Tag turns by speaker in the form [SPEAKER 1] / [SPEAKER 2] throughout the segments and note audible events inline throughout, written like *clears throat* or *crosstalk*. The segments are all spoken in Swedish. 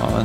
[SPEAKER 1] Ja,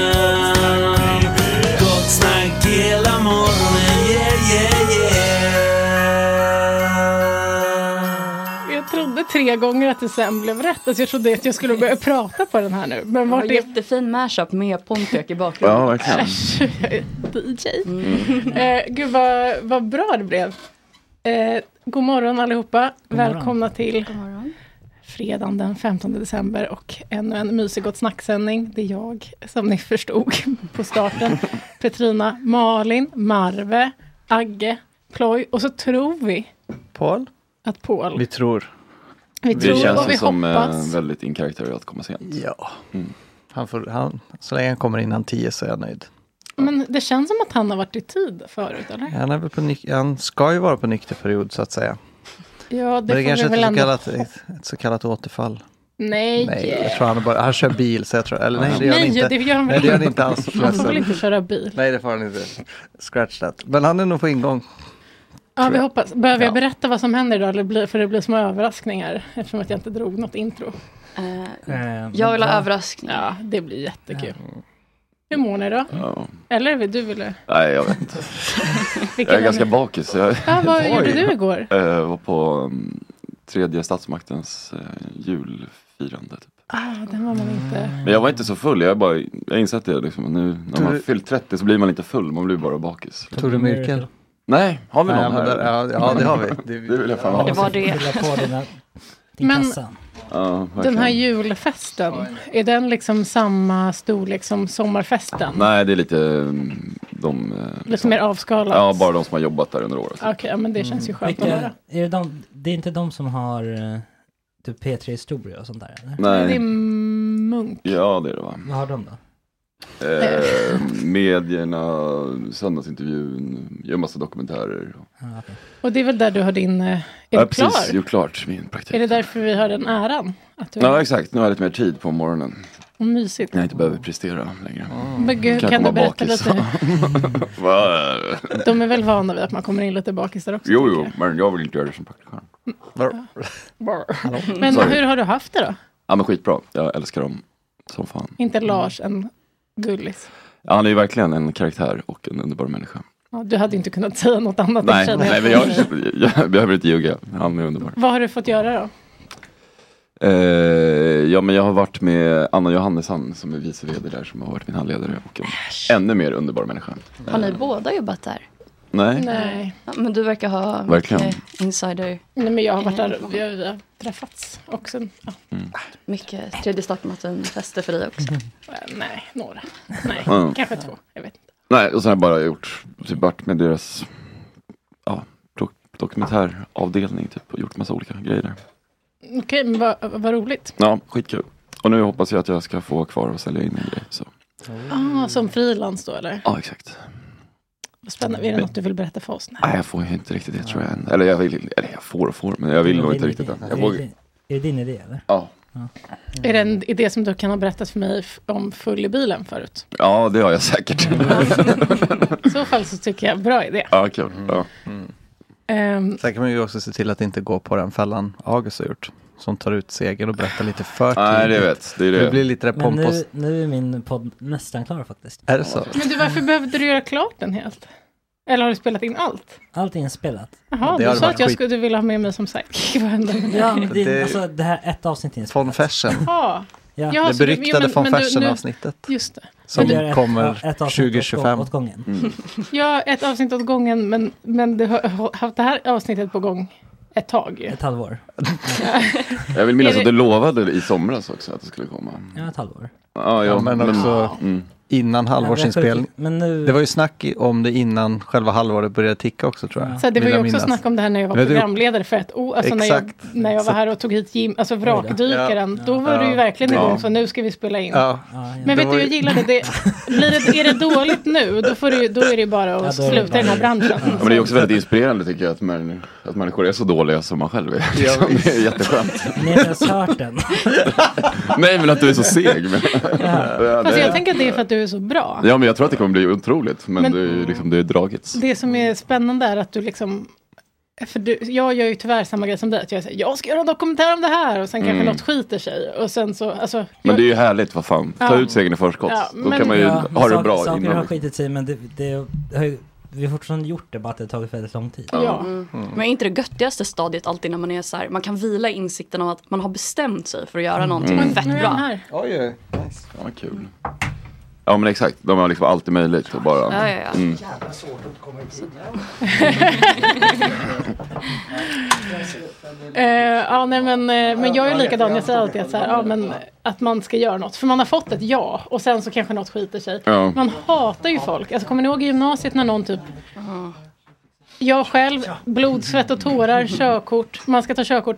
[SPEAKER 2] Gott snack hela morgonen, yeah yeah yeah.
[SPEAKER 3] Jag trodde tre gånger att det sen blev rätt. Alltså jag trodde att jag skulle börja prata på den här nu. Men
[SPEAKER 4] Det var
[SPEAKER 3] vart är
[SPEAKER 4] jättefin mashup med Pontiac i
[SPEAKER 1] Ja,
[SPEAKER 4] bakgrunden. *laughs*
[SPEAKER 1] verkligen.
[SPEAKER 3] DJ? Eh, gud vad, vad bra det blev. Eh, god morgon allihoda. Välkomna till fredagen den 15 december och ännu en mysig Gott snack-sändning. Det är jag, som ni förstod *laughs* på starten, Petrina, Malin, Marve, Agge, Ploy och så tror vi
[SPEAKER 5] Paul?
[SPEAKER 3] att Paul,
[SPEAKER 6] Vi tror.
[SPEAKER 3] vi
[SPEAKER 7] Det
[SPEAKER 3] tror
[SPEAKER 7] känns
[SPEAKER 3] och
[SPEAKER 7] ju
[SPEAKER 3] vi
[SPEAKER 7] som eh,
[SPEAKER 3] hoppas.
[SPEAKER 7] väldigt in karaktär att komma sent.
[SPEAKER 5] Ja.
[SPEAKER 7] Mm.
[SPEAKER 5] Han får, han, så länge han kommer innan tio så är jag nöjd.
[SPEAKER 3] Men det känns som att han har varit i tid förut, eller?
[SPEAKER 5] Han, är väl på nyk- han ska ju vara på nykterperiod så att säga.
[SPEAKER 3] Ja,
[SPEAKER 5] Det,
[SPEAKER 3] det,
[SPEAKER 5] det är
[SPEAKER 3] får
[SPEAKER 5] kanske
[SPEAKER 3] vi
[SPEAKER 5] ett
[SPEAKER 3] väl
[SPEAKER 5] så,
[SPEAKER 3] ändå...
[SPEAKER 5] kallat, ett, ett så kallat återfall.
[SPEAKER 3] Nej,
[SPEAKER 5] Nej, jag tror han, bara, han kör bil så jag tror, eller nej det gör han
[SPEAKER 3] nej,
[SPEAKER 5] inte.
[SPEAKER 3] det gör han
[SPEAKER 5] Nej
[SPEAKER 3] väl
[SPEAKER 5] det gör han
[SPEAKER 3] inte.
[SPEAKER 5] inte alls.
[SPEAKER 3] Han får väl
[SPEAKER 5] förresten.
[SPEAKER 3] inte köra bil.
[SPEAKER 5] Nej det får han inte. Scratch that. Men han är nog på ingång.
[SPEAKER 3] Ja, vi
[SPEAKER 5] jag.
[SPEAKER 3] hoppas. Behöver jag
[SPEAKER 5] Ja.
[SPEAKER 3] berätta vad som händer idag? Eller blir, för det blir små överraskningar eftersom att jag inte drog något intro.
[SPEAKER 4] Eh,
[SPEAKER 8] Eh,
[SPEAKER 4] jag vill ha
[SPEAKER 8] ja.
[SPEAKER 4] överraskningar.
[SPEAKER 3] Ja, det blir jättekul. Hur mår ni då? Eller vill du ville?
[SPEAKER 7] Nej, jag vet inte.
[SPEAKER 3] *laughs* Vilken
[SPEAKER 7] Jag är ganska bakis. så Jag
[SPEAKER 3] Ja, vad
[SPEAKER 7] *laughs* Oj.
[SPEAKER 3] gjorde du igår?
[SPEAKER 7] eh, var på mm, tredje statsmaktens eh, julfirande. Typ.
[SPEAKER 3] Ah, den var man inte...
[SPEAKER 7] Men jag var inte så full. Jag, bara, jag har insett det. Liksom. Nu, när man
[SPEAKER 5] Du-
[SPEAKER 7] har fyllt 30 så blir man inte full. Man blir bara bakis.
[SPEAKER 5] Tog du Myrkel?
[SPEAKER 7] Nej, har vi
[SPEAKER 5] Nej,
[SPEAKER 7] någon
[SPEAKER 5] men
[SPEAKER 7] här?
[SPEAKER 5] där- ja, ja det har vi.
[SPEAKER 7] *laughs* Det vill jag fan ha.
[SPEAKER 4] Det var det.
[SPEAKER 8] Fylla på dina,
[SPEAKER 3] *laughs*
[SPEAKER 8] din
[SPEAKER 3] Men-
[SPEAKER 8] kassa.
[SPEAKER 7] *laughs* Ja,
[SPEAKER 3] Den
[SPEAKER 7] verkligen.
[SPEAKER 3] här julfesten, är den liksom samma storlek som sommarfesten?
[SPEAKER 7] Nej, det är lite mm, de... eh,
[SPEAKER 3] Lite mer avskalat?
[SPEAKER 7] Ja, bara de som har jobbat där under året.
[SPEAKER 3] Okej, ja, men det känns ju skönt att
[SPEAKER 8] Mm. Vilka-
[SPEAKER 3] höra.
[SPEAKER 8] är det, de, det är inte de som har eh, typ P3 Historia och sånt där eller?
[SPEAKER 3] Det är
[SPEAKER 7] Nej,
[SPEAKER 3] munk.
[SPEAKER 7] ja det är det va.
[SPEAKER 8] Vad har de då?
[SPEAKER 7] Eh, medierna, söndagsintervjun, gör massa dokumentärer.
[SPEAKER 8] Ah, okej.
[SPEAKER 3] Och det är väl där du har din... eh, Är
[SPEAKER 7] Ja,
[SPEAKER 3] du klar?
[SPEAKER 7] gjort klart min praktik.
[SPEAKER 3] Är det därför vi har den äran? Att du
[SPEAKER 7] Ja, exakt. Nu har jag lite mer tid på morgonen.
[SPEAKER 3] Och mysigt.
[SPEAKER 7] När jag inte behöver prestera längre.
[SPEAKER 8] Ah.
[SPEAKER 3] Men gud,
[SPEAKER 7] Kan
[SPEAKER 3] kan du
[SPEAKER 7] komma
[SPEAKER 3] berätta
[SPEAKER 7] bakis.
[SPEAKER 3] lite?
[SPEAKER 7] *laughs* Va?
[SPEAKER 3] De är väl vana vid att man kommer in lite bakis där också?
[SPEAKER 7] Jo,
[SPEAKER 3] tänker
[SPEAKER 7] jo, men jag vill inte göra det som praktikant.
[SPEAKER 5] Var-
[SPEAKER 3] jag. Mm. Men
[SPEAKER 7] Sorry.
[SPEAKER 3] hur har du haft det då?
[SPEAKER 7] Ja, men skitbra. Jag älskar dem som fan.
[SPEAKER 3] Inte Lars, en gullis.
[SPEAKER 7] Ja, han är ju verkligen en karaktär och en underbar människa.
[SPEAKER 3] Ja, Du hade ju inte kunnat säga något annat.
[SPEAKER 7] Nej,
[SPEAKER 3] känner
[SPEAKER 7] nej men jag, jag behöver inte ljuga. Han är underbar.
[SPEAKER 3] Vad har du fått göra då?
[SPEAKER 7] Eh, ja, men jag har varit med Anna Johannesson som är vice vd där som har varit min handledare och en ännu mer underbar människa.
[SPEAKER 4] Har ni båda jobbat där?
[SPEAKER 7] Nej,
[SPEAKER 3] Nej.
[SPEAKER 4] Ja, Men du verkar ha
[SPEAKER 7] Verkligen.
[SPEAKER 4] mycket insider, Mm.
[SPEAKER 3] nej, men jag har varit där. Vi har, vi har träffats också. Ja,
[SPEAKER 4] mycket tredje startmaten-fester för dig också.
[SPEAKER 3] Eh, nej, några. Nej,
[SPEAKER 7] Mm.
[SPEAKER 3] kanske två. Jag vet inte.
[SPEAKER 7] nej och sen har jag bara gjort, typ varit med deras ja, dok- dokumentäravdelning typ och gjort massa olika grejer där.
[SPEAKER 3] Okej, men vad, vad roligt.
[SPEAKER 7] Ja, skitkul. Och nu hoppas jag att jag ska få vara kvar och sälja in en grej. Så.
[SPEAKER 3] Ah, som frilans då eller?
[SPEAKER 7] Ja, exakt.
[SPEAKER 3] Vad Spännande. Är det något du vill berätta för oss? Nej.
[SPEAKER 7] Nej, jag får ju inte riktigt det tror jag än. Eller jag vill, eller jag får och får, men jag vill nog inte
[SPEAKER 8] Är det
[SPEAKER 7] riktigt det. Jag
[SPEAKER 8] din idé? Är det
[SPEAKER 7] vågar.
[SPEAKER 8] din- Är det din idé eller?
[SPEAKER 7] Ja.
[SPEAKER 3] Är det en idé som du kan ha berättat för mig f- om full i bilen förut?
[SPEAKER 7] ja, det har jag
[SPEAKER 8] *laughs*
[SPEAKER 7] säkert.
[SPEAKER 3] I så fall så tycker jag, bra idé.
[SPEAKER 7] *laughs* ja, kul. Ja.
[SPEAKER 3] Ehm,
[SPEAKER 5] Sen kan man ju också se till att inte gå på den fällan August har gjort. Som tar ut segern och berättar lite för tidigt.
[SPEAKER 7] Nej, det vet. Det är
[SPEAKER 5] Det
[SPEAKER 7] det.
[SPEAKER 5] blir lite det
[SPEAKER 8] Men
[SPEAKER 5] pompos.
[SPEAKER 8] nu, nu är min podd nästan klar faktiskt.
[SPEAKER 5] Är det så?
[SPEAKER 3] Men du, varför behövde du göra klart den helt? Eller har du spelat in allt?
[SPEAKER 8] Allt
[SPEAKER 3] *laughs*
[SPEAKER 8] är inspelat.
[SPEAKER 3] Jaha,
[SPEAKER 5] Det
[SPEAKER 3] du
[SPEAKER 5] hade
[SPEAKER 3] sa
[SPEAKER 5] varit
[SPEAKER 3] att jag
[SPEAKER 5] skit.
[SPEAKER 3] skulle, du ville ha med mig som sidekick. *laughs* Vad hände med det?
[SPEAKER 8] Ja, men det,
[SPEAKER 5] Det-
[SPEAKER 8] alltså det här ett avsnitt är inspelat.
[SPEAKER 5] Von Fersen.
[SPEAKER 8] *laughs*
[SPEAKER 3] Ja,
[SPEAKER 8] Ja.
[SPEAKER 3] ja,
[SPEAKER 5] Det
[SPEAKER 3] så du- jo,
[SPEAKER 5] beryktade
[SPEAKER 3] men-
[SPEAKER 5] von
[SPEAKER 3] men du- nu-
[SPEAKER 5] Fersen-avsnittet.
[SPEAKER 3] Just det.
[SPEAKER 8] Vi
[SPEAKER 5] Som
[SPEAKER 8] gör ett-
[SPEAKER 5] kommer
[SPEAKER 8] ett avsnitt åt- Mm.
[SPEAKER 5] 2025.
[SPEAKER 8] Åt gången.
[SPEAKER 7] Mm.
[SPEAKER 3] Ja, ett avsnitt åt gången, men, men du har har haft det här avsnittet på gång ett tag ju.
[SPEAKER 8] Ett halvår.
[SPEAKER 7] Jag vill minnas
[SPEAKER 3] Är
[SPEAKER 7] att
[SPEAKER 3] det-
[SPEAKER 7] du lovade i somras också att det skulle komma.
[SPEAKER 8] Ja, ett halvår.
[SPEAKER 7] Ja,
[SPEAKER 5] Ja, men också
[SPEAKER 7] mm.
[SPEAKER 5] innan halvårsinspelning.
[SPEAKER 8] Men nu...
[SPEAKER 5] Det var ju snack i- om det innan själva halvåret började ticka också tror jag.
[SPEAKER 3] Så det var
[SPEAKER 5] Vill
[SPEAKER 3] ju
[SPEAKER 5] jag
[SPEAKER 3] också
[SPEAKER 5] minnas.
[SPEAKER 3] snack om det här när jag var
[SPEAKER 5] Vet du-
[SPEAKER 3] programledare för ett år, alltså när jag,
[SPEAKER 5] Exakt.
[SPEAKER 3] när jag var
[SPEAKER 5] Så-
[SPEAKER 3] här och tog hit Jim, alltså vrakdykaren,
[SPEAKER 8] Ja.
[SPEAKER 3] då var du ju
[SPEAKER 5] Ja.
[SPEAKER 3] verkligen
[SPEAKER 7] Ja.
[SPEAKER 3] igång, så nu ska vi spela in.
[SPEAKER 5] Ja,
[SPEAKER 8] Ja, ja.
[SPEAKER 3] Men
[SPEAKER 5] Det
[SPEAKER 3] vet
[SPEAKER 5] var
[SPEAKER 3] du, jag
[SPEAKER 5] ju-
[SPEAKER 3] gillade det. Blir det är det dåligt nu, då, får du, då är det ju bara att
[SPEAKER 8] Ja, då-
[SPEAKER 3] sluta i den här branschen.
[SPEAKER 7] Ja, men det är också väldigt inspirerande tycker jag att, män, att människor är så dåliga som man själv *laughs* är. Liksom,
[SPEAKER 5] Ja,
[SPEAKER 7] det är jätteskönt.
[SPEAKER 8] Ni har inte ens hört den.
[SPEAKER 7] Nej men att du är så seg. Men, ja,
[SPEAKER 3] Fast Alltså, jag
[SPEAKER 7] det,
[SPEAKER 3] tänker att det är för att du är så bra.
[SPEAKER 7] ja men jag tror att det kommer bli otroligt. Men,
[SPEAKER 3] Men-
[SPEAKER 7] det är ju liksom, det är dragits.
[SPEAKER 3] Det som är spännande är att du liksom... För du, jag gör ju tyvärr samma grej som dig, att jag säger jag ska göra en dokumentär om det här och sen kanske
[SPEAKER 7] Mm.
[SPEAKER 3] något skiter sig. Och sen så, alltså,
[SPEAKER 7] Men
[SPEAKER 3] jag,
[SPEAKER 7] det är ju härligt, vad fan. Ta
[SPEAKER 3] Ja.
[SPEAKER 7] ut segern i förskott.
[SPEAKER 3] Ja,
[SPEAKER 7] Då
[SPEAKER 3] men-
[SPEAKER 7] kan man ju
[SPEAKER 8] Ja,
[SPEAKER 7] ha det
[SPEAKER 8] sak-
[SPEAKER 7] bra
[SPEAKER 8] Saker har
[SPEAKER 7] innan.
[SPEAKER 8] skitit sig men det, det, det har ju, vi har fortfarande gjort det bara att det har tagit väldigt lång tid.
[SPEAKER 3] ja.
[SPEAKER 4] Mm. Men är inte det göttigaste stadiet alltid när man är så här, man kan vila i insikten av att man har bestämt sig för att göra någonting fett
[SPEAKER 3] Nu är den
[SPEAKER 4] bra.
[SPEAKER 3] här.
[SPEAKER 5] Oj,
[SPEAKER 7] Ja, vad kul. Ja men exakt, de har liksom alltid möjligt och bara.
[SPEAKER 4] Ja, ja, ja.
[SPEAKER 7] Mm.
[SPEAKER 4] Så-
[SPEAKER 3] Eh, ja, nej, men, eh, men jag är likadan. Jag säger alltid att, så här, ja, men, att man ska göra något. För man har fått ett ja och sen så kanske något skiter sig.
[SPEAKER 7] Ja.
[SPEAKER 3] Man hatar ju folk. Alltså, kommer ni ihåg i gymnasiet när någon typ... Jag själv, blod, svett och *laughs* tårar, körkort. Man ska ta körkort.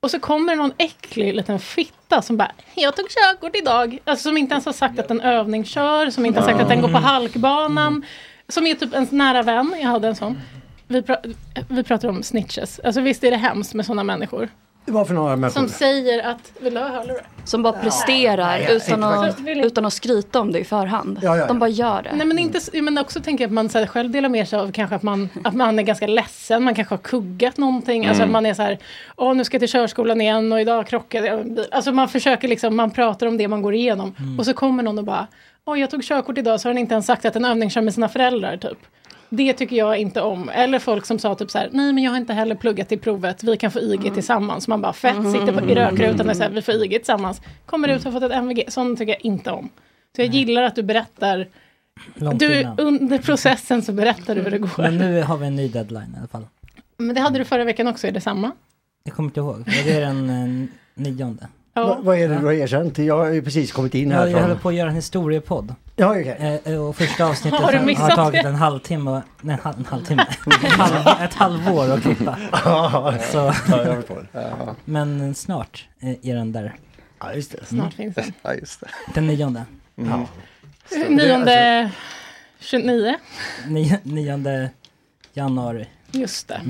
[SPEAKER 3] Och så kommer någon äcklig liten fitta som bara, jag tog körkort idag. Alltså som inte ens har sagt att den övning kör, som inte har sagt att den går på halkbanan. Som är typ ens nära vän, jag hade en sån. Vi, pra- vi pratar om snitches. Alltså visst är det hemskt med sådana människor.
[SPEAKER 6] Vad för några människor?
[SPEAKER 3] Som säger att, vill du ha hörlurar?
[SPEAKER 4] Som bara presterar
[SPEAKER 6] Nej, jag
[SPEAKER 4] utan,
[SPEAKER 6] tänkte
[SPEAKER 4] att,
[SPEAKER 6] faktiskt-
[SPEAKER 4] utan att skryta om det i förhand.
[SPEAKER 6] Ja, ja, ja.
[SPEAKER 4] De bara gör det.
[SPEAKER 3] Nej men, inte, s- men också tänker jag att man så här, själv delar med sig av kanske att man, att man är ganska ledsen, man kanske har kuggat någonting. Alltså
[SPEAKER 4] Mm.
[SPEAKER 3] att man är så här, åh nu ska jag till körskolan igen och idag krockade jag med en bil." Alltså man försöker liksom, man pratar om det man går igenom.
[SPEAKER 4] Mm.
[SPEAKER 3] Och så kommer någon och bara, åh jag tog körkort idag så har den inte ens sagt att en övning kör med sina föräldrar typ. Det tycker jag inte om. Eller folk som sa typ så här, nej men jag har inte heller pluggat till provet, vi kan få IG
[SPEAKER 6] Mm.
[SPEAKER 3] tillsammans. Man bara, fett, sitter på, i rökrutan och säger vi får IG tillsammans. Kommer ut och har fått ett MVG, sånt tycker jag inte om. Så jag gillar att du berättar
[SPEAKER 8] Långt
[SPEAKER 3] du,
[SPEAKER 8] innan.
[SPEAKER 3] under processen så berättar du hur det går.
[SPEAKER 8] Men
[SPEAKER 3] Men,
[SPEAKER 8] nu har vi en ny deadline i alla fall.
[SPEAKER 3] det hade du förra veckan också, är det samma?
[SPEAKER 8] Jag kommer inte ihåg. Men Det är den eh, nionde.
[SPEAKER 3] E
[SPEAKER 6] Va- Vad är det du har erkänt? Jag har ju precis kommit in
[SPEAKER 8] Jag,
[SPEAKER 6] här.
[SPEAKER 8] jag håller
[SPEAKER 6] Från...
[SPEAKER 8] på att göra en historiepodd.
[SPEAKER 6] Ja, okej.
[SPEAKER 8] Eh, eh, och första avsnittet
[SPEAKER 6] Har du
[SPEAKER 8] har,
[SPEAKER 6] missat
[SPEAKER 8] tagit
[SPEAKER 6] det?
[SPEAKER 8] en halvtimme, och- nej en, halv,
[SPEAKER 3] *laughs*
[SPEAKER 8] en halvtimme, ett, halv, ett halvår att klippa.
[SPEAKER 6] *laughs* Ja,
[SPEAKER 8] Så.
[SPEAKER 6] ja, jag förstår. Ja.
[SPEAKER 8] *laughs* Men snart eh, är den där.
[SPEAKER 6] Ja, just det.
[SPEAKER 3] Snart finns den.
[SPEAKER 8] Ja, just det. Den nionde.
[SPEAKER 6] Mm. Ja.
[SPEAKER 3] Nionde
[SPEAKER 6] alltså-
[SPEAKER 3] 29,
[SPEAKER 8] Ni, nionde januari. Mm.
[SPEAKER 3] just det.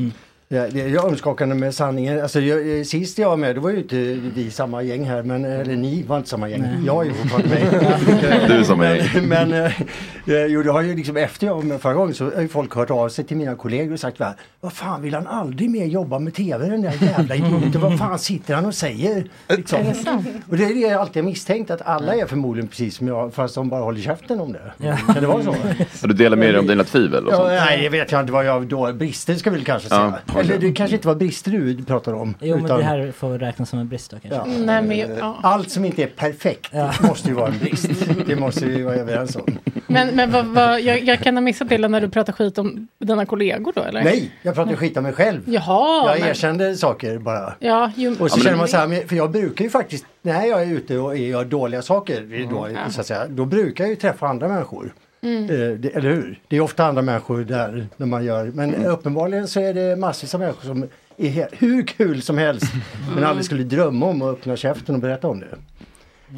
[SPEAKER 6] Ja, det är omskakande med sanningen. Alltså, jag, eh, sist jag var med, då var ju inte vi samma gäng här, men, eh, eller ni var inte samma gäng. Jag är ju fortfarande med.
[SPEAKER 7] *laughs* Du är samma gäng.
[SPEAKER 6] *laughs* Men eh, eh, jo, det har ju liksom efter jag var med förra gången så har ju folk hört av sig till mina kollegor och sagt va, vad fan vill han aldrig mer jobba med tv den där jävla idioten, vad fan sitter han och säger? Liksom.
[SPEAKER 3] Är det sant?
[SPEAKER 6] Och det är det jag alltid har misstänkt att alla är förmodligen precis som jag fast de bara håller käften om det. Kan det vara så?
[SPEAKER 7] Så du delar med dig om dina tvivel och
[SPEAKER 6] Ja,
[SPEAKER 7] sånt?
[SPEAKER 6] nej, det vet jag inte vad jag då... Brister ska vi väl kanske
[SPEAKER 7] Ja,
[SPEAKER 6] säga.
[SPEAKER 7] okej.
[SPEAKER 6] Eller det kanske inte var brister du pratar om.
[SPEAKER 8] Jo men
[SPEAKER 6] utan-
[SPEAKER 8] det här får räknas som en brist då kanske.
[SPEAKER 6] Ja.
[SPEAKER 3] Nej, men, ju- ja.
[SPEAKER 6] Allt som inte är perfekt måste ju vara en
[SPEAKER 3] *laughs*
[SPEAKER 6] brist. Det måste vi vara överens om.
[SPEAKER 3] men, men vad, vad, jag, jag kan ha missat det när du pratar skit om dina kollegor då eller?
[SPEAKER 6] Nej, jag pratar skit om mig själv.
[SPEAKER 3] Jaha.
[SPEAKER 6] Jag
[SPEAKER 3] men-
[SPEAKER 6] erkände saker bara.
[SPEAKER 3] Ja, ju,
[SPEAKER 6] Och så känner man så här, men- för jag brukar ju faktiskt, när jag är ute och gör dåliga saker, det är då,
[SPEAKER 3] Ja.
[SPEAKER 6] så att säga, då brukar jag ju träffa andra människor.
[SPEAKER 3] Mm.
[SPEAKER 6] Eh, det, eller hur? Det är ofta andra människor där när man gör, men uppenbarligen så är det massvis av människor som är he- hur kul som helst men aldrig skulle drömma om att öppna käften och berätta om det.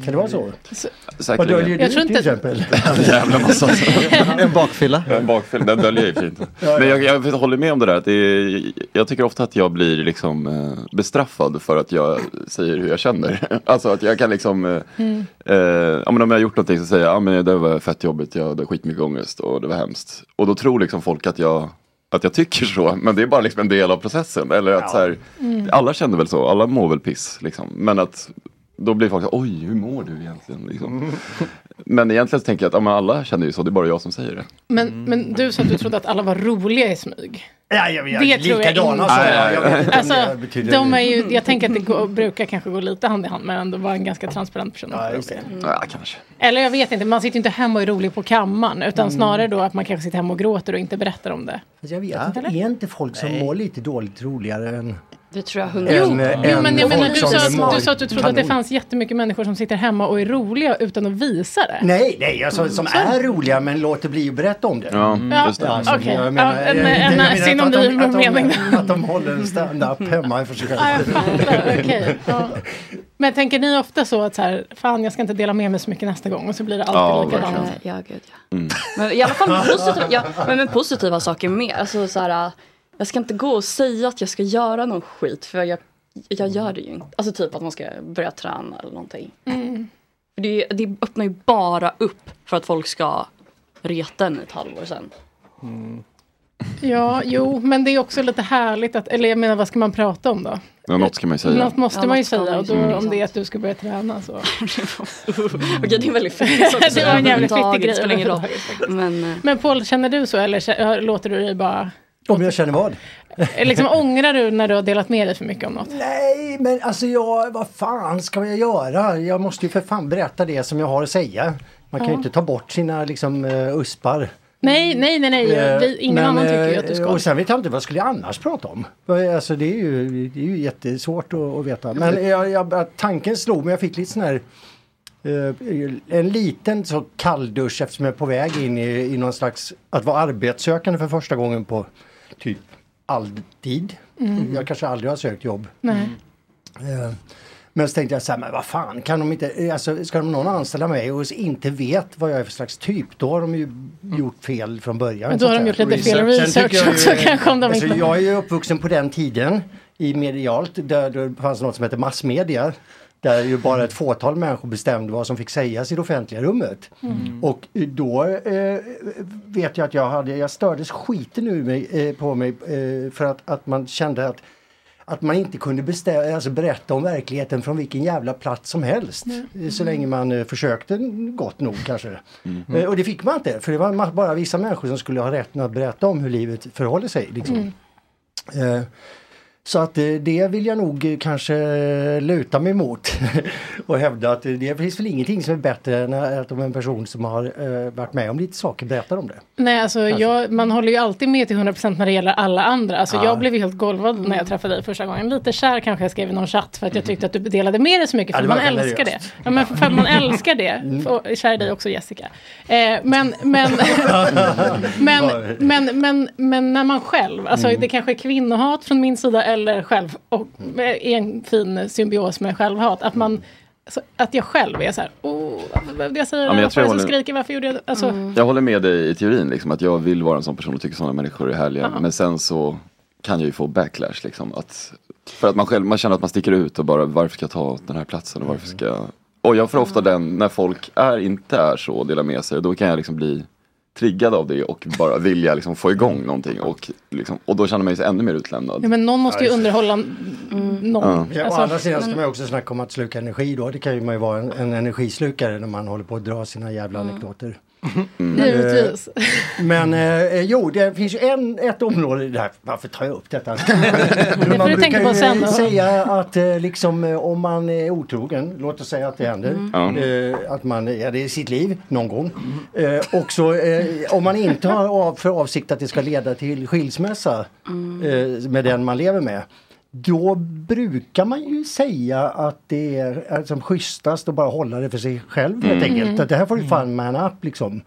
[SPEAKER 6] Kan det vara så? Vad
[SPEAKER 7] Säkerligen.
[SPEAKER 6] döljer du till
[SPEAKER 7] *laughs*
[SPEAKER 3] *laughs*
[SPEAKER 6] exempel?
[SPEAKER 7] En jävla massa
[SPEAKER 5] En bakfylla.
[SPEAKER 7] En bakfilm, den döljer ju fint. Men jag, jag håller med om det där. Att det är, jag tycker ofta att jag blir liksom eh, bestraffad för att jag säger hur jag känner. *laughs* Alltså att jag kan liksom, eh,
[SPEAKER 9] Mm.
[SPEAKER 7] eh, ja, men om jag har gjort någonting så säger jag, ja men det var fett jobbigt, jag hade skitmycket ångest och det var hemskt. Och då tror liksom folk att jag, att jag tycker så, men det är bara liksom en del av processen. Eller att så här,
[SPEAKER 9] Mm.
[SPEAKER 7] alla känner väl så, alla mår väl piss. Liksom. Men att då blir folk så här, oj hur mår du egentligen?
[SPEAKER 3] Mm.
[SPEAKER 7] Liksom. Men egentligen så tänker jag att ja, men alla känner ju så, det är bara jag som säger det.
[SPEAKER 3] men, men du sa att du trodde att alla var roliga i smyg.
[SPEAKER 6] Ja, jag vet. Likadana
[SPEAKER 3] inte.
[SPEAKER 6] sa jag. Jag vet inte om
[SPEAKER 3] Alltså,
[SPEAKER 6] det betyder-
[SPEAKER 3] de är ju, jag tänker att det går, brukar kanske gå lite hand i hand, men ändå vara en ganska transparent person.
[SPEAKER 6] Mm.
[SPEAKER 7] Ja, kanske.
[SPEAKER 3] Eller jag vet inte, man sitter ju inte hemma och är rolig på kammaren, utan snarare då att man kanske sitter hemma och gråter och inte berättar om det.
[SPEAKER 6] Fast *laughs* jag vet inte, är inte folk som mår lite dåligt roligare än...
[SPEAKER 4] Det tror jag
[SPEAKER 3] Jo,
[SPEAKER 6] En, eh,
[SPEAKER 3] jo
[SPEAKER 6] en
[SPEAKER 3] men jag menar, du,
[SPEAKER 6] folk som
[SPEAKER 3] sa,
[SPEAKER 6] mår
[SPEAKER 3] du sa att du trodde att det
[SPEAKER 6] kanon.
[SPEAKER 3] fanns jättemycket människor som sitter hemma och är roliga utan att visa det.
[SPEAKER 6] Nej, nej, alltså, som är roliga men låter bli att berätta om det.
[SPEAKER 7] Ja,
[SPEAKER 3] Ja, just det.
[SPEAKER 6] alltså,
[SPEAKER 3] okej.
[SPEAKER 6] jag menar,
[SPEAKER 3] Ja, en-
[SPEAKER 6] jag-
[SPEAKER 3] en-
[SPEAKER 6] jag menar
[SPEAKER 3] synonym
[SPEAKER 6] att de-
[SPEAKER 3] med mening.
[SPEAKER 6] Att de, att de håller en stand-up hemma för sig
[SPEAKER 3] Ja, jag
[SPEAKER 6] själva.
[SPEAKER 3] fattar, okej.
[SPEAKER 6] *laughs*
[SPEAKER 3] ja. Men tänker ni ofta så att så här, fan jag ska inte dela med mig så mycket nästa gång och så blir det
[SPEAKER 7] Ja,
[SPEAKER 3] alltid likadant?
[SPEAKER 7] verkligen.
[SPEAKER 4] Ja, gud ja. Men i alla fall
[SPEAKER 6] *laughs*
[SPEAKER 4] med positiva, ja, men med positiva saker med. Alltså så här, äh, jag ska inte gå och säga att jag ska göra någon skit för jag, jag gör det ju inte. Alltså typ att man ska börja träna eller någonting.
[SPEAKER 3] Mm.
[SPEAKER 4] För Det, det öppnar ju bara upp för att folk ska reta en i ett halvår sen. *laughs*
[SPEAKER 3] Mm. Ja, jo, men det är också lite härligt att, eller jag menar vad ska man prata om då?
[SPEAKER 7] Ja, något ska man ju säga.
[SPEAKER 3] Något måste
[SPEAKER 4] Ja,
[SPEAKER 3] man ju
[SPEAKER 4] något ska man
[SPEAKER 3] säga
[SPEAKER 4] ju
[SPEAKER 3] och då,
[SPEAKER 4] säga.
[SPEAKER 3] om det är att du ska börja träna
[SPEAKER 4] *laughs*
[SPEAKER 3] så.
[SPEAKER 4] Okej, det är en väldigt fittig sak
[SPEAKER 3] *laughs*
[SPEAKER 4] att
[SPEAKER 3] Det
[SPEAKER 4] säga
[SPEAKER 3] var en jävligt
[SPEAKER 4] överhuvudtaget,
[SPEAKER 3] fittig grej.
[SPEAKER 4] det spelar ingen roll. Men, äh,
[SPEAKER 3] Men Paul, känner du så eller kä- låter du dig bara...
[SPEAKER 6] Om jag känner vad? *laughs*
[SPEAKER 3] Liksom ångrar du när du har delat med dig för mycket om något?
[SPEAKER 6] Nej, men alltså jag, vad fan ska jag göra? Jag måste ju för fan berätta det som jag har att säga. Man kan ju
[SPEAKER 3] Ja.
[SPEAKER 6] inte ta bort sina liksom eh, uspar. Eh,
[SPEAKER 3] Nej, nej, nej, nej. jag- Vi, ingen
[SPEAKER 6] Men,
[SPEAKER 3] annan tycker ju
[SPEAKER 6] eh,
[SPEAKER 3] att du ska.
[SPEAKER 6] Och sen vet jag inte, vad skulle jag annars prata om? Alltså det är ju, det är ju jättesvårt att, att veta.
[SPEAKER 3] Mm.
[SPEAKER 6] Men jag, jag, tanken slog mig, jag fick lite sån här eh, en liten så kalldusch eftersom jag är på väg in i, i någon slags att vara arbetssökande för första gången på typ alltid.
[SPEAKER 3] Mm.
[SPEAKER 6] Jag kanske aldrig har sökt jobb.
[SPEAKER 3] Nej.
[SPEAKER 6] Eh, Men så tänkte jag så här, men vad fan, kan de inte, eh, alltså, ska de någon anställa mig och inte vet vad jag är för slags typ, då har de ju gjort fel från början.
[SPEAKER 3] Mm. Men då har
[SPEAKER 6] så att
[SPEAKER 3] de
[SPEAKER 6] säga.
[SPEAKER 3] gjort lite fel research
[SPEAKER 6] Sen tycker jag
[SPEAKER 3] också,
[SPEAKER 6] ju-
[SPEAKER 3] kanske, om de
[SPEAKER 6] alltså,
[SPEAKER 3] inte-
[SPEAKER 6] Jag är ju uppvuxen på den tiden, i medialt, där det fanns något som hette massmedia. Där ju bara ett fåtal människor bestämde vad som fick sägas i det offentliga rummet.
[SPEAKER 9] Mm.
[SPEAKER 6] Och då eh, vet jag att jag hade, jag stördes skiten ur mig, eh, på mig eh, för att, att man kände att att man inte kunde bestä- alltså berätta om verkligheten från vilken jävla plats som helst. Eh, Så länge man eh, försökte gott nog kanske.
[SPEAKER 10] Mm.
[SPEAKER 3] Mm.
[SPEAKER 6] Eh, Och det fick man inte, för det var ma- bara vissa människor som skulle ha rätten att berätta om hur livet förhåller sig. Liksom.
[SPEAKER 3] Mm.
[SPEAKER 6] Eh, Så att eh, det vill jag nog eh, kanske eh, luta mig mot *laughs* och hävda att eh, det finns väl ingenting som är bättre än att om en person som har eh, varit med om lite saker berättar om det.
[SPEAKER 3] Nej, alltså
[SPEAKER 6] Kanske.
[SPEAKER 3] jag, man håller ju alltid med till 100% när det gäller alla andra. Alltså
[SPEAKER 6] Ja.
[SPEAKER 3] jag blev ju helt golvad när jag träffade dig första gången. Lite kär kanske jag skrev i någon chatt för att jag tyckte att du delade med dig så mycket.
[SPEAKER 6] Ja,
[SPEAKER 3] För
[SPEAKER 6] det
[SPEAKER 3] man
[SPEAKER 6] var
[SPEAKER 3] älskar det.
[SPEAKER 6] generöst.
[SPEAKER 3] Ja, men för, för att man älskar det. Och kär i dig också Jessica. Eh, men, men, men, men, men, men när man själv, alltså
[SPEAKER 4] Mm.
[SPEAKER 3] det kanske är kvinnohat från min sida eller själv, och är en fin symbios med självhat, att man så att jag själv är så här, oh, varför behövde jag säga
[SPEAKER 7] Ja,
[SPEAKER 3] det?
[SPEAKER 7] men jag
[SPEAKER 3] Varför
[SPEAKER 7] tror
[SPEAKER 3] var
[SPEAKER 7] jag
[SPEAKER 3] det som
[SPEAKER 7] håller-
[SPEAKER 3] skriker? Varför gjorde jag det? Alltså,
[SPEAKER 7] Jag håller med dig i teorin, liksom, att jag vill vara en sån person och tycker sådana människor är härliga.
[SPEAKER 3] Ja.
[SPEAKER 7] Men sen så kan jag ju få backlash. Liksom, att, för att man själv man känner att man sticker ut och bara varför ska jag ta den här platsen och varför ska jag... Och jag får ofta den, när folk är, inte är så och delar med sig, då kan jag liksom bli triggad av det och bara vilja liksom få igång någonting. Och, liksom, och då känner man sig ännu mer utlämnad.
[SPEAKER 3] Ja, men någon måste ju
[SPEAKER 7] Ja, just
[SPEAKER 3] underhålla
[SPEAKER 4] Mm.
[SPEAKER 3] någon.
[SPEAKER 6] Ja,
[SPEAKER 3] Alltså,
[SPEAKER 6] å andra sidan ska
[SPEAKER 3] men-
[SPEAKER 6] man ju också snacka om att sluka energi då. Det kan ju man ju vara en, en energislukare när man håller på att dra sina jävla anekdoter. Men, eh,
[SPEAKER 3] Mm. Givetvis.
[SPEAKER 6] Men eh, jo, det finns ju en, ett område där. Varför tar jag
[SPEAKER 3] *laughs*
[SPEAKER 6] upp detta?
[SPEAKER 3] du tänka
[SPEAKER 6] man brukar
[SPEAKER 3] på
[SPEAKER 6] ju
[SPEAKER 3] sen då.
[SPEAKER 6] säga att eh, liksom, eh, om man är otrogen, låt oss säga att det händer,
[SPEAKER 7] Mm.
[SPEAKER 6] eh, att man, ja det är sitt liv någon gång. Eh, och så eh, om man inte har av, för avsikt att det ska leda till skilsmässa
[SPEAKER 7] Mm.
[SPEAKER 6] eh, med den man lever med. Då brukar man ju säga att det är eh, som schysstast att bara hålla det för sig själv
[SPEAKER 7] Mm.
[SPEAKER 6] helt enkelt. Att det här får du fan man up liksom.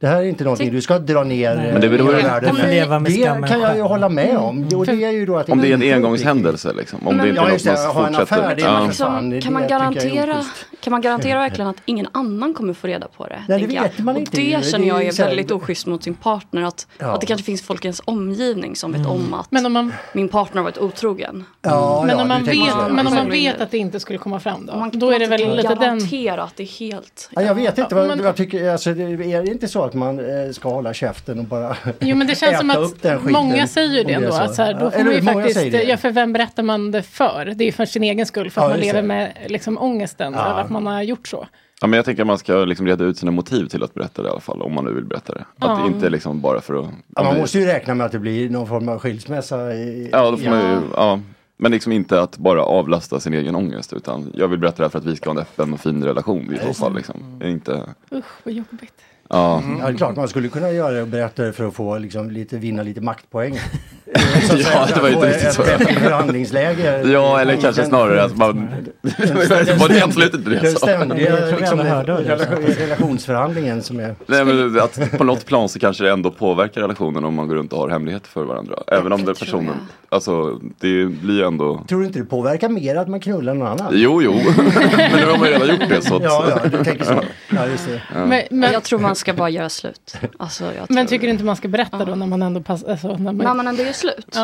[SPEAKER 6] Det här är inte någonting du ska dra ner
[SPEAKER 7] Men det
[SPEAKER 6] eh,
[SPEAKER 7] beror
[SPEAKER 6] hela
[SPEAKER 7] ju-
[SPEAKER 6] världen.
[SPEAKER 7] Om ni- Leva med
[SPEAKER 6] Det
[SPEAKER 7] skammen
[SPEAKER 6] kan jag ju
[SPEAKER 7] själv.
[SPEAKER 6] hålla med om. Och det är ju då att
[SPEAKER 7] Om det är en
[SPEAKER 6] inte-
[SPEAKER 7] engångshändelse liksom. Om det inte
[SPEAKER 6] Ja,
[SPEAKER 7] är något
[SPEAKER 6] just det,
[SPEAKER 7] man
[SPEAKER 6] ha en
[SPEAKER 7] fortsätter.
[SPEAKER 6] affär, det är
[SPEAKER 7] Ja.
[SPEAKER 6] liksom- Fan, det-
[SPEAKER 4] kan, man
[SPEAKER 6] det tycker jag är
[SPEAKER 4] garantera,
[SPEAKER 6] oschysst.
[SPEAKER 4] kan man garantera verkligen att ingen annan kommer få reda på det?
[SPEAKER 6] Nej, det
[SPEAKER 4] tänker
[SPEAKER 6] vet
[SPEAKER 4] jag.
[SPEAKER 6] man
[SPEAKER 4] och
[SPEAKER 6] inte ju.
[SPEAKER 4] det
[SPEAKER 6] Det
[SPEAKER 4] känner
[SPEAKER 6] är
[SPEAKER 4] jag är
[SPEAKER 6] så här-
[SPEAKER 4] väldigt oschysst mot sin partner. Att,
[SPEAKER 6] Ja.
[SPEAKER 4] att det kanske finns folk i ens omgivning som vet
[SPEAKER 3] Mm.
[SPEAKER 4] om att
[SPEAKER 3] Men om man, Mm.
[SPEAKER 4] min partner har varit otrogen.
[SPEAKER 6] Ja,
[SPEAKER 3] men
[SPEAKER 6] ja,
[SPEAKER 3] om man,
[SPEAKER 6] du tänker
[SPEAKER 3] vet,
[SPEAKER 6] så.
[SPEAKER 3] men om man vet att det inte skulle komma fram då? Då är det väl lite den...
[SPEAKER 4] garantera att det är helt...
[SPEAKER 6] Ja, jag vet inte,
[SPEAKER 3] Ja,
[SPEAKER 6] vad,
[SPEAKER 3] men-
[SPEAKER 6] jag tycker, alltså, det är det inte så att man eh, ska hålla käften och bara
[SPEAKER 3] *laughs* Jo men det känns
[SPEAKER 6] äta
[SPEAKER 3] som
[SPEAKER 6] upp den
[SPEAKER 3] att
[SPEAKER 6] skiten?
[SPEAKER 3] många säger ju
[SPEAKER 6] Om
[SPEAKER 3] det ändå.
[SPEAKER 6] är
[SPEAKER 3] Att så här, då
[SPEAKER 6] Ja,
[SPEAKER 3] får man ju
[SPEAKER 6] hur? Många säger
[SPEAKER 3] faktiskt,
[SPEAKER 6] det.
[SPEAKER 3] ja, för vem berättar man det för? Det är ju för sin egen skull, för att
[SPEAKER 7] Ja,
[SPEAKER 3] man
[SPEAKER 7] just
[SPEAKER 3] lever
[SPEAKER 7] det.
[SPEAKER 3] med liksom, ångesten
[SPEAKER 7] Ja.
[SPEAKER 3] över att man har gjort så.
[SPEAKER 7] Ja, men jag tänker att man ska liksom reda ut sina motiv till att berätta det i alla fall, om man nu vill berätta det. Att
[SPEAKER 3] Ja.
[SPEAKER 7] det inte är liksom bara för att...
[SPEAKER 6] Ja, man måste ju räkna med att det blir någon form av skilsmässa. I,
[SPEAKER 7] Ja, då får man ju, ja. Men liksom inte att bara avlasta sin egen ångest, utan jag vill berätta det här för att vi ska ha en öppen och fin relation i så fall. Liksom. Inte,
[SPEAKER 3] Usch, vad jobbigt.
[SPEAKER 7] ja.
[SPEAKER 6] Ja, det är klart man skulle kunna göra det och berätta det för att få liksom, lite, vinna
[SPEAKER 7] *laughs*
[SPEAKER 6] lite maktpoäng.
[SPEAKER 7] *laughs* ja, det var ju inte riktigt så.
[SPEAKER 6] Förhandlingsläge.
[SPEAKER 7] Ja, eller kanske snarare att man... *laughs* Det var det absolut inte det jag
[SPEAKER 6] Den
[SPEAKER 7] sa.
[SPEAKER 6] ständiga liksom,
[SPEAKER 8] alla hörde det.
[SPEAKER 6] relation- relationsförhandlingen som är...
[SPEAKER 7] Nej, men att på något plan så kanske det ändå påverkar relationen om man går runt och har hemligheter för varandra. Även om den personen, alltså det blir ju ändå...
[SPEAKER 6] Tror du inte det påverkar mer att man knullar någon annan?
[SPEAKER 7] Jo, *laughs*
[SPEAKER 4] *laughs*
[SPEAKER 7] jo, men nu har man ju redan gjort det så att...
[SPEAKER 6] Ja, ja, du tänker så. Ja, just det.
[SPEAKER 3] Men- men-
[SPEAKER 4] Jag tror man ska bara göra slut. Alltså, jag tror...
[SPEAKER 3] Men tycker du inte man ska berätta då när man ändå passar... Alltså, när man...
[SPEAKER 4] När man ändå gör slut?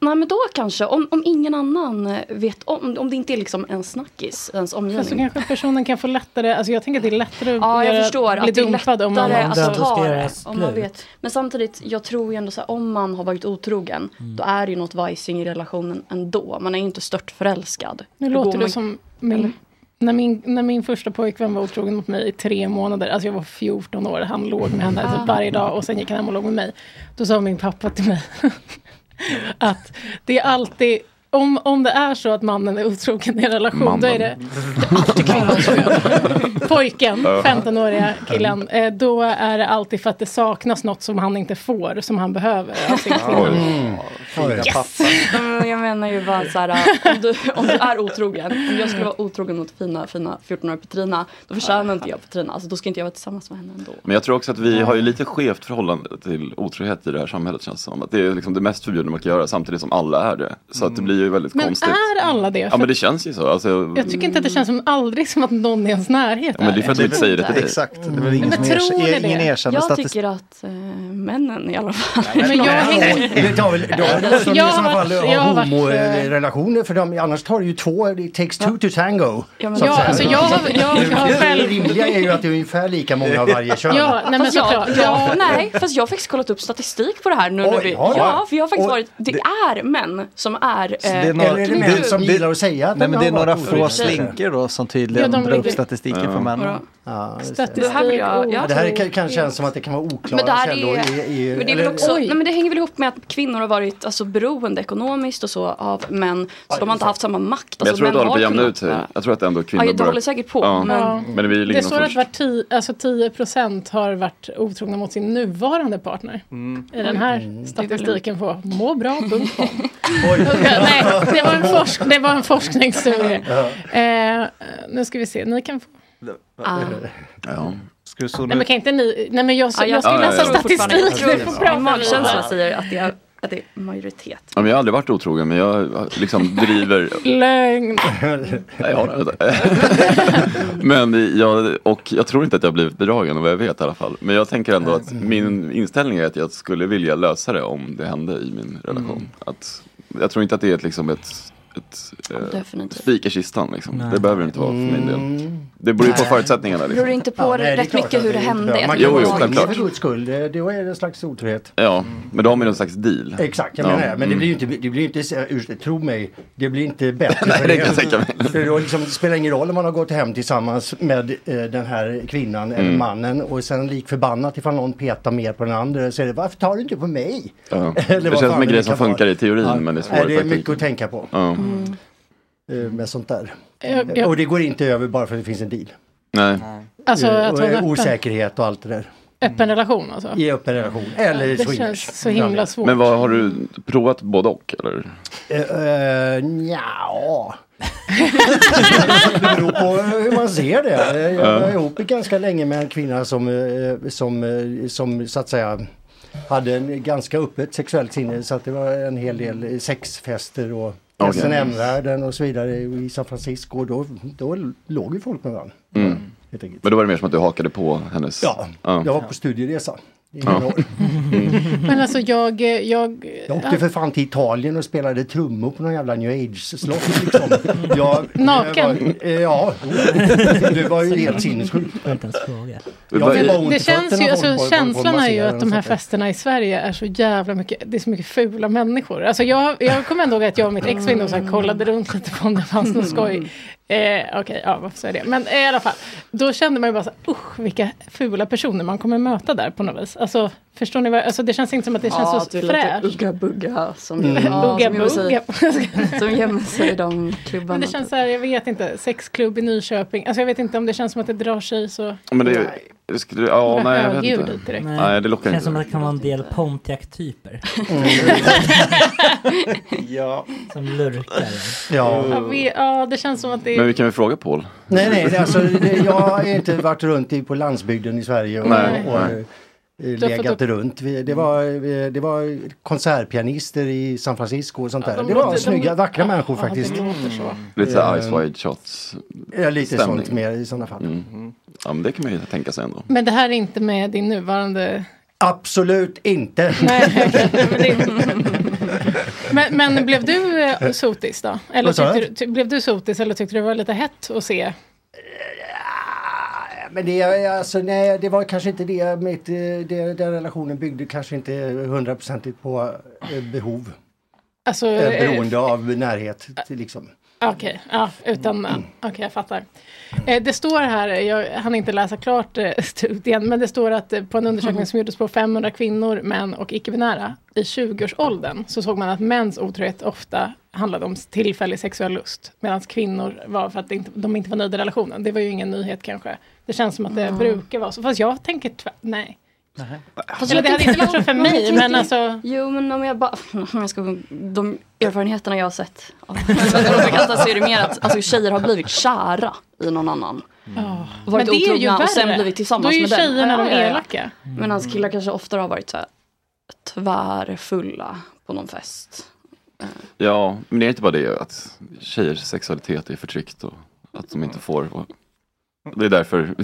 [SPEAKER 4] Nej men då kanske, om, om ingen annan eh, vet om, om det inte är liksom en snackis,
[SPEAKER 3] Fast
[SPEAKER 4] ens
[SPEAKER 3] så
[SPEAKER 4] omgivning.
[SPEAKER 3] kanske personen kan få lättare, alltså jag tänker att det är lättare att
[SPEAKER 4] Ja, jag
[SPEAKER 3] göra-
[SPEAKER 4] förstår
[SPEAKER 3] bli
[SPEAKER 4] att det är
[SPEAKER 3] dumpad
[SPEAKER 4] lättare
[SPEAKER 3] om man...
[SPEAKER 4] att ta det.
[SPEAKER 3] Alltså,
[SPEAKER 4] Om man vet. Men samtidigt, jag tror ju ändå så här, om man har varit otrogen, då är det ju något vajsing i relationen ändå. Man är ju inte stört förälskad.
[SPEAKER 3] Nu
[SPEAKER 4] Då går
[SPEAKER 3] låter
[SPEAKER 4] man-
[SPEAKER 3] du som min, när min... När min första pojkvän var otrogen mot mig i tre månader, alltså jag var 14 år, han låg med henne
[SPEAKER 7] Ah.
[SPEAKER 3] typ varje dag och sen gick han hem och låg med mig. Då sa min pappa till mig *laughs* att det är alltid... Om, om det är så att mannen är otrogen i en relation, då är det...
[SPEAKER 4] Mannen.
[SPEAKER 3] det är alltid kvinnan som gör det. *laughs* pojken,
[SPEAKER 7] Ja.
[SPEAKER 3] 15-åriga killen, eh, då är det alltid för att det saknas något som han inte får, som han behöver Alltså, av sin kvinna.
[SPEAKER 4] Yes! *laughs* Men Jag menar ju bara så här, eh, om du, om du är otrogen, om jag skulle vara otrogen mot fina, fina 14-åriga Petrina, då förtjänar inte jag Petrina, alltså då ska inte jag vara tillsammans med henne ändå.
[SPEAKER 7] Men jag tror också att vi har ju lite skevt förhållande till otrohet i det här samhället känns det som. Att det är liksom det mest förbjudna man kan göra samtidigt som alla är det. Så
[SPEAKER 5] Mm.
[SPEAKER 7] att det blir ju väldigt
[SPEAKER 3] Men
[SPEAKER 7] konstigt.
[SPEAKER 3] är alla det?
[SPEAKER 7] Ja
[SPEAKER 3] För
[SPEAKER 7] men det känns ju så. Alltså,
[SPEAKER 3] Jag tycker inte att det känns som aldrig som att någon i ens närhet
[SPEAKER 7] Ja, men det är för att du inte säger det till dig. Mm.
[SPEAKER 5] Exakt, det är väl ingen
[SPEAKER 3] Men
[SPEAKER 5] som
[SPEAKER 3] tror ni
[SPEAKER 5] erkänner,
[SPEAKER 3] det?
[SPEAKER 5] ingen erkänner
[SPEAKER 4] jag
[SPEAKER 5] statistik.
[SPEAKER 4] tycker att eh, männen i alla fall.
[SPEAKER 3] Men jag
[SPEAKER 6] Det tar väl, då är det måste de i
[SPEAKER 4] Jag har
[SPEAKER 6] sådana fall
[SPEAKER 4] varit- jag har
[SPEAKER 6] ha
[SPEAKER 4] varit, eh,
[SPEAKER 6] homorelationer för dem, annars tar det ju två, it takes two to tango.
[SPEAKER 4] Ja, men-
[SPEAKER 6] så att
[SPEAKER 4] Ja,
[SPEAKER 6] säga.
[SPEAKER 4] alltså jag- jag har
[SPEAKER 6] Det
[SPEAKER 4] själv-
[SPEAKER 6] rimliga är ju att det är ungefär lika många av varje kön.
[SPEAKER 4] fast jag, ja, nej, fast jag har faktiskt kollat upp statistik på det här nu. när
[SPEAKER 6] Oj,
[SPEAKER 4] vi,
[SPEAKER 6] har du?
[SPEAKER 4] ja, för jag har faktiskt
[SPEAKER 6] Och
[SPEAKER 4] varit, det, är män som är... eh,
[SPEAKER 5] Så det
[SPEAKER 3] Eh,
[SPEAKER 5] är några-
[SPEAKER 6] Eller är det män som gillar att säga att
[SPEAKER 5] Nej,
[SPEAKER 6] de
[SPEAKER 5] men det är
[SPEAKER 6] har varit
[SPEAKER 5] några
[SPEAKER 6] otrogna?
[SPEAKER 5] få slinker då som tydligen
[SPEAKER 6] Ja, de
[SPEAKER 5] drar upp
[SPEAKER 6] ligger-
[SPEAKER 5] statistiken
[SPEAKER 6] Ja.
[SPEAKER 5] för männen.
[SPEAKER 6] Ja, just det.
[SPEAKER 4] Statistik, Det här blir jag- jag
[SPEAKER 6] det här kan,
[SPEAKER 4] tror-
[SPEAKER 6] kan kännas som att det kan vara oklara
[SPEAKER 4] Men det, här
[SPEAKER 6] källor.
[SPEAKER 4] är,
[SPEAKER 6] i, i,
[SPEAKER 4] men det, är väl
[SPEAKER 6] eller-
[SPEAKER 4] också, nej, men det hänger väl ihop med att kvinnor har varit alltså, beroende ekonomiskt och så av män. Så de har inte haft samma makt. Alltså,
[SPEAKER 7] Men jag tror att
[SPEAKER 4] män
[SPEAKER 7] det håller på
[SPEAKER 4] har
[SPEAKER 7] att jämna
[SPEAKER 4] kunnat-
[SPEAKER 7] ut sig. Jag tror att det ändå kvinnor
[SPEAKER 4] Ja, det
[SPEAKER 7] börjar-
[SPEAKER 4] håller säkert på,
[SPEAKER 7] Ja.
[SPEAKER 3] Ja.
[SPEAKER 7] Men vi
[SPEAKER 3] Det
[SPEAKER 7] ligger
[SPEAKER 3] står
[SPEAKER 7] någonstans.
[SPEAKER 3] att var tio, alltså 10 procent har varit otrogna mot sin nuvarande partner.
[SPEAKER 7] Mm.
[SPEAKER 3] I den
[SPEAKER 6] Mm.
[SPEAKER 3] här statistiken på
[SPEAKER 6] *laughs*
[SPEAKER 3] måbra.com. *laughs* Nej, det var en, forsk, det var en forskningsstudie. Eh, nu ska vi se, ni kan få. Ah.
[SPEAKER 7] Ja.
[SPEAKER 5] Ska du så
[SPEAKER 3] Nej men kan inte ni, nej men jag,
[SPEAKER 4] Ja, jag
[SPEAKER 3] jag ska
[SPEAKER 4] tror-
[SPEAKER 3] läsa
[SPEAKER 4] jag tror fortfarande- jag
[SPEAKER 3] statistik,
[SPEAKER 4] tror
[SPEAKER 3] ni
[SPEAKER 4] det.
[SPEAKER 3] får prata
[SPEAKER 4] Min magkänsla
[SPEAKER 3] vidare.
[SPEAKER 4] säger att det är, att det är majoritet.
[SPEAKER 7] Ja, men jag har aldrig varit otrogen men jag eh, liksom driver
[SPEAKER 3] Lögn.
[SPEAKER 7] Nej, jag har det inte. *laughs* Men jag, och jag tror inte att jag har blivit bedragen av vad jag vet i alla fall. Men jag tänker ändå att
[SPEAKER 6] Mm.
[SPEAKER 7] min inställning är att jag skulle vilja lösa det om det hände i min relation.
[SPEAKER 6] Mm.
[SPEAKER 7] Att, jag tror inte att det är ett, liksom ett, ett eh,
[SPEAKER 4] Definitivt.
[SPEAKER 7] spik i kistan. Liksom.
[SPEAKER 4] Nej.
[SPEAKER 7] Det behöver det inte vara för min del. Det beror ju på
[SPEAKER 6] Mm. Nej.
[SPEAKER 7] förutsättningarna.
[SPEAKER 4] Beror det
[SPEAKER 7] Liksom.
[SPEAKER 4] inte på
[SPEAKER 6] Ja, nej, det är
[SPEAKER 4] rätt
[SPEAKER 6] klart
[SPEAKER 4] mycket
[SPEAKER 6] att
[SPEAKER 4] hur det
[SPEAKER 6] är inte bra.
[SPEAKER 4] hände?
[SPEAKER 6] Man kan
[SPEAKER 7] Jo,
[SPEAKER 6] vara
[SPEAKER 7] jo,
[SPEAKER 6] otrogen
[SPEAKER 7] självklart.
[SPEAKER 6] för guds skull, *laughs* det, det är en slags otrohet.
[SPEAKER 7] Ja, men då har man ju någon slags deal.
[SPEAKER 6] Exakt, jag
[SPEAKER 7] ja.
[SPEAKER 6] menar det. Men det
[SPEAKER 7] Mm.
[SPEAKER 6] blir ju inte, det blir inte så- urs- tro mig, det blir inte
[SPEAKER 7] *laughs*
[SPEAKER 6] bättre.
[SPEAKER 7] Nej,
[SPEAKER 6] för
[SPEAKER 7] det kan jag tänka mig.
[SPEAKER 6] För då liksom, det spelar ingen roll om man har gått hem tillsammans med eh, den här kvinnan eller
[SPEAKER 7] Mm.
[SPEAKER 6] mannen och sen lik förbannat ifall någon petar mer på den andra så är det varför tar du inte på mig?
[SPEAKER 7] Mm. Ja.
[SPEAKER 6] *laughs* Eller
[SPEAKER 7] Det
[SPEAKER 6] vad
[SPEAKER 7] känns som
[SPEAKER 6] fan
[SPEAKER 7] en
[SPEAKER 6] det
[SPEAKER 7] grej som
[SPEAKER 6] kan vara.
[SPEAKER 7] funkar i teorin
[SPEAKER 6] Ja.
[SPEAKER 7] men det är
[SPEAKER 6] Nej,
[SPEAKER 7] svårare i
[SPEAKER 6] det är mycket
[SPEAKER 7] praktiken.
[SPEAKER 6] att tänka på.
[SPEAKER 7] Ja.
[SPEAKER 6] Eh, Med sånt där.
[SPEAKER 3] Jag- jag-
[SPEAKER 6] Och det går inte över bara för att det finns en deal.
[SPEAKER 7] Nej.
[SPEAKER 3] Mm. Alltså,
[SPEAKER 6] Eh,
[SPEAKER 3] att
[SPEAKER 6] och
[SPEAKER 3] vara
[SPEAKER 6] eh,
[SPEAKER 3] öppen.
[SPEAKER 6] osäkerhet och allt det där.
[SPEAKER 3] Öppen relation alltså.
[SPEAKER 6] I öppen relation. Eller
[SPEAKER 3] det
[SPEAKER 6] swingers.
[SPEAKER 3] känns så himla svårt.
[SPEAKER 7] Men vad har du provat både och eller? Mm.
[SPEAKER 6] Uh, ja. det beror på hur man ser det. Eh, Jag var
[SPEAKER 7] Ja.
[SPEAKER 6] ihop ganska länge med en kvinna som, eh, som, eh, som så att säga hade en ganska öppet sexuellt sinne så att det var en hel del sexfester och
[SPEAKER 7] Okej.
[SPEAKER 6] SNM-världen och så vidare i San Francisco. Och då, då låg ju folk med varandra.
[SPEAKER 7] Mm.
[SPEAKER 6] Helt enkelt.
[SPEAKER 7] Men då var det mer som att du hakade på hennes...
[SPEAKER 6] Ja, jag var på studieresa i några
[SPEAKER 7] Ja.
[SPEAKER 6] år.
[SPEAKER 3] Men alltså jag, jag,
[SPEAKER 6] Jag åkte för fan till Italien och spelade trummor på någon jävla new age-slott liksom.
[SPEAKER 3] *laughs*
[SPEAKER 6] Jag,
[SPEAKER 3] Naken?
[SPEAKER 6] Eh, ja, det var ju helt sinnessjukt.
[SPEAKER 7] Vad-
[SPEAKER 6] fick bara ont i
[SPEAKER 3] Alltså, Det känns
[SPEAKER 6] fötterna
[SPEAKER 3] ju,
[SPEAKER 6] av att
[SPEAKER 3] alltså,
[SPEAKER 6] hålla på och
[SPEAKER 3] känslan är ju
[SPEAKER 6] massera
[SPEAKER 3] att de
[SPEAKER 6] och
[SPEAKER 3] här
[SPEAKER 6] sånt där.
[SPEAKER 3] festerna i Sverige är så jävla mycket, det är så mycket fula människor. Alltså jag, jag kommer ändå ihåg att jag och mitt ex var inne och så här kollade runt lite på om det fanns
[SPEAKER 4] Mm.
[SPEAKER 3] något skoj. Eh, Okej, ja varför säger jag det? Men eh, i alla fall, då kände man ju bara så här, usch vilka fula personer man kommer möta där på något vis. Alltså förstår ni vad, alltså det känns inte som att det känns
[SPEAKER 4] ja,
[SPEAKER 3] så
[SPEAKER 4] det är lite
[SPEAKER 3] fräscht.
[SPEAKER 4] Ugga bugga som,
[SPEAKER 3] Mm.
[SPEAKER 4] ja,
[SPEAKER 3] Ugga
[SPEAKER 4] som
[SPEAKER 3] *laughs*
[SPEAKER 4] gömmer sig-
[SPEAKER 3] bugga.
[SPEAKER 4] som gömmer sig i de klubbarna.
[SPEAKER 3] Men det känns så här, jag vet inte, sexklubb i Nyköping, alltså jag vet inte om det känns som att det drar sig så.
[SPEAKER 7] Men det... det Skulle, ja,
[SPEAKER 3] Bara
[SPEAKER 7] nej, jag vet
[SPEAKER 3] högljudd
[SPEAKER 7] inte.
[SPEAKER 3] ut direkt.
[SPEAKER 7] Nej. det lockar
[SPEAKER 8] Känns
[SPEAKER 7] inte.
[SPEAKER 8] som att det kan vara en del Pontiac-typer.
[SPEAKER 6] Mm.
[SPEAKER 3] *laughs*
[SPEAKER 5] ja.
[SPEAKER 8] Som lurkar.
[SPEAKER 6] Ja.
[SPEAKER 3] Jag vet, ja, det känns som att det
[SPEAKER 7] Men vi kan väl fråga Paul?
[SPEAKER 6] Nej, nej, det, alltså, det, jag har inte varit runt i, på landsbygden i Sverige och,
[SPEAKER 7] Nej,
[SPEAKER 6] och,
[SPEAKER 7] nej.
[SPEAKER 6] eh,
[SPEAKER 3] Du har
[SPEAKER 6] legat
[SPEAKER 3] fått upp-
[SPEAKER 6] runt. Vi- Det var, eh, det var konsertpianister i San Francisco och sånt där.
[SPEAKER 3] de
[SPEAKER 6] det var
[SPEAKER 3] låter- de-
[SPEAKER 6] snygga, vackra människor
[SPEAKER 3] Ja, det
[SPEAKER 6] faktiskt.
[SPEAKER 3] låter så.
[SPEAKER 7] Lite så här Ice
[SPEAKER 6] Eh,
[SPEAKER 7] Wide Shots
[SPEAKER 6] Ja, lite
[SPEAKER 7] stämning.
[SPEAKER 6] sånt mer i sådana fall.
[SPEAKER 7] Mm. Ja, men det kan man ju tänka sig ändå.
[SPEAKER 3] Men det här är inte med din nuvarande...
[SPEAKER 6] Absolut inte.
[SPEAKER 3] Men, men blev du eh, sotis då? Eller
[SPEAKER 6] Vad sa
[SPEAKER 3] tyckte du,
[SPEAKER 6] du?
[SPEAKER 3] ty, blev du sotis eller tyckte du det var lite hett att se?
[SPEAKER 6] Men det, alltså, nej, det var kanske inte det, mitt, eh, det den relationen byggde kanske inte hundraprocentigt på eh, behov.
[SPEAKER 3] Alltså,
[SPEAKER 6] Eh,
[SPEAKER 3] eh,
[SPEAKER 6] Beroende av närhet. till, Liksom.
[SPEAKER 3] Okej, ja, utan... eh, Okej, jag fattar. Eh, Det står här, eh, jag hann inte läsa klart eh, *laughs* studien, men det står att eh, på en undersökning som gjordes på 500 kvinnor, män och icke-binära i 20-årsåldern så såg man att mäns otrohet ofta handlade om tillfällig sexuell lust. Medan kvinnor var för att det inte, de inte var nöjda i relationen. Det var ju ingen nyhet kanske. Det känns som att det
[SPEAKER 4] Mm.
[SPEAKER 3] brukar vara så. Fast jag tänker tvärt, nej.
[SPEAKER 4] Fast
[SPEAKER 3] Eller
[SPEAKER 4] jag
[SPEAKER 3] det hade
[SPEAKER 4] tänker-
[SPEAKER 3] inte varit så för
[SPEAKER 4] jag
[SPEAKER 3] mig,
[SPEAKER 4] tänker-
[SPEAKER 3] men alltså.
[SPEAKER 4] Jo, men om jag bara... *laughs* Om jag ska, de erfarenheterna jag har sett
[SPEAKER 3] *laughs*
[SPEAKER 4] av Robergata så är det mer att alltså, tjejer har blivit kära i någon annan.
[SPEAKER 3] Ja.
[SPEAKER 4] Varit
[SPEAKER 3] Men det är ju
[SPEAKER 4] otrogna och sen
[SPEAKER 3] värre.
[SPEAKER 4] blivit tillsammans
[SPEAKER 3] Då är ju
[SPEAKER 4] med den.
[SPEAKER 3] tjejerna de elaka.
[SPEAKER 4] Medan killar kanske oftare har varit så här, tvärfulla på någon fest.
[SPEAKER 7] Ja, men det är inte bara det att tjejers sexualitet är förtryckt och att de inte får. Och det är därför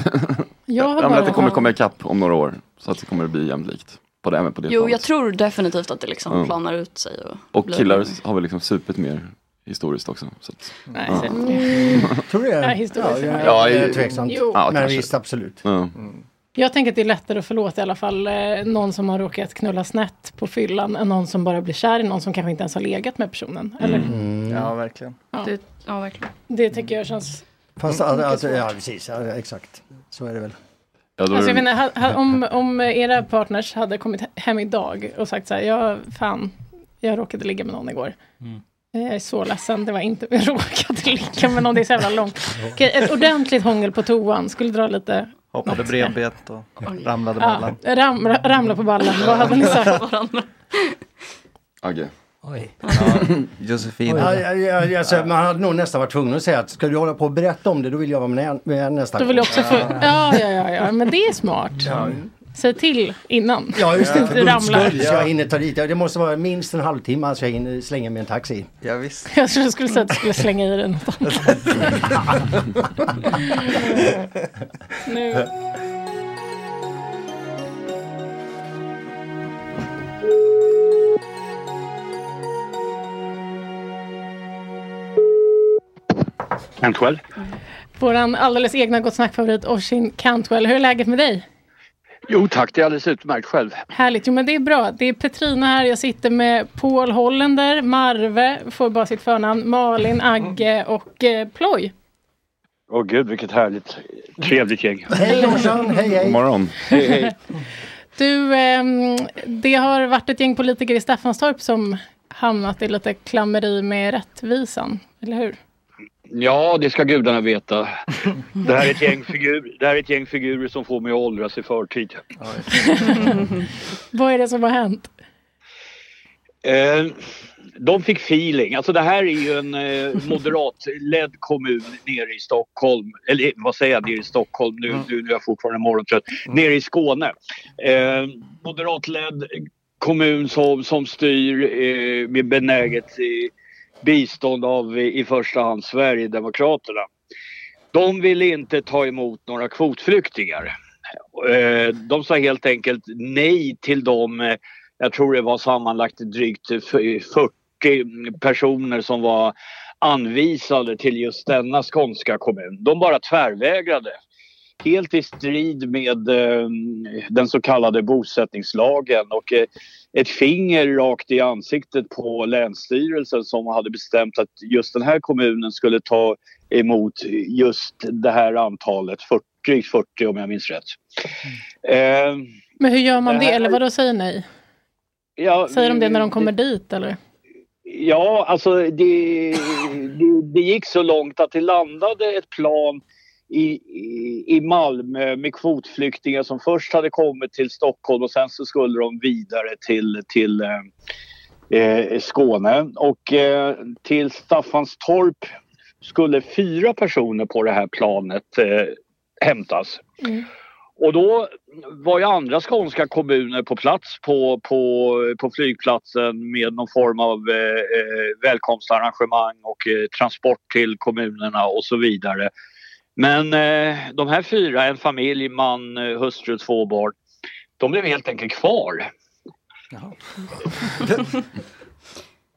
[SPEAKER 4] Jag
[SPEAKER 7] ja,
[SPEAKER 4] har
[SPEAKER 7] men
[SPEAKER 4] bara-
[SPEAKER 7] att det kommer komma ikapp om några år. Så att det kommer att bli jämlikt. På det, även på det
[SPEAKER 4] Jo,
[SPEAKER 7] planet.
[SPEAKER 4] jag tror definitivt att det liksom
[SPEAKER 7] Mm.
[SPEAKER 4] planar ut sig. Och,
[SPEAKER 7] Och
[SPEAKER 4] blir-
[SPEAKER 7] killar har väl liksom supit mer historiskt också. Så att,
[SPEAKER 4] Nej,
[SPEAKER 7] ja.
[SPEAKER 4] så-
[SPEAKER 6] Mm. Tror du det?
[SPEAKER 3] Ja, historiskt.
[SPEAKER 6] Ja,
[SPEAKER 7] Ja,
[SPEAKER 6] jag, jag är
[SPEAKER 7] i-
[SPEAKER 6] tveksamt.
[SPEAKER 3] Jo.
[SPEAKER 7] Ja,
[SPEAKER 6] men
[SPEAKER 7] kanske.
[SPEAKER 6] visst, absolut.
[SPEAKER 7] Ja.
[SPEAKER 3] Mm. Jag tänker att det är lättare att förlåta i alla fall eh, någon som har råkat knulla snett på fyllan än någon som bara blir kär i någon som kanske inte ens har legat med personen. Eller?
[SPEAKER 6] Mm.
[SPEAKER 5] Ja, verkligen.
[SPEAKER 3] Ja.
[SPEAKER 4] Mm. Det, ja, verkligen.
[SPEAKER 3] Det tycker jag känns...
[SPEAKER 6] Fast
[SPEAKER 3] Mm.
[SPEAKER 6] alltså, alltså, ja, precis, ja, exakt. Så är det väl.
[SPEAKER 7] Ja, då är
[SPEAKER 3] Alltså, jag
[SPEAKER 7] det-
[SPEAKER 3] menar, ha- ha-
[SPEAKER 7] *clears throat*
[SPEAKER 3] om, om era partners hade kommit he- hem idag och sagt så här, jag, fan, jag råkade ligga med någon igår. Eh,
[SPEAKER 9] Mm.
[SPEAKER 3] Jag är så ledsen, det var inte, *laughs* jag råkade ligga med någon, det är så jävla långt. Okej, ett ordentligt hångel på toan skulle dra lite...
[SPEAKER 5] Hoppade
[SPEAKER 3] något.
[SPEAKER 5] bredbent och ramlade
[SPEAKER 3] Ja,
[SPEAKER 5] mellan.
[SPEAKER 3] ramla, ramla på ballen, vad hade ni
[SPEAKER 4] *laughs*
[SPEAKER 3] sagt?
[SPEAKER 7] Agge.
[SPEAKER 8] Oj.
[SPEAKER 5] Josefin.
[SPEAKER 6] Ja, ja, ja, alltså, man hade nog nästan varit tvungen att säga att ska du hålla på och berätta om det, då vill jag vara med, med nästa
[SPEAKER 3] Då vill jag också få... Ja, ja, ja, ja, men det är smart. Säg till innan.
[SPEAKER 6] Ja, just det. För
[SPEAKER 3] Du
[SPEAKER 6] guds
[SPEAKER 3] ramlar.
[SPEAKER 6] skull, så jag hinner ta dit. Ja, Det måste vara minst en halvtimme så jag hinner slänga mig i en taxi.
[SPEAKER 5] Ja, visst.
[SPEAKER 3] Jag trodde du skulle säga att du skulle slänga i dig något
[SPEAKER 6] *laughs*
[SPEAKER 3] annat. nu.
[SPEAKER 11] Cantwell.
[SPEAKER 3] Våran alldeles egna Gott Snack-favorit Oshin Cantwell. Hur är läget med dig?
[SPEAKER 11] Jo tack, det är alldeles utmärkt själv.
[SPEAKER 3] Härligt. Jo, men det är bra. Det är Petrina här. Jag sitter med Paul Hollander, Marve, får bara sitt förnamn, Malin, Agge och eh, Ploj.
[SPEAKER 11] Åh gud vilket härligt trevligt gäng.
[SPEAKER 6] Hej Orsan, hej hej.
[SPEAKER 7] God morgon.
[SPEAKER 11] *laughs* Hej, hej.
[SPEAKER 3] Du, ehm, det har varit ett gäng politiker i Staffanstorp som hamnat i lite klammeri med rättvisan, eller hur?
[SPEAKER 11] Ja, det ska gudarna veta. Det här är ett gäng, figur, det här är ett gäng figurer som får mig att åldras i förtid.
[SPEAKER 3] Vad är det som har hänt?
[SPEAKER 11] Eh, de fick feeling. Alltså det här är ju en eh, moderatledd kommun nere i Stockholm. Eller vad säger jag, nere i Stockholm nu, nu, nu är jag fortfarande morgontrött. Nere i Skåne. Eh, moderatledd kommun som, som styr eh, med benäget eh, bistånd av eh, i första hand Sverigedemokraterna. De ville inte ta emot några kvotflyktingar. Eh, De sa helt enkelt nej till de, eh, jag tror det var sammanlagt drygt f- 40 personer som var anvisade till just denna skånska kommun. De bara tvärvägrade. Helt i strid med eh, den så kallade bosättningslagen och eh, ett finger rakt i ansiktet på Länsstyrelsen som hade bestämt att just den här kommunen skulle ta emot just det här antalet, 40, 40 om jag minns rätt. Eh,
[SPEAKER 3] Men hur gör man
[SPEAKER 11] Det
[SPEAKER 3] det?
[SPEAKER 11] här-
[SPEAKER 3] Eller vad då säger nej?
[SPEAKER 11] ja, mm,
[SPEAKER 3] Säger de det när de kommer dit, eller?
[SPEAKER 11] Ja, alltså det, det, det gick så långt att det landade ett plan i, i- i Malmö med kvotflyktingar som först hade kommit till Stockholm och sen så skulle de vidare till, till eh, eh, Skåne. Och eh, till Staffanstorp skulle fyra personer på det här planet eh, hämtas. Och då var ju andra skånska kommuner på plats på, på, på flygplatsen med någon form av eh, eh, välkomstarrangemang och eh, transport till kommunerna och så vidare. Men eh, de här fyra, en familj, man, eh, hustru, två barn, de blev helt enkelt kvar.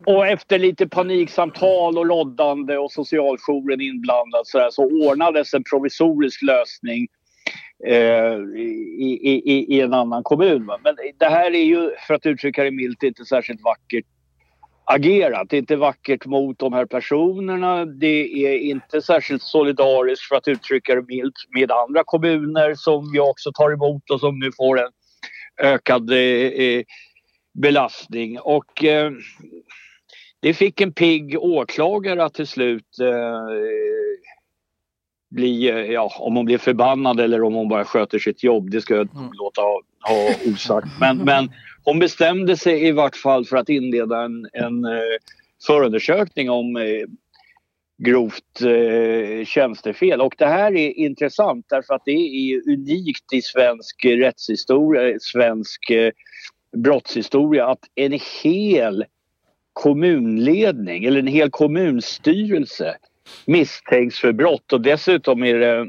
[SPEAKER 11] Och efter lite paniksamtal och loddande och socialjouren inblandad så, här, så ordnades en provisorisk lösning eh, i, i, i- i en annan kommun. Va? Men det här är ju, för att uttrycka det milt, inte särskilt vackert agerat. Det är inte vackert mot de här personerna. Det är inte särskilt solidariskt, för att uttrycka det milt, med andra kommuner som vi också tar emot och som nu får en ökad eh, eh, belastning. Och eh, Det fick en pigg åklagare att till slut eh, bli, eh, ja, om hon blev förbannad eller om hon bara sköter sitt jobb, det ska jag låta ha, ha osagt. Men, men hon bestämde sig i vart fall för att inleda en, en eh, förundersökning om eh, grovt eh, tjänstefel. Och det här är intressant därför att det är unikt i svensk eh, rättshistoria, svensk eh, brottshistoria att en hel kommunledning eller en hel kommunstyrelse misstänks för brott och dessutom är det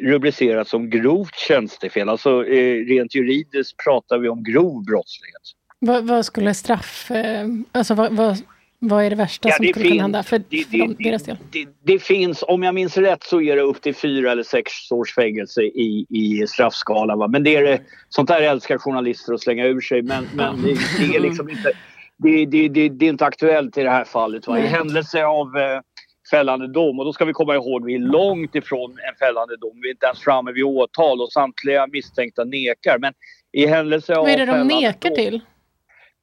[SPEAKER 11] rubricerat som grovt tjänstefel. Alltså eh, rent juridiskt pratar vi om grov brottslighet.
[SPEAKER 3] Vad, vad skulle straff... eh, Alltså vad, vad, vad är det värsta
[SPEAKER 11] Ja,
[SPEAKER 3] som
[SPEAKER 11] det
[SPEAKER 3] skulle kunna
[SPEAKER 11] finns-
[SPEAKER 3] hända för,
[SPEAKER 11] det-
[SPEAKER 3] för dem, deras del?
[SPEAKER 11] Det, det finns, om jag minns rätt så är det upp till fyra eller sex års fängelse i, i straffskalan. Va? Men det är det, sånt där älskar journalister att slänga ur sig men, men det, det är liksom inte, det, det, det, det är inte aktuellt i det här fallet. Va? I
[SPEAKER 9] Nej.
[SPEAKER 11] händelse av eh, fällande dom, och då ska vi komma ihåg vi är långt ifrån en fällande dom. Vi är inte ens framme vid åtal och samtliga misstänkta nekar. Men i händelse av
[SPEAKER 3] Vad är det de
[SPEAKER 11] fällande
[SPEAKER 3] nekar till?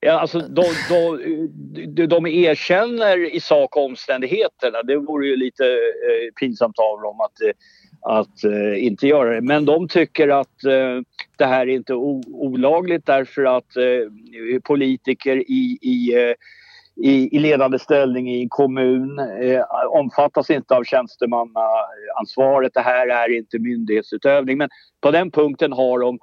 [SPEAKER 11] Ja, alltså de, de, de, de erkänner i sak omständigheterna. Det vore ju lite eh, pinsamt av dem att, eh, att eh, inte göra det. Men de tycker att eh, det här är inte o- olagligt därför att eh, politiker i, i, eh, i, i ledande ställning i en kommun eh, omfattas inte av tjänstemannaansvaret. Det här är inte myndighetsutövning. Men på den punkten har de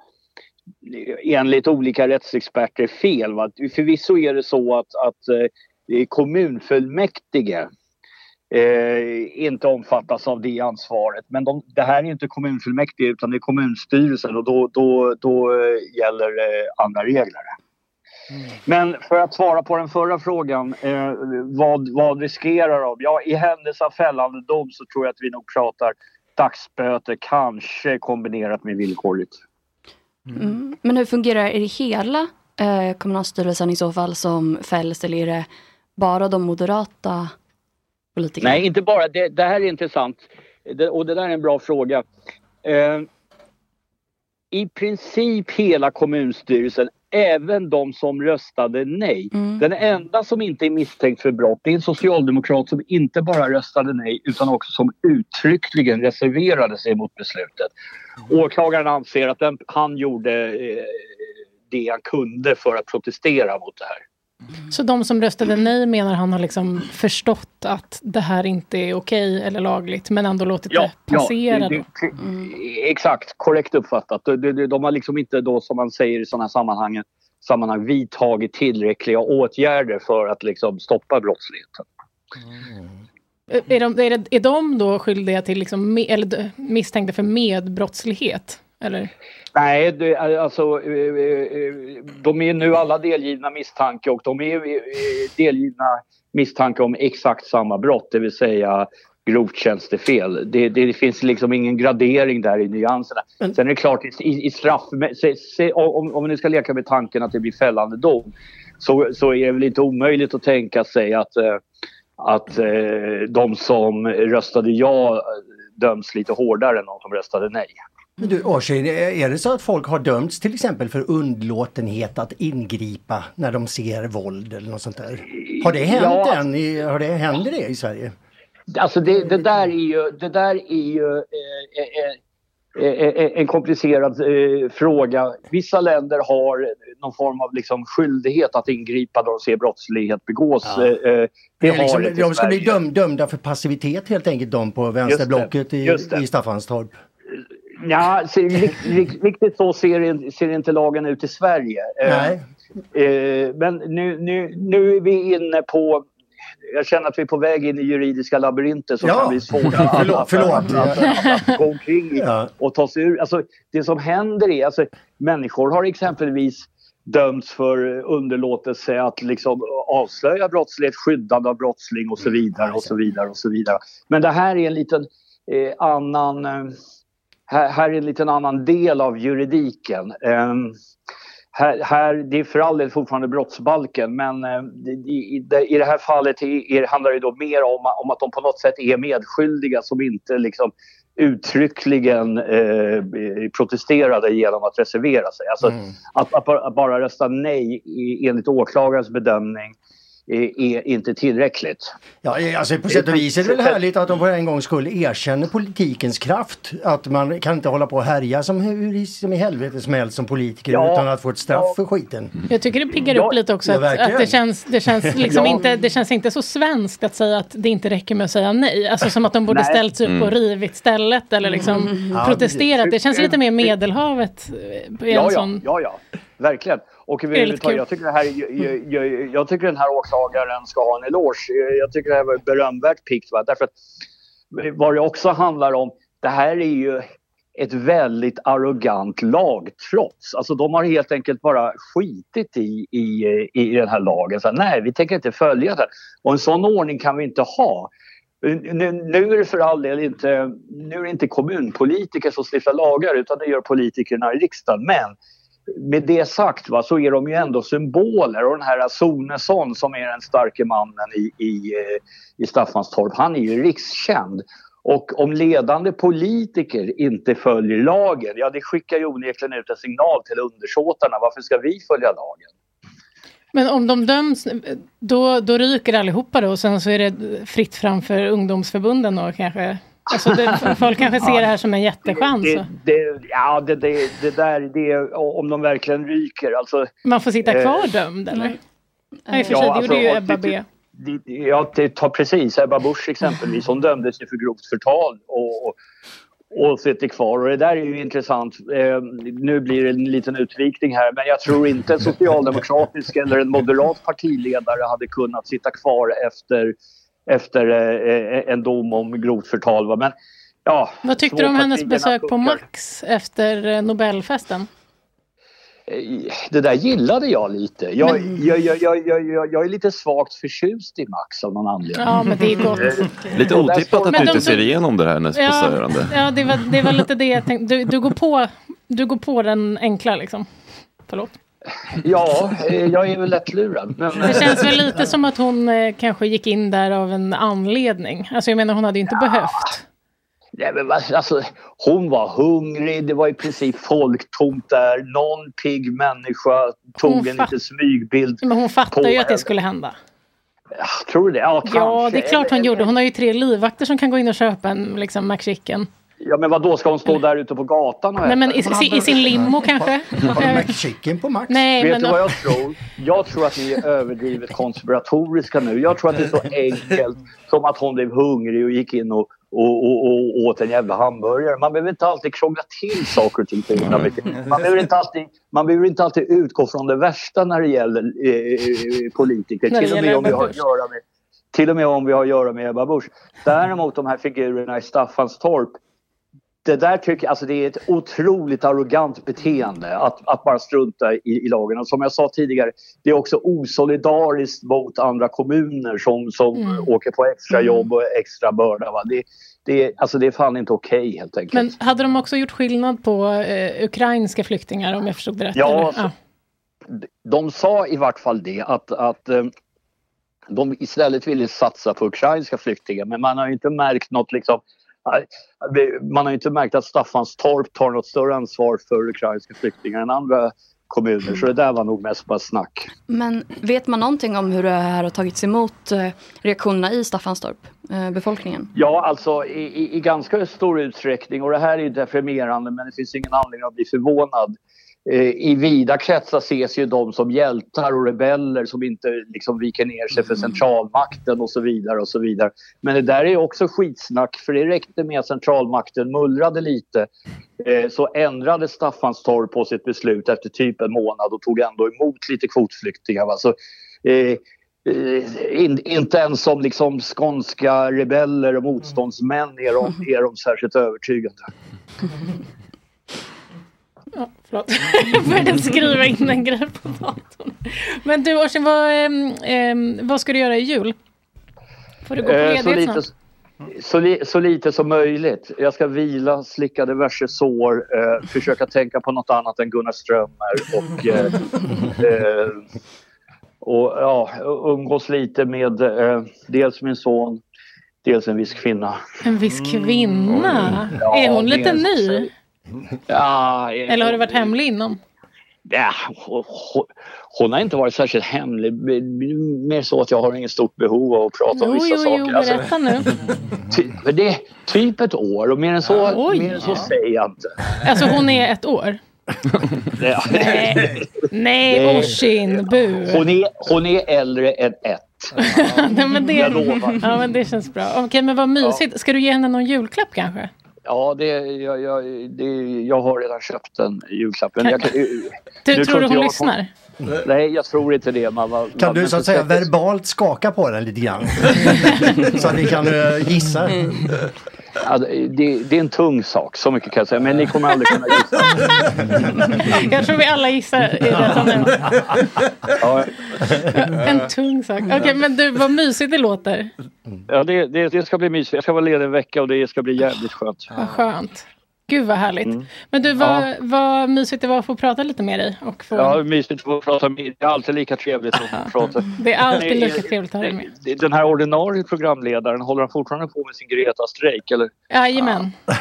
[SPEAKER 11] enligt olika rättsexperter fel. Va? Förvisso är det så att, att eh, kommunfullmäktige eh, inte omfattas av det ansvaret. Men de, det här är inte kommunfullmäktige utan det är kommunstyrelsen och då, då, då eh, gäller eh, andra regler. Men för att svara på den förra frågan, eh, vad, vad riskerar de? Ja, i händelse av fällande dom så tror jag att vi nog pratar dagsböter, kanske kombinerat med villkorligt.
[SPEAKER 4] Mm. Men hur fungerar är det hela eh, kommunalstyrelsen i så fall som fälls eller är det bara de moderata politikerna?
[SPEAKER 11] Nej, inte bara. Det, det här är intressant. Det, och det där är en bra fråga. Eh, I princip hela kommunstyrelsen, även de som röstade nej. Den enda som inte är misstänkt för brott det är en socialdemokrat som inte bara röstade nej utan också som uttryckligen reserverade sig mot beslutet. Åklagaren anser att den, han gjorde eh, det han kunde för att protestera mot det här.
[SPEAKER 3] Så de som röstade nej menar han har liksom förstått att det här inte är okej eller lagligt, men ändå låtit det passera?
[SPEAKER 11] Ja, det,
[SPEAKER 3] då?
[SPEAKER 11] det, Exakt, korrekt uppfattat. De, de, de har liksom inte då, som man säger i sådana sammanhang, sammanhang vidtagit tillräckliga åtgärder för att liksom stoppa brottsligheten.
[SPEAKER 3] Är, de, är, det, är de då skyldiga till, liksom, me, eller d- misstänkta för medbrottslighet? Eller?
[SPEAKER 11] Nej, det, är alltså, eh, eh, de är nu alla delgivna misstanke och de är eh, delgivna misstanke om exakt samma brott, det vill säga grovt tjänstefel. Det, det, det finns liksom ingen gradering där i nyanserna. Sen är det klart, i, i straff, se, se, om, om vi nu ska leka med tanken att det blir fällande dom så, så är det väl inte omöjligt att tänka sig att, eh, att eh, de som röstade ja eh, döms lite hårdare än de som röstade nej.
[SPEAKER 6] Men du Orsin, är det så att folk har dömts till exempel för undlåtenhet att ingripa när de ser våld eller något sånt där? Har det hänt
[SPEAKER 11] Ja.
[SPEAKER 6] än? I, har det, händer det i Sverige?
[SPEAKER 11] Alltså det, det där är
[SPEAKER 6] Mm.
[SPEAKER 11] ju, det där är ju eh, eh, eh, eh, en komplicerad eh, fråga. Vissa länder har någon form av liksom skyldighet att ingripa när de ser brottslighet begås.
[SPEAKER 6] Ja.
[SPEAKER 11] Eh, eh, Det,
[SPEAKER 6] Det är
[SPEAKER 11] har
[SPEAKER 6] liksom,
[SPEAKER 11] inte
[SPEAKER 6] de ska bli
[SPEAKER 11] Sverige.
[SPEAKER 6] döm, dömda för passivitet helt enkelt, de på vänsterblocket i,
[SPEAKER 11] just det.
[SPEAKER 6] i Staffanstorp.
[SPEAKER 11] Nja, ser, rikt, rikt, riktigt så ser, in- ser inte lagen ut i Sverige. Eh,
[SPEAKER 6] Nej.
[SPEAKER 11] Eh, men nu, nu, nu är vi inne på... Jag känner att vi är på väg in i juridiska labyrinter som
[SPEAKER 6] Ja.
[SPEAKER 11] kan
[SPEAKER 6] *laughs*
[SPEAKER 11] bli svåra att-
[SPEAKER 6] Förlåt,
[SPEAKER 11] att-
[SPEAKER 6] förlåt.
[SPEAKER 11] att- att- att gå omkring i och ta sig ur. Alltså, det som händer är alltså, människor har exempelvis dömts för underlåtelse att liksom avslöja brottslighet, skyddande av brottsling och så
[SPEAKER 7] Mm.
[SPEAKER 11] vidare och så vidare och så vidare. Men det här är en liten eh, annan... Eh, här, här är en liten annan del av juridiken. Ehm, här, här, det är för all del fortfarande brottsbalken men eh, i, i, det- i det här fallet i- i- handlar det då mer om, om att de på något sätt är medskyldiga som inte liksom uttryckligen eh, protesterade genom att reservera sig. Alltså, att, att, bara- att bara rösta nej i, enligt åklagarens bedömning eh, är inte tillräckligt.
[SPEAKER 6] Ja, eh, alltså på sätt och vis är det väl härligt att de för en gång skull erkänner politikens kraft. Att man kan inte hålla på och härja som, hur i- som i helvete som helst som politiker
[SPEAKER 3] Ja.
[SPEAKER 6] utan att få ett straff för skiten.
[SPEAKER 11] Mm.
[SPEAKER 3] Jag tycker det piggar
[SPEAKER 6] Ja,
[SPEAKER 3] upp lite också
[SPEAKER 6] ja,
[SPEAKER 3] att,
[SPEAKER 6] verkligen.
[SPEAKER 3] att det känns, det
[SPEAKER 11] *laughs*
[SPEAKER 3] känns liksom
[SPEAKER 6] Ja.
[SPEAKER 3] inte, det känns inte så svenskt att säga att det inte räcker med att säga nej. Alltså som att de borde
[SPEAKER 11] Nej.
[SPEAKER 3] ställt sig upp
[SPEAKER 11] Mm.
[SPEAKER 3] och rivit stället eller liksom
[SPEAKER 11] Mm. Ja,
[SPEAKER 3] protesterat. Det
[SPEAKER 11] precis.
[SPEAKER 3] känns lite mer Medelhavet. eh, på en
[SPEAKER 11] Ja, ja,
[SPEAKER 3] sån-
[SPEAKER 11] ja, ja, verkligen. Och
[SPEAKER 3] Det är lite kul.
[SPEAKER 11] överhuvudtaget, jag tycker, det här, jag, jag, jag tycker den här åklagaren ska ha en eloge. Jag- Jag tycker det här var berömvärt piggt. va? Därför att vad det också handlar om, det här är ju ett väldigt arrogant lagtrots. Alltså de har helt enkelt bara skitit i, i, i den här lagen. Så, här, nej, vi tänker inte följa den. Och en sån ordning kan vi inte ha. Nu, nu är det för all del inte, nu är det inte kommunpolitiker som stiftar lagar utan det gör politikerna i riksdagen. Men med det sagt va, så är de ju ändå symboler och den här Sonesson som är den starke mannen i, i, eh, i Staffanstorp, han är ju rikskänd. Och om ledande politiker inte följer lagen, ja det skickar ju onekligen ut en signal till undersåtarna, varför ska vi följa lagen?
[SPEAKER 3] Men om de döms, då, då ryker allihopa då och sen så är det fritt fram för ungdomsförbunden då kanske? Alltså
[SPEAKER 11] *laughs*
[SPEAKER 3] det, folk kanske ser det här som en jättechans.
[SPEAKER 11] Det,
[SPEAKER 3] och
[SPEAKER 11] det, ja, det, det, det där, det, om de verkligen ryker, alltså...
[SPEAKER 3] Man får sitta
[SPEAKER 11] eh,
[SPEAKER 3] kvar dömd eller? Nej, i och för
[SPEAKER 11] Ja,
[SPEAKER 3] sig, det
[SPEAKER 11] alltså,
[SPEAKER 3] gjorde ju
[SPEAKER 11] och
[SPEAKER 3] Ebba
[SPEAKER 11] det-
[SPEAKER 3] B.
[SPEAKER 11] Det- Ja, det tar precis. Ebba Busch exempelvis, hon dömdes ju för grovt förtal och, och, och sitter kvar. Och det där är ju intressant. Eh, nu blir det en liten utvikning här, men jag tror inte en socialdemokratisk eller en moderat partiledare hade kunnat sitta kvar efter, efter eh, eh, en dom om grovt förtal. Va? Men, ja,
[SPEAKER 3] Vad tyckte
[SPEAKER 11] så
[SPEAKER 3] du om hennes
[SPEAKER 11] partierna
[SPEAKER 3] besök på
[SPEAKER 11] funkar.
[SPEAKER 3] Max efter eh, Nobelfesten?
[SPEAKER 11] Eh, Det där gillade jag lite. Jag,
[SPEAKER 3] Men-
[SPEAKER 11] jag, jag, jag, jag, jag, jag är lite svagt förtjust i Max av någon anledning.
[SPEAKER 3] Ja, men det är gott.
[SPEAKER 11] Eh,
[SPEAKER 7] Lite
[SPEAKER 11] och där står-
[SPEAKER 7] otippat att
[SPEAKER 3] Men
[SPEAKER 7] du
[SPEAKER 3] de
[SPEAKER 7] inte
[SPEAKER 3] tog-
[SPEAKER 7] ser igenom det här när spåsörande.
[SPEAKER 3] ja det, var, det var lite det jag tänkte. Du, du, går på, du går på den enkla liksom. Förlåt.
[SPEAKER 11] Ja, eh, jag är väl lättlurad. Men,
[SPEAKER 3] Det känns väl lite som att hon eh, kanske gick in där av en anledning. Alltså jag menar hon hade ju inte behövt.
[SPEAKER 11] Nej, men vad- alltså, hon var hungrig, det var i princip folktomt där. Någon pigg människa tog
[SPEAKER 3] Hon
[SPEAKER 11] en
[SPEAKER 3] fatt-
[SPEAKER 11] liten smygbild.
[SPEAKER 3] Men hon
[SPEAKER 11] på
[SPEAKER 3] fattar ju att
[SPEAKER 11] henne.
[SPEAKER 3] det skulle hända.
[SPEAKER 11] Tror du det? Ja, kanske.
[SPEAKER 3] Ja, det är klart hon gjorde. Hon har ju tre livvakter som kan gå in och köpa en liksom, McChicken.
[SPEAKER 11] Ja, men vad då ska hon stå där ute på gatan och
[SPEAKER 3] Nej, men
[SPEAKER 11] äta?
[SPEAKER 3] i, si- i sin limo kanske? *laughs* Eh,
[SPEAKER 6] Har du McChicken på Max?
[SPEAKER 3] Nej,
[SPEAKER 11] Vet
[SPEAKER 3] men...
[SPEAKER 11] du vad jag tror? Jag tror att ni är överdrivet konspiratoriska nu. Jag tror att det är så enkelt som att hon blev hungrig och gick in och, och, och, och åt en jävla hamburgare. Man behöver inte alltid krångla till saker och ting så himla mycket. Man behöver inte alltid, man behöver inte alltid utgå från det värsta när det gäller eh, eh, politiker.
[SPEAKER 9] När det
[SPEAKER 11] Till och
[SPEAKER 9] gäller
[SPEAKER 11] med om vi
[SPEAKER 9] Ebba
[SPEAKER 11] har att
[SPEAKER 9] Busch.
[SPEAKER 11] göra med till och med om vi har att göra med Ebba Busch. Däremot de här figurerna i Staffanstorp det där tycker jag, alltså det är ett otroligt arrogant beteende att, att bara strunta i, i lagen. Och som jag sa tidigare, det är också osolidariskt mot andra kommuner som, som
[SPEAKER 3] Mm.
[SPEAKER 11] åker på extra jobb och extra börda. Va? Det, det, är- alltså det är fan inte okej helt enkelt.
[SPEAKER 3] Men hade de också gjort skillnad på eh, ukrainska flyktingar om jag förstod det rätt?
[SPEAKER 11] Ja,
[SPEAKER 3] eller?
[SPEAKER 11] så- De sa i vart fall det att, att eh, de istället ville satsa på ukrainska flyktingar men man har ju inte märkt något liksom man har ju inte märkt att Staffanstorp tar något större ansvar för ukrainska flyktingar än andra kommuner så det där var nog mest bara snack.
[SPEAKER 4] Men vet man någonting om hur det här har tagits emot eh, reaktionerna i Staffanstorp, eh,
[SPEAKER 6] *laughs*
[SPEAKER 4] befolkningen?
[SPEAKER 11] Ja, alltså i, i, i ganska stor utsträckning och det här är ju deprimerande men det finns ingen anledning att bli förvånad. Eh, I vida kretsar ses ju de som hjältar och rebeller som inte liksom viker ner sig för centralmakten och så vidare och så vidare. Men det där är ju också skitsnack för det räckte med att centralmakten mullrade lite eh, så ändrade Staffanstorp på sitt beslut efter typ en månad och tog ändå emot lite kvotflyktingar. Va? Så, eh, Eh, in, inte ens som liksom skånska rebeller och motståndsmän är
[SPEAKER 3] Mm.
[SPEAKER 11] de, är de särskilt övertygande.
[SPEAKER 3] Ja, förlåt. Jag började skriva in en grej på datorn. Men du Orsin, vad, ehm, ehm, vad ska du göra i jul? Får du gå på
[SPEAKER 11] Eh,
[SPEAKER 3] ledighet
[SPEAKER 11] så, lite,
[SPEAKER 3] snart?
[SPEAKER 11] så, li, så lite som möjligt. Jag ska vila, slicka diverse sår, eh, försöka tänka på något annat än Gunnar Strömmer och, eh, eh, och ja, umgås lite med eh, dels min son, dels en viss kvinna.
[SPEAKER 3] En viss kvinna?
[SPEAKER 11] Mm, Ja,
[SPEAKER 3] är hon
[SPEAKER 11] det
[SPEAKER 3] lite
[SPEAKER 11] är-
[SPEAKER 3] ny?
[SPEAKER 11] Ja, eh,
[SPEAKER 3] Eller har du varit hemlig innan?
[SPEAKER 11] Ja, Äh, hon- hon- hon har inte varit särskilt hemlig. Mer så att jag har inget stort behov av att prata om
[SPEAKER 3] Jo,
[SPEAKER 11] vissa
[SPEAKER 3] jo,
[SPEAKER 11] saker.
[SPEAKER 3] jo,
[SPEAKER 11] Alltså,
[SPEAKER 3] berätta nu.
[SPEAKER 11] ty, men det är typ ett år och mer än så,
[SPEAKER 3] Oj.
[SPEAKER 11] mer än så säger jag inte.
[SPEAKER 3] Alltså hon är ett år?
[SPEAKER 11] Ja.
[SPEAKER 3] *laughs* Nej, Nej
[SPEAKER 11] Nej.
[SPEAKER 3] Oshin, bu.
[SPEAKER 11] Hon, är, hon är äldre än ett.
[SPEAKER 3] Nej, men det,
[SPEAKER 11] Jag lovar.
[SPEAKER 3] ja, men det känns bra. Okej, men vad mysigt. Ska du ge henne någon julklapp kanske?
[SPEAKER 11] Ja, det, jag, jag, det, jag har redan köpt den julklappen. Jag, kan-
[SPEAKER 3] Du,
[SPEAKER 11] nu
[SPEAKER 3] tror du
[SPEAKER 11] inte
[SPEAKER 3] hon
[SPEAKER 11] jag-
[SPEAKER 3] lyssnar?
[SPEAKER 11] Nej, jag tror inte det. Man, man,
[SPEAKER 6] Kan
[SPEAKER 11] man-
[SPEAKER 6] du så att säga verbalt skaka på den lite grann? *laughs* så att vi kan eh, gissa.
[SPEAKER 11] Ja, det, det är en tung sak, så mycket kan jag säga. Men ni kommer aldrig kunna gissa.
[SPEAKER 3] Jag tror vi alla gissar i
[SPEAKER 11] *laughs*
[SPEAKER 3] det som
[SPEAKER 11] Ja, Mm.
[SPEAKER 3] En tung sak. Okej, men du, vad mysigt det låter.
[SPEAKER 11] ja det, det, det ska bli mysigt. Jag ska vara ledig en vecka och det ska bli jävligt skönt.
[SPEAKER 3] Vad skönt. Gud vad härligt. Men du, vad,
[SPEAKER 11] Ja.
[SPEAKER 3] vad mysigt det var att få prata lite med dig. Och få,
[SPEAKER 11] Ja, det är mysigt att prata med er. Det är alltid lika trevligt att prata.
[SPEAKER 3] Det är alltid
[SPEAKER 11] Men, eh,
[SPEAKER 3] lika trevligt att ha dig med.
[SPEAKER 11] Den här ordinarie programledaren, håller han fortfarande på med sin Greta-strejk? Eller?
[SPEAKER 3] Jajamän.
[SPEAKER 6] *laughs*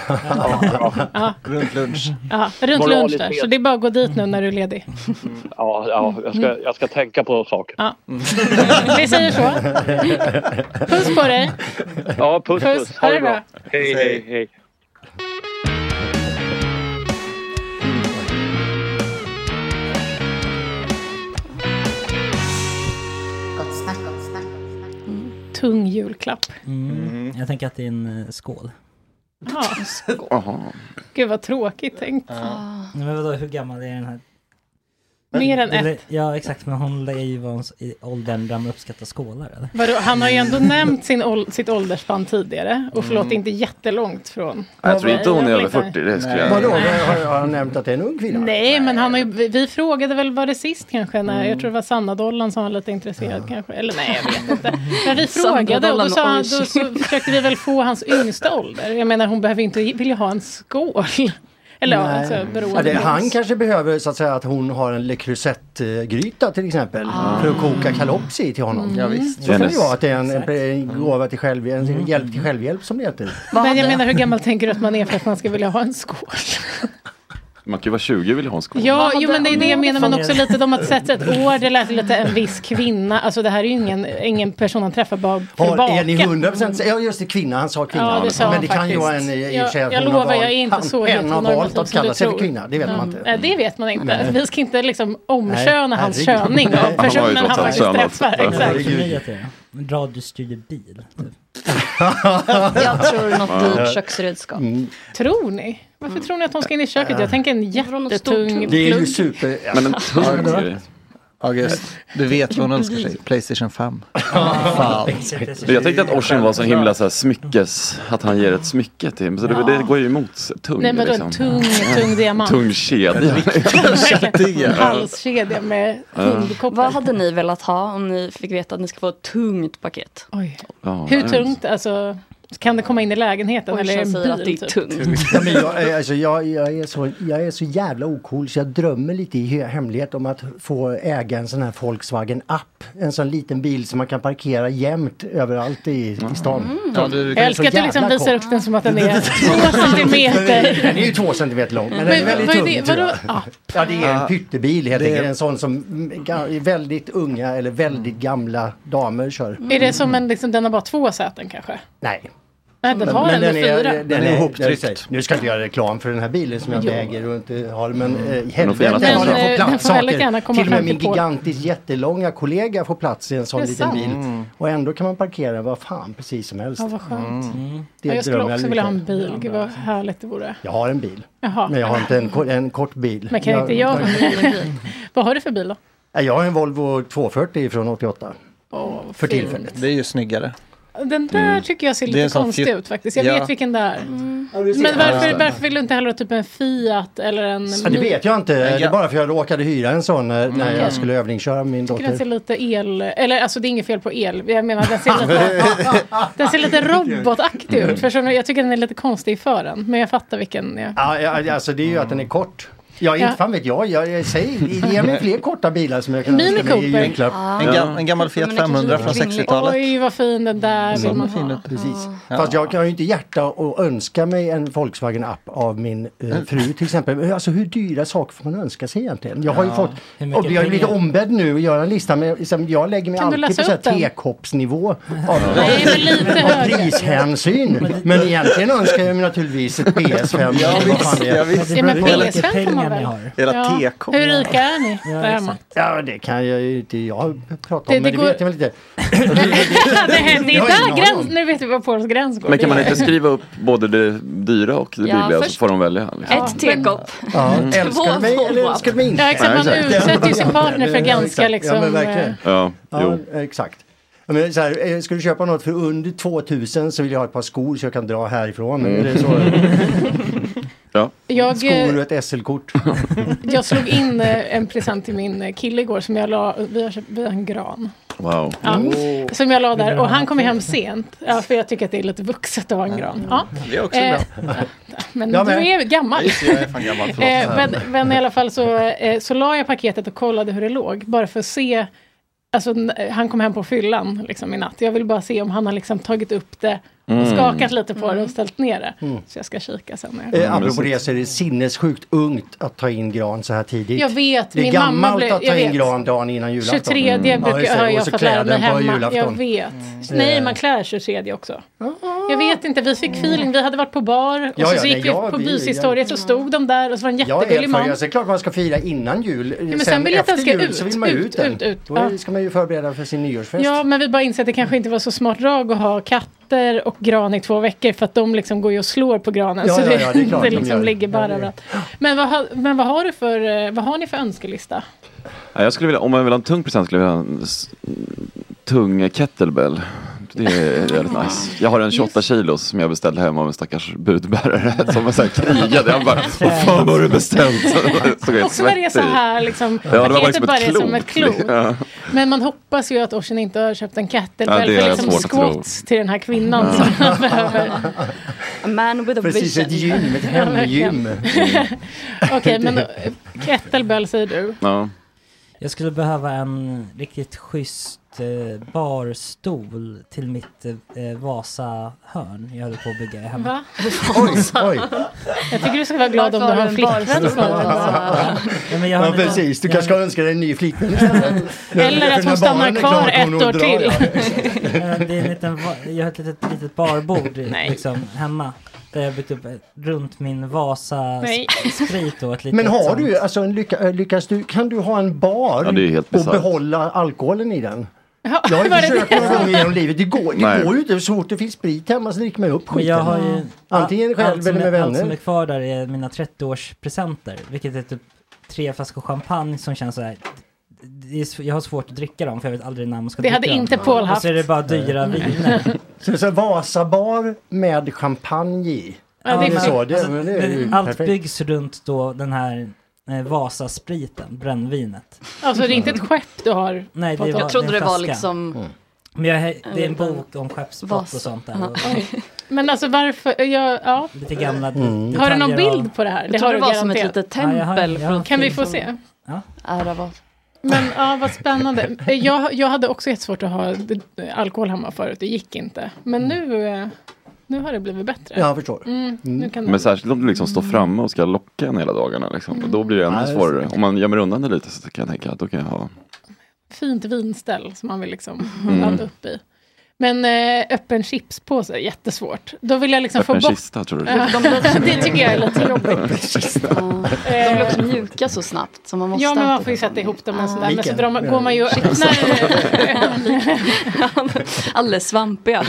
[SPEAKER 3] Ja.
[SPEAKER 5] Runt lunch.
[SPEAKER 3] Ja, runt
[SPEAKER 11] Moraliskt
[SPEAKER 3] lunch där.
[SPEAKER 11] fel.
[SPEAKER 3] Så det är bara att gå dit nu när du är ledig.
[SPEAKER 11] Ja, ja jag,
[SPEAKER 3] Mm.
[SPEAKER 11] ska, jag ska tänka på saker.
[SPEAKER 3] Ja. Vi säger så.
[SPEAKER 6] *laughs*
[SPEAKER 3] Puss på dig.
[SPEAKER 11] Ja, puss
[SPEAKER 3] Puss.
[SPEAKER 11] puss.
[SPEAKER 3] Ha det bra.
[SPEAKER 11] Hej, hej, hej.
[SPEAKER 9] Gott snack, gott snack.
[SPEAKER 3] Tung julklapp.
[SPEAKER 8] Mm. Jag tänker att det är en eh, skål.
[SPEAKER 3] Ja. Gud vad tråkigt tänkt.
[SPEAKER 8] Nej, Men vadå, hur gammal är den här?
[SPEAKER 12] Eh,
[SPEAKER 3] Mer än
[SPEAKER 8] Eller-
[SPEAKER 3] ett.
[SPEAKER 8] Ja exakt, men hon lär ju vara i åldern där man uppskattar skålar eller?
[SPEAKER 3] Vadå, han har ju ändå
[SPEAKER 6] Mm.
[SPEAKER 3] nämnt sin ål- sitt åldersspann tidigare. Och förlåt,
[SPEAKER 8] Mm.
[SPEAKER 3] inte jättelångt från...
[SPEAKER 7] Jag tror inte hon är över
[SPEAKER 3] Liksom.
[SPEAKER 7] 40, det skulle jag...
[SPEAKER 6] Vadå, har, har han nämnt att det är en ung kvinna?
[SPEAKER 3] Nej, men han har ju, vi- vi frågade väl var det sist kanske, när
[SPEAKER 6] Mm.
[SPEAKER 3] jag tror det var Sanna Dollan som var lite intresserad kanske. Eller nej, jag vet
[SPEAKER 6] *laughs*
[SPEAKER 3] inte. Men vi
[SPEAKER 4] Sanna
[SPEAKER 3] frågade och då,
[SPEAKER 4] Dollan
[SPEAKER 3] sa
[SPEAKER 4] och
[SPEAKER 3] han,
[SPEAKER 4] Oisin.
[SPEAKER 3] då så försökte vi väl få hans yngsta ålder. Jag menar, hon behöver ju inte vilja ha en skål. Eller ja,
[SPEAKER 6] Nej.
[SPEAKER 3] alltså beroende
[SPEAKER 6] Ja, det,
[SPEAKER 3] på
[SPEAKER 6] han
[SPEAKER 3] oss.
[SPEAKER 6] kanske behöver så att säga att hon har en Le Creuset-gryta till exempel för att koka kalopsi i till honom.
[SPEAKER 3] Ah. Mm. Ja, visst.
[SPEAKER 6] Så kan det
[SPEAKER 7] Hennes-
[SPEAKER 6] ju vara att det är en, en, en gåva till självhjälp,
[SPEAKER 3] Mm.
[SPEAKER 6] en hjälp till självhjälp som det heter.
[SPEAKER 3] Men jag menar, hur gammal tänker du att man är för att man ska vilja ha en skål?
[SPEAKER 7] Man kan ju vara 20 och vilja ha en skål.
[SPEAKER 3] Ja, jo, men det är det jag menar man
[SPEAKER 7] Fan,
[SPEAKER 3] också
[SPEAKER 7] det-
[SPEAKER 3] lite. De har sett ett år, det lät lite en viss kvinna. Alltså det här är ju ingen, ingen person han träffar bara för att
[SPEAKER 6] Har, är ni
[SPEAKER 3] baka.
[SPEAKER 6] 100 procent Ja just det, kvinna. Han sa kvinna.
[SPEAKER 3] Ja, det sa
[SPEAKER 6] men
[SPEAKER 3] han
[SPEAKER 6] det kan
[SPEAKER 3] faktiskt.
[SPEAKER 6] ju vara en i och för sig
[SPEAKER 3] Jag,
[SPEAKER 6] att
[SPEAKER 3] jag
[SPEAKER 6] hon har
[SPEAKER 3] lovar,
[SPEAKER 6] valt-
[SPEAKER 3] jag är inte
[SPEAKER 6] han-
[SPEAKER 3] så
[SPEAKER 6] En har
[SPEAKER 3] heteronormativ
[SPEAKER 6] valt att
[SPEAKER 3] som du
[SPEAKER 6] kalla sig för
[SPEAKER 3] tror. Mm.
[SPEAKER 6] kvinna. Det vet
[SPEAKER 3] Ja.
[SPEAKER 6] man inte.
[SPEAKER 3] Nej, det vet man inte.
[SPEAKER 6] Nej.
[SPEAKER 3] Vi ska inte liksom omköna
[SPEAKER 6] Nej,
[SPEAKER 3] hans
[SPEAKER 6] herregud.
[SPEAKER 3] körning
[SPEAKER 6] Han har
[SPEAKER 3] av
[SPEAKER 6] ju
[SPEAKER 3] personen han
[SPEAKER 6] trots allt
[SPEAKER 3] faktiskt
[SPEAKER 6] könat.
[SPEAKER 3] träffar.
[SPEAKER 6] Ja,
[SPEAKER 3] Exakt.
[SPEAKER 8] För mig att det är radiostyrd bil. Typ.
[SPEAKER 4] Jag tror något
[SPEAKER 8] Ja.
[SPEAKER 4] dyrt köksredskap.
[SPEAKER 6] Mm.
[SPEAKER 4] Mm.
[SPEAKER 3] Tror ni? Varför tror ni att hon ska in i köket? Jag tänker en jättetung
[SPEAKER 6] Det är ju
[SPEAKER 3] Mm. plugg.
[SPEAKER 6] super...
[SPEAKER 7] Men en tung grej.
[SPEAKER 5] August, du vet vad hon önskar
[SPEAKER 6] Mm.
[SPEAKER 5] sig? Playstation 5. Fan.
[SPEAKER 7] Jag tänkte att Oisin var så himla så här smyckes, att han ger ett smycke till så det, det går ju emot s- tung.
[SPEAKER 3] Nej, men då en
[SPEAKER 7] liksom.
[SPEAKER 3] tung, tung diamant.
[SPEAKER 7] Tung kedja.
[SPEAKER 3] En halskedja med hundkoppel.
[SPEAKER 4] Vad hade ni velat ha om ni fick veta att ni ska få ett tungt paket?
[SPEAKER 3] Oj.
[SPEAKER 7] Ja,
[SPEAKER 3] Hur tungt? Alltså, kan det komma in i lägenheten?
[SPEAKER 4] Oj,
[SPEAKER 3] eller i en
[SPEAKER 4] jag säger att det är
[SPEAKER 3] bil, typ?
[SPEAKER 4] tungt.
[SPEAKER 6] Ja, men jag, är- alltså, jag, jag, är så, jag är så jävla ocool så jag drömmer lite i he- hemlighet om att få äga en sån här Volkswagen app. En sån liten bil som man kan parkera jämt överallt i, i stan.
[SPEAKER 4] Mm.
[SPEAKER 5] Ja, du-
[SPEAKER 3] Mm. Jag älskar att du liksom visar upp den som att den
[SPEAKER 6] *laughs*
[SPEAKER 3] är två centimeter.
[SPEAKER 6] Den är ju två centimeter lång men den
[SPEAKER 3] Men
[SPEAKER 6] är väldigt
[SPEAKER 3] vad är
[SPEAKER 6] tung.
[SPEAKER 3] det?
[SPEAKER 6] tror jag.
[SPEAKER 3] Vadå? Ja.
[SPEAKER 6] Ja det är
[SPEAKER 5] Ah.
[SPEAKER 6] en pyttebil helt
[SPEAKER 5] Det är-
[SPEAKER 6] enkelt. En sån som mm, ga- väldigt unga eller väldigt gamla damer kör.
[SPEAKER 3] Är det som en, liksom, den har bara två säten kanske?
[SPEAKER 6] Nej.
[SPEAKER 3] Nej, den har ändå fyra.
[SPEAKER 6] ihoptryckt. Nu ska inte jag göra reklam för den här bilen som jag äger och inte har. Men eh,
[SPEAKER 7] Den får
[SPEAKER 6] helvete
[SPEAKER 7] gärna
[SPEAKER 6] har
[SPEAKER 7] ta
[SPEAKER 6] jag
[SPEAKER 7] plats.
[SPEAKER 6] fått
[SPEAKER 7] Den
[SPEAKER 6] plats
[SPEAKER 7] får väldigt
[SPEAKER 3] gärna
[SPEAKER 6] saker.
[SPEAKER 3] komma
[SPEAKER 6] Till och
[SPEAKER 3] fram
[SPEAKER 6] med
[SPEAKER 3] till
[SPEAKER 6] min
[SPEAKER 3] Polen.
[SPEAKER 6] gigantiskt jättelånga kollega får plats i en sån
[SPEAKER 3] Det är
[SPEAKER 6] liten
[SPEAKER 3] sant.
[SPEAKER 6] bil.
[SPEAKER 3] Mm.
[SPEAKER 6] Och ändå kan man parkera vad fan precis som helst.
[SPEAKER 3] Ja, vad skönt.
[SPEAKER 6] Det
[SPEAKER 5] Mm.
[SPEAKER 3] Ja, jag skulle
[SPEAKER 6] drömmer
[SPEAKER 3] också
[SPEAKER 6] lite
[SPEAKER 3] vilja ha
[SPEAKER 6] om.
[SPEAKER 3] en bil. Gud vad härligt det vore.
[SPEAKER 6] Jag har en bil.
[SPEAKER 3] Jaha.
[SPEAKER 6] Men jag har inte en, ko- en kort bil.
[SPEAKER 3] Men kan inte jag ha
[SPEAKER 6] *laughs*
[SPEAKER 3] en bil? Vad har du för bil då?
[SPEAKER 6] Nej, Jag har en Volvo 240 från 88.
[SPEAKER 3] Åh,
[SPEAKER 6] för
[SPEAKER 3] fint.
[SPEAKER 6] tillfället.
[SPEAKER 5] Det är ju snyggare.
[SPEAKER 3] Den där
[SPEAKER 5] Mm.
[SPEAKER 3] tycker jag ser
[SPEAKER 5] Det är
[SPEAKER 3] lite
[SPEAKER 5] en sån
[SPEAKER 3] konstig
[SPEAKER 5] fjut-
[SPEAKER 3] ut faktiskt. Jag
[SPEAKER 5] Ja.
[SPEAKER 3] vet vilken det är.
[SPEAKER 6] ser.
[SPEAKER 3] Men varför,
[SPEAKER 6] Ja.
[SPEAKER 3] varför vill du inte hellre ha typ en Fiat eller en...
[SPEAKER 6] Ja, det vet jag inte.
[SPEAKER 5] Men
[SPEAKER 6] Det
[SPEAKER 5] jag-
[SPEAKER 6] är bara för jag råkade hyra en sån när, när
[SPEAKER 3] Okej.
[SPEAKER 6] jag skulle övningsköra min
[SPEAKER 3] Jag tycker den ser
[SPEAKER 6] dotter.
[SPEAKER 3] lite el... Eller alltså det är inget fel på el. Jag menar den ser lite,
[SPEAKER 5] *laughs*
[SPEAKER 3] den ser lite robotaktig ut. Förstår ni? Jag tycker den är lite konstig i fören. Men jag fattar vilken jag...
[SPEAKER 6] Ja, ja, alltså det är ju att den är kort. Ja, inte
[SPEAKER 3] Ja.
[SPEAKER 6] fan vet jag. Jag, jag säger, ge mig fler korta bilar som jag kan
[SPEAKER 3] Mini
[SPEAKER 6] önska mig i
[SPEAKER 3] Cooper.
[SPEAKER 6] julklapp.
[SPEAKER 3] Ah. En gam- en gammal
[SPEAKER 5] Fiat 500 från Mm. 60-talet.
[SPEAKER 3] Oj, vad fin den där vill man ha.
[SPEAKER 6] Precis. Fast jag har ju inte hjärta och önska mig en Volkswagen app av min
[SPEAKER 10] Mm.
[SPEAKER 6] eh, fru till exempel. Alltså hur dyra saker får man önska sig egentligen? Jag har ju
[SPEAKER 10] Ja.
[SPEAKER 6] fått,
[SPEAKER 10] Hur mycket
[SPEAKER 6] och jag är ju lite
[SPEAKER 10] pengar?
[SPEAKER 6] ombedd nu att göra en lista men liksom, jag lägger mig
[SPEAKER 3] Kan du
[SPEAKER 6] alltid
[SPEAKER 3] läsa
[SPEAKER 6] på så här
[SPEAKER 3] upp den?
[SPEAKER 6] tekoppsnivå av,
[SPEAKER 3] Nej, men lite
[SPEAKER 6] av
[SPEAKER 3] högre.
[SPEAKER 6] prishänsyn. Men egentligen önskar jag mig
[SPEAKER 3] *laughs*
[SPEAKER 6] naturligtvis ett PS5.
[SPEAKER 5] Ja,
[SPEAKER 6] eller vad fan det är.
[SPEAKER 5] visst, ja, visst.
[SPEAKER 3] Ja, men PS5 får man väl?
[SPEAKER 6] Era
[SPEAKER 3] ja.
[SPEAKER 6] teko.
[SPEAKER 3] Hur rika är ni? där hemma?
[SPEAKER 6] Ja, det kan jag ju inte jag prata om,
[SPEAKER 3] Det-
[SPEAKER 6] men
[SPEAKER 3] det
[SPEAKER 6] det
[SPEAKER 3] går-
[SPEAKER 6] vet jag väl inte.
[SPEAKER 3] det är
[SPEAKER 6] Jag har ingen
[SPEAKER 3] där
[SPEAKER 6] aning
[SPEAKER 3] gräns, nu vet vi var Pols gräns går.
[SPEAKER 7] Men kan man
[SPEAKER 3] Det är-
[SPEAKER 7] inte skriva upp både det dyra och det
[SPEAKER 3] Ja,
[SPEAKER 7] billiga så
[SPEAKER 3] först-
[SPEAKER 7] får de välja? Liksom.
[SPEAKER 3] Ja,
[SPEAKER 4] Ett tekopp.
[SPEAKER 6] Ja,
[SPEAKER 7] Mm.
[SPEAKER 6] älskar du mig eller älskar du mig inte?
[SPEAKER 3] Ja, exakt. Man
[SPEAKER 7] Nej, exakt.
[SPEAKER 3] utsätter ju sin partner för ganska liksom...
[SPEAKER 6] Ja, men verkligen.
[SPEAKER 7] Ja,
[SPEAKER 6] Ja,
[SPEAKER 7] jo.
[SPEAKER 6] exakt. Ja, Men så här, eh, ska du köpa något för under 2000 så vill jag ha ett par skor så jag kan dra härifrån.
[SPEAKER 7] Mm.
[SPEAKER 6] Är det så?
[SPEAKER 7] *laughs* Ja.
[SPEAKER 3] Jag,
[SPEAKER 6] skor och ett SL-kort.
[SPEAKER 3] eh, jag slog in eh, en present till min eh, kille igår som jag la, vi har, köpt- vi har en gran.
[SPEAKER 7] *laughs* Wow.
[SPEAKER 3] Ja,
[SPEAKER 6] Oh.
[SPEAKER 3] Som jag la där och han kom ju hem sent. Ja, för jag tycker att det är lite vuxet att ha en
[SPEAKER 6] Mm.
[SPEAKER 3] gran. Ja.
[SPEAKER 5] Det är också
[SPEAKER 3] Eh,
[SPEAKER 5] bra.
[SPEAKER 3] Men
[SPEAKER 5] Jag
[SPEAKER 3] du
[SPEAKER 5] med.
[SPEAKER 3] är gammal.
[SPEAKER 5] Ja, just det, jag är fan gammal, förlåt.
[SPEAKER 3] Eh, men, men i alla fall så, eh, så la jag paketet och kollade hur det låg. Bara för att se. Alltså, n- han kom hem på fyllan liksom, i natt. Jag vill bara se om han har liksom, tagit upp det och
[SPEAKER 6] Mm.
[SPEAKER 3] skakat lite på det och ställt ner det.
[SPEAKER 6] Mm.
[SPEAKER 3] Så jag ska kika sen. När jag
[SPEAKER 6] Eh,
[SPEAKER 7] Mm,
[SPEAKER 3] kommer.
[SPEAKER 6] apropå det så är det sinnessjukt ungt att ta in gran så här tidigt.
[SPEAKER 3] Jag vet,
[SPEAKER 6] det är
[SPEAKER 3] min
[SPEAKER 6] gammalt
[SPEAKER 3] mamma blev-
[SPEAKER 6] att ta
[SPEAKER 3] jag
[SPEAKER 6] in
[SPEAKER 3] vet.
[SPEAKER 6] gran dagen innan julafton. Mm.
[SPEAKER 3] 23 brukar,
[SPEAKER 6] just det.
[SPEAKER 3] har jag
[SPEAKER 6] Och så
[SPEAKER 3] fått lära mig
[SPEAKER 6] kläden på
[SPEAKER 3] hemma. Jag
[SPEAKER 6] julafton.
[SPEAKER 3] vet. Nej,
[SPEAKER 6] Eh.
[SPEAKER 3] man klär 23 också. Jag vet inte, vi fick feeling. Vi hade varit på bar och
[SPEAKER 6] Ja,
[SPEAKER 3] så
[SPEAKER 6] ja,
[SPEAKER 3] gick
[SPEAKER 6] nej,
[SPEAKER 3] vi
[SPEAKER 6] jag-
[SPEAKER 3] på
[SPEAKER 6] vi-
[SPEAKER 3] Bushistoriet och stod de där och så var det en
[SPEAKER 6] Mm. Jag är
[SPEAKER 3] jättegullig man.
[SPEAKER 6] erfaren, så det är klart man ska fira innan jul.
[SPEAKER 3] men sen vill jag att den
[SPEAKER 6] efter
[SPEAKER 3] ska
[SPEAKER 6] jul
[SPEAKER 3] ut,
[SPEAKER 6] så vill man
[SPEAKER 3] ut,
[SPEAKER 6] ut den.
[SPEAKER 3] ut, ut.
[SPEAKER 6] Då är-
[SPEAKER 3] Ja.
[SPEAKER 6] ska man ju förbereda för sin nyårsfest.
[SPEAKER 3] Ja, men vi bara inser att det kanske inte var så smart drag att ha katter och gran i två veckor för att de liksom går ju och slår på granen.
[SPEAKER 6] Ja,
[SPEAKER 3] så
[SPEAKER 6] ja,
[SPEAKER 3] *laughs*
[SPEAKER 6] ja, det är klart de gör
[SPEAKER 3] liksom
[SPEAKER 6] det.
[SPEAKER 3] ligger bara
[SPEAKER 6] Ja, det är-
[SPEAKER 3] överallt. Men, vad, har- men vad, har du för, eh, vad har ni för önskelista?
[SPEAKER 7] Ja, jag skulle vilja, om man vill ha en tung present skulle jag vilja ha en s- tung kettlebell. Det är väldigt nice. Jag har en 28 kilos som jag beställde hem av en stackars budbärare som var så här krigade. Han bara, vad fan har du beställt? Så jag helt
[SPEAKER 3] Och så var det så
[SPEAKER 7] svettig.
[SPEAKER 3] här liksom.
[SPEAKER 7] Ja, det var
[SPEAKER 3] paketet
[SPEAKER 7] bara liksom ett
[SPEAKER 3] är
[SPEAKER 7] klot.
[SPEAKER 3] som ett
[SPEAKER 7] *laughs*
[SPEAKER 3] klot.
[SPEAKER 7] Ja.
[SPEAKER 3] Men man hoppas ju att Oisin inte har köpt en
[SPEAKER 7] Ja,
[SPEAKER 3] kettlebell
[SPEAKER 7] det
[SPEAKER 3] för
[SPEAKER 7] är
[SPEAKER 3] liksom
[SPEAKER 7] svårt att tro.
[SPEAKER 3] squats till den här kvinnan
[SPEAKER 7] Ja.
[SPEAKER 3] som han behöver.
[SPEAKER 4] A man with a
[SPEAKER 6] Precis,
[SPEAKER 4] vision.
[SPEAKER 6] ett gym, ett
[SPEAKER 3] Ja, verkligen.
[SPEAKER 6] hemgym.
[SPEAKER 3] *laughs* Okej, men eh, kettlebell säger du.
[SPEAKER 7] Ja.
[SPEAKER 8] Jag skulle behöva en riktigt schysst eh, barstol till mitt eh, Vasa-hörn jag håller på att bygga hemma.
[SPEAKER 3] Va? Jag tycker du ska vara glad om du
[SPEAKER 4] Varför
[SPEAKER 3] har
[SPEAKER 4] har
[SPEAKER 3] en
[SPEAKER 4] du en
[SPEAKER 3] flickvän som har
[SPEAKER 4] barstol?
[SPEAKER 8] Ja, men jag har
[SPEAKER 6] Ja,
[SPEAKER 8] en-
[SPEAKER 6] precis. Du
[SPEAKER 8] jag
[SPEAKER 6] kanske ska önska dig en ny
[SPEAKER 8] *laughs*
[SPEAKER 6] flickvän istället.
[SPEAKER 3] Eller att
[SPEAKER 6] För
[SPEAKER 3] hon
[SPEAKER 6] när
[SPEAKER 3] stannar
[SPEAKER 6] barnen är
[SPEAKER 3] kvar
[SPEAKER 6] klara kommer
[SPEAKER 3] ett
[SPEAKER 6] hon att
[SPEAKER 3] år
[SPEAKER 6] dra,
[SPEAKER 3] till.
[SPEAKER 6] ja.
[SPEAKER 3] *laughs*
[SPEAKER 8] Eh, det är en liten, va- jag har ett litet, litet barbord liksom, hemma. Där jag har byggt upp eh, runt min
[SPEAKER 3] Nej.
[SPEAKER 8] Vasa-sprit
[SPEAKER 6] *laughs*
[SPEAKER 8] och ett litet
[SPEAKER 6] Men har
[SPEAKER 8] sånt.
[SPEAKER 6] du, alltså, en lycka, eh, lyckas du, kan du ha en bar
[SPEAKER 7] Ja, det är helt
[SPEAKER 6] och
[SPEAKER 7] bisarrt.
[SPEAKER 6] behålla alkoholen i den?
[SPEAKER 3] *laughs*
[SPEAKER 6] Jag har ju
[SPEAKER 3] var det
[SPEAKER 6] försökt
[SPEAKER 3] det?
[SPEAKER 6] några gånger genom livet. Det går, det
[SPEAKER 7] Nej.
[SPEAKER 6] går ju inte. Så fort det finns sprit hemma så dricker man upp
[SPEAKER 8] Men
[SPEAKER 6] skiten.
[SPEAKER 8] jag har ju...
[SPEAKER 6] Antingen
[SPEAKER 8] allt
[SPEAKER 6] själv
[SPEAKER 8] som
[SPEAKER 6] eller
[SPEAKER 8] är-
[SPEAKER 6] med
[SPEAKER 8] Allt som är
[SPEAKER 6] vänner.
[SPEAKER 8] kvar där är mina 30-årspresenter. Vilket är typ tre flaskor champagne som känns så här. Det är, sv- jag har svårt att dricka dem för jag vet aldrig när man ska
[SPEAKER 3] Det
[SPEAKER 8] dricka
[SPEAKER 3] hade
[SPEAKER 8] dem.
[SPEAKER 3] inte Paul
[SPEAKER 8] Och så är det
[SPEAKER 3] haft.
[SPEAKER 8] bara dyra
[SPEAKER 3] Nej.
[SPEAKER 6] *laughs*
[SPEAKER 8] viner.
[SPEAKER 6] Så, så Vasabar med champagne i.
[SPEAKER 8] Ja,
[SPEAKER 6] är det
[SPEAKER 8] men-
[SPEAKER 6] så? Det,
[SPEAKER 8] alltså,
[SPEAKER 6] men det är ju
[SPEAKER 8] det- allt
[SPEAKER 6] perfekt.
[SPEAKER 8] byggs runt då den här eh, Vasaspriten, brännvinet.
[SPEAKER 3] Alltså det är inte ett skepp du har?
[SPEAKER 8] Nej, det
[SPEAKER 3] fått
[SPEAKER 8] var,
[SPEAKER 4] Jag trodde
[SPEAKER 8] är en
[SPEAKER 4] det var
[SPEAKER 8] flaska.
[SPEAKER 4] liksom- Mm.
[SPEAKER 8] Men jag, he- det är en
[SPEAKER 4] En liten
[SPEAKER 8] bok om skeppsbrott
[SPEAKER 4] Vasa.
[SPEAKER 8] och sånt där.
[SPEAKER 4] Ja.
[SPEAKER 8] Och
[SPEAKER 3] Oj. Men alltså varför, jag, ja.
[SPEAKER 8] lite
[SPEAKER 6] Mm.
[SPEAKER 8] gamla
[SPEAKER 3] Har du
[SPEAKER 8] detaljer
[SPEAKER 3] någon
[SPEAKER 8] av-
[SPEAKER 3] bild på det här?
[SPEAKER 4] Jag trodde det var som ett litet
[SPEAKER 8] Ja, jag har-
[SPEAKER 4] tempel.
[SPEAKER 8] jag har en
[SPEAKER 3] Kan vi
[SPEAKER 8] bild.
[SPEAKER 3] få se?
[SPEAKER 8] Ja.
[SPEAKER 4] Ära var.
[SPEAKER 3] Men ja, vad spännande. Eh, Jag, jag hade också jättesvårt att ha d- alkohol hemma förut, det gick inte. Men nu, eh, nu har det blivit bättre.
[SPEAKER 6] Ja, jag förstår.
[SPEAKER 3] Mm, nu kan
[SPEAKER 7] Men särskilt om du liksom står framme och ska locka en hela dagarna. Liksom. Och då blir det ännu
[SPEAKER 6] Nej, Mm. det är
[SPEAKER 7] svårare. Om man gömmer undan det lite så kan jag tänka att då kan jag ha.
[SPEAKER 3] Fint vinställ som man vill liksom
[SPEAKER 7] Mm.
[SPEAKER 3] ladda upp i. Men eh, öppen chipspåse är jättesvårt. Då vill jag liksom få
[SPEAKER 7] Öppen
[SPEAKER 3] bort...
[SPEAKER 7] kista, tror du?
[SPEAKER 3] Ja, *laughs* det tycker jag är lite
[SPEAKER 5] *laughs*
[SPEAKER 3] jobbigt. Eh,
[SPEAKER 4] De blir också mjuka så snabbt. Så man måste
[SPEAKER 3] Ja, men man
[SPEAKER 4] alltid-
[SPEAKER 3] får ju sätta ihop dem och sådär. Men så
[SPEAKER 4] Vilken?
[SPEAKER 3] drar man, går man ju och
[SPEAKER 8] *laughs*
[SPEAKER 3] öppnar...
[SPEAKER 4] *laughs* Alldeles svampiga.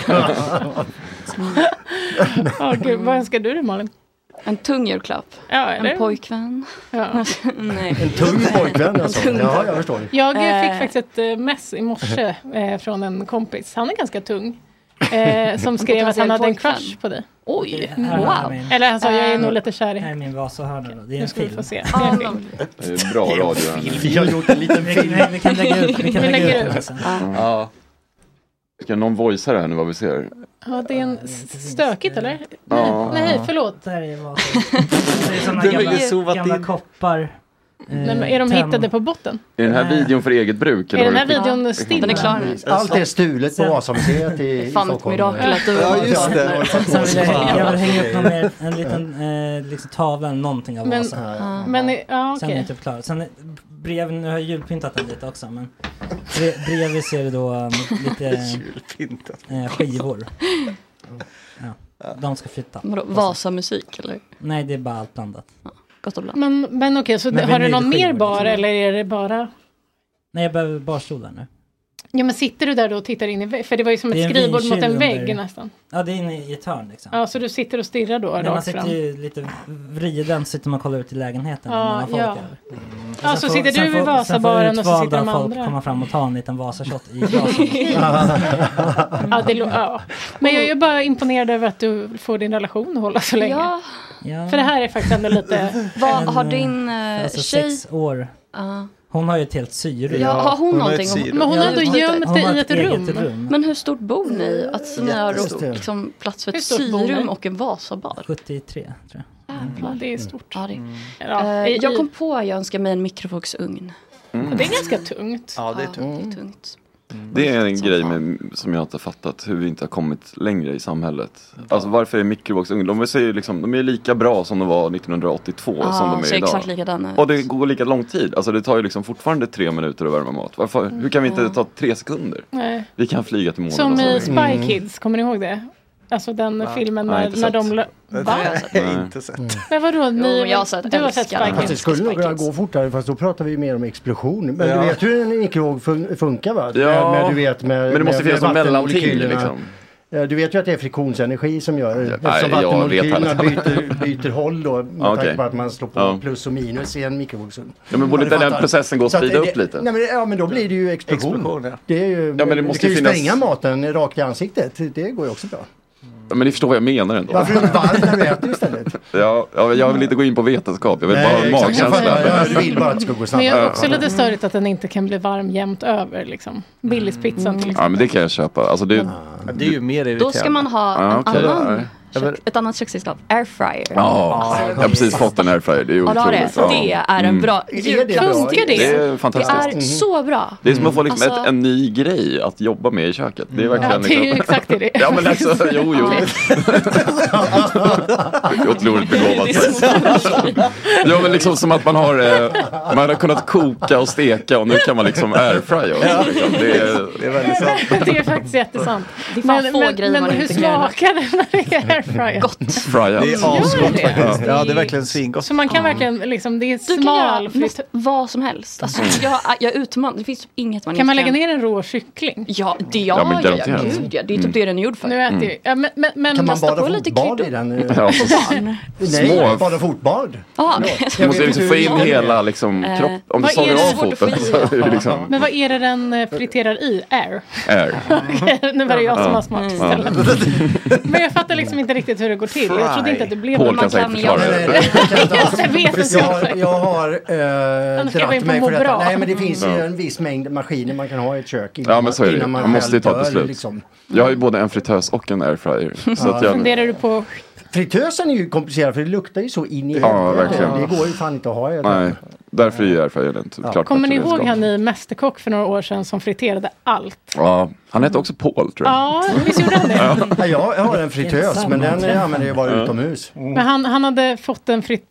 [SPEAKER 3] Ja, gud, vad önskar du dig Malin?
[SPEAKER 4] En tung julklapp.
[SPEAKER 3] Ja, eller?
[SPEAKER 4] En pojkvän.
[SPEAKER 3] Ja.
[SPEAKER 4] *laughs* Nej.
[SPEAKER 6] En tung pojkvän alltså.
[SPEAKER 4] Tung.
[SPEAKER 6] Ja, jag förstår.
[SPEAKER 3] Jag eh,
[SPEAKER 4] Eh.
[SPEAKER 3] fick faktiskt ett eh, mess i morse eh, från en kompis. Han är ganska
[SPEAKER 6] *laughs*
[SPEAKER 3] tung. Eh, som skrev att han hade en crush på dig.
[SPEAKER 4] Oj, Eh.
[SPEAKER 3] Mm.
[SPEAKER 8] wow.
[SPEAKER 3] Eller han sa, jag är nog lite kär i
[SPEAKER 8] Det här är Eh, min Vasahörna då. Det är en
[SPEAKER 3] ska vi få
[SPEAKER 8] film.
[SPEAKER 3] se.
[SPEAKER 4] Ja,
[SPEAKER 3] Det är en film.
[SPEAKER 7] Bra radio.
[SPEAKER 6] Vi har gjort en liten
[SPEAKER 8] Vi kan-
[SPEAKER 6] film.
[SPEAKER 8] nej, vi kan lägga ut, vi kan
[SPEAKER 3] Vi
[SPEAKER 8] lägga
[SPEAKER 3] lägger
[SPEAKER 8] ut den
[SPEAKER 3] ut.
[SPEAKER 8] sen.
[SPEAKER 7] Ja. Ska någon voicea det här nu vad vi ser?
[SPEAKER 3] Ja, det är en stökigt eller?
[SPEAKER 8] Ja.
[SPEAKER 3] Nej, nej, förlåt.
[SPEAKER 8] Där är vad *laughs* Det är sådana gamla, gamla koppar. eh,
[SPEAKER 3] Nej, men är de hittade på botten?
[SPEAKER 7] Är den här videon för eget bruk?
[SPEAKER 3] Är den här
[SPEAKER 7] har du-
[SPEAKER 3] videon still?
[SPEAKER 4] Den är klar
[SPEAKER 6] Allt är stulet på
[SPEAKER 3] *laughs*
[SPEAKER 6] Vasamuseet i, i
[SPEAKER 4] Fan, ett
[SPEAKER 6] Stockholm.
[SPEAKER 4] mirakel att du-
[SPEAKER 6] Ja, just det.
[SPEAKER 8] Sen sen vill jag, jag vill hänga upp någon mer, en liten eh, liksom tavla eller någonting av
[SPEAKER 3] Men-
[SPEAKER 8] Vasa.
[SPEAKER 3] ja. men, ja, okej.
[SPEAKER 8] Sen är jag typ klar. Sen eh, brev, nu har jag julpyntat den lite också men bre- bredvid ser det då um,
[SPEAKER 6] *laughs*
[SPEAKER 8] lite
[SPEAKER 5] Julpyntat.
[SPEAKER 8] eh, skivor. Ja. De ska flytta.
[SPEAKER 4] Vadå, Vasamusik eller?
[SPEAKER 8] Nej det är bara allt blandat.
[SPEAKER 4] Gott och blandat.
[SPEAKER 3] Men, men okej, så
[SPEAKER 8] Men
[SPEAKER 3] har du någon
[SPEAKER 8] vinylskivor,
[SPEAKER 3] mer bar
[SPEAKER 8] liksom.
[SPEAKER 3] eller är det bara?
[SPEAKER 8] Nej jag behöver barstolar nu.
[SPEAKER 3] Ja, men sitter du där då och tittar in i väggen? För det var ju som
[SPEAKER 8] Det är
[SPEAKER 3] ett
[SPEAKER 8] en
[SPEAKER 3] skrivbord mot
[SPEAKER 8] vinkyl
[SPEAKER 3] en vägg
[SPEAKER 8] under-
[SPEAKER 3] nästan.
[SPEAKER 8] Ja det är inne i ett hörn liksom.
[SPEAKER 3] Ja, så du sitter och stirrar då
[SPEAKER 8] Men man
[SPEAKER 3] rakt
[SPEAKER 8] sitter
[SPEAKER 3] fram.
[SPEAKER 8] ju lite vriden, så sitter man och kollar ut i lägenheten.
[SPEAKER 3] Ja,
[SPEAKER 8] mellan folk
[SPEAKER 3] ja.
[SPEAKER 8] där.
[SPEAKER 6] Mm.
[SPEAKER 8] Och
[SPEAKER 3] Ja,
[SPEAKER 8] sen
[SPEAKER 3] så
[SPEAKER 8] får-
[SPEAKER 3] sitter
[SPEAKER 8] sen
[SPEAKER 3] du i
[SPEAKER 8] får- sen
[SPEAKER 3] Vasabaren och så
[SPEAKER 8] får
[SPEAKER 3] sitter de
[SPEAKER 8] utvalda folk
[SPEAKER 3] andra.
[SPEAKER 8] komma fram och ta en liten Vasashot i
[SPEAKER 3] *laughs*
[SPEAKER 8] glasen.
[SPEAKER 3] Ja, det, lo- ja. Men jag är ju bara imponerad över att du får din relation att hålla så länge.
[SPEAKER 4] Ja.
[SPEAKER 8] Ja.
[SPEAKER 3] För det här är faktiskt ändå
[SPEAKER 4] *laughs*
[SPEAKER 3] lite...
[SPEAKER 4] Vad har
[SPEAKER 8] eh,
[SPEAKER 4] din eh,
[SPEAKER 8] *laughs* alltså
[SPEAKER 4] tjej?
[SPEAKER 8] sex år.
[SPEAKER 4] Ja.
[SPEAKER 8] Hon har ju ett helt syre.
[SPEAKER 4] Ja, har hon, någonting?
[SPEAKER 3] Men hon har ändå
[SPEAKER 4] Ja,
[SPEAKER 3] gömt
[SPEAKER 8] Hon
[SPEAKER 3] det
[SPEAKER 8] har
[SPEAKER 3] i ett rum.
[SPEAKER 8] eget rum.
[SPEAKER 4] Men hur stort bor ni? Att ni har
[SPEAKER 8] Jättestort.
[SPEAKER 4] liksom plats för
[SPEAKER 3] Hur
[SPEAKER 4] ett
[SPEAKER 3] stort bor ni?
[SPEAKER 4] syrum och en Vasabar?
[SPEAKER 8] 73 tror jag. Mm.
[SPEAKER 3] Ja, det är stort.
[SPEAKER 4] Ja, det är.
[SPEAKER 3] Ja,
[SPEAKER 4] Eh,
[SPEAKER 3] i-
[SPEAKER 4] jag
[SPEAKER 3] i-
[SPEAKER 4] kom på att jag önskar mig en mikrovågsugn.
[SPEAKER 3] Det är ganska tungt.
[SPEAKER 5] Ja, det är
[SPEAKER 4] tungt. tungt.
[SPEAKER 7] Det är en grej med, som jag inte har fattat, hur vi inte har kommit längre i samhället. Alltså varför är mikrovågsugn, de, säger ju liksom, de är lika bra som de var 1982
[SPEAKER 4] Ja,
[SPEAKER 7] som de är
[SPEAKER 4] ser
[SPEAKER 7] idag.
[SPEAKER 4] exakt likadana ut.
[SPEAKER 7] Och det går lika lång tid, alltså det tar ju liksom fortfarande tre minuter att värma mat. Varför, hur kan vi inte
[SPEAKER 4] Ja.
[SPEAKER 7] ta tre sekunder?
[SPEAKER 3] Nej.
[SPEAKER 7] Vi kan flyga till månen.
[SPEAKER 3] Som
[SPEAKER 7] och så
[SPEAKER 3] i
[SPEAKER 7] vidare. Mm.
[SPEAKER 3] Spy
[SPEAKER 4] Mm.
[SPEAKER 3] Kids, kommer ni ihåg det? Alltså den
[SPEAKER 7] Va?
[SPEAKER 3] filmen
[SPEAKER 7] Nej,
[SPEAKER 3] när,
[SPEAKER 7] inte
[SPEAKER 3] när
[SPEAKER 7] sett.
[SPEAKER 3] de... lö-
[SPEAKER 7] Nej,
[SPEAKER 3] Va?
[SPEAKER 7] Nej.
[SPEAKER 3] Men vadå, ni,
[SPEAKER 4] men jag har sett-
[SPEAKER 3] du har
[SPEAKER 4] älskar
[SPEAKER 3] sett Spy
[SPEAKER 4] den.
[SPEAKER 6] Fast det
[SPEAKER 3] Kids?
[SPEAKER 6] skulle nog kunna gå fortare fast då pratar vi mer om explosion. Men
[SPEAKER 7] Ja.
[SPEAKER 6] du vet hur en mikrovåg fun- funkar va?
[SPEAKER 7] Ja.
[SPEAKER 6] Med, med, du vet, med,
[SPEAKER 7] Men det måste
[SPEAKER 6] med,
[SPEAKER 7] finnas något mellanting,
[SPEAKER 6] vattenmolekylerna.
[SPEAKER 7] liksom.
[SPEAKER 6] Eh, Du vet ju att det är friktionsenergi som gör det.
[SPEAKER 7] Nej, jag
[SPEAKER 6] Eftersom
[SPEAKER 7] vet
[SPEAKER 6] vattenmolekylerna
[SPEAKER 7] alla.
[SPEAKER 6] byter, byter håll då. Med
[SPEAKER 7] Ja, okej.
[SPEAKER 6] tanke på att man slår på
[SPEAKER 7] Ja.
[SPEAKER 6] plus och minus i en mikrovågsugn.
[SPEAKER 7] Ja, men borde
[SPEAKER 6] du
[SPEAKER 7] inte den
[SPEAKER 6] fattar.
[SPEAKER 7] processen gå att
[SPEAKER 6] Så
[SPEAKER 7] sprida
[SPEAKER 6] det-
[SPEAKER 7] upp lite?
[SPEAKER 6] Nej, men, det- ja men då blir det ju explosion.
[SPEAKER 7] Explosion, ja.
[SPEAKER 6] Det är ju,
[SPEAKER 7] Ja, men det
[SPEAKER 6] du
[SPEAKER 7] måste
[SPEAKER 6] kan ju
[SPEAKER 7] finnas-
[SPEAKER 6] spränga maten rakt i ansiktet. Det går ju också bra.
[SPEAKER 7] Ja, Men ni förstår vad jag menar ändå.
[SPEAKER 6] Varför är du varm när du äter istället?
[SPEAKER 7] Ja, ja, jag vill inte gå in på vetenskap, jag vill bara ha en
[SPEAKER 6] exakt.
[SPEAKER 7] magkänsla.
[SPEAKER 6] Jag vill bara att det ska gå
[SPEAKER 3] Men jag är
[SPEAKER 6] snabbare.
[SPEAKER 3] också lite störigt att den inte kan bli varm jämt över. Liksom. Billigspizzan till
[SPEAKER 7] Ja men det kan jag köpa. Alltså, det,
[SPEAKER 5] Det är ju mer irriterande.
[SPEAKER 4] Då ska man ha
[SPEAKER 7] Ja,
[SPEAKER 4] en
[SPEAKER 7] okej.
[SPEAKER 4] annan,
[SPEAKER 5] Ja, men-
[SPEAKER 4] kök, ett annat köksredskap. Airfryer.
[SPEAKER 7] Ja, jag har precis fått en airfryer. Det är
[SPEAKER 4] Ja, det har
[SPEAKER 7] otroligt.
[SPEAKER 4] det. Det är en
[SPEAKER 7] Mm.
[SPEAKER 4] bra
[SPEAKER 6] det
[SPEAKER 4] julklapp.
[SPEAKER 6] bra?
[SPEAKER 3] Funkar
[SPEAKER 7] Det
[SPEAKER 3] det?
[SPEAKER 7] är fantastiskt.
[SPEAKER 4] Det är så bra.
[SPEAKER 7] Det är som att få liksom
[SPEAKER 4] Alltså-
[SPEAKER 7] ett, en ny grej att jobba med i köket. Det är verkligen
[SPEAKER 3] Ja, det är ju
[SPEAKER 7] liksom... *laughs*
[SPEAKER 3] exakt det det är.
[SPEAKER 7] Ja men
[SPEAKER 3] *laughs*
[SPEAKER 7] alltså, jo jo. Otroligt begåvat. Ja men liksom som att man har, eh, man har kunnat koka och steka och nu kan man liksom airfrya också. Liksom. Det är,
[SPEAKER 5] Det är väldigt sant.
[SPEAKER 3] *laughs* Det är faktiskt jättesant.
[SPEAKER 4] Det är fan få
[SPEAKER 3] men,
[SPEAKER 4] grejer
[SPEAKER 3] men
[SPEAKER 4] man
[SPEAKER 3] hur
[SPEAKER 4] inte kan göra.
[SPEAKER 3] smakar det när det är airfryer?
[SPEAKER 4] Gott.
[SPEAKER 7] fryat.
[SPEAKER 5] Det är asgott faktiskt. Ja, det är verkligen svingott.
[SPEAKER 3] Så man kan verkligen, liksom, det är
[SPEAKER 4] Du kan göra
[SPEAKER 3] smal fritt.
[SPEAKER 4] nästan vad som helst. Alltså,
[SPEAKER 7] Mm.
[SPEAKER 4] jag, jag utmanar, det finns typ inget man
[SPEAKER 3] Kan
[SPEAKER 4] inte
[SPEAKER 3] man lägga ner en rå kyckling?
[SPEAKER 4] Ja, det
[SPEAKER 7] Ja,
[SPEAKER 4] ja,
[SPEAKER 7] men
[SPEAKER 4] ja, ja,
[SPEAKER 7] garanterat.
[SPEAKER 4] gud, ja. Det
[SPEAKER 7] Mm.
[SPEAKER 4] är typ det den är gjord för.
[SPEAKER 3] Nu äter jag ju- ja, men, men, men,
[SPEAKER 6] Kan man
[SPEAKER 4] Kasta
[SPEAKER 6] bada
[SPEAKER 4] på lite
[SPEAKER 6] fotbad
[SPEAKER 4] kryddor.
[SPEAKER 6] i den? eh?
[SPEAKER 7] Ja.
[SPEAKER 6] Nej,
[SPEAKER 7] Små-
[SPEAKER 6] bada fotbad.
[SPEAKER 4] Ja,
[SPEAKER 7] Man *laughs* måste liksom få in hela liksom,
[SPEAKER 4] Eh,
[SPEAKER 7] kroppen. Om du
[SPEAKER 3] vad är
[SPEAKER 7] sågar
[SPEAKER 3] det
[SPEAKER 7] av
[SPEAKER 4] svårt att få
[SPEAKER 7] foten
[SPEAKER 4] i?
[SPEAKER 7] så är det liksom
[SPEAKER 3] men vad är det den eh, friterar i? Air?
[SPEAKER 7] air.
[SPEAKER 3] nu var det
[SPEAKER 7] Mm.
[SPEAKER 3] jag som
[SPEAKER 7] Ja.
[SPEAKER 3] har smak istället. Men jag fattar liksom inte riktigt hur det går till. Jag trodde inte att det blev
[SPEAKER 7] Paul
[SPEAKER 4] man
[SPEAKER 7] kan säkert
[SPEAKER 4] kan
[SPEAKER 7] förklara
[SPEAKER 4] göra-
[SPEAKER 7] det.
[SPEAKER 3] *laughs* Jag vet inte.
[SPEAKER 6] Jag har, jag har eh,
[SPEAKER 3] Annars kan jag gå in på
[SPEAKER 6] dratt mig
[SPEAKER 3] Må
[SPEAKER 6] för detta.
[SPEAKER 3] Bra.
[SPEAKER 6] Nej men det finns ju
[SPEAKER 7] Ja.
[SPEAKER 6] en viss mängd maskiner man kan ha i ett kök innan,
[SPEAKER 7] Ja men så är det ju.
[SPEAKER 6] innan
[SPEAKER 7] Man måste ju
[SPEAKER 6] själv
[SPEAKER 7] ta ett
[SPEAKER 6] dör,
[SPEAKER 7] beslut.
[SPEAKER 6] liksom.
[SPEAKER 7] Jag har ju både en fritös och en
[SPEAKER 6] *laughs*
[SPEAKER 7] airfryer. Så att jag,
[SPEAKER 3] Funderar du på...
[SPEAKER 6] Fritösen är ju komplicerad för det luktar ju så in i
[SPEAKER 7] Ja,
[SPEAKER 6] helvete.
[SPEAKER 7] verkligen.
[SPEAKER 6] Det går ju fan inte att ha i ett
[SPEAKER 7] nej, därför är ju airfryern inte klart
[SPEAKER 3] Kommer ni
[SPEAKER 7] bättre
[SPEAKER 3] ihåg
[SPEAKER 7] redskap.
[SPEAKER 3] han i Mästerkock för några år sedan som friterade allt?
[SPEAKER 7] Ja, han hette också Paul tror jag.
[SPEAKER 3] Ja, visst gjorde
[SPEAKER 7] *laughs*
[SPEAKER 3] han det?
[SPEAKER 6] Ja, jag jag har en fritös men den eh, använder jag bara utomhus.
[SPEAKER 3] Men han, han hade fått en frit,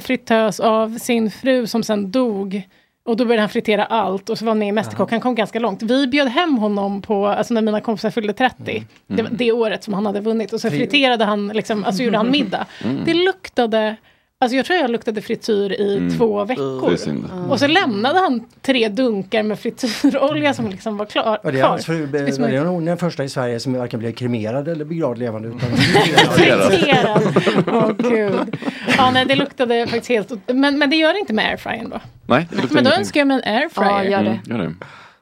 [SPEAKER 3] fritös av sin fru som sen dog. Och då började han fritera allt och så var han med i Mästerkock. Han kom ganska långt. Vi bjöd hem honom på, alltså när mina kompisar fyllde 30.
[SPEAKER 6] Mm.
[SPEAKER 3] Det var det året som han hade vunnit. Och så friterade han, liksom, alltså gjorde
[SPEAKER 6] Mm.
[SPEAKER 3] han middag. Det luktade, alltså jag tror jag luktade frityr i
[SPEAKER 6] Mm.
[SPEAKER 7] Det
[SPEAKER 3] två
[SPEAKER 7] är
[SPEAKER 3] veckor.
[SPEAKER 7] synd.
[SPEAKER 3] Och så lämnade han tre dunkar med frityrolja som liksom var klar.
[SPEAKER 6] Och det är
[SPEAKER 3] kvar.
[SPEAKER 6] hans fru,
[SPEAKER 3] Det är som
[SPEAKER 6] var
[SPEAKER 3] en
[SPEAKER 6] det nog den första i Sverige som varken blev kremerad eller begravd levande utan
[SPEAKER 3] Friterad. Åh gud. Ja, nej, det luktade faktiskt helt... Men, men det gör det inte med airfryern då?
[SPEAKER 7] Nej, det luktar
[SPEAKER 3] Men då
[SPEAKER 7] ingenting.
[SPEAKER 3] önskar jag mig en airfryer.
[SPEAKER 4] Ja, gör det.
[SPEAKER 7] Mm,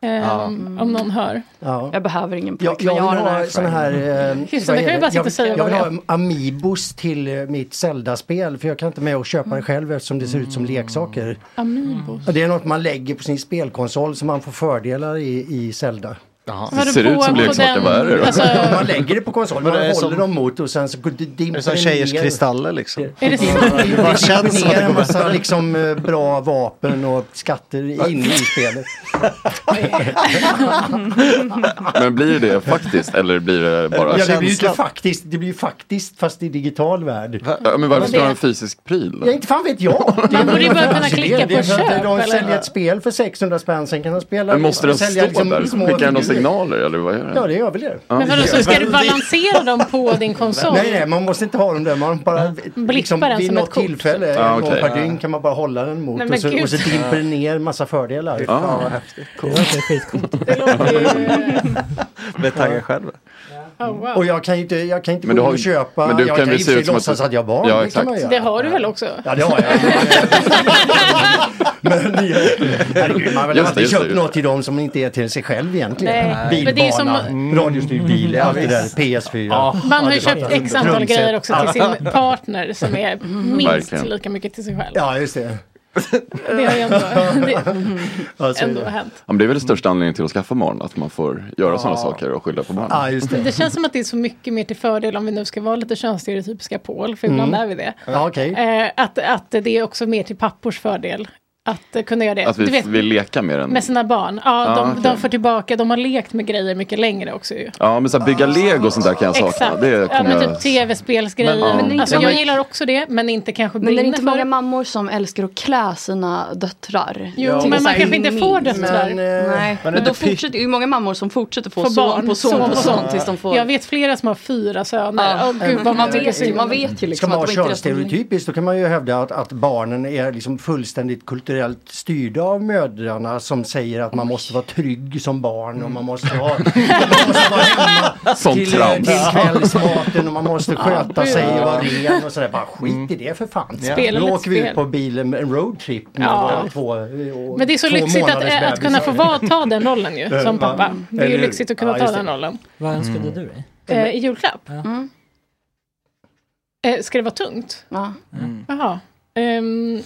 [SPEAKER 7] gör det.
[SPEAKER 3] ehm, Om någon hör.
[SPEAKER 6] Mm. Ja.
[SPEAKER 4] Jag behöver ingen
[SPEAKER 6] Jag,
[SPEAKER 4] pojk,
[SPEAKER 6] jag
[SPEAKER 4] men
[SPEAKER 6] vill
[SPEAKER 4] jag har en
[SPEAKER 6] ha sån
[SPEAKER 4] airfryer.
[SPEAKER 6] här... Eh,
[SPEAKER 3] Just det,
[SPEAKER 6] vad
[SPEAKER 3] det kan
[SPEAKER 6] är
[SPEAKER 3] vi bara sitta
[SPEAKER 6] jag,
[SPEAKER 3] och säga
[SPEAKER 6] jag vill
[SPEAKER 3] vad
[SPEAKER 6] ha
[SPEAKER 3] det
[SPEAKER 6] am- Amiibos till eh, mitt Zelda-spel för jag kan inte med och köpa det själv eftersom det ser ut som leksaker.
[SPEAKER 3] Amiibo.
[SPEAKER 6] Mm. Och Det är något man lägger på sin spelkonsol så man får fördelar i, i Zelda.
[SPEAKER 7] Jaha.
[SPEAKER 3] Vadå,
[SPEAKER 7] Det ser ut som
[SPEAKER 3] på- på
[SPEAKER 7] leksaker,
[SPEAKER 3] den-
[SPEAKER 7] vad är det då?
[SPEAKER 3] alltså-
[SPEAKER 6] Man lägger det på konsolen,
[SPEAKER 7] Men
[SPEAKER 6] man
[SPEAKER 7] det är
[SPEAKER 6] håller
[SPEAKER 7] som-
[SPEAKER 6] dem mot och sen så går det dimper
[SPEAKER 5] det som tjejers kristaller liksom?
[SPEAKER 3] Är det sant?
[SPEAKER 6] Det bara känns som att
[SPEAKER 5] det
[SPEAKER 6] en
[SPEAKER 5] går-
[SPEAKER 6] massa liksom, eh, bra vapen och skatter in i spelet.
[SPEAKER 7] Men blir det faktiskt eller blir det bara
[SPEAKER 6] Ja, det blir ju inte faktiskt, det blir ju faktiskt fast i digital värld.
[SPEAKER 7] Ja, men varför ska du ha en fysisk pryl?
[SPEAKER 6] Ja, inte fan vet jag.
[SPEAKER 7] Man borde ju bara kunna
[SPEAKER 6] Det är
[SPEAKER 7] klicka
[SPEAKER 6] det.
[SPEAKER 7] på
[SPEAKER 6] Det är för att
[SPEAKER 7] köp,
[SPEAKER 6] De
[SPEAKER 7] eller?
[SPEAKER 6] säljer ett spel för 600 spänn, sen kan de spela.
[SPEAKER 7] Men måste den
[SPEAKER 6] sälja liksom
[SPEAKER 7] stå där? Skickar den några signaler eller vad gör den?
[SPEAKER 6] Ja, det gör väl det.
[SPEAKER 7] Ja.
[SPEAKER 3] Men vadå, så ska du balansera dem på din konsol?
[SPEAKER 6] Nej, nej, man måste inte ha dem där. Man bara, liksom,
[SPEAKER 3] den
[SPEAKER 6] vid
[SPEAKER 3] som
[SPEAKER 6] något
[SPEAKER 3] ett kort.
[SPEAKER 6] tillfälle,
[SPEAKER 7] Ja,
[SPEAKER 6] en gång
[SPEAKER 7] okej.
[SPEAKER 6] per dygn, kan man bara hålla den mot
[SPEAKER 3] Nej, men
[SPEAKER 6] och, så, och så
[SPEAKER 3] gud.
[SPEAKER 6] dimper det ner massa fördelar.
[SPEAKER 5] Fy fan, vad Ja.
[SPEAKER 6] häftigt.
[SPEAKER 8] Det låter skitcoolt.
[SPEAKER 6] *laughs*
[SPEAKER 7] *laughs*
[SPEAKER 5] Blir taggad själv?
[SPEAKER 6] Och jag kan ju inte, jag kan inte
[SPEAKER 7] Men du
[SPEAKER 6] gå in
[SPEAKER 7] har
[SPEAKER 6] och
[SPEAKER 7] ju-
[SPEAKER 6] köpa.
[SPEAKER 7] men du kan
[SPEAKER 6] jag kan
[SPEAKER 7] väl
[SPEAKER 6] ju i och för
[SPEAKER 7] se
[SPEAKER 6] sig
[SPEAKER 7] ut som att
[SPEAKER 6] låtsas
[SPEAKER 7] du-
[SPEAKER 6] att jag har barn.
[SPEAKER 7] Ja,
[SPEAKER 6] det kan
[SPEAKER 7] exakt.
[SPEAKER 6] man göra.
[SPEAKER 3] Det har du väl också?
[SPEAKER 6] Ja, det har jag. Men ja, herregud, man vill
[SPEAKER 7] Just det,
[SPEAKER 6] alltid
[SPEAKER 7] just det,
[SPEAKER 6] köpa
[SPEAKER 7] just det.
[SPEAKER 6] något till dem som inte är till sig själv egentligen.
[SPEAKER 3] Nej. Nej. Men det är som-
[SPEAKER 6] Bilbana, radiostyrd bil, allt det där,
[SPEAKER 3] visst.
[SPEAKER 6] PS4.
[SPEAKER 3] Man har ju
[SPEAKER 6] Ja, det
[SPEAKER 3] köpt
[SPEAKER 6] var-
[SPEAKER 3] x antal
[SPEAKER 6] Trumset.
[SPEAKER 3] grejer också till
[SPEAKER 6] Ja. *laughs*
[SPEAKER 3] sin partner som är minst
[SPEAKER 6] Verkligen.
[SPEAKER 3] lika mycket till sig själv.
[SPEAKER 6] Ja, just det.
[SPEAKER 3] Det har ju ändå,
[SPEAKER 6] *laughs*
[SPEAKER 7] Ja,
[SPEAKER 3] det,
[SPEAKER 7] så är det.
[SPEAKER 3] ändå hänt.
[SPEAKER 7] Ja, men det är väl den största anledningen till att skaffa barn, att man får göra sådana saker och skylla på barn.
[SPEAKER 6] Ja, just
[SPEAKER 3] Det känns som att det är så mycket mer till fördel om vi nu ska vara lite könsstereotypiska Paul, för ibland
[SPEAKER 7] Mm.
[SPEAKER 3] är vi det.
[SPEAKER 6] Ja, okej.
[SPEAKER 3] Eh, att, att det är också mer till pappors fördel att eh, kunna göra det.
[SPEAKER 7] Att vi
[SPEAKER 3] du vet,
[SPEAKER 7] vill leka med den.
[SPEAKER 3] med sina barn. Ja,
[SPEAKER 7] Ja,
[SPEAKER 3] de,
[SPEAKER 7] okej.
[SPEAKER 3] de får tillbaka, de har lekt med grejer mycket längre också ju.
[SPEAKER 7] Ja, men så här, bygga lego och sånt där kan jag sakna. Det
[SPEAKER 3] ja,
[SPEAKER 7] kommer
[SPEAKER 3] men
[SPEAKER 7] jag...
[SPEAKER 3] typ tv-spelsgrejer.
[SPEAKER 7] Men- Men det är
[SPEAKER 3] alltså,
[SPEAKER 7] inte-
[SPEAKER 3] jag gillar också det, men inte kanske
[SPEAKER 4] Men det är
[SPEAKER 3] brinner
[SPEAKER 4] inte
[SPEAKER 3] för
[SPEAKER 4] många mammor som älskar att klä sina döttrar.
[SPEAKER 3] Jo, men man kanske inte får döttrar. Men, eh,
[SPEAKER 4] Nej,
[SPEAKER 3] Men
[SPEAKER 4] men,
[SPEAKER 3] är
[SPEAKER 4] då
[SPEAKER 3] det py-
[SPEAKER 4] fortsätter det är ju många mammor som fortsätter få
[SPEAKER 3] För
[SPEAKER 4] son på son på son tills de får...
[SPEAKER 3] Jag vet flera som har fyra söner.
[SPEAKER 4] Ja.
[SPEAKER 3] Åh gud vad man
[SPEAKER 4] Man
[SPEAKER 3] tycker
[SPEAKER 4] vet ju-
[SPEAKER 3] synd.
[SPEAKER 4] man vet ju
[SPEAKER 6] Ska
[SPEAKER 4] liksom
[SPEAKER 6] man
[SPEAKER 4] att
[SPEAKER 6] vara
[SPEAKER 4] de inte rätt till-
[SPEAKER 6] könsstereotypiskt då kan man ju hävda att, att barnen är liksom fullständigt kulturellt styrda av mödrarna som säger att man måste vara trygg som barn och
[SPEAKER 3] Mm. *laughs*
[SPEAKER 6] man måste ha
[SPEAKER 7] Sånt
[SPEAKER 6] till,
[SPEAKER 7] trams.
[SPEAKER 6] till kvällsmaten och man måste
[SPEAKER 3] Ja.
[SPEAKER 6] sköta sig och vara ren och sådär. Bara skit i det för fan.
[SPEAKER 3] Ja. Spela
[SPEAKER 6] nu
[SPEAKER 3] lite
[SPEAKER 6] åker vi ut
[SPEAKER 3] spel.
[SPEAKER 6] på bilen, en roadtrip med
[SPEAKER 3] Ja.
[SPEAKER 6] våra två eh, och
[SPEAKER 3] Men det är så
[SPEAKER 6] två
[SPEAKER 3] lyxigt att,
[SPEAKER 6] månaders
[SPEAKER 3] eh, att kunna få
[SPEAKER 6] bebisar.
[SPEAKER 3] vara, ta den rollen ju, som
[SPEAKER 6] Ja.
[SPEAKER 3] pappa. Det är ju
[SPEAKER 6] Eller hur?
[SPEAKER 3] lyxigt att kunna
[SPEAKER 6] Ja,
[SPEAKER 3] ta
[SPEAKER 6] just
[SPEAKER 3] den
[SPEAKER 6] det. Mm.
[SPEAKER 3] rollen.
[SPEAKER 8] Vad önskade du dig?
[SPEAKER 3] Eh, I julklapp?
[SPEAKER 8] Mm.
[SPEAKER 3] Eh, ska det vara tungt?
[SPEAKER 4] Ja.
[SPEAKER 5] Mm.
[SPEAKER 3] Jaha. Ehm,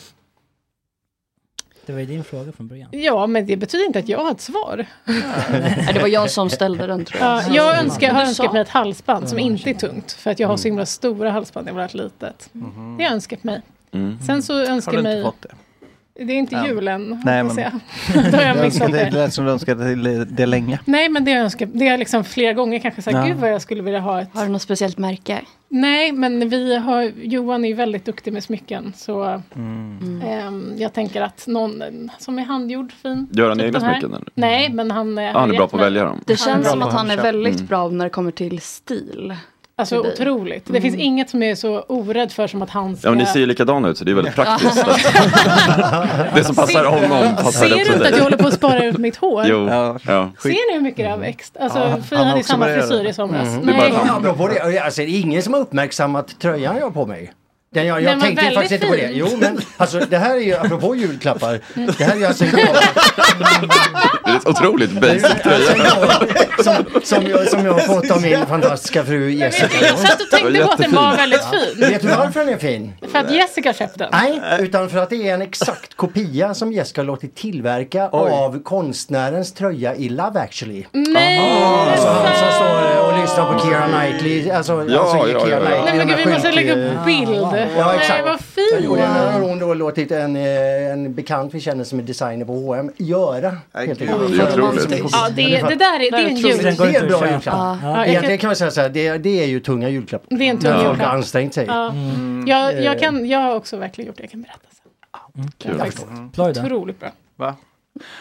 [SPEAKER 8] Det var ju din fråga från början.
[SPEAKER 3] ja, men det betyder inte att jag har ett svar.
[SPEAKER 4] Nej, det var jag som ställde den tror jag.
[SPEAKER 3] Ja,
[SPEAKER 5] Mm.
[SPEAKER 3] jag önskar, har
[SPEAKER 4] Du sa-
[SPEAKER 3] önskat mig ett halsband som inte är tungt, för att jag har så himla stora halsband när jag var ett litet. Det har jag önskat mig.
[SPEAKER 5] Mm.
[SPEAKER 3] Sen så önskar
[SPEAKER 5] Mm-hmm. Har
[SPEAKER 3] jag
[SPEAKER 5] du
[SPEAKER 3] mig...
[SPEAKER 5] inte fått det?
[SPEAKER 3] Det är inte
[SPEAKER 5] Än.
[SPEAKER 3] julen,
[SPEAKER 5] Nej,
[SPEAKER 3] hoppas
[SPEAKER 5] men-
[SPEAKER 3] jag. *laughs* Då har jag missat
[SPEAKER 5] önskade, det
[SPEAKER 3] det.
[SPEAKER 5] lät som du önskade det, det länge.
[SPEAKER 3] Nej, men det har jag önskat. Det har jag liksom flera gånger kanske sagt,
[SPEAKER 5] Ja.
[SPEAKER 3] gud vad jag skulle vilja ha ett...
[SPEAKER 4] Har du något speciellt märke?
[SPEAKER 3] Nej, men vi har... Johan är ju väldigt duktig med smycken, så... ehm, jag tänker att någon som är handgjord, fin. Typ
[SPEAKER 7] Gör han egna
[SPEAKER 3] den här.
[SPEAKER 7] smycken, eller?
[SPEAKER 3] Nej, men han... eh,
[SPEAKER 7] Ja, han är
[SPEAKER 3] har
[SPEAKER 7] bra
[SPEAKER 3] gett
[SPEAKER 7] på att
[SPEAKER 3] mig-
[SPEAKER 7] välja dem.
[SPEAKER 4] Det känns
[SPEAKER 3] bra
[SPEAKER 4] som
[SPEAKER 3] på
[SPEAKER 4] att han är
[SPEAKER 3] handköp.
[SPEAKER 4] väldigt
[SPEAKER 7] Mm.
[SPEAKER 4] bra när det kommer till stil.
[SPEAKER 3] Alltså
[SPEAKER 4] till dig.
[SPEAKER 3] otroligt.
[SPEAKER 4] *laughs*
[SPEAKER 3] *laughs* Det finns inget som jag är så orädd för som att han ska...
[SPEAKER 7] Ja, men ni ser ju likadana ut så det är väldigt praktiskt.
[SPEAKER 3] Ja. *laughs*
[SPEAKER 7] Det som passar honom passar
[SPEAKER 3] Ser du
[SPEAKER 7] också
[SPEAKER 3] inte att jag
[SPEAKER 7] dig.
[SPEAKER 3] håller på att
[SPEAKER 7] *laughs*
[SPEAKER 3] spara ut mitt hår?
[SPEAKER 7] Jo. Ja.
[SPEAKER 3] Ser ni hur mycket det har växt? Alltså,
[SPEAKER 6] Mm. Ja,
[SPEAKER 3] Fi
[SPEAKER 6] han har
[SPEAKER 3] hade
[SPEAKER 6] också
[SPEAKER 3] samma
[SPEAKER 6] börjat göra
[SPEAKER 3] frisyr
[SPEAKER 6] det.
[SPEAKER 3] i somras.
[SPEAKER 6] Mm.
[SPEAKER 7] Det är bara att
[SPEAKER 6] Men
[SPEAKER 7] han-
[SPEAKER 6] apropå det, alltså, det är ingen som har uppmärksammat tröjan jag har på mig. Den, jag jag
[SPEAKER 3] Den var
[SPEAKER 6] tänkte ju faktiskt
[SPEAKER 3] väldigt
[SPEAKER 6] inte på det.
[SPEAKER 3] fin. Mm.
[SPEAKER 6] Jo, men alltså det här är ju, apropå julklappar, det här är ju alltså en
[SPEAKER 7] Det är ett otroligt basic tröja.
[SPEAKER 6] som, som, jag, som jag har fått av min fantastiska fru Jessica.
[SPEAKER 3] Jag satt och tänkte på att den var väldigt fin.
[SPEAKER 6] Vet du varför den är fin?
[SPEAKER 3] För att Jessica köpte den.
[SPEAKER 6] Nej, utan för att det är en exakt kopia som Jessica har låtit tillverka av konstnärens tröja i Love actually.
[SPEAKER 3] Nej!
[SPEAKER 6] Alltså han som står eh, och lyssnar på Keira Knightley, alltså,
[SPEAKER 7] Ja,
[SPEAKER 6] alltså
[SPEAKER 7] ja, ja,
[SPEAKER 6] Keira
[SPEAKER 7] ja.
[SPEAKER 6] Knightley.
[SPEAKER 3] Nej men gud, vi
[SPEAKER 6] med
[SPEAKER 3] måste
[SPEAKER 6] skylt,
[SPEAKER 3] lägga
[SPEAKER 6] eh,
[SPEAKER 3] upp bild.
[SPEAKER 6] Ja,
[SPEAKER 3] Nej,
[SPEAKER 6] exakt.
[SPEAKER 3] vad
[SPEAKER 6] Jag gjorde det. Nu har
[SPEAKER 3] fin!
[SPEAKER 6] hon då låtit en, eh, en bekant vi känner som är designer på H&M göra. helt
[SPEAKER 7] gud,
[SPEAKER 6] enkelt.
[SPEAKER 7] det är otroligt.
[SPEAKER 3] Ja, det, det där är, det är en
[SPEAKER 6] Det är en bra
[SPEAKER 3] jul.
[SPEAKER 6] julklapp.
[SPEAKER 3] Ja. Ja, jag kan-
[SPEAKER 6] Egentligen kan man säga så här, det, är- det är ju tunga julklapp.
[SPEAKER 3] Det är en tung
[SPEAKER 6] Men folk har
[SPEAKER 3] julklapp.
[SPEAKER 6] ansträngt sig. Mm. Eh.
[SPEAKER 3] Ja. Jag, jag, kan, jag har också verkligen gjort det, jag kan berätta sen.
[SPEAKER 6] Kul.
[SPEAKER 3] Faktiskt.
[SPEAKER 8] Ploj då.
[SPEAKER 3] Otroligt bra.
[SPEAKER 5] Va?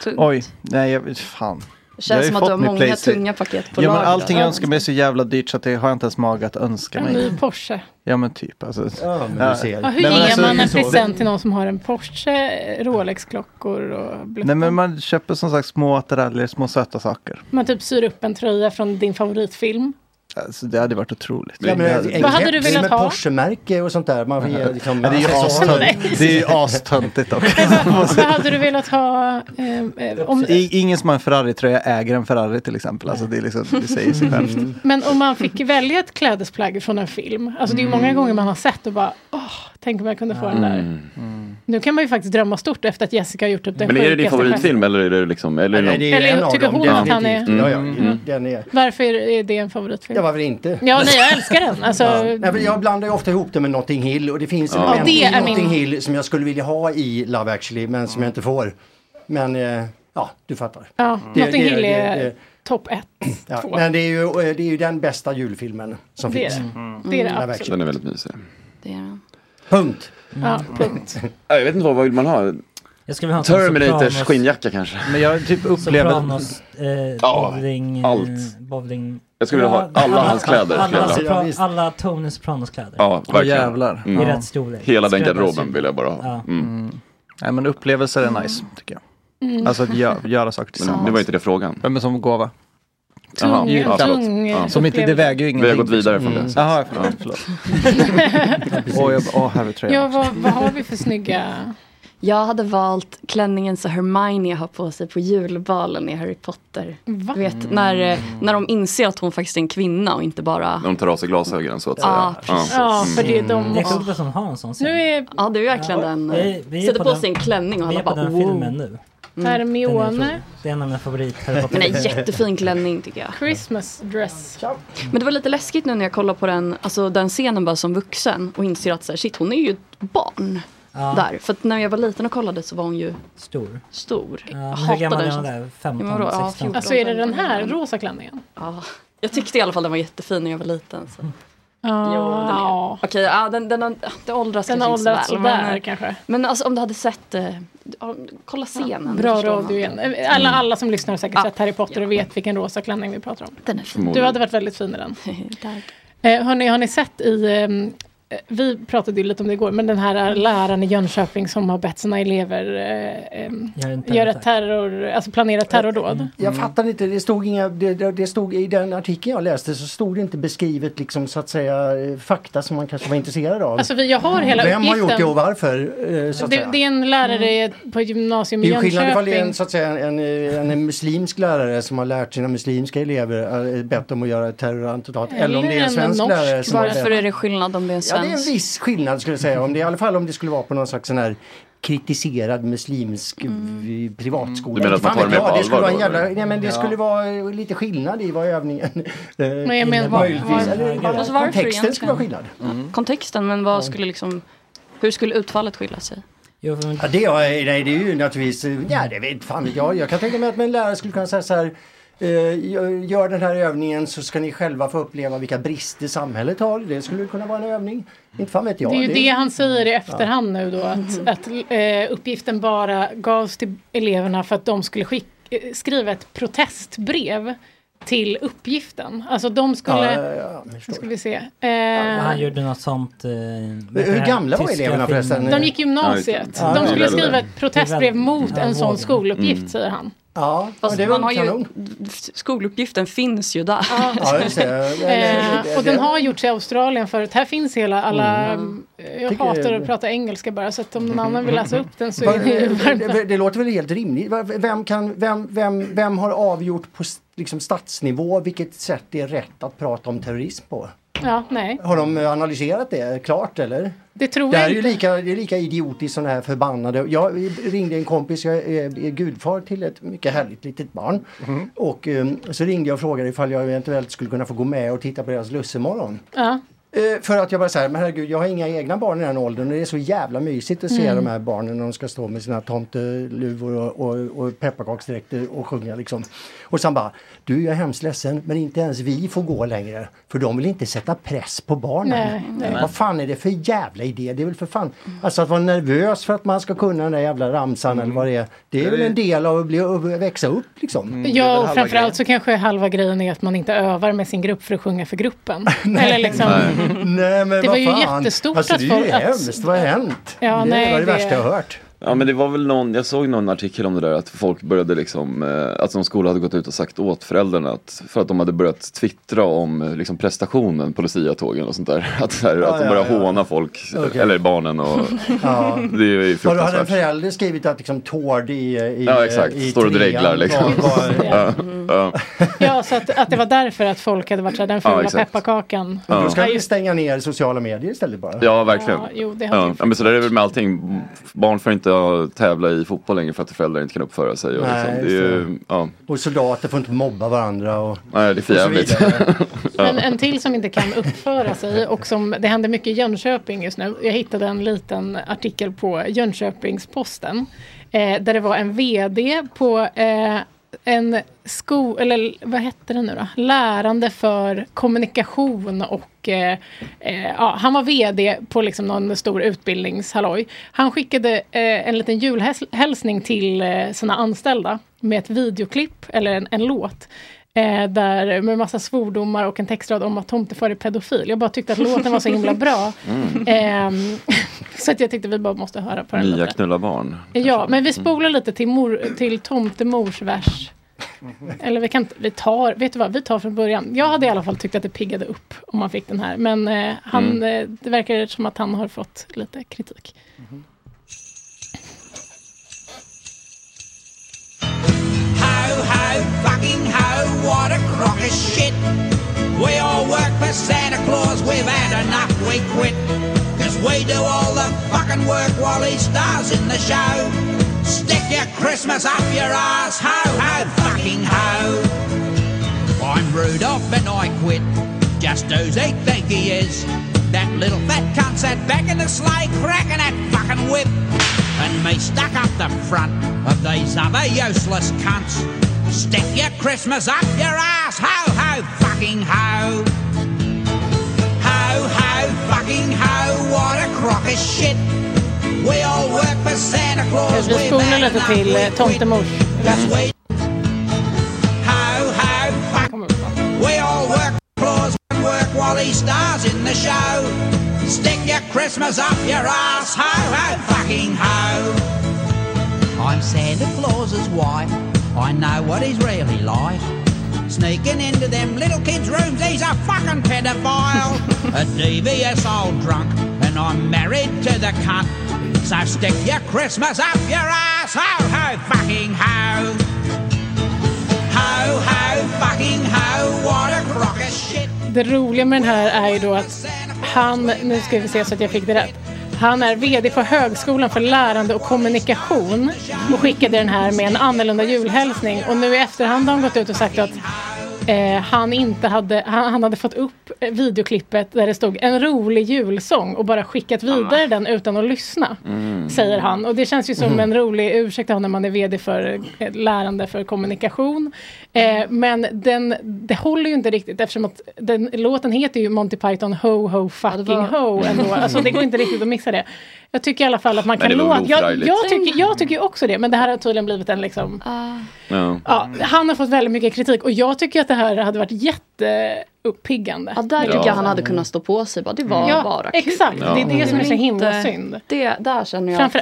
[SPEAKER 4] Tungt.
[SPEAKER 5] Oj, nej jag, fan.
[SPEAKER 4] Det
[SPEAKER 5] Jag
[SPEAKER 4] känns
[SPEAKER 5] har ju
[SPEAKER 4] som att du
[SPEAKER 5] fått
[SPEAKER 4] har
[SPEAKER 5] min
[SPEAKER 4] många
[SPEAKER 5] Playstation.
[SPEAKER 4] tunga paket på
[SPEAKER 5] ja, men
[SPEAKER 4] lager.
[SPEAKER 5] Allting jag
[SPEAKER 4] Ja.
[SPEAKER 5] önskar mig är så jävla dyrt så att det har jag inte ens mag att önska
[SPEAKER 3] En
[SPEAKER 5] mig.
[SPEAKER 3] ny Porsche.
[SPEAKER 5] Ja men typ alltså.
[SPEAKER 6] Ja, men du ser.
[SPEAKER 3] Ja, hur
[SPEAKER 5] Nej, men
[SPEAKER 3] ger
[SPEAKER 5] alltså-
[SPEAKER 3] man en present till någon som har en Porsche, Rolex-klockor och bluff?
[SPEAKER 5] Nej men man köper som sagt små attiraljer, små söta saker.
[SPEAKER 3] Man typ syr upp en tröja från
[SPEAKER 5] *laughs*
[SPEAKER 3] din favoritfilm.
[SPEAKER 5] Alltså, det hade varit otroligt.
[SPEAKER 6] Ja, men en- en
[SPEAKER 3] Vad hade du
[SPEAKER 6] keps
[SPEAKER 3] velat
[SPEAKER 6] med
[SPEAKER 3] ha?
[SPEAKER 6] Porsche-märke och sånt där. Man får ge, liksom,
[SPEAKER 5] Ja, det är ju
[SPEAKER 6] accessoarer.
[SPEAKER 5] astöntigt. Det är ju astöntigt dock.
[SPEAKER 3] Vad hade du velat ha? Eh, eh, om,
[SPEAKER 5] I, ingen som har en Ferrari-tröja äger en Ferrari till exempel. Alltså, det, är liksom, det säger sig självt.
[SPEAKER 6] Mm.
[SPEAKER 5] Mm.
[SPEAKER 3] men om man fick välja ett klädesplagg från en film. Alltså det är ju många gånger man har sett och bara, åh, tänk om jag kunde få den där.
[SPEAKER 7] Mm.
[SPEAKER 3] Nu kan man ju faktiskt drömma stort efter att Jessica har gjort typ den
[SPEAKER 7] Men är det din
[SPEAKER 3] sjukaste
[SPEAKER 7] favoritfilm eller är det liksom... Eller,
[SPEAKER 3] Nej,
[SPEAKER 7] någon-
[SPEAKER 3] det är Eller en av tycker dem, hon att han är- definitivt.
[SPEAKER 6] Ja, ja,
[SPEAKER 7] Mm.
[SPEAKER 6] den är...
[SPEAKER 3] skärmen. Varför är det en favoritfilm?
[SPEAKER 6] Ja, varför inte?
[SPEAKER 3] Ja, nej, jag älskar den. Alltså,
[SPEAKER 6] Ja. Nej, men jag blandar ju ofta ihop det med Notting Hill och det finns
[SPEAKER 3] Ja.
[SPEAKER 6] en
[SPEAKER 3] Ja,
[SPEAKER 6] moment
[SPEAKER 3] det
[SPEAKER 6] i
[SPEAKER 3] är min-
[SPEAKER 6] Notting Hill som jag skulle vilja ha i Love actually men som jag inte får. Men eh, ja, du fattar.
[SPEAKER 3] ja,
[SPEAKER 6] Det-
[SPEAKER 3] Notting
[SPEAKER 6] det-
[SPEAKER 3] Hill
[SPEAKER 6] det-
[SPEAKER 3] är
[SPEAKER 6] det-
[SPEAKER 3] topp ett.
[SPEAKER 6] Ja,
[SPEAKER 3] två.
[SPEAKER 6] men det är, ju, eh, det är ju den bästa julfilmen som
[SPEAKER 3] Det är
[SPEAKER 6] finns. Mm.
[SPEAKER 3] det. Mm. Det är det
[SPEAKER 6] Love
[SPEAKER 3] absolut.
[SPEAKER 6] Actually.
[SPEAKER 7] Den är väldigt mysig.
[SPEAKER 6] Punkt.
[SPEAKER 3] Ja, punkt.
[SPEAKER 7] Ja, Jag vet inte vad, vad vill man ha?
[SPEAKER 8] Jag skulle vilja ha en sån
[SPEAKER 7] Terminators
[SPEAKER 8] Sopranos-
[SPEAKER 7] skinnjacka kanske.
[SPEAKER 5] Men jag typ
[SPEAKER 8] Sopranos, eh,
[SPEAKER 7] Ja,
[SPEAKER 8] bowling,
[SPEAKER 7] allt.
[SPEAKER 8] allt. bowling.
[SPEAKER 7] Jag skulle vilja ha alla hans kläder,
[SPEAKER 8] Alla,
[SPEAKER 7] skulle jag
[SPEAKER 8] alla,
[SPEAKER 7] vilja ha.
[SPEAKER 8] Sopra- alla Tony Sopranos kläder.
[SPEAKER 7] Ja, verkligen. Mm.
[SPEAKER 8] I rätt storlek.
[SPEAKER 7] Hela den
[SPEAKER 8] Skulle jag bara
[SPEAKER 7] garderoben
[SPEAKER 8] sy.
[SPEAKER 7] vill jag bara ha.
[SPEAKER 8] Ja.
[SPEAKER 7] Mm.
[SPEAKER 5] Nej men upplevelser är nice tycker jag.
[SPEAKER 3] Mm.
[SPEAKER 5] Alltså att gö- göra saker tillsammans.
[SPEAKER 7] Men det var inte det frågan.
[SPEAKER 5] Ja, men som gåva.
[SPEAKER 7] Tung- Jaha, ja, tung förlåt. Ja.
[SPEAKER 5] Som inte, det väger ju
[SPEAKER 7] Vi har
[SPEAKER 5] ingenting. liksom. Mm.
[SPEAKER 7] gått vidare från det.
[SPEAKER 5] Jaha, förlåt. förlåt. Åh, jag, åh, här är tröjan.
[SPEAKER 3] Ja, vad, vad har vi för snygga...
[SPEAKER 4] *laughs* Jag hade valt klänningen som Hermione har på sig på julbalen i Harry Potter.
[SPEAKER 3] Va?
[SPEAKER 4] Du vet, när, eh, när de inser att hon faktiskt är en kvinna och inte bara...
[SPEAKER 7] De tar av sig glasögonen så att säga.
[SPEAKER 4] Ja, precis. Ja, för det är de-
[SPEAKER 8] Det är coolt att de har en sån scen.
[SPEAKER 3] Nu är...
[SPEAKER 4] Ja, det är verkligen den. eh,
[SPEAKER 8] Vi- vi är
[SPEAKER 4] Sätter på,
[SPEAKER 8] på den-
[SPEAKER 4] sig en klänning och
[SPEAKER 8] Vi
[SPEAKER 4] alla
[SPEAKER 8] är på
[SPEAKER 4] bara
[SPEAKER 8] den
[SPEAKER 4] wow. Mm.
[SPEAKER 8] filmen nu.
[SPEAKER 3] Hermione.
[SPEAKER 8] Den är- Det är en av mina favoriter.
[SPEAKER 4] Men en jättefin klänning tycker jag.
[SPEAKER 3] Christmas dress.
[SPEAKER 4] Men det var lite läskigt nu när jag kollade på den, alltså den scenen bara som vuxen och inser att så här, shit hon är ju ett barn.
[SPEAKER 8] Ja.
[SPEAKER 4] Där. För att när jag var liten och kollade så var hon ju
[SPEAKER 8] Stor.
[SPEAKER 4] stor.
[SPEAKER 8] Ja,
[SPEAKER 4] Jag
[SPEAKER 8] men hur
[SPEAKER 4] hatar
[SPEAKER 8] gammal
[SPEAKER 4] den
[SPEAKER 8] är hon
[SPEAKER 4] känslan.
[SPEAKER 8] där? 15,
[SPEAKER 4] Ja, men vadå? Ja,
[SPEAKER 8] 16.
[SPEAKER 4] 14,
[SPEAKER 3] Alltså är det den här rosa klänningen?
[SPEAKER 4] Ja. Jag tyckte i alla fall den var jättefin när jag var liten. Så.
[SPEAKER 3] Ja.
[SPEAKER 4] Jo, den är. Okej, ja, den, den, har- det åldras
[SPEAKER 3] Den
[SPEAKER 4] kanske
[SPEAKER 3] har
[SPEAKER 4] inte
[SPEAKER 3] åldrats
[SPEAKER 4] så väl.
[SPEAKER 3] sådär kanske.
[SPEAKER 4] Men alltså, om du hade sett, eh, ja, kolla scenen.
[SPEAKER 3] Bra
[SPEAKER 4] förstår
[SPEAKER 3] radio
[SPEAKER 4] man. Mm.
[SPEAKER 3] igen. Alla, alla som lyssnar har säkert sett Harry Potter och vet vilken rosa klänning vi pratar om.
[SPEAKER 4] Den är fin.
[SPEAKER 3] Du hade varit väldigt fin i
[SPEAKER 4] *laughs*
[SPEAKER 3] den. Eh, hörni, har ni sett i... ehm, Eh, vi pratade ju lite om det igår, men den här läraren i Jönköping som har bett sina elever eh, ehm,
[SPEAKER 8] Gör en
[SPEAKER 3] göra terror, alltså planera terrordåd.
[SPEAKER 6] Mm. Jag
[SPEAKER 7] Mm.
[SPEAKER 6] fattar inte, det stod inga, det, det det stod i den artikeln jag läste så stod det inte beskrivet liksom så att säga eh, fakta som man kanske var intresserad av.
[SPEAKER 3] Alltså, vi- jag har hela
[SPEAKER 6] Vem har
[SPEAKER 3] uppgiften.
[SPEAKER 6] gjort det och varför? eh, Så att
[SPEAKER 3] Det,
[SPEAKER 6] säga. Mm.
[SPEAKER 3] det är en lärare på gymnasium i
[SPEAKER 6] Det är ju skillnad ifall det är
[SPEAKER 3] Jönköping.
[SPEAKER 6] en, så att säga, en, en, en muslimsk lärare som har lärt sina muslimska elever eh, bett dem att göra ett terrorattentat. Eller, om det är en svensk lärare som har
[SPEAKER 4] Varför
[SPEAKER 6] bett.
[SPEAKER 4] är det skillnad om det är en
[SPEAKER 6] Ja, det är
[SPEAKER 4] svensk?
[SPEAKER 6] en viss skillnad skulle jag säga. Om det, I alla fall om det skulle vara på någon slags sån här kritiserad muslimsk
[SPEAKER 3] Mm.
[SPEAKER 6] v- privatskola.
[SPEAKER 7] Du menar att man
[SPEAKER 6] Fan
[SPEAKER 7] tar det mer
[SPEAKER 6] vet jag,
[SPEAKER 7] på
[SPEAKER 6] det skulle
[SPEAKER 7] allvar
[SPEAKER 6] vara en
[SPEAKER 7] då,
[SPEAKER 6] jävla,
[SPEAKER 7] eller?
[SPEAKER 6] Nej men det
[SPEAKER 7] Ja.
[SPEAKER 6] skulle vara eh, lite skillnad i vad övningen... Men
[SPEAKER 4] jag menar, var-
[SPEAKER 6] Mm. möjligtvis.
[SPEAKER 4] var-
[SPEAKER 6] Eller bara
[SPEAKER 4] Alltså, varför
[SPEAKER 6] kontexten skulle
[SPEAKER 4] egentligen?
[SPEAKER 6] vara skillnad.
[SPEAKER 4] Kontexten, men vad skulle liksom, hur skulle utfallet skilja sig?
[SPEAKER 6] Ja, det, är, nej, det är ju naturligtvis, eh, ja det vet fan vet jag. Jag kan tänka mig att en lärare skulle kunna säga så här eh, gör- Gör den här övningen så ska ni själva få uppleva vilka brister samhället har. Det skulle kunna vara en övning. Inte fan vet jag.
[SPEAKER 3] det är ju det han säger i efterhand nu då, att,
[SPEAKER 6] Mm.
[SPEAKER 3] att eh, uppgiften bara gavs till eleverna för att de skulle skick, eh, skriva ett protestbrev till uppgiften. Alltså de skulle...
[SPEAKER 8] Ja, ja,
[SPEAKER 3] nu ska vi se.
[SPEAKER 8] Han
[SPEAKER 3] Eh,
[SPEAKER 8] gjorde något sånt. Eh,
[SPEAKER 6] Hur gamla var eleverna förresten?
[SPEAKER 3] de gick gymnasiet.
[SPEAKER 6] Ja,
[SPEAKER 3] De
[SPEAKER 6] det är
[SPEAKER 3] skulle
[SPEAKER 6] väl-
[SPEAKER 3] skriva ett protestbrev mot
[SPEAKER 6] Ja,
[SPEAKER 3] en sån
[SPEAKER 6] vågen.
[SPEAKER 3] skoluppgift,
[SPEAKER 6] Mm.
[SPEAKER 3] säger han.
[SPEAKER 6] Ja,
[SPEAKER 4] Fast
[SPEAKER 6] det är
[SPEAKER 4] man
[SPEAKER 6] väl
[SPEAKER 4] har ju,
[SPEAKER 6] kanon.
[SPEAKER 4] skoluppgiften finns ju där.
[SPEAKER 6] Ja, just det. Mm.
[SPEAKER 3] Eh, och den har gjorts i Australien förut. Här finns hela alla... eh, Jag
[SPEAKER 6] Tycker-
[SPEAKER 3] hatar att prata engelska bara, så att om någon annan vill läsa upp den så
[SPEAKER 6] Va-
[SPEAKER 3] är det ju
[SPEAKER 6] *laughs* det,
[SPEAKER 3] varmt
[SPEAKER 6] det, det låter väl helt rimligt. Va- Vem, kan, vem, vem, vem har avgjort på s- liksom, statsnivå vilket sätt det är rätt att prata om terrorism på?
[SPEAKER 3] Ja, nej.
[SPEAKER 6] Har de analyserat det klart eller?
[SPEAKER 3] Det tror
[SPEAKER 6] Det här
[SPEAKER 3] jag
[SPEAKER 6] är ju
[SPEAKER 3] inte.
[SPEAKER 6] lika, det är lika idiotiskt som det här förbannade. Jag ringde en kompis, jag är, är gudfar till ett mycket härligt litet barn.
[SPEAKER 7] Mm.
[SPEAKER 6] Och ehm, så ringde jag och frågade ifall jag eventuellt skulle kunna få gå med och titta på deras lussemorgon.
[SPEAKER 7] Mm,
[SPEAKER 3] Ja.
[SPEAKER 6] Eh, För att jag bara säger, men herregud jag har inga egna barn i den åldern och det är så jävla mysigt att se
[SPEAKER 3] Mm.
[SPEAKER 6] de här barnen när de ska stå med sina tomteluvor och, och, och pepparkaksdräkter och sjunga liksom. Och sen bara, du jag är hemskt ledsen men inte ens vi får gå längre för de vill inte sätta press på barnen.
[SPEAKER 3] Nej, nej. Mm.
[SPEAKER 6] Vad fan är det för jävla idé? Det är väl för fan, alltså att vara nervös för att man ska kunna den där jävla ramsan eller vad det är. Det är väl en del av att bli, att växa upp liksom.
[SPEAKER 3] Mm. Ja, och framförallt så kanske halva grejen är att man inte över med sin grupp för att sjunga
[SPEAKER 7] *laughs*
[SPEAKER 3] för gruppen. Eller liksom,
[SPEAKER 6] Nej, men
[SPEAKER 3] Det
[SPEAKER 6] vad
[SPEAKER 3] var ju
[SPEAKER 6] fan.
[SPEAKER 3] jättestort
[SPEAKER 6] alltså,
[SPEAKER 3] att
[SPEAKER 6] det är ju
[SPEAKER 3] folk- att-
[SPEAKER 6] hemskt, vad har hänt?
[SPEAKER 3] Ja,
[SPEAKER 6] det
[SPEAKER 3] nej,
[SPEAKER 6] var det,
[SPEAKER 3] det-
[SPEAKER 6] värsta jag har hört.
[SPEAKER 7] Ja men det var väl någon, jag såg någon artikel om det där att folk började liksom, eh, att någon skola hade gått ut och sagt åt föräldrarna att, för att de hade börjat twittra om eh, liksom prestationen på Lucia-tågen och sånt där. *laughs* Att, så här,
[SPEAKER 6] Ja,
[SPEAKER 7] att de
[SPEAKER 6] ja,
[SPEAKER 7] började
[SPEAKER 6] ja.
[SPEAKER 7] håna folk, eh,
[SPEAKER 6] Okej.
[SPEAKER 7] eller barnen och
[SPEAKER 6] *laughs* Ja.
[SPEAKER 7] *laughs* det är ju
[SPEAKER 6] Och då hade en
[SPEAKER 7] fruktansvärt.
[SPEAKER 6] förälder skrivit att liksom tård i, i
[SPEAKER 7] Ja exakt,
[SPEAKER 6] i
[SPEAKER 7] står och
[SPEAKER 6] trean
[SPEAKER 7] dreglar liksom.
[SPEAKER 6] var- var-
[SPEAKER 7] Ja, *laughs* ja.
[SPEAKER 3] Ja, så att, att det var därför att folk hade varit så här, den
[SPEAKER 7] Ja,
[SPEAKER 3] fula
[SPEAKER 7] exakt.
[SPEAKER 3] pepparkakan.
[SPEAKER 7] Ja.
[SPEAKER 6] Då ska vi stänga ner sociala medier istället bara.
[SPEAKER 7] Ja, verkligen.
[SPEAKER 3] Ja, jo, det har
[SPEAKER 7] ja. ja, men så där är det väl med allting. Barn får inte ja, tävla i fotboll längre för att föräldrar inte kan uppföra sig. Och
[SPEAKER 6] Nej,
[SPEAKER 7] liksom. det
[SPEAKER 6] just
[SPEAKER 7] är
[SPEAKER 6] det.
[SPEAKER 7] ju, ja.
[SPEAKER 6] Och soldater får inte mobba varandra och...
[SPEAKER 7] Nej, det är för
[SPEAKER 6] Och så
[SPEAKER 7] jävligt. ja.
[SPEAKER 3] Men en till som inte kan uppföra sig och som det händer mycket i Jönköping just nu. Jag hittade en liten artikel på Jönköpingsposten eh, där det var en vd på eh, en sko, eller vad hette det nu då? Lärande för kommunikation och eh, eh, ja, han var vd på liksom någon stor utbildningshalloj. Han skickade eh, en liten julhälsning till eh, sina anställda med ett videoklipp eller en, en låt. Eh, där med massa svordomar och en textrad om att tomtefar är pedofil. Jag bara tyckte att låten var så himla bra.
[SPEAKER 7] Mm.
[SPEAKER 3] Ehm, *laughs* så att jag tyckte vi bara måste höra på den.
[SPEAKER 7] Nya
[SPEAKER 3] lite.
[SPEAKER 7] knulla barn.
[SPEAKER 3] Ja, men vi spolar lite till, mor, till tomtemors vers. Eller vi kan inte- vi tar, vet du vad, vi tar från början. Jag hade i alla fall tyckt att det piggade upp om man fick den här. Men eh, han, eh, det verkar som att han har fått lite kritik.
[SPEAKER 2] Ho, ho, fucking ho, what a crock of shit. We all work for Santa Claus, we've had enough, we quit. Cause we do all the fucking work while he stars in the show. Stick your Christmas up your ass, ho, ho, fucking ho. I'm Rudolph and I quit. Just who's he think he is? That little fat cunt sat back in the sleigh, cracking that fucking whip. And me stuck up the front of these other useless cunts. Stick your Christmas up your ass, ho, ho, fucking ho. Ho, ho, fucking ho, what a crock of shit. We all work for Santa Claus,
[SPEAKER 3] Vi
[SPEAKER 2] we're
[SPEAKER 3] spolar
[SPEAKER 2] bad
[SPEAKER 3] lite
[SPEAKER 2] enough,
[SPEAKER 3] till eh,
[SPEAKER 2] we quit.
[SPEAKER 3] tomtemors vers.
[SPEAKER 2] We Ho, ho, fuck. We all work claws and work while he stars in the show. Stick your Christmas up your ass, ho, ho, fucking ho. I'm Santa Claus's wife. I know what he's really like. Sneaking into them little kids' rooms, he's a fucking pedophile. a devious old drunk, and I'm married to the cunt. So stick your Christmas up your ass, ho, ho, fucking ho. Ho, ho, fucking ho, what a crock of shit.
[SPEAKER 3] Det roliga med den här är ju då att han, nu ska vi se så att jag fick det rätt. Han är VD på Högskolan för lärande och kommunikation och skickade den här med en annorlunda julhälsning. Och nu i efterhand har han gått ut och sagt att eh, han, inte hade, han, han hade fått upp eh, videoklippet där det stod en rolig julsång och bara skickat vidare den utan att lyssna.
[SPEAKER 5] Mm.
[SPEAKER 3] Säger han. Och det känns ju som
[SPEAKER 7] Mhm.
[SPEAKER 4] Mm.
[SPEAKER 3] en rolig ursäkt att ha när man är VD för eh, lärande för kommunikation. Eh, men den, det håller ju inte riktigt eftersom att den, låten heter ju Monty Python Ho Ho Fucking Ho ändå. Alltså det går inte riktigt att mixa det. Jag tycker i alla fall att man
[SPEAKER 7] Men
[SPEAKER 3] kan
[SPEAKER 7] det var
[SPEAKER 3] låta...
[SPEAKER 7] väl
[SPEAKER 3] Jag,
[SPEAKER 7] oförargligt.
[SPEAKER 3] jag, tycker, jag tycker ju också det, men det här har tydligen blivit en liksom...
[SPEAKER 4] Ah.
[SPEAKER 7] Ja.
[SPEAKER 3] Ja, han har fått väldigt mycket kritik och jag tycker att det här hade varit jätteuppiggande.
[SPEAKER 4] Ja, där tycker jag han hade kunnat stå på sig. Bara, det var
[SPEAKER 3] Mm. Ja,
[SPEAKER 4] bara
[SPEAKER 3] exakt. Det är det som är så himla
[SPEAKER 4] Inte-
[SPEAKER 3] synd.
[SPEAKER 4] Det, där känner jag att det-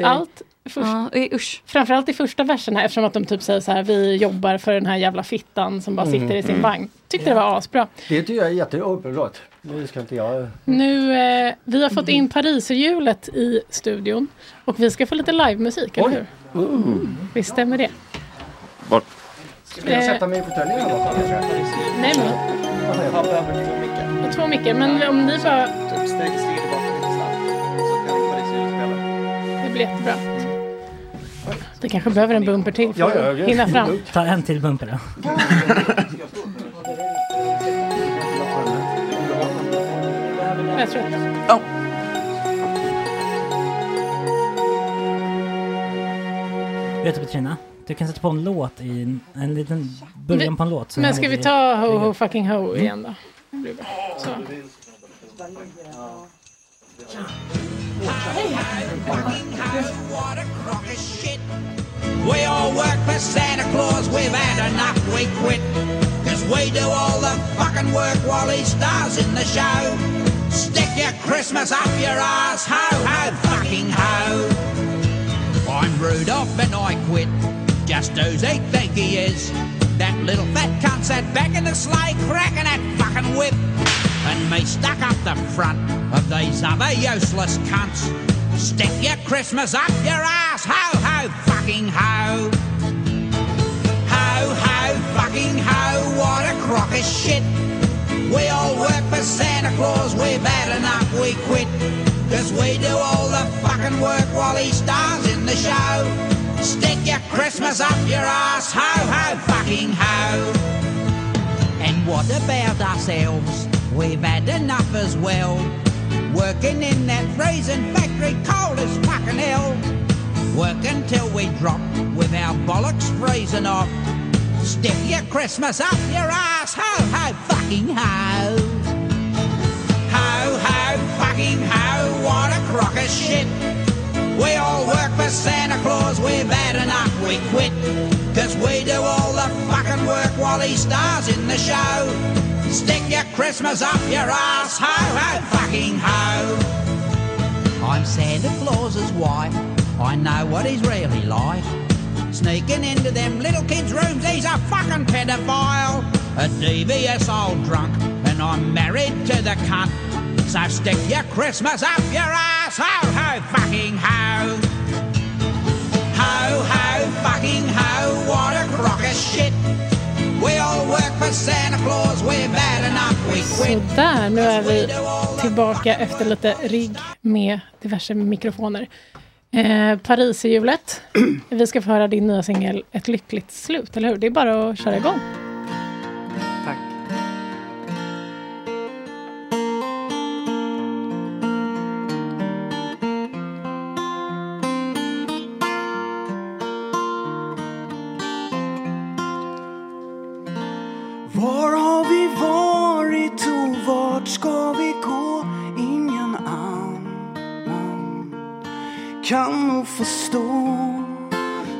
[SPEAKER 3] Framförallt först, framförallt i första verserna eftersom att de typ säger så här vi jobbar för den här jävla fittan som bara
[SPEAKER 6] Mm,
[SPEAKER 3] sitter i sin
[SPEAKER 6] mm.
[SPEAKER 3] vagn. Tyckte det var asbra.
[SPEAKER 6] Det tycker jag är jätte... Oh, förlåt. Nu ska inte jag...
[SPEAKER 3] Nu, eh, vi har fått in pariserhjulet i studion och vi ska få lite livemusik, eller hur? Visst stämmer det?
[SPEAKER 7] Vart?
[SPEAKER 6] Ska jag sätta mig i fåtöljen eller vad?
[SPEAKER 3] Nej men, och två mickar, men om ni bara... Det blir jättebra. Vi kanske behöver en bumper till för
[SPEAKER 8] Ja, ja, ja.
[SPEAKER 3] att hinna fram.
[SPEAKER 8] Ta en till bumper då.
[SPEAKER 3] Jag tror att...
[SPEAKER 8] Vet du Petrina, du kan sätta på en låt i en, en liten början på en låt. så
[SPEAKER 3] Men
[SPEAKER 8] kan
[SPEAKER 3] ska
[SPEAKER 8] vi-
[SPEAKER 3] vi ta Ho Ho Fucking Ho igen då? Det blir bra. Så.
[SPEAKER 2] We all work for Santa Claus, we've had enough, we quit. Cause we do all the fucking work while he stars in the show. Stick your Christmas up your ass, ho ho fucking ho. I'm Rudolph and I quit. Just who's he think he is? That little fat cunt sat back in the sleigh, cracking that fucking whip. And me stuck up the front of these other useless cunts. Stick your Christmas up your ass, ho ho fucking ho. Ho ho fucking ho, what a crock of shit. We all work for Santa Claus, we've had enough, we quit. Cause we do all the fucking work while he stars in the show. Stick your Christmas up your ass, ho ho fucking ho. And what about ourselves? We've had enough as well. Working in that freezing factory cold as fucking hell. Work until we drop with our bollocks freezing off. Stick your Christmas up your ass, ho ho fucking ho. Ho ho fucking ho, what a crock of shit. We all work for Santa Claus, we've had enough, we quit. Cause we do all the fucking work while he stars in the show. Stick your Christmas up your ass, ho ho fucking ho. I'm Santa Claus's wife. I know what he's really like. Sneaking into them little kids' rooms, he's a fucking pedophile. A devious old drunk, and I'm married to the cunt. So stick your Christmas up your ass, ho ho fucking ho. Ho ho fucking ho, what a crock of shit. We all work for Santa Claus, we've had enough, we quit.
[SPEAKER 3] Sådär, nu är vi tillbaka efter lite rigg med diverse mikrofoner. Eh, Paris i hjulet. Vi ska få höra din nya singel Ett lyckligt slut, eller hur? Det är bara att köra igång.
[SPEAKER 10] Var har vi varit och vart ska vi gå? Ingen annan kan nog förstå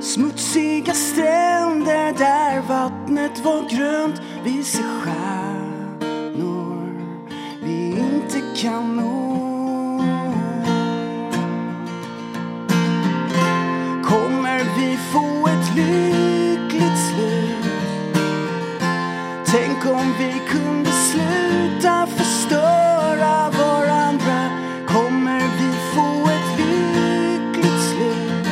[SPEAKER 10] Smutsiga stränder där vattnet var grönt Vi ser stjärnor vi inte kan nå Kommer vi få ett lyckligt slut? Tänk om vi kunde sluta förstöra varandra Kommer vi få ett lyckligt slut?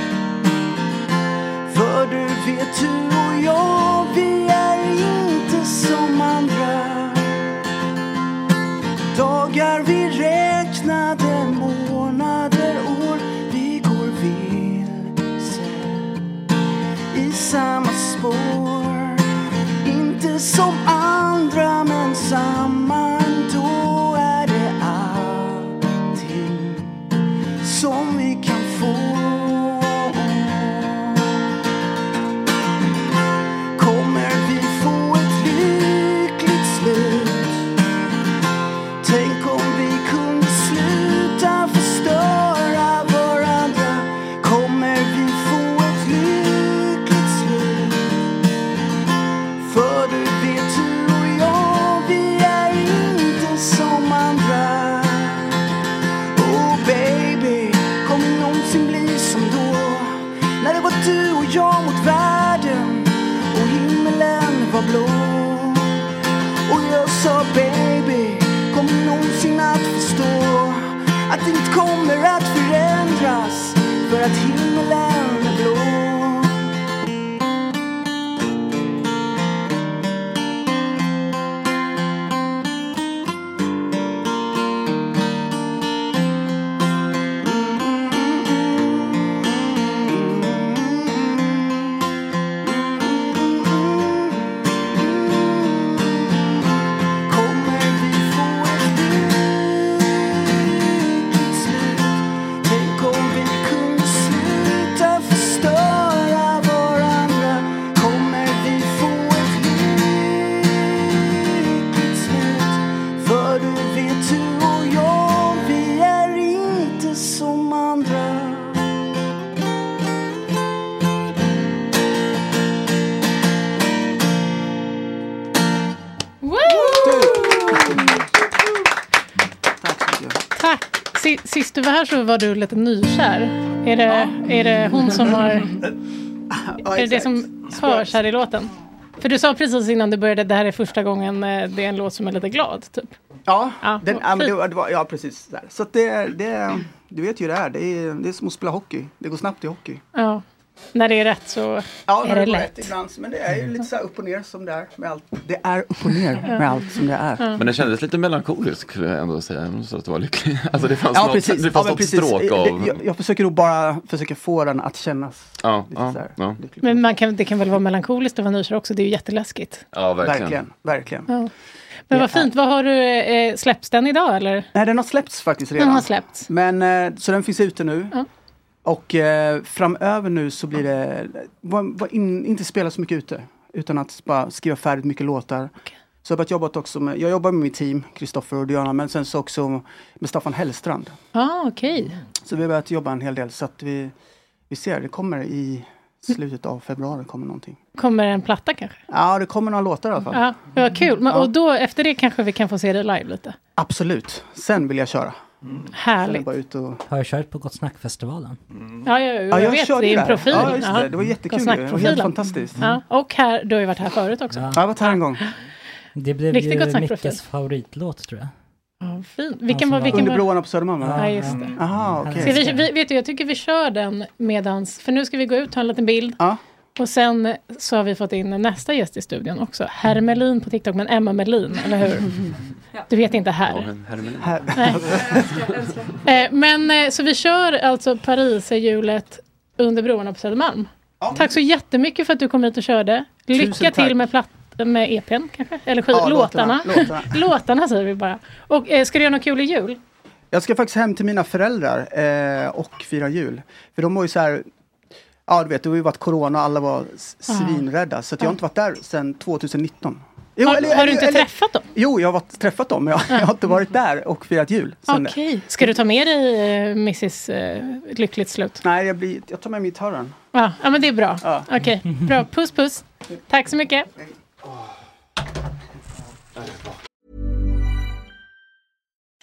[SPEAKER 10] För du vet du och jag, vi är inte som andra Dagar vi räknade, månader, år Vi går vilse i samma spår inte som andra men samma ändå är det allting som vi kan få Kommer vi få ett lyckligt slut? Tänk om vi kunde sluta förstöra varandra Kommer vi få ett lyckligt slut? För du vet du och jag, vi är inte som andra Oh baby, kommer vi någonsin bli som då? När det var du och jag mot världen och himlen var blå Och jag sa baby, kommer vi någonsin att förstå att inget kommer att förändras för att himlen är blå Tänk om vi kunde sluta
[SPEAKER 3] Sist du var här så var du lite nykär. Är det, är det hon
[SPEAKER 13] *laughs*
[SPEAKER 3] som har... är det det som hörs här i låten? För du sa precis innan du började, det här är första gången eh, det är en låt som är lite glad, typ.
[SPEAKER 13] Ja, den,
[SPEAKER 3] vad
[SPEAKER 13] ja, men det,
[SPEAKER 3] fint.
[SPEAKER 13] var- det var, ja precis. Där. Så att det, det, du vet ju hur det är. Det är, det är som att spela hockey. Det går snabbt i hockey.
[SPEAKER 3] Ja. När det är rätt så
[SPEAKER 13] Ja,
[SPEAKER 3] är
[SPEAKER 13] det
[SPEAKER 3] det
[SPEAKER 13] går
[SPEAKER 3] lätt.
[SPEAKER 13] rätt ibland. Men det är ju lite så här upp och ner som det är med allt. Det är upp
[SPEAKER 7] och
[SPEAKER 13] ner
[SPEAKER 7] med allt
[SPEAKER 13] som det är.
[SPEAKER 7] Men det kändes lite melankoliskt skulle jag ändå säga. Jag måste att det var lycklig. *laughs* Alltså det fanns
[SPEAKER 13] ja,
[SPEAKER 7] något,
[SPEAKER 13] precis.
[SPEAKER 7] det fanns
[SPEAKER 13] Ja, men
[SPEAKER 7] något
[SPEAKER 13] precis.
[SPEAKER 7] stråk av...
[SPEAKER 13] Jag, jag försöker nog bara försöka få den att kännas.
[SPEAKER 7] Ja,
[SPEAKER 13] lite
[SPEAKER 7] ja,
[SPEAKER 13] så här.
[SPEAKER 7] ja.
[SPEAKER 3] Men man kan, det kan väl vara melankoliskt att vara nykär också, det är ju jätteläskigt.
[SPEAKER 7] ja verkligen.
[SPEAKER 13] Verkligen, verkligen.
[SPEAKER 3] Ja. Men vad fint, vad har du, eh, släpps den idag eller?
[SPEAKER 13] Nej, den har släppts faktiskt
[SPEAKER 3] Den
[SPEAKER 13] redan.
[SPEAKER 3] har släppts.
[SPEAKER 13] Men, eh, så den finns ute nu. Och eh, framöver nu så blir det, var, var in, inte spela så mycket ute. Utan att bara skriva färdigt mycket låtar. Så jag har börjat jobbat också med, jag jobbar med mitt team, Kristoffer och Diana, men sen så också med Staffan Hellstrand.
[SPEAKER 3] Ja, ah, okej.
[SPEAKER 13] Så vi har börjat jobba en hel del så att vi, vi ser, det kommer i slutet av februari kommer någonting.
[SPEAKER 3] Kommer en platta kanske?
[SPEAKER 13] Ja, det kommer några låtar i alla fall.
[SPEAKER 3] Ja, men vad kul. Men,
[SPEAKER 13] Ja.
[SPEAKER 3] och då, efter det kanske vi kan få se dig live lite.
[SPEAKER 13] Absolut, sen vill jag köra. Sen är det
[SPEAKER 3] Mm. Härligt. Mm.
[SPEAKER 13] bara ut och
[SPEAKER 8] Har du kört på Gott Snack-festivalen?
[SPEAKER 3] Ja, ja, ja, jag,
[SPEAKER 13] jag
[SPEAKER 3] vet,
[SPEAKER 13] körde
[SPEAKER 3] det är en
[SPEAKER 13] där.
[SPEAKER 3] profil.
[SPEAKER 13] Ja, just det.
[SPEAKER 3] Ja.
[SPEAKER 13] Det var jättekul.
[SPEAKER 3] Och
[SPEAKER 13] Det var helt
[SPEAKER 3] snackprofilen.
[SPEAKER 13] fantastiskt.
[SPEAKER 3] Ja. Och här, du har ju varit här förut också.
[SPEAKER 8] Ja.
[SPEAKER 13] Jag har varit här en gång.
[SPEAKER 8] Det blev
[SPEAKER 3] Riktigt Gott
[SPEAKER 8] ju
[SPEAKER 3] Snack-profil.
[SPEAKER 8] Mickes favoritlåt tror jag.
[SPEAKER 3] Ja, fin.
[SPEAKER 8] Han som
[SPEAKER 3] Vilken var,
[SPEAKER 8] var-
[SPEAKER 3] vilken
[SPEAKER 8] Under
[SPEAKER 3] var...
[SPEAKER 13] broarna på Södermalm va?
[SPEAKER 3] Ja, just det.
[SPEAKER 13] Aha, okej.
[SPEAKER 3] Ska vi, vi, vet du, jag tycker vi kör den medans, för nu ska vi gå ut och ta en liten bild. Och sen så har vi fått in nästa gäst i studion också. Herr Melin på TikTok, men Emma Melin, eller hur? Du heter inte herr. Nej. Eh, Men eh, så vi kör alltså Pariserhjulet under broarna på Södermalm. Tack så jättemycket för att du kom hit och körde. Lycka
[SPEAKER 13] Tusen tack.
[SPEAKER 3] till med, platt, med EPn kanske, eller skit,
[SPEAKER 13] Ja,
[SPEAKER 3] låtarna.
[SPEAKER 13] låtarna,
[SPEAKER 3] *laughs* Låtarna. säger vi bara. Och eh, ska du göra något kul i jul?
[SPEAKER 13] Jag ska faktiskt hem till mina föräldrar eh, och fira jul. För de var ju så här, ja du vet, det har ju varit corona och alla var s-
[SPEAKER 3] Ja.
[SPEAKER 13] svinrädda. Så att jag har inte varit där sedan 2019. Jo,
[SPEAKER 3] har, har du inte träffat dem?
[SPEAKER 13] Jo, jag har varit, träffat dem, men jag, jag har inte varit där och firat jul. sedan-
[SPEAKER 3] Okej. Ska du ta med dig eh, Mrs eh, Lyckligt slut?
[SPEAKER 13] Nej, jag, blir, jag tar med gitarren.
[SPEAKER 3] Ja, ja men det är bra. Okej, bra. Puss puss. Tack så mycket.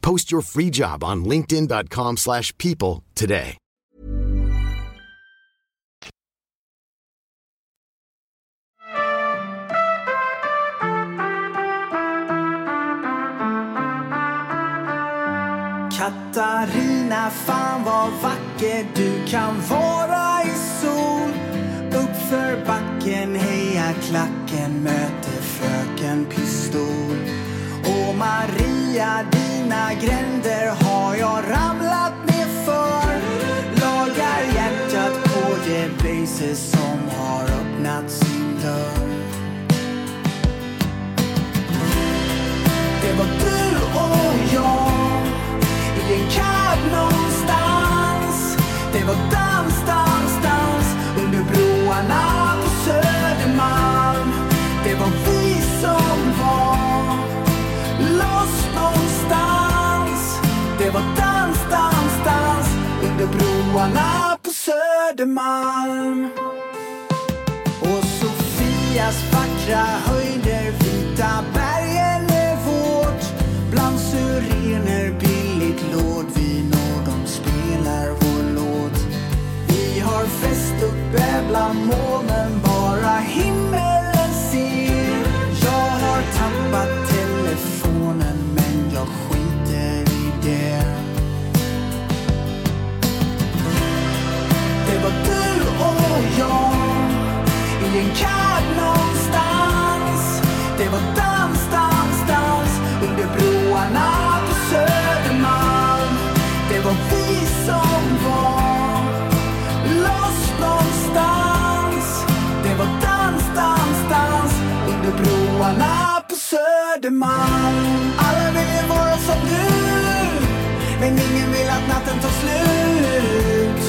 [SPEAKER 14] Post your free job on linkedin.com/people slash people today.
[SPEAKER 9] Katarina, fan vad vacker du kan vara i sol. Uppför backen, heja klacken, möter fröken Pistol. Och Maria, dina gränder har jag ramlat ner för. Lagar hjärtat på det blazer som har öppnat sin dörr. Det var du och jag i en cab någonstans
[SPEAKER 10] Södermalm och Sofias vackra höjder Vita bergen är vårt Bland syrener billigt lådvin och de spelar vår låt Vi har fest uppe bland molnen bara himmelen ser Jag har tappat telefonen men jag skiter i det Det var du och jag i en cab någonstans Det var dans, dans, dans under broarna på Södermalm Det var vi som var loss någonstans Det var dans, dans, dans under broarna på Södermalm Alla ville vara som du men ingen vill att natten tar slut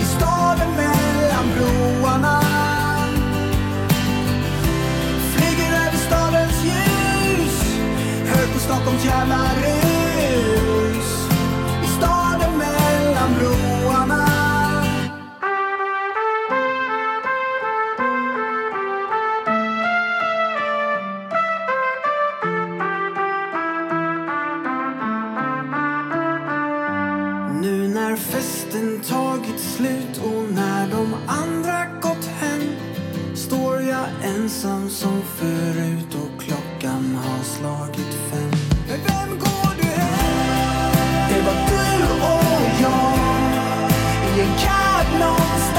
[SPEAKER 10] i staden mellan broarna Flyger över stadens ljus Hög på Stockholms jävla rus I staden mellan broarna Nu när festen tagit slut och när de andra gått hem Står jag ensam som förut och klockan har slagit fem Men vem går du hem? Det var du och jag i en cab någonstans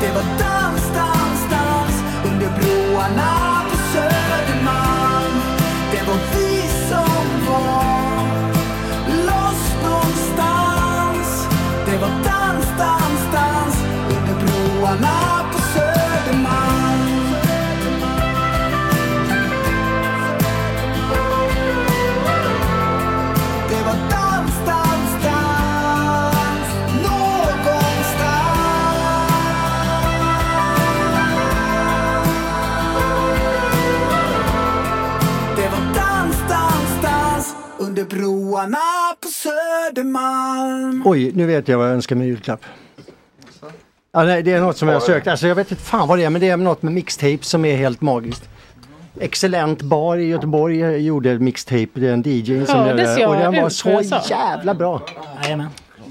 [SPEAKER 10] Det var dans, dans, dans under broarna på Södermalm Det var vi som var loss någonstans Det var dans, dans, dans under broarna på Södermalm Det var dans, dans, dans någonstans Det var dans, dans, dans under broarna på Södermalm
[SPEAKER 6] Oj, nu vet jag vad jag önskar mig i julklapp. Ja, nej, det är något som jag har sökt. Alltså, jag vet inte fan vad det är, men det är något med mixtape som är helt magiskt. Excellent bar i Göteborg gjorde mixtape. Det är en DJ som gör
[SPEAKER 3] Hördes
[SPEAKER 6] det.
[SPEAKER 3] jag
[SPEAKER 6] Och den var
[SPEAKER 3] ut
[SPEAKER 6] så
[SPEAKER 3] vad jag sa?
[SPEAKER 6] jävla bra.
[SPEAKER 8] Jajamän.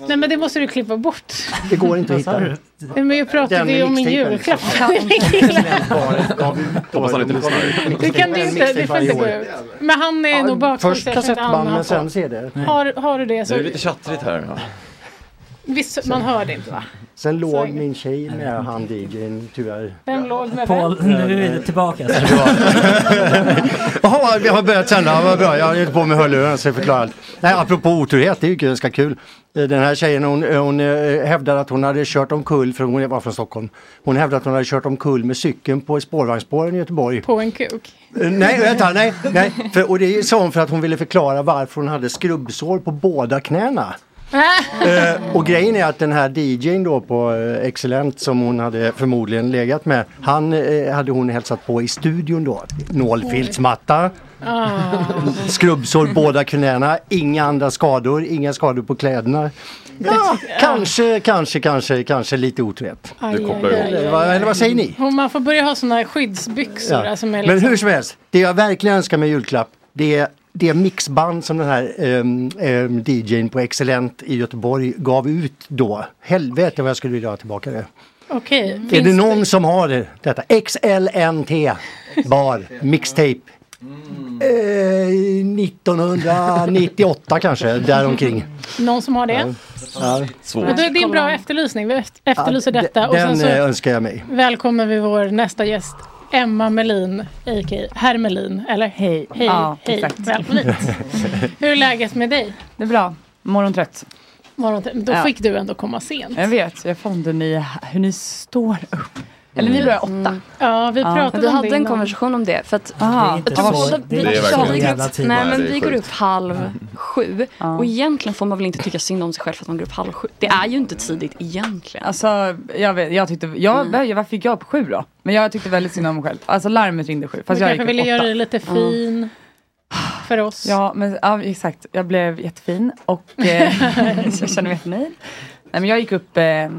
[SPEAKER 3] Nej men det måste du klippa bort.
[SPEAKER 6] Det går inte att hitta.
[SPEAKER 8] den.
[SPEAKER 3] Nej, Men jag pratade ju om min
[SPEAKER 6] mixtapen.
[SPEAKER 3] julklapp.
[SPEAKER 6] *laughs*
[SPEAKER 3] *laughs*
[SPEAKER 6] Hoppas han inte lyssnar.
[SPEAKER 3] Det kan du inte, det får inte gå ut. Men han är nog bakom
[SPEAKER 6] Först
[SPEAKER 3] så jag känner att
[SPEAKER 6] kassettband
[SPEAKER 3] Anna
[SPEAKER 6] men
[SPEAKER 3] har
[SPEAKER 6] sen
[SPEAKER 3] fått.
[SPEAKER 6] CD.
[SPEAKER 3] Har, har du det
[SPEAKER 7] Nu är
[SPEAKER 3] så...
[SPEAKER 7] det lite tjattrigt här.
[SPEAKER 3] Visst, man hör det inte va?
[SPEAKER 6] Sen låg min tjej med han DJn tyvärr.
[SPEAKER 3] Vem låg med vem?
[SPEAKER 8] Paul, nu är du tillbaka. alltså.
[SPEAKER 6] Jaha, vi har börjat sända, vad bra. Jag höll på med hörlurarna så jag förklarar allt. Nej, apropå oturhet, det är ju ganska kul. Eh, Den här tjejen hon, hon eh, hävdade att hon hade kört omkull, för hon var från Stockholm. Hon hävdade att hon hade kört omkull med cykeln på spårvagnsspåren i Göteborg.
[SPEAKER 3] På en kuk?
[SPEAKER 6] Eh, Nej, vänta, nej, nej. För, och det är ju så för att hon ville förklara varför hon hade skrubbsår på båda knäna. *laughs* Eh, och grejen är att den här DJn då på eh, Excellent som hon hade förmodligen legat med, han eh, hade hon hälsat på i studion då. Nålfiltsmatta,
[SPEAKER 3] Ah.
[SPEAKER 6] skrubbsår båda knäna, inga andra skador, inga skador på kläderna. Ja, kanske, kanske, kanske, kanske lite otrevligt.
[SPEAKER 3] Aj, Du kopplar aj, ihop. aj,
[SPEAKER 6] Eller vad-
[SPEAKER 3] aj.
[SPEAKER 6] Eller vad säger ni?
[SPEAKER 3] Hon- Man får börja ha såna här skyddsbyxor.
[SPEAKER 6] Ja.
[SPEAKER 3] Alltså, med
[SPEAKER 6] Men
[SPEAKER 3] liksom-
[SPEAKER 6] hur som helst, det jag verkligen önskar mig i julklapp det är det mixband som den här um, DJn på Excellent i Göteborg gav ut då. Helvete vad jag skulle vilja ha tillbaka det.
[SPEAKER 3] Okej.
[SPEAKER 6] Är
[SPEAKER 3] finns-
[SPEAKER 6] det någon som har det, detta? XLNT Bar Mixtape. Eh, 1998 kanske, däromkring.
[SPEAKER 3] någon som har det?
[SPEAKER 6] Ja.
[SPEAKER 3] Och då är det en bra efterlysning. Vi eft- efterlyser detta. Och
[SPEAKER 6] Den
[SPEAKER 3] sen
[SPEAKER 6] eh,
[SPEAKER 3] så
[SPEAKER 6] önskar jag mig.
[SPEAKER 3] välkomnar vi vår nästa gäst. Emma Melin, a.k.a. Herr Melin. Eller hej, hej,
[SPEAKER 15] Ja,
[SPEAKER 3] hej.
[SPEAKER 15] exakt.
[SPEAKER 3] Välkommen
[SPEAKER 15] *laughs*
[SPEAKER 3] hit. Hur är läget med dig?
[SPEAKER 15] Det är bra. Morgontrött.
[SPEAKER 3] Morgon, då
[SPEAKER 15] Ja.
[SPEAKER 3] fick du ändå komma sent.
[SPEAKER 15] Jag vet, jag fan hur ni, hur ni står upp. Eller ni börjar åtta.
[SPEAKER 3] Mm. Ja, vi pratade
[SPEAKER 4] Vi
[SPEAKER 3] om
[SPEAKER 4] hade
[SPEAKER 3] det
[SPEAKER 4] en
[SPEAKER 3] innan.
[SPEAKER 4] konversation om det. För att
[SPEAKER 15] Aha.
[SPEAKER 4] jag
[SPEAKER 15] Det är
[SPEAKER 4] tror
[SPEAKER 15] så-
[SPEAKER 4] också
[SPEAKER 15] det är
[SPEAKER 4] vi
[SPEAKER 15] verkligen
[SPEAKER 4] också
[SPEAKER 15] en jävla tid.
[SPEAKER 4] Nej,
[SPEAKER 15] Nej,
[SPEAKER 4] men
[SPEAKER 15] det är
[SPEAKER 4] vi går
[SPEAKER 15] sjukt. Mm.
[SPEAKER 4] upp halv sju. Och egentligen får man väl inte tycka synd om sig själv för att man går upp halv sju. Det är ju inte tidigt egentligen.
[SPEAKER 15] Alltså, jag, vet, jag tyckte,
[SPEAKER 3] Mm.
[SPEAKER 15] jag, varför gick jag upp sju då? Men jag tyckte väldigt synd om mig själv. Alltså larmet ringde sju. Fast
[SPEAKER 3] du
[SPEAKER 15] jag
[SPEAKER 3] kanske
[SPEAKER 15] gick
[SPEAKER 3] ville
[SPEAKER 15] upp åtta. Mm.
[SPEAKER 3] göra dig lite fin. För oss. *laughs*
[SPEAKER 15] *laughs* Ja, men, ja, exakt. Jag blev jättefin och eh, jag känner mig jättenöjd. Nej, men jag gick upp eh,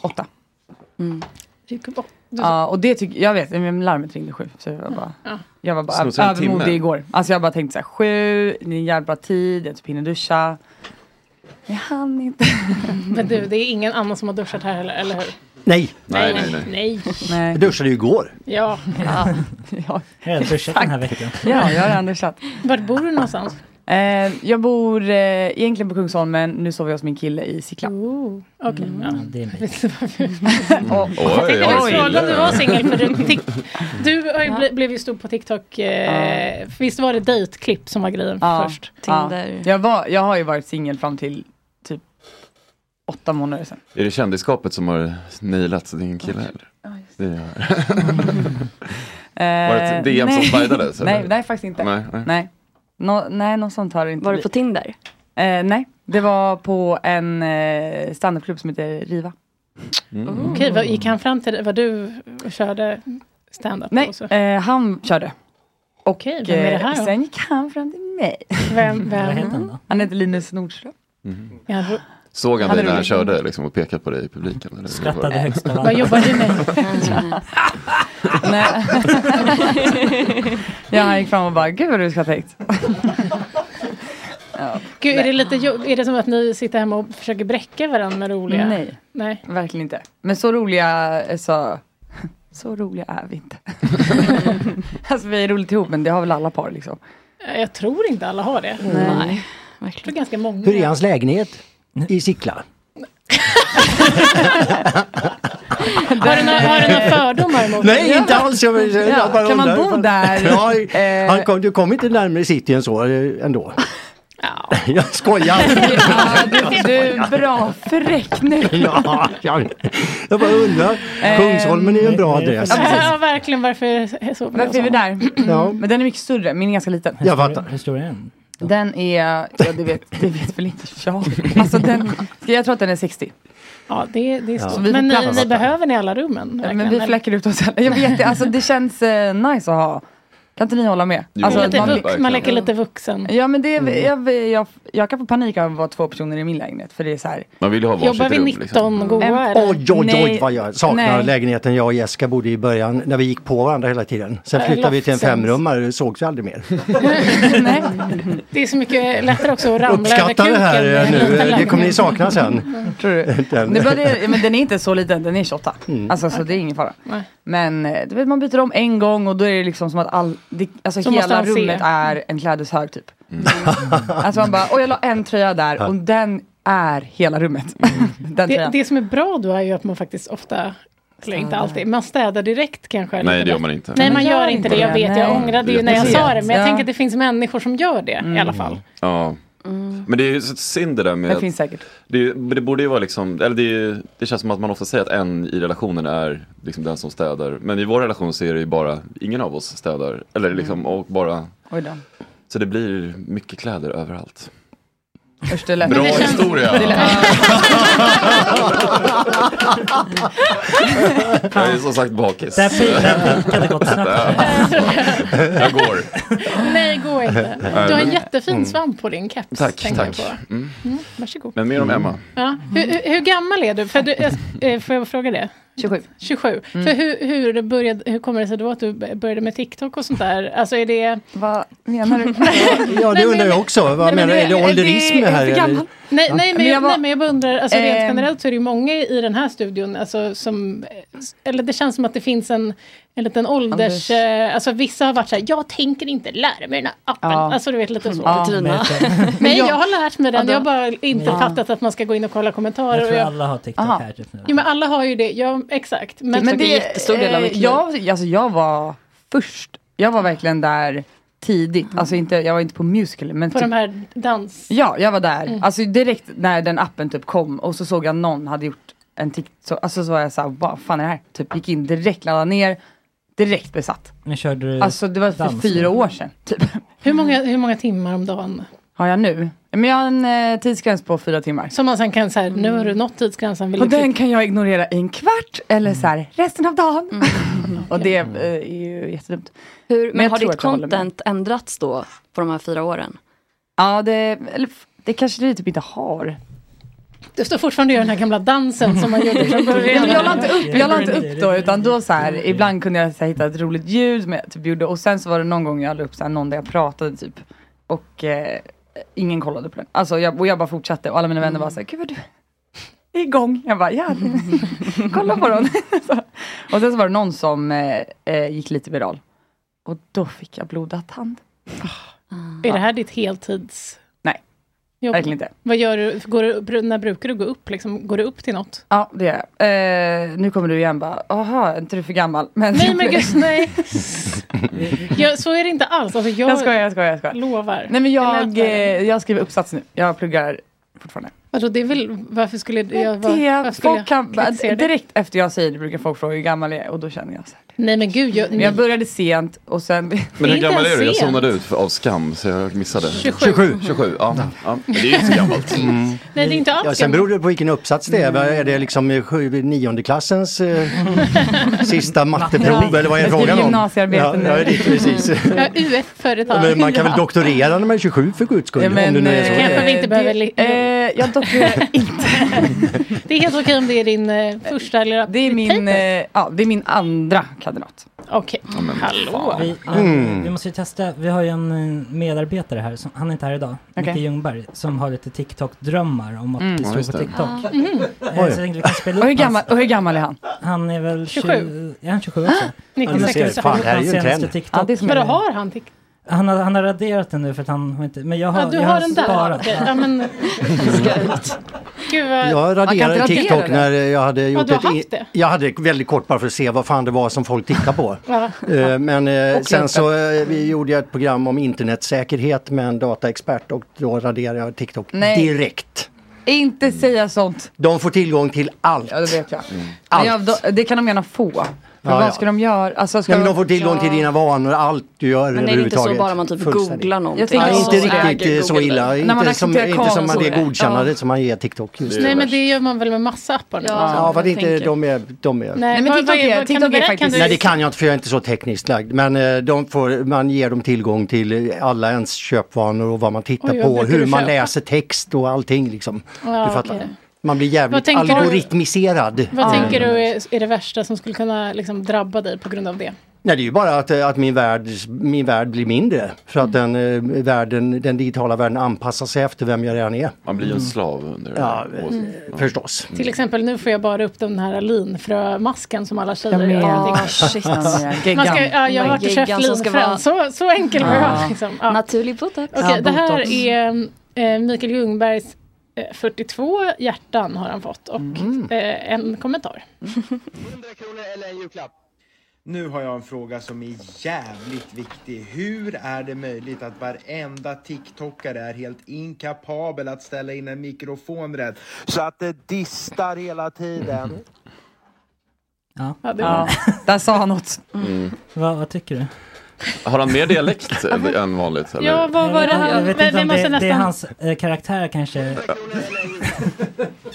[SPEAKER 15] åtta.
[SPEAKER 3] Mm. Gick upp åtta.
[SPEAKER 15] Ja, och det tycker jag, vet, men larmet ringde sju. Så jag var bara,
[SPEAKER 3] Ja.
[SPEAKER 15] jag var bara
[SPEAKER 3] Snott en timme.
[SPEAKER 15] övermodig igår. Alltså jag bara tänkte så här, sju, det är en jävla bra tid, jag typ hinner duscha.
[SPEAKER 3] Jag hann inte. *laughs* Men du, det är ingen annan som har duschat här heller, eller hur?
[SPEAKER 6] Nej.
[SPEAKER 3] Nej.
[SPEAKER 6] Jag duschade ju igår.
[SPEAKER 3] Ja.
[SPEAKER 15] Ja. *laughs*
[SPEAKER 8] Jag har duschat den här veckan.
[SPEAKER 15] Ja, jag har redan duschat.
[SPEAKER 3] Vart bor du någonstans?
[SPEAKER 15] Eh, jag bor eh, egentligen på Kungsholmen, nu sover jag hos min kille i Sickla.
[SPEAKER 3] Okej. Ja.
[SPEAKER 8] Mm,
[SPEAKER 3] *laughs*
[SPEAKER 8] Det är mig.
[SPEAKER 15] *laughs* Och-
[SPEAKER 3] Jag tänkte
[SPEAKER 15] oj.
[SPEAKER 3] just fråga om du var singel för du, tick,
[SPEAKER 15] *laughs*
[SPEAKER 3] du har ju bli, blev ju stor på TikTok. Eh, för Visst var det dejtklipp som var grejen
[SPEAKER 15] Ja,
[SPEAKER 3] först?
[SPEAKER 15] ja. Jag, var, jag har ju varit singel fram till typ åtta månader sedan.
[SPEAKER 7] Är det kändiskapet som har nailat så det är ingen kille heller? Det är jag. Var det ett
[SPEAKER 15] Eh,
[SPEAKER 7] DM som
[SPEAKER 15] nej. *laughs*
[SPEAKER 7] slidades, eller?
[SPEAKER 15] Nej, nej, faktiskt inte.
[SPEAKER 7] Nej,
[SPEAKER 15] Nej,
[SPEAKER 7] nej.
[SPEAKER 15] nej. Nå- nej något sånt har det inte
[SPEAKER 4] Var det
[SPEAKER 15] blivit.
[SPEAKER 4] på Tinder?
[SPEAKER 15] Eh, nej, det var på en eh, standupklubb som heter Riva.
[SPEAKER 3] Okej, vad gick
[SPEAKER 15] Mm.
[SPEAKER 3] han fram till dig? Vad du körde stand-up? Nej. Och så?
[SPEAKER 15] Eh, han körde. eh,
[SPEAKER 3] Okej, vem är det här då?
[SPEAKER 15] Sen gick han fram till mig. *laughs*
[SPEAKER 3] Vem, vem? Vad heter han
[SPEAKER 15] då? Han heter Linus Nordström.
[SPEAKER 3] Ja, då-
[SPEAKER 7] Mhm. Såg han
[SPEAKER 15] Hade
[SPEAKER 7] dig när
[SPEAKER 15] du-
[SPEAKER 7] han körde liksom, och pekade på dig i publiken? Eller?
[SPEAKER 15] Skrattade
[SPEAKER 8] högst
[SPEAKER 15] av alla. Vad jobbar
[SPEAKER 7] *laughs*
[SPEAKER 15] du med?
[SPEAKER 4] *laughs*
[SPEAKER 15] *laughs* Nej. *laughs* ja, han gick fram och bara, gud vad du skrattar högt. *laughs* ja.
[SPEAKER 3] Gud, är det, lite, jo- är det som att ni sitter hemma och försöker bräcka varandra med roliga?
[SPEAKER 15] Nej.
[SPEAKER 3] Nej.
[SPEAKER 15] Verkligen inte. Men så roliga, eh, så, *laughs* så roliga är vi inte. *laughs* alltså vi är roligt ihop men det har väl alla par liksom.
[SPEAKER 3] Eh, Jag tror inte alla har det.
[SPEAKER 15] Mm. Nej,
[SPEAKER 3] Jag tror ganska många.
[SPEAKER 6] Hur är hans lägenhet i Sickla?
[SPEAKER 3] Har du några, har du
[SPEAKER 6] *laughs*
[SPEAKER 3] några fördomar mot
[SPEAKER 6] Nej,
[SPEAKER 3] Ja.
[SPEAKER 6] inte alls. Jag, jag
[SPEAKER 3] Ja,
[SPEAKER 6] bara
[SPEAKER 3] kan man
[SPEAKER 6] undrar
[SPEAKER 3] bo
[SPEAKER 6] ifall-
[SPEAKER 3] där?
[SPEAKER 6] *laughs*
[SPEAKER 15] Eh,
[SPEAKER 3] Eh. *laughs*
[SPEAKER 6] Ja, han kom, du kom inte närmare city än så eh, ändå. *laughs* Jag
[SPEAKER 3] *laughs*
[SPEAKER 6] skojar.
[SPEAKER 15] Ja, du, du är bra fräck nu.
[SPEAKER 6] *laughs* ja, jag, jag bara undrar. Kungsholmen är ju en bra adress.
[SPEAKER 3] Ja, verkligen. Varför så
[SPEAKER 15] Varför är vi där? Men den är mycket större, min är ganska liten.
[SPEAKER 6] Jag fattar.
[SPEAKER 8] Hur stor är den?
[SPEAKER 15] Den är, ja det vet, det vet väl inte jag. Alltså den, ska jag tror att den är 60.
[SPEAKER 3] Ja, det, det är
[SPEAKER 15] Ja.
[SPEAKER 3] stort.
[SPEAKER 15] Så vi får
[SPEAKER 3] Men ni,
[SPEAKER 15] plats.
[SPEAKER 3] ni behöver ni alla rummen?
[SPEAKER 15] Ja,
[SPEAKER 3] verkligen,
[SPEAKER 15] men vi
[SPEAKER 3] eller?
[SPEAKER 15] fläcker ut oss alla. Jag vet det, alltså det känns eh, nice att ha. Kan inte ni hålla med?
[SPEAKER 3] Jo, lite vux-
[SPEAKER 15] blir-
[SPEAKER 3] man leker lite vuxen.
[SPEAKER 15] Ja men det,
[SPEAKER 6] Mm.
[SPEAKER 15] är- jag, jag, jag kan få panik av att vara två personer i min lägenhet för det är så här.
[SPEAKER 7] Man vill ju ha varsitt
[SPEAKER 15] Jobbar vi
[SPEAKER 7] rum.
[SPEAKER 15] 19
[SPEAKER 7] liksom.
[SPEAKER 15] goa,
[SPEAKER 7] Mm.
[SPEAKER 15] eller?
[SPEAKER 6] Oj, oj, oj
[SPEAKER 15] Nej.
[SPEAKER 6] vad jag saknar
[SPEAKER 15] Nej.
[SPEAKER 6] lägenheten jag och Jessica bodde i början när vi gick på varandra hela tiden. Sen
[SPEAKER 3] Äh,
[SPEAKER 6] flyttade vi till en
[SPEAKER 3] loftsens.
[SPEAKER 6] femrummare och sågs aldrig mer.
[SPEAKER 3] Det är så mycket lättare också att ramla över
[SPEAKER 6] Uppskatta
[SPEAKER 3] kuken.
[SPEAKER 6] det här eh,
[SPEAKER 3] med en
[SPEAKER 6] nu,
[SPEAKER 3] liten
[SPEAKER 6] Eh, det kommer ni
[SPEAKER 3] lägenhet.
[SPEAKER 6] sakna sen.
[SPEAKER 15] Tror du?
[SPEAKER 6] *laughs* Den.
[SPEAKER 15] Det är bara det, ja, men den är inte så liten, den är 28.
[SPEAKER 6] Mm.
[SPEAKER 15] Alltså så det är ingen fara.
[SPEAKER 3] Nej.
[SPEAKER 15] Men eh, du vet, man byter om en gång och då är det liksom som att all, det, alltså
[SPEAKER 3] Så måste
[SPEAKER 15] hela
[SPEAKER 3] han se.
[SPEAKER 15] rummet är en klädeshög typ. *laughs* Alltså man bara, och jag la en tröja där och den är hela rummet. *laughs* Den
[SPEAKER 3] Det,
[SPEAKER 15] tröjan.
[SPEAKER 3] det som är bra då är ju att man faktiskt ofta, eller inte
[SPEAKER 15] Städar.
[SPEAKER 3] alltid, man städar direkt kanske.
[SPEAKER 7] Nej, det gör
[SPEAKER 3] bättre.
[SPEAKER 7] man inte.
[SPEAKER 3] Nej, man gör inte det. Jag vet, jag
[SPEAKER 7] Nej.
[SPEAKER 3] ångrade ju
[SPEAKER 7] Jag
[SPEAKER 3] när jag
[SPEAKER 7] vet.
[SPEAKER 3] sa det. Men jag
[SPEAKER 7] Ja.
[SPEAKER 3] tänker att det finns människor som gör det i alla fall.
[SPEAKER 7] Ja. Men det är ju så synd det där med...
[SPEAKER 15] Mm. Det
[SPEAKER 7] att-
[SPEAKER 15] finns säkert.
[SPEAKER 7] Det, är ju- men det borde ju vara liksom, eller det, är ju- det känns som att man ofta säger att en i relationen är liksom den som städar. Men i vår relation så är det ju bara, ingen av oss städar. Eller liksom, och bara,
[SPEAKER 15] Mm. Oj då.
[SPEAKER 7] så det blir mycket kläder
[SPEAKER 8] *laughs*
[SPEAKER 7] överallt.
[SPEAKER 15] Usch, det lät-
[SPEAKER 7] Bra
[SPEAKER 15] Det känns-
[SPEAKER 7] historia!
[SPEAKER 15] det *laughs*
[SPEAKER 7] Jag är som sagt bakis.
[SPEAKER 8] Där pi- där pikade
[SPEAKER 7] *laughs*
[SPEAKER 8] gott snabbt.
[SPEAKER 7] Jag går.
[SPEAKER 3] *laughs* Nej,
[SPEAKER 7] *laughs*
[SPEAKER 3] gå inte. Du har en
[SPEAKER 7] men-
[SPEAKER 3] jättefin
[SPEAKER 7] Mm.
[SPEAKER 3] svamp på din keps.
[SPEAKER 7] Tack,
[SPEAKER 3] tänker jag
[SPEAKER 7] tack.
[SPEAKER 3] på.
[SPEAKER 7] Mm.
[SPEAKER 3] Mm, varsågod.
[SPEAKER 7] Men mer om Emma.
[SPEAKER 3] Ja. Hur, hur, hur gammal är du? För du eh, får jag fråga det?
[SPEAKER 15] 27.
[SPEAKER 3] 27.
[SPEAKER 7] Mm.
[SPEAKER 3] För hur, hur, det började, hur kommer det sig då att du började med TikTok och sånt där? Alltså är det...
[SPEAKER 15] Vad
[SPEAKER 3] *laughs*
[SPEAKER 15] menar du?
[SPEAKER 6] Ja, det undrar jag också. Vad menar du? Är det ålderism det här? eller?
[SPEAKER 3] Nej,
[SPEAKER 6] Ja.
[SPEAKER 3] nej, men,
[SPEAKER 6] Men jag
[SPEAKER 3] jag,
[SPEAKER 6] var-
[SPEAKER 3] nej, men jag bara undrar, alltså, rent
[SPEAKER 15] Ehm.
[SPEAKER 3] generellt så är det ju många i den här studion alltså, som, eller det känns som att det finns en, en liten ålders,
[SPEAKER 15] Anders.
[SPEAKER 3] eh, alltså vissa har varit så här, jag tänker inte lära mig den här appen,
[SPEAKER 15] Ja.
[SPEAKER 3] alltså du vet lite så.
[SPEAKER 15] Ja. Petrina.
[SPEAKER 3] *laughs* nej, jag har lärt mig den,
[SPEAKER 15] Ja, då-
[SPEAKER 3] jag har bara inte
[SPEAKER 15] Ja.
[SPEAKER 3] fattat att man ska gå in och kolla kommentarer.
[SPEAKER 8] Jag tror
[SPEAKER 3] och jag,
[SPEAKER 8] alla har TikTok
[SPEAKER 15] Aha.
[SPEAKER 8] här typ nu.
[SPEAKER 3] Jo men alla har ju det, ja exakt. Men,
[SPEAKER 15] eh, jag, alltså, jag var först. Jag var verkligen där tidigt. Alltså inte, jag var inte på musical.
[SPEAKER 3] Mm.
[SPEAKER 15] Men
[SPEAKER 3] På
[SPEAKER 15] typ-
[SPEAKER 3] de här dans...
[SPEAKER 15] Ja, jag var där.
[SPEAKER 3] Mm.
[SPEAKER 15] Alltså direkt när den appen typ kom och så såg jag någon hade gjort en TikTok. Alltså så var jag såhär, vad fan är det här? Typ gick in direkt, laddade ner, direkt besatt.
[SPEAKER 8] Nu körde du
[SPEAKER 15] Alltså det var för
[SPEAKER 8] dans.
[SPEAKER 15] fyra år sedan typ. *laughs*
[SPEAKER 3] Hur många, hur många timmar om dagen?
[SPEAKER 15] Har jag nu? Men jag har en eh, tidsgräns på fyra timmar.
[SPEAKER 3] Som man sen kan säga, nu har du nått tidsgränsen. Vill
[SPEAKER 15] Och
[SPEAKER 3] du
[SPEAKER 15] den kan jag ignorera i en kvart eller så här resten av dagen.
[SPEAKER 3] Mm.
[SPEAKER 15] och det eh, är ju jättedumt.
[SPEAKER 4] Hur, men,
[SPEAKER 15] jag
[SPEAKER 4] har
[SPEAKER 15] tror
[SPEAKER 4] ditt
[SPEAKER 15] att jag håller med.
[SPEAKER 4] content ändrats då på de här fyra åren?
[SPEAKER 3] *laughs*
[SPEAKER 15] Ja, det, eller, f- det kanske det typ inte har.
[SPEAKER 3] Du står fortfarande och gör den här gamla dansen som man gjorde från början.
[SPEAKER 15] Men jag la inte upp, jag la inte upp då utan då så här, ibland kunde jag så här, hitta ett roligt ljud som jag typ gjorde och sen så var det någon gång jag la upp så här, någon där jag pratade typ och eh, ingen kollade på den. Alltså jag, och jag bara fortsatte och alla mina
[SPEAKER 3] Mm.
[SPEAKER 15] vänner var så här, gud vad du är *laughs* igång. Jag bara, ja, kolla på den. *laughs* så. Och sen så var det någon som eh, eh, gick lite viral och då fick jag blodad tand.
[SPEAKER 3] Ah. Är det här ditt heltids...
[SPEAKER 15] Nej,
[SPEAKER 3] jobb?
[SPEAKER 15] verkligen inte.
[SPEAKER 3] Vad gör du? Går du? När brukar du gå upp? Liksom, går du upp till något?
[SPEAKER 15] Ja, det gör jag. Eh, nu kommer du igen bara, aha, är inte du för gammal? Men
[SPEAKER 3] Nej men gud,
[SPEAKER 15] *laughs*
[SPEAKER 3] nej. Jag, så är det inte alls. Alltså, jag,
[SPEAKER 15] Jag skojar, jag skojar, jag skojar.
[SPEAKER 3] Lovar.
[SPEAKER 15] Nej men jag,
[SPEAKER 3] Det lät värre.
[SPEAKER 15] eh, jag skriver uppsats nu. Jag pluggar fortfarande.
[SPEAKER 3] Vadå, det är väl, varför skulle jag vara...
[SPEAKER 15] det,
[SPEAKER 3] varför skulle
[SPEAKER 15] folk
[SPEAKER 3] jag
[SPEAKER 15] kan,
[SPEAKER 3] kritisera det?
[SPEAKER 15] direkt efter jag säger det brukar folk fråga hur gammal jag är och då känner jag så här.
[SPEAKER 3] Nej men gud, jag...
[SPEAKER 15] Men jag började sent och sen... *laughs*
[SPEAKER 7] Men hur gammal är du? Jag zonade ut för, av skam så jag missade.
[SPEAKER 3] 27.
[SPEAKER 7] 27, ja.
[SPEAKER 15] Mm.
[SPEAKER 7] ja. Men det är ju inte så gammalt.
[SPEAKER 6] Mm.
[SPEAKER 3] Nej, det är inte alls
[SPEAKER 7] Ja,
[SPEAKER 6] sen
[SPEAKER 3] gammalt.
[SPEAKER 6] beror det på vilken uppsats det är. Vad Är
[SPEAKER 15] Mm.
[SPEAKER 6] det liksom eh, sju- niondeklassens eh,
[SPEAKER 15] *laughs*
[SPEAKER 6] sista matteprov eller vad är
[SPEAKER 15] Jag
[SPEAKER 6] frågan
[SPEAKER 15] skriver
[SPEAKER 6] om?
[SPEAKER 15] gymnasiearbete
[SPEAKER 6] ja,
[SPEAKER 15] nu.
[SPEAKER 6] ja, det är
[SPEAKER 15] *laughs*
[SPEAKER 6] precis.
[SPEAKER 3] Jag har UF för ett tag.
[SPEAKER 6] Men man kan väl doktorera när man är 27 för guds skull?
[SPEAKER 15] Ja, men,
[SPEAKER 6] om det nu är så.
[SPEAKER 15] eh,
[SPEAKER 3] Kanske vi inte behöver... li-
[SPEAKER 15] Eh, jag
[SPEAKER 3] *laughs*
[SPEAKER 15] doktorerar inte.
[SPEAKER 3] det är helt okej om det är din eh, första eller...
[SPEAKER 15] Det är min, eh, ja, det är min andra kandidat.
[SPEAKER 3] Okej. Hallå.
[SPEAKER 8] Vi,
[SPEAKER 15] Mm.
[SPEAKER 8] vi måste ju testa, vi har ju en eh, medarbetare här, som, han är inte här idag,
[SPEAKER 15] Okej.
[SPEAKER 8] Micke Ljungberg, som har lite TikTok-drömmar om att
[SPEAKER 15] Mm.
[SPEAKER 8] bli
[SPEAKER 15] Ja,
[SPEAKER 8] stor
[SPEAKER 15] just
[SPEAKER 8] på
[SPEAKER 15] det.
[SPEAKER 8] TikTok.
[SPEAKER 15] Ah.
[SPEAKER 8] Eh,
[SPEAKER 15] Mm.
[SPEAKER 8] Så jag tänkte vi kan spela upp
[SPEAKER 15] Och hur, gammal,
[SPEAKER 8] hans-
[SPEAKER 15] och hur gammal är han?
[SPEAKER 8] Han är väl
[SPEAKER 15] 27.
[SPEAKER 8] 20, är han 27 också?
[SPEAKER 15] Nikolas
[SPEAKER 8] Han har
[SPEAKER 15] Ekström.
[SPEAKER 8] spelat
[SPEAKER 15] Fan,
[SPEAKER 8] upp
[SPEAKER 15] det här är
[SPEAKER 8] hans
[SPEAKER 15] ju en
[SPEAKER 8] senaste
[SPEAKER 15] trend.
[SPEAKER 8] TikTok.
[SPEAKER 15] Ja, det är som
[SPEAKER 3] Vadå, har han TikTok?
[SPEAKER 8] Han har, han har raderat den nu för att han har inte, men jag har,
[SPEAKER 3] Ja, du
[SPEAKER 8] jag
[SPEAKER 3] har den där.
[SPEAKER 8] sparat.
[SPEAKER 3] Okej, Ja, men... Gud vad...
[SPEAKER 6] Jag raderade TikTok när jag hade gjort
[SPEAKER 3] du har
[SPEAKER 6] ett... in-
[SPEAKER 3] haft det?
[SPEAKER 6] Jag hade väldigt kort bara för att se vad fan det var som folk tittar på.
[SPEAKER 3] *laughs* Ja.
[SPEAKER 6] Eh, Men eh,
[SPEAKER 3] Och
[SPEAKER 6] sen
[SPEAKER 3] klart.
[SPEAKER 6] så eh, vi gjorde jag ett program om internetsäkerhet med en dataexpert och då raderade jag TikTok
[SPEAKER 15] Nej.
[SPEAKER 6] direkt.
[SPEAKER 15] Inte säga sånt.
[SPEAKER 6] De får tillgång till allt.
[SPEAKER 15] Ja, det vet jag.
[SPEAKER 6] Allt.
[SPEAKER 15] Men jag då, det kan de gärna få. För
[SPEAKER 6] Ja,
[SPEAKER 15] vad
[SPEAKER 6] ja.
[SPEAKER 15] ska de göra? Alltså, ska
[SPEAKER 6] Nej, men de får tillgång till dina vanor, allt du gör
[SPEAKER 15] Men är det inte så
[SPEAKER 6] överhuvudtaget.
[SPEAKER 15] bara man typ
[SPEAKER 6] Fullständigt.
[SPEAKER 15] googlar någonting? Jag tänker
[SPEAKER 6] Nej,
[SPEAKER 15] också
[SPEAKER 6] inte
[SPEAKER 15] så.
[SPEAKER 6] riktigt
[SPEAKER 15] Äger
[SPEAKER 6] eh, så
[SPEAKER 15] Google
[SPEAKER 6] illa.
[SPEAKER 15] det. När man
[SPEAKER 6] Inte som,
[SPEAKER 15] accepterar
[SPEAKER 6] inte som man
[SPEAKER 15] kameror.
[SPEAKER 6] ger godkännandet
[SPEAKER 15] Ja.
[SPEAKER 6] som man ger TikTok. Just
[SPEAKER 3] Nej men det gör man väl med massa appar nu?
[SPEAKER 6] Ja, fast inte, de är... De är...
[SPEAKER 3] Nej,
[SPEAKER 15] Nej, men
[SPEAKER 3] vad-
[SPEAKER 15] TikTok
[SPEAKER 3] vad
[SPEAKER 15] är-
[SPEAKER 3] vad- kan
[SPEAKER 15] TikTok
[SPEAKER 3] du
[SPEAKER 15] är
[SPEAKER 3] berätta-
[SPEAKER 15] faktiskt-
[SPEAKER 3] kan du-
[SPEAKER 6] Nej det kan jag inte för jag är inte så tekniskt lagd. Men eh, de får, man ger dem tillgång till eh, alla ens köpvanor och vad man tittar
[SPEAKER 3] Oj, vad
[SPEAKER 6] på,
[SPEAKER 3] brukar
[SPEAKER 6] hur
[SPEAKER 3] du
[SPEAKER 6] man
[SPEAKER 3] köpa?
[SPEAKER 6] läser text och allting liksom.
[SPEAKER 3] Ja,
[SPEAKER 6] du fattar.
[SPEAKER 3] okej.
[SPEAKER 6] Man blir
[SPEAKER 3] Vad
[SPEAKER 6] jävligt
[SPEAKER 3] tänker du-
[SPEAKER 6] algoritmiserad.
[SPEAKER 3] Vad
[SPEAKER 6] Eh,
[SPEAKER 3] tänker du är, är det värsta som skulle kunna liksom, drabba dig på grund av det?
[SPEAKER 6] Nej det är ju bara att, eh, att min, värld, min värld blir mindre. För att den, eh, världen, den digitala världen anpassar sig efter vem jag redan är.
[SPEAKER 7] Man blir ju en slav under
[SPEAKER 6] Ja, eh,
[SPEAKER 7] det.
[SPEAKER 3] Mm.
[SPEAKER 6] förstås.
[SPEAKER 3] Till exempel nu får jag bara upp den här linfrömasken som alla tjejer gör.
[SPEAKER 4] Ja, shit.
[SPEAKER 3] Man ska, ja, jag har varit och köpt
[SPEAKER 4] Geggan som ska
[SPEAKER 3] linfrön.
[SPEAKER 4] vara-
[SPEAKER 3] Så, så enkel var jag. Liksom. Ja.
[SPEAKER 4] Naturlig botox.
[SPEAKER 3] Okej, det här är eh, Mikael Ljungbergs eh, 42 hjärtan har han fått och
[SPEAKER 4] Mm.
[SPEAKER 3] eh, en
[SPEAKER 4] *laughs*
[SPEAKER 3] kommentar.
[SPEAKER 16] Nu har jag en fråga som är jävligt viktig. Hur är det möjligt att varenda TikTokare är helt inkapabel att ställa in en mikrofon rätt? Så att det distar hela
[SPEAKER 15] Mhm.
[SPEAKER 16] tiden.
[SPEAKER 8] Ja.
[SPEAKER 3] Ja,
[SPEAKER 8] det var-
[SPEAKER 15] Där sa han något.
[SPEAKER 7] Mm.
[SPEAKER 8] Vad, vad tycker du?
[SPEAKER 7] Har han mer
[SPEAKER 3] *laughs*
[SPEAKER 7] dialekt än vanligt? Eller?
[SPEAKER 3] Ja, vad var det
[SPEAKER 8] Jag vet-
[SPEAKER 3] han-
[SPEAKER 8] Jag vet
[SPEAKER 3] men
[SPEAKER 8] inte
[SPEAKER 3] vi
[SPEAKER 8] om
[SPEAKER 3] måste
[SPEAKER 8] det, det är
[SPEAKER 3] nästan-
[SPEAKER 8] hans eh, karaktär kanske.
[SPEAKER 16] *laughs*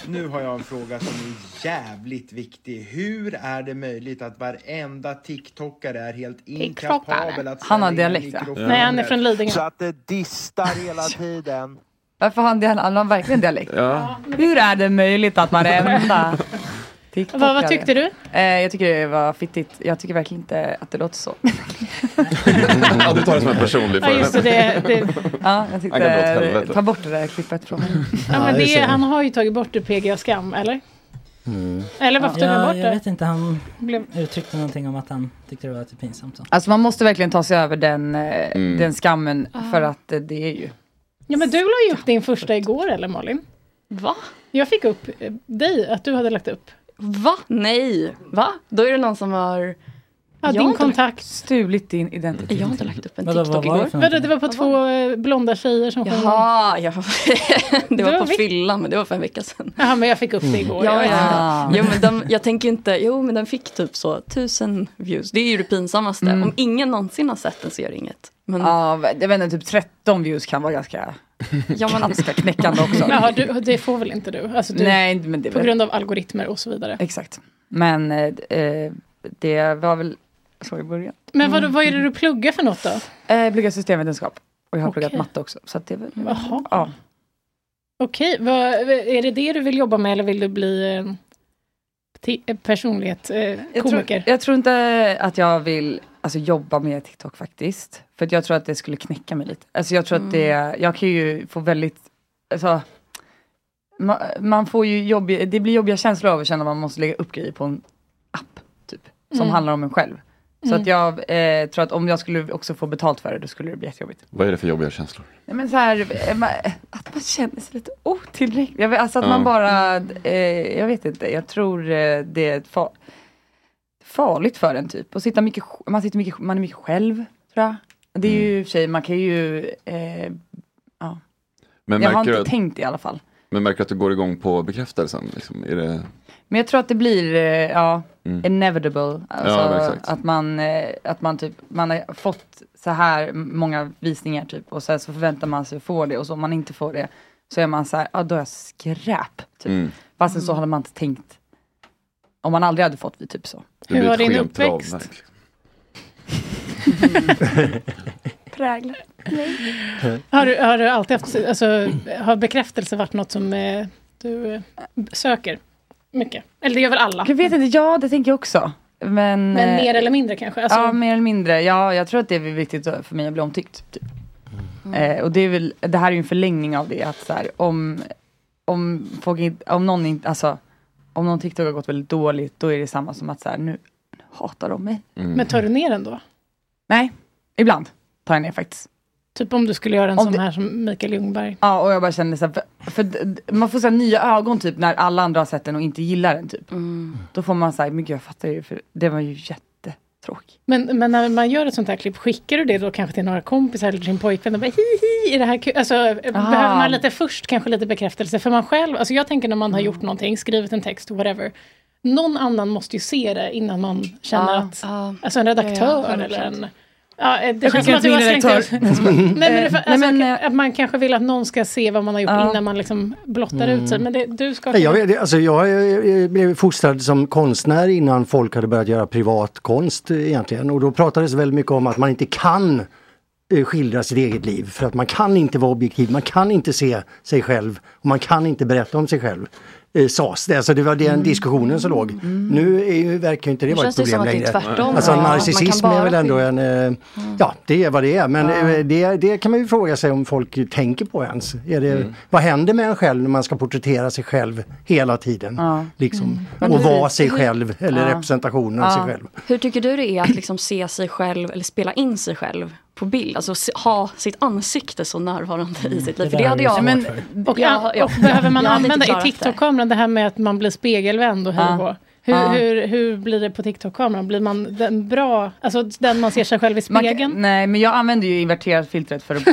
[SPEAKER 16] Nu har jag en fråga som är jävligt viktig. Hur är det möjligt att varenda TikTokare är helt inkapabel att
[SPEAKER 15] Han har
[SPEAKER 16] ställa in en
[SPEAKER 15] dialekt, ja.
[SPEAKER 16] mikrofon
[SPEAKER 15] Nej, han är
[SPEAKER 16] rätt?
[SPEAKER 15] från Lidingö.
[SPEAKER 16] Så att det distar hela tiden.
[SPEAKER 15] Varför har han, dial- han har verkligen dialekt?
[SPEAKER 7] Ja.
[SPEAKER 15] Hur är det möjligt
[SPEAKER 12] *laughs*
[SPEAKER 15] att varenda
[SPEAKER 3] Vad- vad tyckte du?
[SPEAKER 15] Eh, jag tycker det var fittigt. Jag tycker verkligen inte att det låter så.
[SPEAKER 7] ja, du tar det som en personlig
[SPEAKER 15] ja, jag
[SPEAKER 7] Han kan dra åt
[SPEAKER 15] tyckte,
[SPEAKER 7] helvete.
[SPEAKER 15] ta bort det där klippet från mig.
[SPEAKER 3] Ja, men
[SPEAKER 15] det
[SPEAKER 3] det,
[SPEAKER 15] är så.
[SPEAKER 3] han har ju tagit bort det PGA Skam, eller? Eller varför tog han
[SPEAKER 8] jag,
[SPEAKER 3] bort
[SPEAKER 8] jag
[SPEAKER 3] det?
[SPEAKER 8] vet inte, han
[SPEAKER 3] Blev-
[SPEAKER 8] uttryckte någonting om att han tyckte det var lite pinsamt. Så.
[SPEAKER 15] Alltså man måste verkligen ta sig över den, eh,
[SPEAKER 8] Mm.
[SPEAKER 15] den skammen
[SPEAKER 3] Ah.
[SPEAKER 15] för att eh, det är ju...
[SPEAKER 3] Ja, men du la ju upp din första igår, eller Malin? Va? Jag fick upp eh, dig, att du hade lagt upp.
[SPEAKER 4] Va? Nej. Va? Då är det någon som har...
[SPEAKER 3] Ja, din kontakt.
[SPEAKER 15] Stulit din identitet.
[SPEAKER 4] Jag har inte lagt upp en
[SPEAKER 3] Vadå, vad
[SPEAKER 4] TikTok
[SPEAKER 3] var det
[SPEAKER 4] igår.
[SPEAKER 3] för någonting? Vadå, det var på två eh, blonda tjejer som sjöng.
[SPEAKER 4] Jaha, ja. *laughs* det
[SPEAKER 3] Det
[SPEAKER 4] var
[SPEAKER 3] var
[SPEAKER 4] på
[SPEAKER 3] vi-
[SPEAKER 4] fyllan men det var för en vecka sedan.
[SPEAKER 3] Jaha, men jag fick upp det igår.
[SPEAKER 4] Mm. Ja,
[SPEAKER 3] jag
[SPEAKER 4] ja.
[SPEAKER 3] vet inte.
[SPEAKER 4] Jo, men de, jag tänker inte, jo men den fick typ så tusen views. Det är ju det pinsammaste.
[SPEAKER 15] Mm.
[SPEAKER 4] Om ingen någonsin har sett den så gör det inget. Men,
[SPEAKER 15] Ja, jag vet inte, typ 13 views kan
[SPEAKER 3] *laughs*
[SPEAKER 15] vara ganska...
[SPEAKER 4] Ja, men-
[SPEAKER 15] ganska knäckande också.
[SPEAKER 3] Jaha, du, det får väl inte du? Alltså, du
[SPEAKER 15] Nej, men det är
[SPEAKER 3] på
[SPEAKER 15] väl-
[SPEAKER 3] grund av algoritmer och så vidare.
[SPEAKER 15] Exakt. Men eh, d- eh, det var väl så i början. Mm.
[SPEAKER 3] Men vad, vad är det du pluggar för något då?
[SPEAKER 15] Eh, jag pluggar systemvetenskap och jag har pluggat
[SPEAKER 3] Okej.
[SPEAKER 15] matte också. Så att det är väl...
[SPEAKER 3] Jaha.
[SPEAKER 15] Ja.
[SPEAKER 3] Okej, vad, är det det du vill jobba med eller vill du bli eh, ti- eh, personlighet, eh,
[SPEAKER 15] Jag tror,
[SPEAKER 3] komiker?
[SPEAKER 15] jag tror inte att jag vill alltså, jobba med TikTok faktiskt. För att jag tror att det skulle knäcka mig lite. Alltså jag tror att det, jag kan ju få väldigt, alltså, man, man får ju jobbiga, det blir jobbiga känslor av att känna att man måste lägga upp grejer på en app, typ. Som
[SPEAKER 17] Mm.
[SPEAKER 15] handlar om en själv. Så
[SPEAKER 17] Mm.
[SPEAKER 15] att jag eh, tror att om jag skulle också få betalt för det, då skulle det bli jättejobbigt.
[SPEAKER 7] Vad är det för jobbiga känslor?
[SPEAKER 15] Nej, men så här, eh, man, att man känner sig lite otillräcklig. Jag vet, alltså att
[SPEAKER 7] Ja.
[SPEAKER 15] man bara, eh, jag vet inte, jag tror eh, det är ett fa- farligt för en typ. Och sitta mycket, sj- man, sitter mycket, man är mycket själv, tror jag. Det är
[SPEAKER 7] Mm.
[SPEAKER 15] ju i och för sig, man kan ju, eh, ja.
[SPEAKER 7] Men
[SPEAKER 15] jag
[SPEAKER 7] märker
[SPEAKER 15] har inte
[SPEAKER 7] du att-
[SPEAKER 15] tänkt i alla fall.
[SPEAKER 7] Men märker du att du går igång på bekräftelsen? Liksom? Är det...
[SPEAKER 15] Men jag tror att det blir, eh, ja,
[SPEAKER 7] Mm.
[SPEAKER 15] inevitable. Alltså,
[SPEAKER 7] Ja, men exakt.
[SPEAKER 15] att man, eh, att man typ, man har fått så här många visningar typ och sen så förväntar man sig att få det och så om man inte får det så är man så här, ja då är jag skräp. Typ.
[SPEAKER 7] Mm.
[SPEAKER 15] Fastän så hade man inte tänkt. Om man aldrig hade fått det, typ så.
[SPEAKER 7] Det blir ett skevt ramverk, liksom.
[SPEAKER 15] Präglar.
[SPEAKER 3] Har du, har du alltid haft, alltså, har bekräftelse varit något som eh, du eh, söker mycket? Eller det gör väl alla?
[SPEAKER 15] Jag vet inte, ja det tänker jag också. Men,
[SPEAKER 3] Men
[SPEAKER 15] eh,
[SPEAKER 3] mer eller mindre kanske? Alltså,
[SPEAKER 15] ja, mer eller mindre. Ja, jag tror att det är viktigt för mig att bli omtyckt. Typ. Eh, och det, är väl, det här är ju en förlängning av det. Att så här, om, om, folk inte, om, någon inte, alltså, om någon TikTok har gått väldigt dåligt, då är det samma som att så här, nu, nu hatar de mig.
[SPEAKER 7] Mm.
[SPEAKER 3] Men tar du ner den då?
[SPEAKER 15] Nej, ibland tar jag ner faktiskt.
[SPEAKER 3] Typ om du skulle göra en
[SPEAKER 15] Om
[SPEAKER 3] sån
[SPEAKER 15] det-
[SPEAKER 3] här som Mikael Ljungberg?
[SPEAKER 15] Ja, och jag bara känner så här, för, för d- d- man får så här nya ögon typ när alla andra har sett den och inte gillar den typ. Då får man säga, men gud jag fattar ju, för det var ju jättetråkigt.
[SPEAKER 3] Men, men när man gör ett sånt här klipp, skickar du det då kanske till några kompisar eller till din pojkvän och bara hihi, är det här kul? Alltså, behöver man lite först kanske lite bekräftelse för man själv? Alltså jag tänker när man har gjort någonting, skrivit en text, whatever. Någon annan måste ju se det innan man känner
[SPEAKER 4] Ja.
[SPEAKER 3] att, alltså en redaktör
[SPEAKER 4] Ja, ja,
[SPEAKER 3] eller en...
[SPEAKER 4] 100%.
[SPEAKER 3] Ja, eh, det
[SPEAKER 15] Jag
[SPEAKER 3] känns som
[SPEAKER 15] skickar
[SPEAKER 3] att
[SPEAKER 15] till
[SPEAKER 3] du har
[SPEAKER 15] min
[SPEAKER 3] slängt
[SPEAKER 15] redaktör.
[SPEAKER 3] ut... Nej, men, det, för,
[SPEAKER 15] Nej,
[SPEAKER 3] alltså, att man kanske vill att någon ska se vad man har gjort
[SPEAKER 15] Ja.
[SPEAKER 3] innan man liksom blottar ut sig. Men det, du ska...
[SPEAKER 6] Nej, Jag, vet- alltså, jag eh, blev fostrad som konstnär innan folk hade börjat göra privat konst eh, egentligen. Och då pratades väldigt mycket om att man inte kan eh, skildra sitt eget liv. För att man kan inte vara objektiv, man kan inte se sig själv och man kan inte berätta om sig själv. Eh, sas det, alltså det var den diskussionen som låg. Nu är ju, verkar ju inte det
[SPEAKER 4] Mm. Nu
[SPEAKER 6] vara
[SPEAKER 4] känns
[SPEAKER 6] ett
[SPEAKER 4] det som
[SPEAKER 6] problem
[SPEAKER 4] att det är
[SPEAKER 6] längre.
[SPEAKER 4] tvärtom.
[SPEAKER 6] Alltså
[SPEAKER 4] Ja, att man
[SPEAKER 6] narcissism
[SPEAKER 4] kan bara Mm.
[SPEAKER 6] är väl ändå en, eh, ja det är vad det är. Men eh, det, det kan man ju fråga sig om folk tänker på ens. Är det,
[SPEAKER 15] Mm.
[SPEAKER 6] Vad händer med en själv när man ska porträttera sig själv hela tiden?
[SPEAKER 4] Ja. Mm.
[SPEAKER 6] Liksom.
[SPEAKER 4] Men
[SPEAKER 6] Och
[SPEAKER 4] hur-
[SPEAKER 6] vara sig
[SPEAKER 4] hur-
[SPEAKER 6] själv eller
[SPEAKER 4] Ja.
[SPEAKER 6] representationen av sig själv.
[SPEAKER 4] Hur tycker du det är att liksom se sig själv eller spela in sig själv på bild? Alltså se, ha sitt ansikte så närvarande i
[SPEAKER 3] Mm.
[SPEAKER 4] sitt liv. För det hade jag...
[SPEAKER 3] Men, och,
[SPEAKER 4] Ja, ja.
[SPEAKER 3] och behöver man
[SPEAKER 4] Jag hade inte
[SPEAKER 3] använda i
[SPEAKER 4] klarat det.
[SPEAKER 3] TikTok-kameran det här med att man blir spegelvänd och hej
[SPEAKER 4] Ja.
[SPEAKER 3] och hå? hur,
[SPEAKER 15] Ja.
[SPEAKER 3] hur, hur blir det på TikTok-kameran? Blir man den bra, alltså den man ser sig själv i
[SPEAKER 15] Man
[SPEAKER 3] spegeln?
[SPEAKER 15] kan, nej, men jag använder ju inverterat filtret för
[SPEAKER 3] *laughs*
[SPEAKER 15] att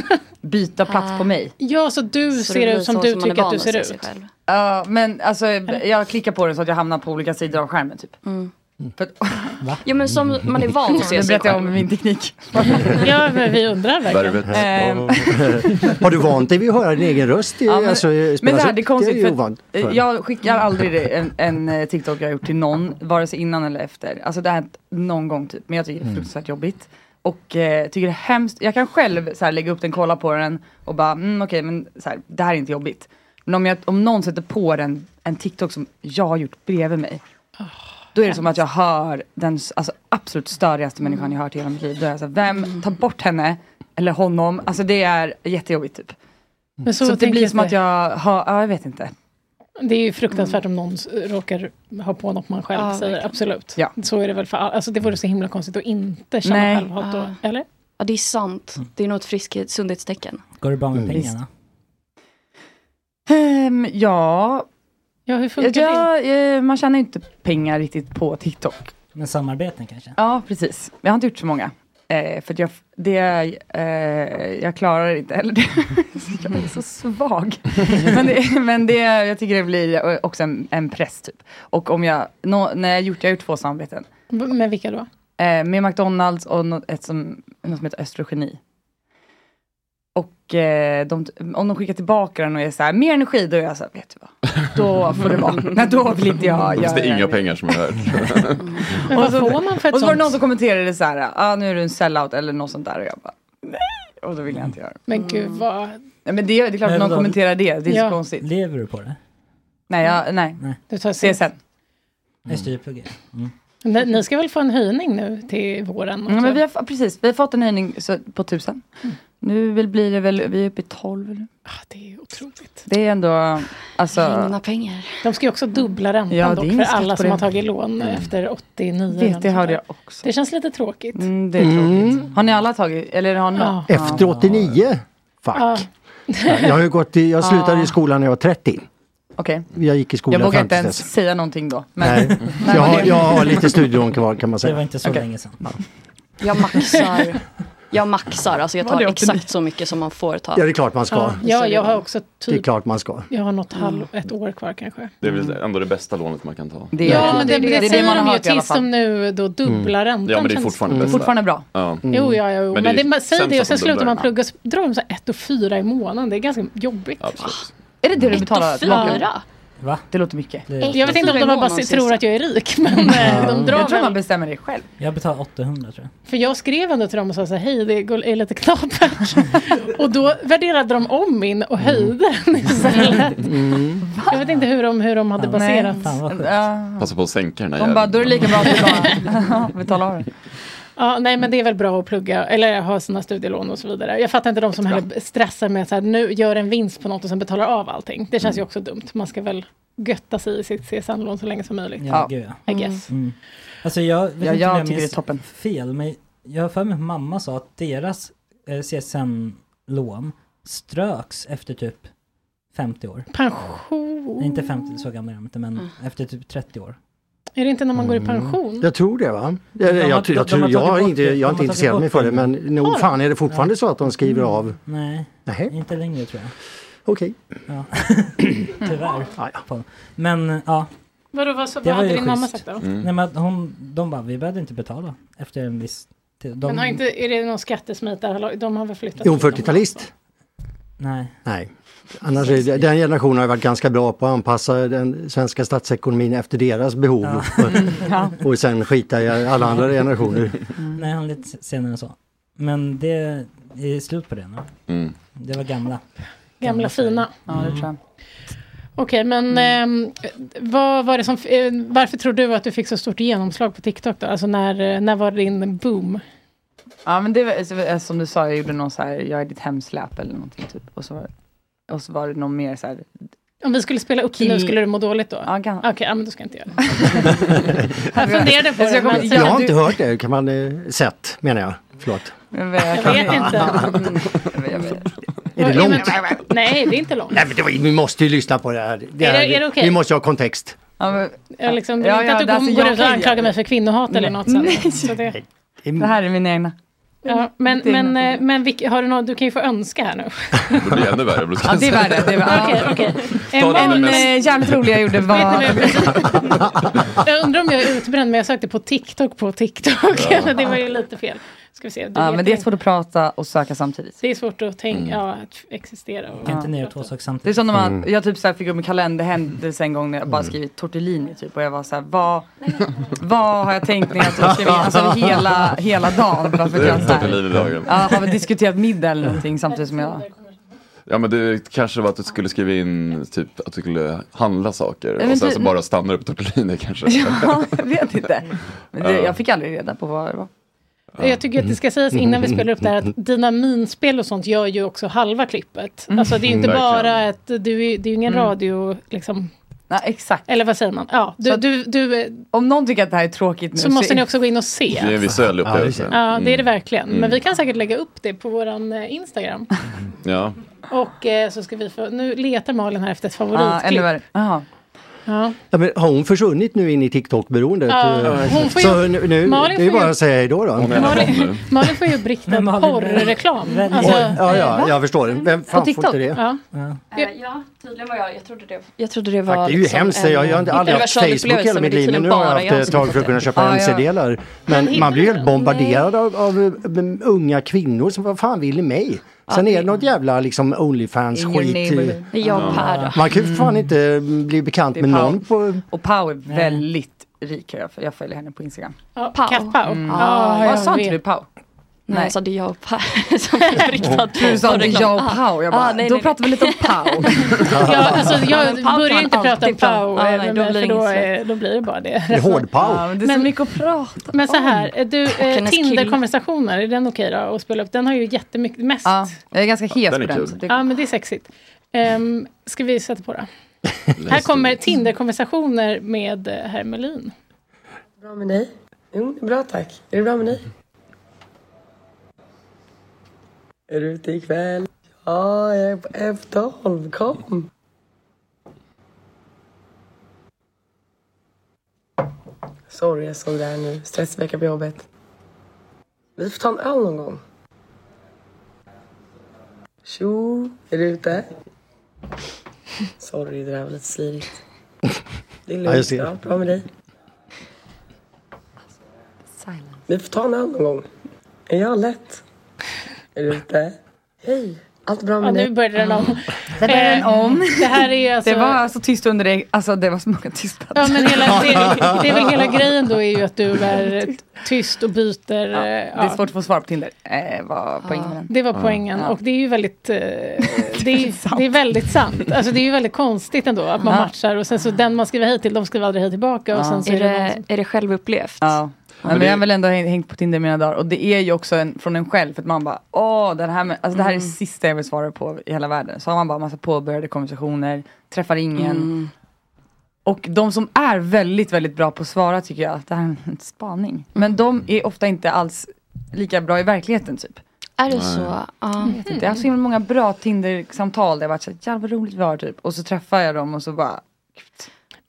[SPEAKER 15] byta plats på mig.
[SPEAKER 3] Ja, Ah. så du
[SPEAKER 15] Så det
[SPEAKER 3] ser
[SPEAKER 15] blir
[SPEAKER 3] ut som
[SPEAKER 15] så
[SPEAKER 3] du
[SPEAKER 15] som man är
[SPEAKER 3] tycker att
[SPEAKER 15] van
[SPEAKER 3] du
[SPEAKER 15] att
[SPEAKER 3] ser
[SPEAKER 15] se
[SPEAKER 3] ut.
[SPEAKER 15] sig själv. Ja, men alltså jag klickar på den så att jag hamnar på olika sidor av skärmen typ. För att,
[SPEAKER 4] Jo men som man är van att se
[SPEAKER 15] Nu
[SPEAKER 4] sig
[SPEAKER 15] berättar jag om
[SPEAKER 4] själv.
[SPEAKER 15] min teknik.
[SPEAKER 3] ja, men vi undrar
[SPEAKER 15] Ehm,
[SPEAKER 6] *laughs* Har du vant dig vid att höra din egen röst? i-
[SPEAKER 15] Ja, men,
[SPEAKER 6] alltså,
[SPEAKER 15] men
[SPEAKER 6] spelas
[SPEAKER 15] det här
[SPEAKER 6] upp?
[SPEAKER 15] det är konstigt.
[SPEAKER 6] ju
[SPEAKER 15] för eh, att
[SPEAKER 6] ovant. för-
[SPEAKER 15] jag skickar aldrig det- en, en eh, TikTok jag har gjort till någon, vare sig innan eller efter. Alltså det har hänt någon gång typ, men jag tycker det är
[SPEAKER 4] Mm.
[SPEAKER 15] fruktansvärt jobbigt. Och eh, tycker det är hemskt. Jag kan själv så här, lägga upp den, kolla på den och bara, mm, okej men så här, det här är inte jobbigt. Men om, jag, om någon sätter på den, en TikTok som jag har gjort bredvid mig. Då är det som att jag hör den s- alltså, absolut störigaste människan jag hört i hela mitt liv. Då är jag så här,
[SPEAKER 3] Mm.
[SPEAKER 15] vem, ta bort henne eller honom. Alltså det är jättejobbigt typ.
[SPEAKER 3] Mm. Men så
[SPEAKER 15] så det
[SPEAKER 3] tänker
[SPEAKER 15] blir
[SPEAKER 3] jag
[SPEAKER 15] som
[SPEAKER 3] att
[SPEAKER 15] att jag har, ja jag vet inte.
[SPEAKER 3] Det är ju fruktansvärt om någon s- råkar ha på något man själv
[SPEAKER 15] Mm. Ja,
[SPEAKER 3] säger,
[SPEAKER 15] verkligen.
[SPEAKER 3] absolut.
[SPEAKER 15] Ja.
[SPEAKER 3] Så är det väl för alla. Alltså det vore så himla konstigt att inte känna
[SPEAKER 4] Nej.
[SPEAKER 3] självhat då,
[SPEAKER 4] Ja.
[SPEAKER 3] eller?
[SPEAKER 4] Ja det är sant.
[SPEAKER 6] Mm.
[SPEAKER 4] Det är nog ett friskhet, sundhetstecken.
[SPEAKER 8] Går det bra med
[SPEAKER 15] Mm.
[SPEAKER 8] pengarna?
[SPEAKER 15] Ehm, ja.
[SPEAKER 3] Ja, hur funkar
[SPEAKER 15] det? man tjänar ju inte pengar riktigt på TikTok.
[SPEAKER 8] Men samarbeten kanske?
[SPEAKER 15] Ja, precis. Jag har inte gjort så många. Eh, för att jag, det, eh, jag klarar inte heller det. *laughs* jag är så svag. men det, men det, jag tycker det blir eh, också en, en press typ. Och om jag, nå- när jag gjort, jag har gjort två samarbeten.
[SPEAKER 3] B- Med vilka då?
[SPEAKER 15] Eh, med McDonalds och något, ett som, något som heter Östrogeni. Och eh, de, om de skickar tillbaka den och är så här, mer energi, då är jag så här, vet du vad? Då får
[SPEAKER 7] *laughs*
[SPEAKER 15] det vara. Nej, då vill inte jag göra
[SPEAKER 7] Fast det är inga pengar som är värt.
[SPEAKER 15] *laughs*
[SPEAKER 3] Men vad får man för ett
[SPEAKER 15] Och så var
[SPEAKER 3] sånt?
[SPEAKER 15] det någon som kommenterade så här, ah, nu är du en sellout eller något sånt där. Och jag bara, Och då vill jag inte göra det.
[SPEAKER 3] Men
[SPEAKER 6] Mm.
[SPEAKER 3] gud vad...
[SPEAKER 15] Nej, men det, det är klart
[SPEAKER 3] Men
[SPEAKER 15] att någon
[SPEAKER 3] vadå?
[SPEAKER 15] kommenterar det. Det är
[SPEAKER 3] Ja.
[SPEAKER 15] så konstigt.
[SPEAKER 8] Lever du på det?
[SPEAKER 15] Nej, jag, nej.
[SPEAKER 3] Du tar
[SPEAKER 15] ses sen.
[SPEAKER 8] Nej, styrplugg. Mm.
[SPEAKER 3] Ni, ni ska väl få en höjning nu till våren?
[SPEAKER 15] Ja, men vi har, precis, vi har fått en höjning så, på tusen. Nu vill- blir det väl, vi är uppe i 12 nu.
[SPEAKER 3] Mm. Ah, det är otroligt.
[SPEAKER 15] Det är ändå, alltså.
[SPEAKER 3] Regna
[SPEAKER 4] pengar.
[SPEAKER 3] De ska ju också dubbla räntan
[SPEAKER 15] Ja, det är
[SPEAKER 3] dock
[SPEAKER 15] ingen
[SPEAKER 3] för
[SPEAKER 15] skatt
[SPEAKER 3] alla
[SPEAKER 15] på
[SPEAKER 3] som
[SPEAKER 15] det.
[SPEAKER 3] har tagit lån
[SPEAKER 15] Mm.
[SPEAKER 3] efter 89.
[SPEAKER 15] Vet, det hörde jag också.
[SPEAKER 3] Det känns lite tråkigt.
[SPEAKER 15] Mm, det är tråkigt. Har ni alla tagit, eller har ni
[SPEAKER 3] Ja.
[SPEAKER 6] Efter 89? Fuck.
[SPEAKER 15] Ja.
[SPEAKER 6] Jag, har ju gått i, jag slutade
[SPEAKER 15] Ja.
[SPEAKER 6] i skolan när jag var 30.
[SPEAKER 15] Okej.
[SPEAKER 6] Jag gick i skolan
[SPEAKER 15] Jag vågar
[SPEAKER 6] fram
[SPEAKER 15] inte
[SPEAKER 6] till
[SPEAKER 15] ens
[SPEAKER 6] dess.
[SPEAKER 15] säga någonting då.
[SPEAKER 6] Nej. Jag, har, jag har lite studielån kvar kan man säga.
[SPEAKER 8] Det var inte så
[SPEAKER 15] Okej.
[SPEAKER 8] länge sedan.
[SPEAKER 4] Jag maxar. Jag maxar, alltså jag
[SPEAKER 3] Var
[SPEAKER 4] tar
[SPEAKER 3] det
[SPEAKER 4] exakt så mycket som man får ta.
[SPEAKER 6] Ja, det är klart man ska.
[SPEAKER 3] Ja, ja, jag har också
[SPEAKER 6] Det är
[SPEAKER 3] typ...
[SPEAKER 6] klart man ska.
[SPEAKER 3] Jag har något halv, ett år kvar kanske.
[SPEAKER 7] Det är väl ändå det bästa lånet man kan ta.
[SPEAKER 3] ja, men det, det,
[SPEAKER 15] det
[SPEAKER 3] säger
[SPEAKER 15] man har
[SPEAKER 3] de ju
[SPEAKER 15] hört i alla
[SPEAKER 3] tills
[SPEAKER 15] fall.
[SPEAKER 3] de nu då
[SPEAKER 7] Mm.
[SPEAKER 3] dubblar räntan.
[SPEAKER 7] Ja, men det är
[SPEAKER 3] känns Mm.
[SPEAKER 7] fortfarande bäst.
[SPEAKER 15] Fortfarande bra.
[SPEAKER 7] Ja.
[SPEAKER 3] Jo, ja, jo. Men,
[SPEAKER 7] är
[SPEAKER 3] det
[SPEAKER 7] ju
[SPEAKER 3] man säger
[SPEAKER 7] sämst
[SPEAKER 3] det och
[SPEAKER 7] att
[SPEAKER 3] sen
[SPEAKER 7] de
[SPEAKER 3] slutar
[SPEAKER 7] dubblar
[SPEAKER 3] man
[SPEAKER 7] den.
[SPEAKER 3] plugga så drar de så här 1 och 4 i månaden. Det är ganska jobbigt.
[SPEAKER 15] Är det det du betalar
[SPEAKER 3] Ett och
[SPEAKER 15] tillbaka?
[SPEAKER 3] fyra?
[SPEAKER 8] Va?
[SPEAKER 15] Det låter mycket.
[SPEAKER 3] Jag vet inte om de bara bara tror att jag är rik. Men eh, de drar
[SPEAKER 15] Jag tror
[SPEAKER 3] väl-
[SPEAKER 15] man bestämmer det själv.
[SPEAKER 8] Jag betalar 800 tror
[SPEAKER 3] För jag skrev ändå till dem och sa så här, hej det går- är lite knapert. *laughs* och då värderade de om min och höjde den istället.
[SPEAKER 8] jag.
[SPEAKER 15] Mm.
[SPEAKER 3] Jag vet inte hur de, hur de hade baserat.
[SPEAKER 15] Ja.
[SPEAKER 7] Passa på att sänka den här
[SPEAKER 15] De
[SPEAKER 7] jäveln.
[SPEAKER 15] bara, då är det lika bra att du bara *laughs* betalar av det.
[SPEAKER 3] Ja, nej men det är väl bra att plugga eller ha sina studielån och så vidare. Jag fattar inte de som heller stressar med att så här, nu gör en vinst på något och sen betalar av allting. Det
[SPEAKER 8] Mm.
[SPEAKER 3] känns ju också dumt. Man ska väl götta sig i sitt CSN-lån så länge som möjligt.
[SPEAKER 8] Ja, gud, ja.
[SPEAKER 3] I guess.
[SPEAKER 8] Mm. Alltså jag vet
[SPEAKER 15] Ja,
[SPEAKER 8] inte
[SPEAKER 15] jag
[SPEAKER 8] om
[SPEAKER 15] tycker det är
[SPEAKER 8] minns
[SPEAKER 15] toppen.
[SPEAKER 8] fel, men jag har för mig att mamma sa att deras eh, CSN-lån ströks efter typ 50 år.
[SPEAKER 3] Pension? Mm.
[SPEAKER 8] Nej, inte 50, så gammal är de inte, men efter typ 30 år.
[SPEAKER 3] Är det inte när man går
[SPEAKER 8] Mm.
[SPEAKER 3] i pension?
[SPEAKER 6] Jag tror det va? Jag,
[SPEAKER 8] De har- de-
[SPEAKER 6] jag, jag,
[SPEAKER 8] de har
[SPEAKER 6] tror, jag,
[SPEAKER 8] tagit
[SPEAKER 6] har
[SPEAKER 8] bort
[SPEAKER 6] inte,
[SPEAKER 8] det. De
[SPEAKER 6] jag
[SPEAKER 8] har
[SPEAKER 6] är inte
[SPEAKER 8] tagit
[SPEAKER 6] intresserad
[SPEAKER 8] bort
[SPEAKER 6] mig för det
[SPEAKER 8] det.
[SPEAKER 6] men nog fan är det fortfarande så att de skriver
[SPEAKER 15] Mm.
[SPEAKER 6] av.
[SPEAKER 8] Nej, inte längre tror jag.
[SPEAKER 6] Okej.
[SPEAKER 8] Ja. *laughs* Tyvärr. På- Men ja.
[SPEAKER 3] Vadå, vad, så,
[SPEAKER 8] Det
[SPEAKER 3] vad
[SPEAKER 8] var
[SPEAKER 3] hade
[SPEAKER 8] ju
[SPEAKER 3] din mamma
[SPEAKER 8] schysst.
[SPEAKER 3] sagt då?
[SPEAKER 8] Nej men att hon, de bara, vi behövde inte betala efter en viss tid. De,
[SPEAKER 3] Men har inte, är det någon skattesmitare? De har väl flyttat?
[SPEAKER 6] Är hon 40-talist?
[SPEAKER 8] Nej.
[SPEAKER 6] Nej. Annars är det, den generationen har ju varit ganska bra på att anpassa den svenska statsekonomin efter deras behov. *laughs*
[SPEAKER 8] Ja.
[SPEAKER 6] Och, och sen skita i alla andra generationer.
[SPEAKER 8] Nej, han lite senare än så. Men det är slut på det nu.
[SPEAKER 7] Mm.
[SPEAKER 8] Det var gamla.
[SPEAKER 3] Gamla fina. Mm.
[SPEAKER 8] Ja, det tror jag. Mm.
[SPEAKER 3] Okej, men ehm, vad var det som, eh, varför tror du att du fick så stort genomslag på TikTok då? Alltså när, eh, när var din boom?
[SPEAKER 15] Ja men det var så var det som du sa, jag gjorde någon så här, jag är ditt hemsläp eller någonting typ. Och så var, och så var det någon mer så här.
[SPEAKER 3] Om vi skulle spela upp det nu,
[SPEAKER 15] Kill-
[SPEAKER 3] skulle du må dåligt då?
[SPEAKER 15] Ja, kan...
[SPEAKER 3] Okej, ja, men då ska jag inte göra
[SPEAKER 15] *laughs*
[SPEAKER 3] det. jag funderade på det. men-
[SPEAKER 6] Jag har inte hört det, kan man eh, sett menar jag. Förlåt.
[SPEAKER 15] Jag vet,
[SPEAKER 3] Jag vet inte.
[SPEAKER 6] Är det långt?
[SPEAKER 3] Nej, det är inte långt.
[SPEAKER 6] *laughs* Nej men det var, vi måste ju lyssna på det här. Det
[SPEAKER 3] Är det-
[SPEAKER 6] här
[SPEAKER 3] är det okej?
[SPEAKER 6] Vi måste ju ha kontext.
[SPEAKER 15] Ja, men,
[SPEAKER 3] Jag liksom vill
[SPEAKER 15] Ja,
[SPEAKER 3] inte
[SPEAKER 15] ja,
[SPEAKER 3] att du
[SPEAKER 15] det- alltså,
[SPEAKER 3] går
[SPEAKER 15] jag
[SPEAKER 3] ut och
[SPEAKER 15] kan-
[SPEAKER 3] anklagar mig för kvinnohat eller något sånt. Så det,
[SPEAKER 15] det här är mina egna.
[SPEAKER 3] ja, men
[SPEAKER 15] Det är
[SPEAKER 3] men, eh, men vilk- har du, något, du kan ju få önska här nu.
[SPEAKER 7] Det blir ännu värre.
[SPEAKER 15] Ja det är värre. Det är värre.
[SPEAKER 3] *laughs* Okej, okej.
[SPEAKER 15] En,
[SPEAKER 3] det
[SPEAKER 15] en
[SPEAKER 3] mest-
[SPEAKER 15] eh, jävligt rolig jag gjorde var...
[SPEAKER 3] Jag undrar om jag är utbränd, men jag sökte på TikTok på TikTok. *laughs*
[SPEAKER 15] Ja.
[SPEAKER 3] det var ju lite fel. Ska vi se. Du
[SPEAKER 15] Ja
[SPEAKER 3] vet
[SPEAKER 15] men det är
[SPEAKER 3] inte.
[SPEAKER 15] svårt att prata och söka samtidigt.
[SPEAKER 3] det är svårt att tänka,
[SPEAKER 6] Mm.
[SPEAKER 3] ja, att existera. Och,
[SPEAKER 15] Kan inte
[SPEAKER 8] Inte ner två saker
[SPEAKER 15] Det är
[SPEAKER 8] samtidigt.
[SPEAKER 15] som när man,
[SPEAKER 8] Mm.
[SPEAKER 15] jag typ så här fick upp en kalenderhändelse en gång när jag bara skrivit tortellini typ och jag var så här, vad, vad har jag tänkt när jag tog- skrev in alltså, hela, hela dagen? Bara för att jag så här,
[SPEAKER 7] Tortellinidagen.
[SPEAKER 15] ja, har vi diskuterat middag eller någonting samtidigt som jag...
[SPEAKER 7] Ja men det kanske var att du skulle skriva in typ att du skulle handla saker
[SPEAKER 15] men
[SPEAKER 7] och sen
[SPEAKER 15] du-
[SPEAKER 7] så bara stannar du på tortellini kanske.
[SPEAKER 15] *laughs*
[SPEAKER 7] *laughs*
[SPEAKER 15] Ja, jag vet inte. Men det, jag fick aldrig reda på vad det var.
[SPEAKER 3] Jag tycker att det ska sägas innan vi spelar upp det här att dina minspel och sånt gör ju också halva klippet. Alltså det är ju inte
[SPEAKER 15] Mm, verkligen.
[SPEAKER 3] bara att du, är- det är ju ingen
[SPEAKER 15] Mm.
[SPEAKER 3] radio liksom.
[SPEAKER 15] Nej, exakt.
[SPEAKER 3] Eller vad säger man? Ja, du,
[SPEAKER 15] Så att-
[SPEAKER 3] du, du,
[SPEAKER 15] om någon tycker att det här är tråkigt nu
[SPEAKER 3] så måste
[SPEAKER 15] så-
[SPEAKER 3] ni också gå in och se.
[SPEAKER 7] Det är en visuell upplevelse.
[SPEAKER 3] Ja, det är det verkligen.
[SPEAKER 7] Mm.
[SPEAKER 3] Men vi kan säkert lägga upp det på våran eh, Instagram.
[SPEAKER 7] Mm, Ja.
[SPEAKER 3] Och eh, så ska vi få, nu letar Malin här efter ett
[SPEAKER 15] Ja,
[SPEAKER 3] favoritklipp.
[SPEAKER 15] ännu värre. Jaha.
[SPEAKER 3] Ja.
[SPEAKER 6] Ja, men har hon försvunnit nu in i TikTok-beroendet?
[SPEAKER 3] Ja,
[SPEAKER 6] Eh,
[SPEAKER 3] hon får ju-
[SPEAKER 6] så nu, nu,
[SPEAKER 3] Malin
[SPEAKER 6] det är ju
[SPEAKER 3] får ju-
[SPEAKER 6] bara att säga hej då. då.
[SPEAKER 3] Malin, Malin får ju upp riktad porrreklam. Alltså,
[SPEAKER 6] Oj, ja, ja, jag förstår. Vem
[SPEAKER 4] På
[SPEAKER 6] fan får
[SPEAKER 4] TikTok?
[SPEAKER 6] inte det?
[SPEAKER 3] Ja.
[SPEAKER 4] Eh, ja, tydligen var jag, jag trodde det, jag trodde det var...
[SPEAKER 6] Tack, det är ju hemskt.
[SPEAKER 4] liksom en
[SPEAKER 6] Jag, jag har inte aldrig haft
[SPEAKER 4] universal
[SPEAKER 6] Facebook
[SPEAKER 4] upplevelse,
[SPEAKER 6] hela
[SPEAKER 4] men
[SPEAKER 6] mitt
[SPEAKER 4] det är
[SPEAKER 6] liv. Men
[SPEAKER 4] tydligen
[SPEAKER 6] nu har
[SPEAKER 4] bara
[SPEAKER 6] jag haft
[SPEAKER 4] jag
[SPEAKER 6] ett
[SPEAKER 4] som
[SPEAKER 6] tag
[SPEAKER 4] har
[SPEAKER 6] för att kunna
[SPEAKER 4] fått
[SPEAKER 6] köpa
[SPEAKER 4] det. Ja, ja.
[SPEAKER 6] mc-delar. Men man blir ju helt bombarderad av, av eh, unga kvinnor som vad fan vill ni mig? Sen är det något jävla liksom Onlyfans-skit.
[SPEAKER 15] In your
[SPEAKER 6] i-
[SPEAKER 15] neighborhood. Det är jag och Per då.
[SPEAKER 6] Man kan ju för fan inte bli bekant
[SPEAKER 15] Det är
[SPEAKER 6] med
[SPEAKER 15] Pau.
[SPEAKER 6] någon på...
[SPEAKER 15] Och Pau är väldigt rik, jag, jag följer henne på Instagram.
[SPEAKER 3] Ja, Katt Pau.
[SPEAKER 4] Ah,
[SPEAKER 15] Mm. Ja,
[SPEAKER 3] jag
[SPEAKER 15] sa inte
[SPEAKER 3] vet.
[SPEAKER 15] du Pau?
[SPEAKER 4] Nej, jag sa det är jag och Pau *laughs* som är riktad på
[SPEAKER 15] Du sa det är jag och
[SPEAKER 4] reklam.
[SPEAKER 15] Pau. Jag bara,
[SPEAKER 4] Ah, nej,
[SPEAKER 15] då
[SPEAKER 4] nej,
[SPEAKER 15] pratar vi lite om
[SPEAKER 4] *laughs*
[SPEAKER 15] Pau.
[SPEAKER 3] Ja, alltså,
[SPEAKER 4] Ja,
[SPEAKER 3] jag
[SPEAKER 4] men Pau
[SPEAKER 3] börjar
[SPEAKER 4] kan
[SPEAKER 3] inte prata om
[SPEAKER 4] alltid
[SPEAKER 3] Pau,
[SPEAKER 4] prata. Ja, nej,
[SPEAKER 3] eh,
[SPEAKER 4] då
[SPEAKER 3] men- för
[SPEAKER 4] blir det
[SPEAKER 3] då,
[SPEAKER 4] inget
[SPEAKER 3] eh, då blir det bara det.
[SPEAKER 6] Det är hård Pau.
[SPEAKER 15] Ja, men det är så mycket att prata
[SPEAKER 3] Men så
[SPEAKER 15] om.
[SPEAKER 3] här, eh, du, eh,
[SPEAKER 15] Hennes
[SPEAKER 3] Tinder-konversationer, är den okej då att spela upp? Den har ju jättemycket, mest.
[SPEAKER 15] Ja, jag är ganska hes på den. Det-
[SPEAKER 3] Ja, men det är sexigt. Um, ska vi sätta
[SPEAKER 15] *laughs*
[SPEAKER 3] på då? Här kommer Tinder-konversationer med eh, herr Melin.
[SPEAKER 18] Bra med dig? Jo, det är bra tack. Är det bra med dig? Är du ute ikväll? Ja, jag är på F12. Kom! Sorry, jag såg det här nu. Stressvecka på jobbet. Vi får ta en öl någon gång. Tjo, är du ute? Sorry, det där var lite slirigt. Det är
[SPEAKER 6] Ja, jag
[SPEAKER 18] lugnt.
[SPEAKER 6] ser.
[SPEAKER 18] Ja, bra med dig. Vi får ta en öl någon gång. Är jag lätt? Är du ute? Hej, allt
[SPEAKER 15] *laughs*
[SPEAKER 18] bra
[SPEAKER 3] Ja,
[SPEAKER 18] med dig?
[SPEAKER 3] nu började den om.
[SPEAKER 15] Där börjar den om.
[SPEAKER 3] Ehm, Eh, Det här är ju alltså...
[SPEAKER 15] *laughs* Det var alltså tyst under det. Alltså det var så många tystnader.
[SPEAKER 3] Ja, men hela, det,
[SPEAKER 15] *laughs*
[SPEAKER 3] är- det är väl hela grejen då är ju att du är t- tyst och byter. eh, Ja,
[SPEAKER 15] Det är svårt att få svar på Tinder. Eh, var poängen. med den.
[SPEAKER 3] Det var poängen
[SPEAKER 15] Ja.
[SPEAKER 3] och det är ju väldigt, eh, det är, det är väldigt sant. Alltså det är ju väldigt konstigt ändå att man
[SPEAKER 4] Ja.
[SPEAKER 3] matchar och sen så den man skriver hej till, de skriver aldrig hej tillbaka. Och
[SPEAKER 15] Ja.
[SPEAKER 3] sen så
[SPEAKER 4] Är
[SPEAKER 3] är, det,
[SPEAKER 4] det-
[SPEAKER 3] någon som... är det självupplevt?
[SPEAKER 15] Ja.
[SPEAKER 3] men
[SPEAKER 15] men jag har
[SPEAKER 3] det-
[SPEAKER 15] väl ändå häng- hängt på Tinder i mina dagar och det är ju också en, från en själv för att man bara åh det här, med, alltså, det här är det sista jag vill svara på i hela världen. Så har man bara massa påbörjade konversationer, träffar ingen.
[SPEAKER 4] Mm.
[SPEAKER 15] Och de som är väldigt väldigt bra på att svara tycker jag, det här är en spaning. Men de är ofta inte alls lika bra i verkligheten typ.
[SPEAKER 4] Är det så? Ah. Nej. Ja.
[SPEAKER 15] Jag vet inte. Jag har så himla många bra Tinder-samtal där jag varit såhär, jävlar vad roligt vi har typ. Och så träffar jag dem och så bara,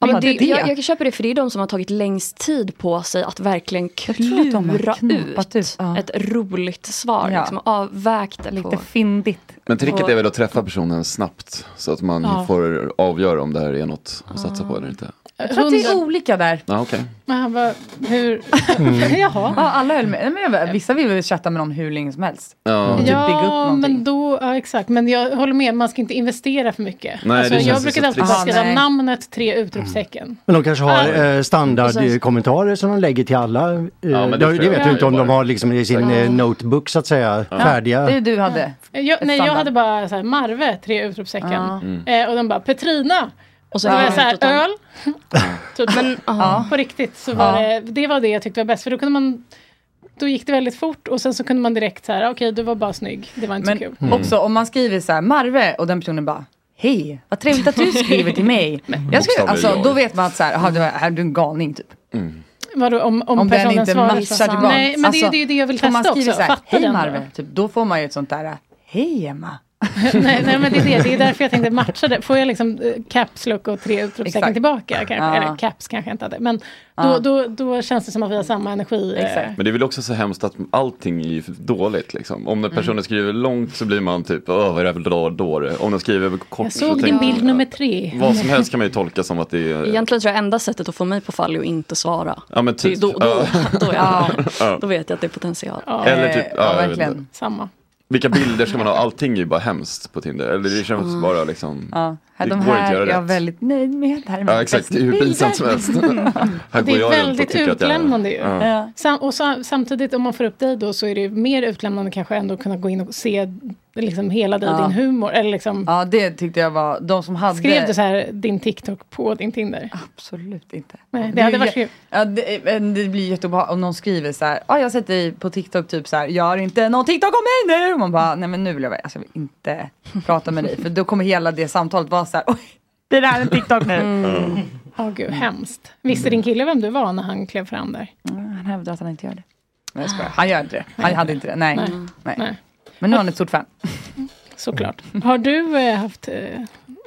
[SPEAKER 4] Ja,
[SPEAKER 15] Bara,
[SPEAKER 4] men det,
[SPEAKER 15] det är det.
[SPEAKER 4] Jag, jag kan köpa det för det är de som har tagit längst tid på sig att verkligen
[SPEAKER 15] tror att de har
[SPEAKER 4] klura ut,
[SPEAKER 15] knåpat
[SPEAKER 4] ett roligt svar.
[SPEAKER 15] Ja.
[SPEAKER 4] Liksom, och avvägt det
[SPEAKER 15] lite
[SPEAKER 4] på.
[SPEAKER 15] fyndigt.
[SPEAKER 7] Men tricket
[SPEAKER 4] Och-
[SPEAKER 7] är väl att träffa personen snabbt så att man
[SPEAKER 15] Ja.
[SPEAKER 7] får avgöra om det här är något att satsa på eller inte.
[SPEAKER 15] Jag tror att det är olika där.
[SPEAKER 7] Ja, okej.
[SPEAKER 3] Men han bara, hur?
[SPEAKER 7] Mm.
[SPEAKER 3] *laughs* Jaha.
[SPEAKER 15] Ja, alla höll med. Nej, Men jag, vissa vill väl chatta med dem hur länge som helst.
[SPEAKER 7] Ja.
[SPEAKER 15] Och Typ bygga upp
[SPEAKER 3] Ja,
[SPEAKER 15] någonting.
[SPEAKER 3] men då, ja, exakt. Men jag håller med, man ska inte investera för mycket.
[SPEAKER 6] Nej,
[SPEAKER 3] alltså,
[SPEAKER 6] det
[SPEAKER 3] jag
[SPEAKER 6] känns
[SPEAKER 3] brukar
[SPEAKER 6] så
[SPEAKER 3] alltid bara
[SPEAKER 6] trist.
[SPEAKER 3] skriva
[SPEAKER 6] Ah, nej.
[SPEAKER 3] namnet, tre utropstecken.
[SPEAKER 6] Men de kanske har
[SPEAKER 3] Ah.
[SPEAKER 6] eh,
[SPEAKER 3] Och sen-
[SPEAKER 6] standardkommentarer som de lägger till alla.
[SPEAKER 7] Ja,
[SPEAKER 6] Eh,
[SPEAKER 7] men det tror
[SPEAKER 6] det, det
[SPEAKER 7] jag
[SPEAKER 6] vet
[SPEAKER 7] är
[SPEAKER 6] du inte om
[SPEAKER 7] bara-
[SPEAKER 6] de har liksom i sin
[SPEAKER 3] Ja.
[SPEAKER 6] eh, notebook så att säga, färdiga.
[SPEAKER 15] Det är du hade.
[SPEAKER 3] Jag, nej, jag
[SPEAKER 15] standard.
[SPEAKER 3] hade bara så här, Marve, tre utropstecken.
[SPEAKER 15] Ja.
[SPEAKER 3] Mm. Eh, och de bara Petrina. Och
[SPEAKER 4] Och
[SPEAKER 3] så
[SPEAKER 4] så
[SPEAKER 3] var
[SPEAKER 4] har
[SPEAKER 3] jag
[SPEAKER 4] jag
[SPEAKER 3] så här,
[SPEAKER 4] inte tagit-
[SPEAKER 3] öl. *laughs* typ. Men
[SPEAKER 4] ja.
[SPEAKER 3] på riktigt så var
[SPEAKER 4] Ja.
[SPEAKER 3] det, det var det jag tyckte var bäst. För då kunde man, då gick det väldigt fort och sen så kunde man direkt så här, okej du var bara snygg, det var inte
[SPEAKER 15] Men
[SPEAKER 3] så kul.
[SPEAKER 7] Mm.
[SPEAKER 15] också om man skriver så här, Marve, och den personen bara, hej, vad trevligt
[SPEAKER 3] *laughs*
[SPEAKER 15] att du skriver till mig. jag skulle,
[SPEAKER 3] Bokstavligen
[SPEAKER 15] alltså,
[SPEAKER 3] jag.
[SPEAKER 15] då vet man att så här, aha, du är, är du en galning typ.
[SPEAKER 7] Mm.
[SPEAKER 3] Mm. Vadå, om, om,
[SPEAKER 15] Om, den
[SPEAKER 3] personen
[SPEAKER 15] inte
[SPEAKER 3] svarar
[SPEAKER 15] matchar
[SPEAKER 3] så-
[SPEAKER 15] tillbaka.
[SPEAKER 3] Nej, men det är ju det, är ju det jag vill
[SPEAKER 15] om Alltså, man
[SPEAKER 3] testa
[SPEAKER 15] skriver
[SPEAKER 3] också.
[SPEAKER 15] Så här,
[SPEAKER 3] Fatta
[SPEAKER 15] hej
[SPEAKER 3] den då.
[SPEAKER 15] Marve, typ, då får man ju ett sånt där, hej Emma.
[SPEAKER 3] *laughs* nej, nej, men det är det. Det är därför jag tänkte matcha det. Får jag liksom eh, caps lock och tre utropstecken
[SPEAKER 15] Exakt.
[SPEAKER 3] tillbaka? Kanske,
[SPEAKER 15] Ja.
[SPEAKER 3] Eller caps kanske jag inte hade. Men då,
[SPEAKER 7] Ja.
[SPEAKER 3] då, då känns det som att vi har samma energi. eh.
[SPEAKER 7] Men det är väl också så hemskt att allting är ju dåligt liksom. Om den personen
[SPEAKER 3] Mm.
[SPEAKER 7] skriver långt så blir man typ, åh vad är det här för då- dåre? Om den skriver kort
[SPEAKER 3] Jag
[SPEAKER 7] så
[SPEAKER 3] såg din
[SPEAKER 7] tänker
[SPEAKER 3] bild
[SPEAKER 7] man,
[SPEAKER 3] nummer tre.
[SPEAKER 7] Vad som helst kan man ju tolka som att det är,
[SPEAKER 4] Egentligen tror jag enda sättet att få mig på fall är att inte svara.
[SPEAKER 7] ja men typ.
[SPEAKER 4] Då, då, då, är jag,
[SPEAKER 7] *laughs* Ja.
[SPEAKER 4] då vet jag att det är potential.
[SPEAKER 7] Ja. Eller typ- ja, jag vet verkligen. inte.
[SPEAKER 3] Samma.
[SPEAKER 7] Vilka bilder ska man ha? Allting är ju bara hemskt på Tinder. Eller det känns
[SPEAKER 3] Mm.
[SPEAKER 15] Ja.
[SPEAKER 7] bara liksom.
[SPEAKER 15] Ja, här,
[SPEAKER 7] Det
[SPEAKER 15] de
[SPEAKER 7] går inte att
[SPEAKER 15] här
[SPEAKER 7] göra
[SPEAKER 15] är jag
[SPEAKER 7] rätt.
[SPEAKER 15] väldigt nöjd med. Det här är
[SPEAKER 7] Ja
[SPEAKER 15] min
[SPEAKER 7] exakt, det är
[SPEAKER 15] bästa
[SPEAKER 7] hur pinsamt som
[SPEAKER 15] bild.
[SPEAKER 3] *laughs*
[SPEAKER 7] helst. Här
[SPEAKER 3] Det
[SPEAKER 7] går
[SPEAKER 3] är
[SPEAKER 7] jag runt och
[SPEAKER 3] väldigt
[SPEAKER 7] tycker att jag är-
[SPEAKER 3] utlämnande ju.
[SPEAKER 7] Ja.
[SPEAKER 3] Sam- och sa- samtidigt om man får upp dig då så är det ju mer utlämnande kanske ändå att kunna gå in och se liksom hela dig,
[SPEAKER 15] Ja.
[SPEAKER 3] din humor. Eller liksom,
[SPEAKER 15] Ja, det tyckte jag var, de som hade...
[SPEAKER 3] skrev du så här din TikTok på din Tinder?
[SPEAKER 15] Absolut inte.
[SPEAKER 3] Nej, det
[SPEAKER 15] är
[SPEAKER 3] hade
[SPEAKER 15] ju
[SPEAKER 3] varit
[SPEAKER 15] jä-
[SPEAKER 3] kul.
[SPEAKER 15] ja, det, men det blir jätteobehagligt om någon skriver så här, ah, jag har sett dig på TikTok typ så här, gör inte någon TikTok om mig nu! Och man bara, nej men nu vill jag, vara- alltså, jag vill inte prata med dig. För då kommer hela det samtalet vara så här, oj, blir det här en TikTok nu?
[SPEAKER 3] Mm. Åh gud, hemskt. Visste din kille vem du var när han klev fram där?
[SPEAKER 15] Han hävdar att han inte gör det. Nej, jag skojar. Han gör inte det. Han hade inte det. Nej.
[SPEAKER 3] Nej.
[SPEAKER 15] Nej. Men nu är han ett stort fan.
[SPEAKER 3] Såklart. Har du eh, haft eh,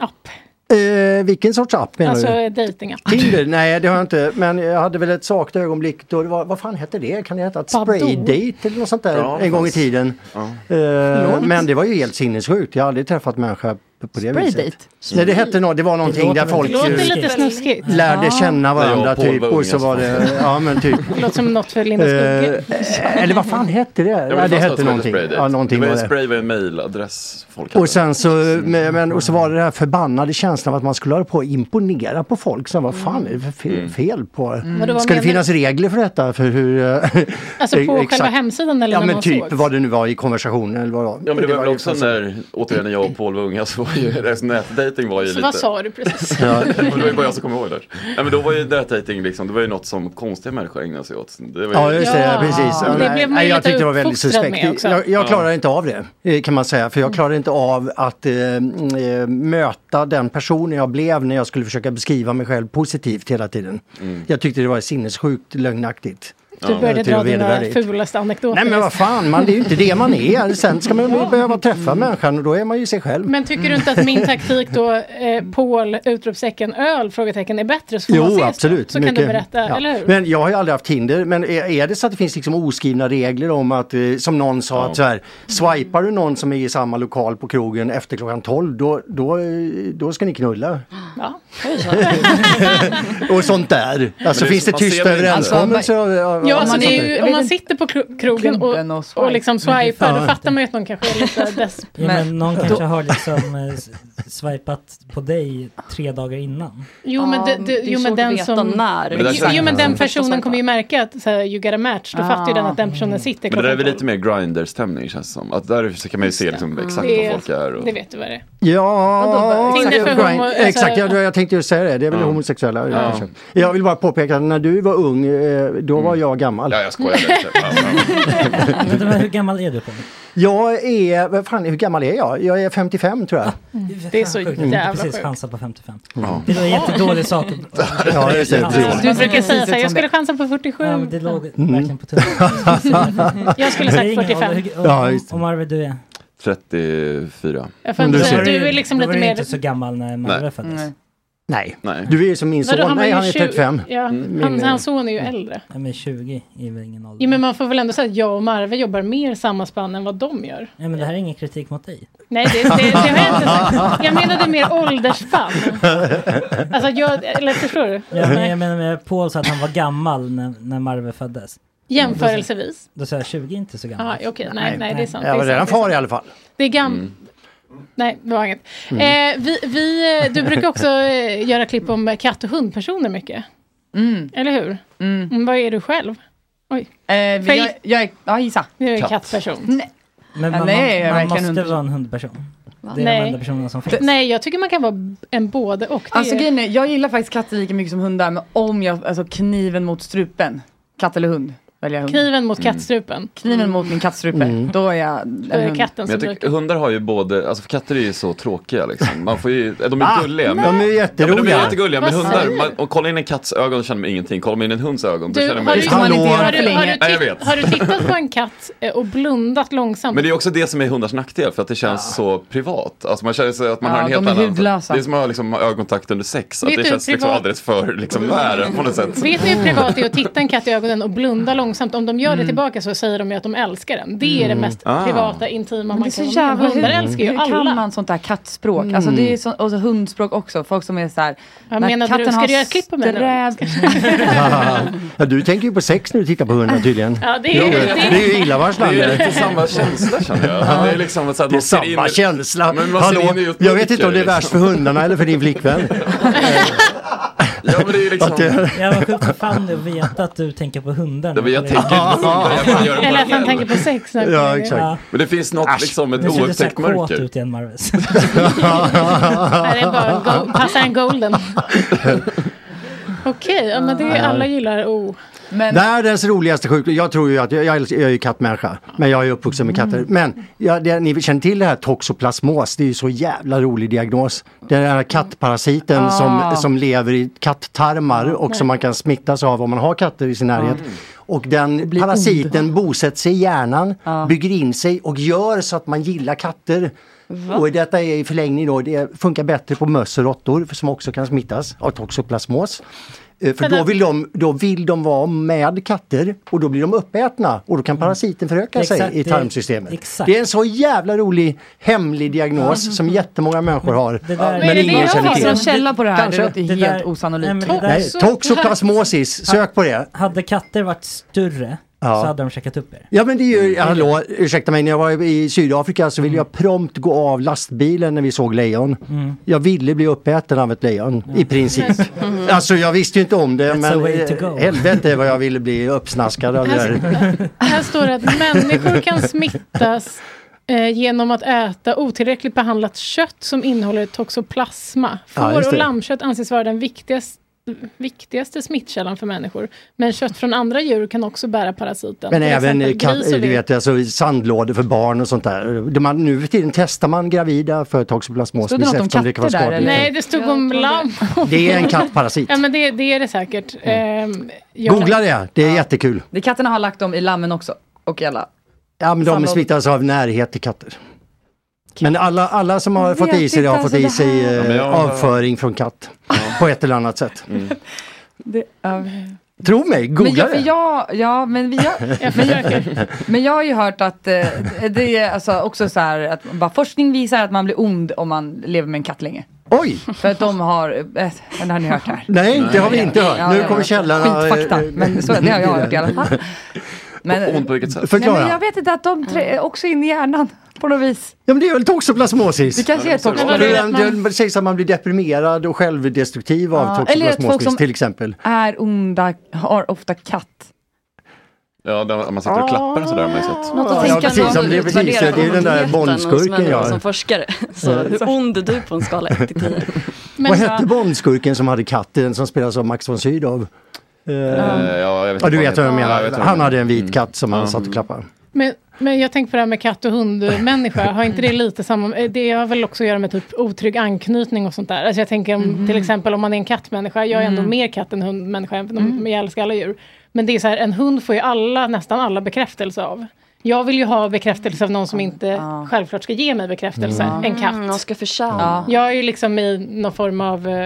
[SPEAKER 3] app?
[SPEAKER 6] Eh, vilken sorts app menar
[SPEAKER 3] alltså
[SPEAKER 6] du?
[SPEAKER 3] eh, dejtingapp?
[SPEAKER 6] Tinder? Nej, det har jag inte. Men jag hade väl ett svagt ögonblick då det var, vad fan hette det? Kan det heta ett
[SPEAKER 3] Badoo?
[SPEAKER 6] spraydate eller något sånt där
[SPEAKER 7] Ja,
[SPEAKER 6] en gång i
[SPEAKER 7] fast-
[SPEAKER 6] tiden?
[SPEAKER 7] Ja.
[SPEAKER 6] Eh, men det var ju helt sinnessjukt. Jag har aldrig träffat människa på det
[SPEAKER 12] Spraydate?
[SPEAKER 6] viset. Nej, det hette något, det var någonting
[SPEAKER 3] Det
[SPEAKER 6] där folk
[SPEAKER 3] låter Ah.
[SPEAKER 6] ju
[SPEAKER 3] lite snuskigt.
[SPEAKER 6] lärde
[SPEAKER 3] Ja.
[SPEAKER 6] känna varandra
[SPEAKER 7] När jag och Paul
[SPEAKER 6] typ
[SPEAKER 7] var
[SPEAKER 6] och
[SPEAKER 7] unga
[SPEAKER 6] så
[SPEAKER 7] så
[SPEAKER 6] var
[SPEAKER 7] fanns
[SPEAKER 6] det,
[SPEAKER 7] det.
[SPEAKER 6] ja
[SPEAKER 7] *laughs*
[SPEAKER 6] men typ.
[SPEAKER 3] Det låter som något för Linda *laughs* Skugge.
[SPEAKER 6] Eh, eller vad fan hette det?
[SPEAKER 7] men
[SPEAKER 6] Ja, det
[SPEAKER 7] fanns något
[SPEAKER 6] hette
[SPEAKER 7] som
[SPEAKER 6] någonting.
[SPEAKER 7] Spraydate.
[SPEAKER 6] Ja, någonting
[SPEAKER 7] det var
[SPEAKER 6] var
[SPEAKER 7] en
[SPEAKER 6] det.
[SPEAKER 7] spray var en mailadress folk hade.
[SPEAKER 6] Och sen så, men, men- och så var det den här förbannade känslan av att man skulle hålla på och imponera på folk. Sen vad fan är det för
[SPEAKER 7] Mm.
[SPEAKER 6] fel, fel på?
[SPEAKER 3] Mm. Vadå, vad
[SPEAKER 6] Ska det
[SPEAKER 3] menar
[SPEAKER 6] finnas regler för detta? För hur, eh,
[SPEAKER 3] Alltså
[SPEAKER 6] *laughs*
[SPEAKER 3] på själva hemsidan eller
[SPEAKER 6] Ja
[SPEAKER 3] när
[SPEAKER 6] men
[SPEAKER 3] man
[SPEAKER 6] typ
[SPEAKER 3] sågs?
[SPEAKER 6] vad det nu var i konversationen eller vad det var.
[SPEAKER 7] Ja men det, var väl
[SPEAKER 6] ju
[SPEAKER 7] också när, återigen när jag och Paul var unga så var ju, *laughs* alltså, nätdating var ju
[SPEAKER 3] Så
[SPEAKER 7] lite.
[SPEAKER 3] vad sa du precis?
[SPEAKER 7] *laughs* Ja. det var ju bara jag som kommer ihåg
[SPEAKER 3] *laughs*
[SPEAKER 7] det. Nej men då var ju nätdating liksom, det var ju något som konstiga människor ägnade sig åt. Det var ju...
[SPEAKER 6] Ja, just det. Ja. Precis. Ja,
[SPEAKER 3] Det
[SPEAKER 6] nej.
[SPEAKER 3] blev man
[SPEAKER 6] Nej,
[SPEAKER 3] ju
[SPEAKER 6] jag
[SPEAKER 3] lite
[SPEAKER 6] tyckte det var väldigt
[SPEAKER 3] uppfostrad med
[SPEAKER 6] suspekt.
[SPEAKER 3] också. Mm.
[SPEAKER 6] Jag, jag
[SPEAKER 3] Ja.
[SPEAKER 6] klarar inte av det, eh, kan man säga. För jag klarar inte av att eh, eh, möta den personen jag blev när jag skulle försöka beskriva mig själv positivt hela tiden. Jag tyckte det var sinnessjukt lögnaktigt.
[SPEAKER 3] Du började
[SPEAKER 6] Jag tyckte
[SPEAKER 3] dra
[SPEAKER 6] det var
[SPEAKER 3] dina
[SPEAKER 6] vedervärdigt.
[SPEAKER 3] fulaste anekdoter.
[SPEAKER 6] Nej men vad fan, man, det är ju inte det man är. Sen ska man ju behöva träffa människan och då är man ju sig själv.
[SPEAKER 3] Men tycker du inte att min taktik då, eh, Paul, utropstecken, öl, frågetecken, är bättre? *laughs* Så får man
[SPEAKER 6] Jo,
[SPEAKER 3] ses då.
[SPEAKER 6] absolut.
[SPEAKER 3] Så kan
[SPEAKER 6] mycket.
[SPEAKER 3] du berätta,
[SPEAKER 6] Ja.
[SPEAKER 3] eller hur?
[SPEAKER 6] Men jag har ju aldrig haft Tinder. Men är, är det så att det finns liksom oskrivna regler om att, eh, som någon sa, att så här, swipar du någon som är i samma lokal på krogen efter klockan 12, då, då, eh, då ska ni knulla.
[SPEAKER 3] Ja.
[SPEAKER 6] *laughs* Och sånt där. Alltså
[SPEAKER 3] det är
[SPEAKER 6] finns
[SPEAKER 3] så- Alltså, man ser
[SPEAKER 6] det tysta
[SPEAKER 3] väl inte-
[SPEAKER 6] överenskommelser? av- av-
[SPEAKER 3] Ja,
[SPEAKER 6] av
[SPEAKER 3] alltså
[SPEAKER 6] sånt
[SPEAKER 3] det
[SPEAKER 6] där?
[SPEAKER 3] är ju, om man sitter på kro- krogen och, och, liksom swipar, då
[SPEAKER 8] Ja.
[SPEAKER 3] fattar man ju att någon kanske är *laughs* lite dess...
[SPEAKER 8] Ja, men någon
[SPEAKER 3] Då-
[SPEAKER 8] kanske har liksom eh, s- swipat på dig tre dagar innan.
[SPEAKER 3] Jo men, det,
[SPEAKER 4] Ja,
[SPEAKER 3] det,
[SPEAKER 4] det är
[SPEAKER 3] jo, men
[SPEAKER 4] svårt
[SPEAKER 3] den
[SPEAKER 4] att veta
[SPEAKER 3] som...
[SPEAKER 7] Men
[SPEAKER 4] när.
[SPEAKER 7] det är
[SPEAKER 3] Jo, jo men
[SPEAKER 7] exakt.
[SPEAKER 3] den personen kommer ju märka att så här, you got a match, då fattar ju den att
[SPEAKER 4] Ah.
[SPEAKER 3] den personen sitter
[SPEAKER 7] Men det där är
[SPEAKER 3] klockan
[SPEAKER 7] väl lite mer grinder-stämning känns det som. Att där så kan man ju se liksom, exakt
[SPEAKER 3] Det-
[SPEAKER 7] vad folk är. Och...
[SPEAKER 3] Det vet du vad det är.
[SPEAKER 6] Ja,
[SPEAKER 3] Tinder
[SPEAKER 6] exakt,
[SPEAKER 3] för homo-
[SPEAKER 6] Brian.
[SPEAKER 3] alltså-
[SPEAKER 6] exakt jag, jag tänkte ju säga det. Det är väl homosexuella.
[SPEAKER 7] Ja.
[SPEAKER 6] kanske. Jag vill bara påpeka att när du var ung, eh, då var jag gammal.
[SPEAKER 7] Ja, jag skojar
[SPEAKER 8] *laughs*
[SPEAKER 7] lite.
[SPEAKER 8] Vänta, men hur gammal är du på
[SPEAKER 6] Jag är, vad fan, hur gammal är jag? Jag är 55 tror jag.
[SPEAKER 3] Det är så jävla
[SPEAKER 8] Sjukt, jag tänkte
[SPEAKER 3] sjukt.
[SPEAKER 8] Mm. precis chansa på 55.
[SPEAKER 6] Ja.
[SPEAKER 8] Det var en jättedålig sak.
[SPEAKER 6] Ja, just det.
[SPEAKER 8] Ja.
[SPEAKER 3] Man brukar säga
[SPEAKER 8] precis
[SPEAKER 3] såhär, jag
[SPEAKER 8] som
[SPEAKER 3] skulle
[SPEAKER 8] det.
[SPEAKER 3] chansa på 47.
[SPEAKER 8] Ja, men det låg
[SPEAKER 6] Mm.
[SPEAKER 8] verkligen på tungan.
[SPEAKER 3] *laughs* Jag skulle sagt 45.
[SPEAKER 8] Ja, just Om Arvid, du är?
[SPEAKER 7] 34.
[SPEAKER 3] Jag får inte
[SPEAKER 7] Du
[SPEAKER 3] säga,
[SPEAKER 7] ser.
[SPEAKER 3] du är liksom
[SPEAKER 8] Då
[SPEAKER 3] lite
[SPEAKER 8] var du
[SPEAKER 3] mer...
[SPEAKER 8] inte så gammal när Marve
[SPEAKER 7] Nej.
[SPEAKER 8] föddes.
[SPEAKER 3] Nej.
[SPEAKER 6] Nej.
[SPEAKER 7] Nej.
[SPEAKER 6] Du är ju som min son.
[SPEAKER 3] Vadå, var
[SPEAKER 6] Nej,
[SPEAKER 3] ju
[SPEAKER 6] han är
[SPEAKER 3] 20
[SPEAKER 6] 35.
[SPEAKER 3] Ja,
[SPEAKER 6] Mm,
[SPEAKER 3] han,
[SPEAKER 6] min-
[SPEAKER 3] hans son är ju äldre.
[SPEAKER 8] Nej, men 20 är väl ingen ålder.
[SPEAKER 3] Jo, men man får väl ändå säga att jag och Marve jobbar mer samma spann än vad de gör.
[SPEAKER 8] Nej, men det här är ingen kritik mot
[SPEAKER 6] *laughs*
[SPEAKER 8] dig.
[SPEAKER 3] Nej, det, det, det har jag inte sagt. Jag menade mer åldersspann. Alltså, jag, eller förstår du?
[SPEAKER 8] Ja, men jag menar med Paul sa att han var gammal när, när Marve föddes.
[SPEAKER 3] Jämförelsevis.
[SPEAKER 8] Då sa jag 20 är inte så
[SPEAKER 3] Ah,
[SPEAKER 8] gammalt.
[SPEAKER 3] Okej, nej, nej, det är sant.
[SPEAKER 6] Jag var
[SPEAKER 3] det är
[SPEAKER 6] redan
[SPEAKER 3] sant.
[SPEAKER 6] far i alla fall.
[SPEAKER 3] Det är gam...
[SPEAKER 7] Mm.
[SPEAKER 3] Nej, det var inget.
[SPEAKER 6] Mm.
[SPEAKER 3] Eh, vi, vi, eh, du brukar också eh, göra klipp om katt och hundpersoner mycket. Eller hur? Mm, Vad är du själv? Oj. För-
[SPEAKER 15] Eh, jag, jag är, ja gissa.
[SPEAKER 3] Du är en kattperson.
[SPEAKER 15] Nej.
[SPEAKER 8] Men man,
[SPEAKER 15] Eller är jag
[SPEAKER 8] man, man
[SPEAKER 15] verkligen
[SPEAKER 8] måste
[SPEAKER 15] hundperson?
[SPEAKER 8] vara en hundperson. Det är
[SPEAKER 15] Nej.
[SPEAKER 8] de enda personerna som finns.
[SPEAKER 15] Det-
[SPEAKER 3] Nej, jag tycker man kan vara en både och. Det
[SPEAKER 15] Alltså
[SPEAKER 3] är-
[SPEAKER 15] grejen är, jag gillar faktiskt katter lika mycket som hundar, men om jag, alltså kniven mot strupen, katt eller hund, väljer jag hund.
[SPEAKER 3] Kniven
[SPEAKER 6] Mm.
[SPEAKER 3] mot kattstrupen.
[SPEAKER 15] Kniven mot min kattstrupe, då är jag
[SPEAKER 3] Då är det eh, katten
[SPEAKER 7] Men jag tycker, hundar har ju både, alltså för katter är ju så tråkiga liksom. Man får ju, de är
[SPEAKER 6] Ah,
[SPEAKER 7] gulliga.
[SPEAKER 6] de är jätteroliga.
[SPEAKER 7] Ja, men de är jättegulliga, men
[SPEAKER 6] Vad
[SPEAKER 7] hundar,
[SPEAKER 6] säger
[SPEAKER 7] man, och kolla in en katts ögon känner man ingenting. Kolla in en hunds ögon, då
[SPEAKER 3] Du,
[SPEAKER 7] känner
[SPEAKER 3] har
[SPEAKER 7] man
[SPEAKER 3] du-
[SPEAKER 7] ingenting.
[SPEAKER 3] har du- har du- har du
[SPEAKER 7] Nej, jag
[SPEAKER 3] titt-
[SPEAKER 7] vet.
[SPEAKER 3] Har du tittat på en katt eh, och blundat långsamt?
[SPEAKER 7] Men det är också det som är hundars nackdel, för att det känns så privat. Alltså man känner sig att man
[SPEAKER 3] Ja,
[SPEAKER 7] har en helt
[SPEAKER 3] de är
[SPEAKER 7] annan...
[SPEAKER 3] hudlösa.
[SPEAKER 7] Det är som att ha liksom, ögonkontakt under sex, att
[SPEAKER 3] Vet
[SPEAKER 7] det
[SPEAKER 3] du,
[SPEAKER 7] känns liksom
[SPEAKER 3] privat-
[SPEAKER 7] alldeles för liksom, nära på något sätt.
[SPEAKER 3] Vet ni hur privat det är att titta en katt i ögonen och blunda långsamt? Om de gör
[SPEAKER 15] Mm.
[SPEAKER 3] det tillbaka så säger de ju att de älskar den. Det är det
[SPEAKER 7] Mm.
[SPEAKER 3] mest
[SPEAKER 7] Ah.
[SPEAKER 3] privata, intima
[SPEAKER 15] Men det
[SPEAKER 3] man
[SPEAKER 15] är så
[SPEAKER 3] kan vara
[SPEAKER 15] jävla
[SPEAKER 3] med. Hundar
[SPEAKER 15] hund.
[SPEAKER 3] älskar ju
[SPEAKER 15] Hur kan
[SPEAKER 3] alla.
[SPEAKER 15] man sånt där kattspråk? Alltså det är så, och så hundspråk också, folk som är så här.
[SPEAKER 3] Jag menar du, ska du göra ett klipp på mig nu?
[SPEAKER 6] *laughs* ja, du tänker ju på sex när du tittar på hunden tydligen.
[SPEAKER 3] Ja, det är-
[SPEAKER 6] Jo,
[SPEAKER 3] det är-
[SPEAKER 6] det är ju illavarslande.
[SPEAKER 7] Det är lite samma känsla känner jag.
[SPEAKER 6] Ja.
[SPEAKER 7] Det är, liksom, så att
[SPEAKER 6] Det är
[SPEAKER 7] man ser
[SPEAKER 6] samma
[SPEAKER 7] in,
[SPEAKER 6] känsla.
[SPEAKER 7] Men man ser
[SPEAKER 6] Hallå,
[SPEAKER 7] in i ett
[SPEAKER 6] jag vet inte om det är
[SPEAKER 7] mörker,
[SPEAKER 6] värst för
[SPEAKER 7] liksom.
[SPEAKER 6] hundarna eller för din flickvän.
[SPEAKER 7] Ja, men det är ju liksom...
[SPEAKER 6] *laughs* Att det-
[SPEAKER 8] Jag var sjukt för fan att veta att du tänker på hundarna.
[SPEAKER 7] Ja, men jag tänker på hundar, jag bara gör en
[SPEAKER 3] Eller att han
[SPEAKER 7] parallell.
[SPEAKER 3] tänker på sex. när-
[SPEAKER 7] Men det finns något, liksom ett
[SPEAKER 8] Nu ser du så här
[SPEAKER 7] oupptäckt
[SPEAKER 8] kåt
[SPEAKER 7] mörker.
[SPEAKER 8] ut igen Marves.
[SPEAKER 3] Nej, det är bara en
[SPEAKER 6] *laughs*
[SPEAKER 3] go- passa en *laughs* golden. Okej, ja, men det är alla gillar O. Men,
[SPEAKER 6] Världens roligaste sjukdom. Jag tror ju att, jag, jag, älskar- jag är ju kattmänniska, men jag är uppvuxen med katter. Men ja, det, ni känner till det här toxoplasmos, det är ju så jävla rolig diagnos. Det är Den här kattparasiten
[SPEAKER 19] Ah.
[SPEAKER 6] som, som lever i katttarmar och som man kan smittas av om man har katter i sin närhet. Och den parasiten bosätter sig i hjärnan, bygger in sig och gör så att man gillar katter.
[SPEAKER 19] Va?
[SPEAKER 6] Och detta är i förlängning då, det funkar bättre på möss och råttor som också kan smittas av toxoplasmos. Eh, För
[SPEAKER 3] Men
[SPEAKER 6] då
[SPEAKER 3] att-
[SPEAKER 6] vill, de, då vill de vara med katter och då blir de uppätna och
[SPEAKER 15] Mm.
[SPEAKER 6] då kan parasiten föröka
[SPEAKER 8] Exakt,
[SPEAKER 6] sig i
[SPEAKER 8] det-
[SPEAKER 6] tarmsystemet.
[SPEAKER 8] exakt.
[SPEAKER 6] Det är en så jävla rolig hemlig diagnos som jättemånga människor har.
[SPEAKER 15] där- Men det- jag har en källa på det här, det
[SPEAKER 8] Kanske.
[SPEAKER 15] låter helt
[SPEAKER 8] där-
[SPEAKER 15] osannolikt.
[SPEAKER 8] Nej, men det där-
[SPEAKER 6] Nej, toxoplasmosis, sök på det.
[SPEAKER 8] Hade katter varit större
[SPEAKER 6] Ja.
[SPEAKER 8] så hade de käkat upp er.
[SPEAKER 6] Ja men det är ju,
[SPEAKER 15] Mm.
[SPEAKER 6] hallå, ursäkta mig, när jag var i Sydafrika så ville jag prompt gå av lastbilen när vi såg lejon.
[SPEAKER 8] Mm.
[SPEAKER 6] Jag ville bli uppäten av ett lejon, i princip.
[SPEAKER 8] Mm.
[SPEAKER 6] Alltså jag visste ju inte om det
[SPEAKER 8] That's a
[SPEAKER 6] men
[SPEAKER 8] way to
[SPEAKER 6] eh,
[SPEAKER 8] go.
[SPEAKER 6] helvete vad jag ville bli uppsnaskad av det där.
[SPEAKER 3] Här står det att människor
[SPEAKER 6] *laughs*
[SPEAKER 3] kan smittas eh, genom att äta otillräckligt behandlat kött som innehåller toxoplasma.
[SPEAKER 6] Ja,
[SPEAKER 3] Får
[SPEAKER 6] just
[SPEAKER 3] och
[SPEAKER 6] det.
[SPEAKER 3] lammkött anses vara den viktigaste viktigaste smittkällan för människor. Men kött från andra djur kan också bära parasiten.
[SPEAKER 6] Men
[SPEAKER 3] Till
[SPEAKER 6] även eh,
[SPEAKER 3] exempel
[SPEAKER 6] kat-
[SPEAKER 3] gris och
[SPEAKER 6] du
[SPEAKER 3] vilt.
[SPEAKER 6] vet, alltså, sandlådor för barn och sånt där. De- Man, nu för tiden testar man gravida för toxoplasmosis
[SPEAKER 3] Stod det något om
[SPEAKER 6] eftersom det kan vara
[SPEAKER 3] katter där,
[SPEAKER 6] skadligt.
[SPEAKER 3] Nej, det stod om lamm.
[SPEAKER 6] Det är en kattparasit.
[SPEAKER 3] Ja, men det, det är det säkert. Ehm, jag-
[SPEAKER 6] Mm. Googla det, det är jättekul.
[SPEAKER 15] Det katterna har lagt dem i lammen också. Och i alla.
[SPEAKER 6] Ja men de
[SPEAKER 15] Sandlådor.
[SPEAKER 6] smittas av närhet till katter. Men alla, alla som har
[SPEAKER 15] Jag
[SPEAKER 6] fått i sig det har
[SPEAKER 15] vet
[SPEAKER 6] fått
[SPEAKER 15] inte,
[SPEAKER 6] i
[SPEAKER 15] alltså, det
[SPEAKER 6] sig
[SPEAKER 15] här-
[SPEAKER 6] eh,
[SPEAKER 15] Ja, men jag- Mm.
[SPEAKER 6] avföring från katt. På ett eller annat sätt.
[SPEAKER 15] Det, ja.
[SPEAKER 6] Tro mig,
[SPEAKER 15] men
[SPEAKER 6] googla
[SPEAKER 15] jag, för
[SPEAKER 6] det.
[SPEAKER 15] jag, ja, men
[SPEAKER 3] *laughs*
[SPEAKER 15] vi har, men,
[SPEAKER 6] *laughs*
[SPEAKER 15] jag, men jag har ju hört att eh, det är alltså också så här att bara forskning visar att man blir ond om man lever med en katt länge.
[SPEAKER 6] Oj!
[SPEAKER 15] För att de har, eh, men har ni hört det här?
[SPEAKER 6] Nej, det har vi inte hört.
[SPEAKER 15] Ja,
[SPEAKER 6] nu
[SPEAKER 15] ja,
[SPEAKER 6] kommer eh,
[SPEAKER 15] ja.
[SPEAKER 6] källorna.
[SPEAKER 15] Skitfakta, men så, det har jag hört i alla fall. Men-
[SPEAKER 6] på vilket sätt? Mm.
[SPEAKER 15] Nej, men
[SPEAKER 6] Förklara.
[SPEAKER 15] jag vet inte att de trä- också in i hjärnan på något vis.
[SPEAKER 6] Ja men det är väl toxoplasmosis?
[SPEAKER 15] Det kanske är toxoplasmosis.
[SPEAKER 6] Det,
[SPEAKER 15] Men vad är det
[SPEAKER 6] det, det sägs att man blir deprimerad och självdestruktiv av
[SPEAKER 15] Ja, eller att folk
[SPEAKER 6] toxoplasmosis
[SPEAKER 15] som-
[SPEAKER 6] till exempel.
[SPEAKER 15] Är onda, har ofta katt.
[SPEAKER 7] Ja, där man sitter och klappar och sådär har man ju sett.
[SPEAKER 15] Något
[SPEAKER 6] att Ja, tänka precis, på. som det är precis, det är ju den där Bondskurken,
[SPEAKER 4] Som,
[SPEAKER 6] ja.
[SPEAKER 4] som forskare. *laughs* Så
[SPEAKER 6] Ja.
[SPEAKER 4] hur
[SPEAKER 15] Mm.
[SPEAKER 4] ond är du på en skala 1 till 10?
[SPEAKER 6] Vad hette Bondskurken som hade katt, den som spelas av Max von Sydow? Eh,
[SPEAKER 7] ja, jag vet
[SPEAKER 6] ja, du
[SPEAKER 7] inte vad
[SPEAKER 6] vet vad jag
[SPEAKER 7] han heter. Ja,
[SPEAKER 6] menar.
[SPEAKER 7] jag vet vad Mm.
[SPEAKER 6] han
[SPEAKER 7] du
[SPEAKER 6] hade en vit katt som han satt och klappade.
[SPEAKER 3] Men, men jag tänker på det här med katt och hundmänniska. Har inte det lite samma... eh, Det har väl också att göra med typ otrygg anknytning och sånt där. Alltså jag tänker om,
[SPEAKER 4] Mhm.
[SPEAKER 3] till exempel om man är en kattmänniska. Jag är ändå
[SPEAKER 15] Mm.
[SPEAKER 3] mer katt än hundmänniska, även om
[SPEAKER 4] Mm.
[SPEAKER 3] jag älskar alla djur. Men det är så här, en hund får ju alla, nästan alla bekräftelse av. Jag vill ju ha bekräftelse av någon som inte självklart ska ge mig bekräftelse.
[SPEAKER 4] Mm.
[SPEAKER 3] En katt.
[SPEAKER 4] Mm, någon ska förtjäna.
[SPEAKER 3] Ja. Jag är ju liksom i någon form av... eh,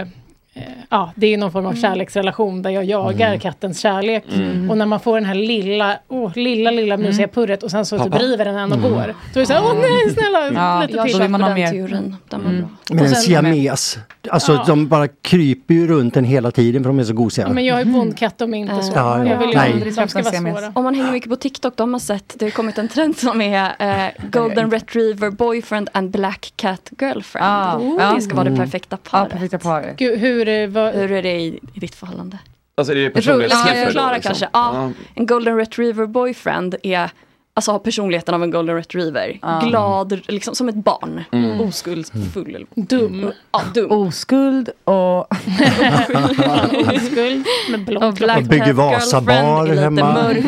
[SPEAKER 3] eh, Ja, det är någon form av kärleksrelation där jag jagar
[SPEAKER 4] Mm.
[SPEAKER 3] kattens kärlek.
[SPEAKER 4] Mm.
[SPEAKER 3] Och när man får den här lilla, åh, lilla, lilla mysiga purret och sen så typ
[SPEAKER 6] Pappa.
[SPEAKER 3] river den en och
[SPEAKER 6] Mm.
[SPEAKER 3] går. Då är det så här, åh nej, snälla,
[SPEAKER 4] Ja,
[SPEAKER 3] lite
[SPEAKER 4] jag
[SPEAKER 3] till.
[SPEAKER 4] tror man har
[SPEAKER 3] Den
[SPEAKER 4] mer. Mm.
[SPEAKER 3] teorin, den var bra.
[SPEAKER 6] Men
[SPEAKER 3] Och
[SPEAKER 6] en
[SPEAKER 3] sen-
[SPEAKER 6] siames, alltså
[SPEAKER 3] Ja.
[SPEAKER 6] de bara kryper ju runt en hela tiden för de är så gosiga.
[SPEAKER 3] Ja, men jag är bondkatt, de är inte så.
[SPEAKER 6] Ja, ja.
[SPEAKER 3] Jag vill ju
[SPEAKER 6] Nej.
[SPEAKER 3] aldrig de ska vara svåra.
[SPEAKER 4] Om man hänger mycket på TikTok, de har sett, det har kommit en trend som är eh, Golden Retriever Boyfriend and Black Cat Girlfriend.
[SPEAKER 15] ja.
[SPEAKER 4] Det ska vara det perfekta paret.
[SPEAKER 3] Gud, hur, eh,
[SPEAKER 4] hur är det i, i ditt förhållande?
[SPEAKER 7] Alltså är det
[SPEAKER 4] Jag tror, jag
[SPEAKER 7] personlighetsgränser
[SPEAKER 4] ska
[SPEAKER 7] då,
[SPEAKER 4] förklara
[SPEAKER 7] liksom?
[SPEAKER 4] kanske. Ja, en golden retriever boyfriend är, alltså har personligheten av en golden retriever.
[SPEAKER 15] Ja.
[SPEAKER 4] Glad, liksom som ett barn.
[SPEAKER 15] Mm.
[SPEAKER 4] Oskuldsfull. eller-
[SPEAKER 3] Dum.
[SPEAKER 4] Ja, dum.
[SPEAKER 15] Oskuld
[SPEAKER 3] *laughs*
[SPEAKER 15] och...
[SPEAKER 6] *laughs*
[SPEAKER 3] Oskuld med
[SPEAKER 4] Och
[SPEAKER 3] blått
[SPEAKER 4] Black
[SPEAKER 6] Och bygger
[SPEAKER 4] Cat
[SPEAKER 6] Vasabar
[SPEAKER 4] Girlfriend är lite
[SPEAKER 6] hemma.
[SPEAKER 4] mörk,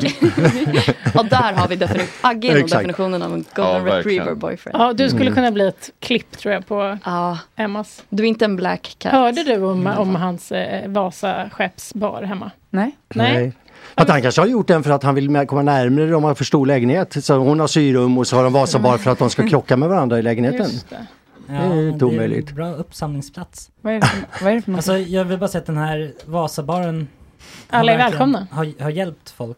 [SPEAKER 4] mystisk. *laughs* Och där har vi defini- Agge är nog
[SPEAKER 6] Exakt.
[SPEAKER 4] definitionen av en
[SPEAKER 6] Ja,
[SPEAKER 4] golden
[SPEAKER 6] verkligen. Mm.
[SPEAKER 4] retriever boyfriend.
[SPEAKER 3] Ja, du skulle
[SPEAKER 7] Mm.
[SPEAKER 3] kunna bli ett klipp tror jag på Emmas.
[SPEAKER 4] Du är inte en black cat.
[SPEAKER 3] Hörde du om, om hans eh, Vasa-skeppsbar hemma?
[SPEAKER 15] Nej.
[SPEAKER 6] Nej. Att han kanske har gjort den för att han vill med- komma närmare dem och för stor lägenhet. Så hon har syrum och så har de Vasabar för att de ska krocka med varandra i lägenheten.
[SPEAKER 8] Just det.
[SPEAKER 6] Det
[SPEAKER 8] Ja,
[SPEAKER 6] är
[SPEAKER 8] men det
[SPEAKER 6] inte
[SPEAKER 8] är en
[SPEAKER 6] omöjligt.
[SPEAKER 8] Bra uppsamlingsplats.
[SPEAKER 15] Vad är det för, vad är det för något?
[SPEAKER 8] Alltså jag vill bara säga att den här Vasabaren har
[SPEAKER 3] Alla är
[SPEAKER 8] verkligen-
[SPEAKER 3] välkomna.
[SPEAKER 8] Har, har hjälpt folk.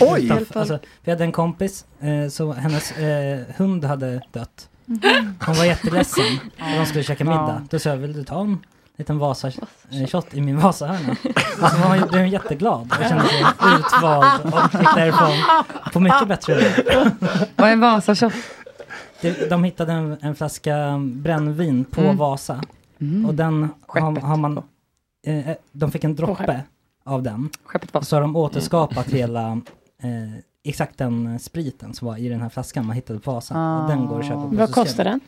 [SPEAKER 6] Oj!
[SPEAKER 8] Utan-
[SPEAKER 3] Hjälp folk.
[SPEAKER 8] Alltså, vi hade en kompis, eh, så hennes eh, hund hade dött.
[SPEAKER 3] Mhm.
[SPEAKER 15] Mm-hmm.
[SPEAKER 8] Hon var jätteledsen när de skulle käka middag.
[SPEAKER 3] Ja.
[SPEAKER 8] Då sa jag, vill du ta en liten Vasa-shot i min Vasahörna? Så hon blev jätteglad och kände
[SPEAKER 15] *laughs*
[SPEAKER 8] sig utvald och gick
[SPEAKER 6] Mm-hmm.
[SPEAKER 8] därifrån på mycket bättre humör.
[SPEAKER 15] Vad är en Vasashop?
[SPEAKER 8] Det- De hittade en, en flaska brännvin på
[SPEAKER 15] Mm.
[SPEAKER 8] Vasa. Och den har, har man... Eh, de fick en droppe av den.
[SPEAKER 15] Och
[SPEAKER 8] så har de återskapat hela... Eh, exakt den spriten som var i den här flaskan man hittade på Vasa.
[SPEAKER 15] Ah.
[SPEAKER 8] Och den går att köpa på
[SPEAKER 3] Vad
[SPEAKER 8] Systemet.
[SPEAKER 3] kostar den?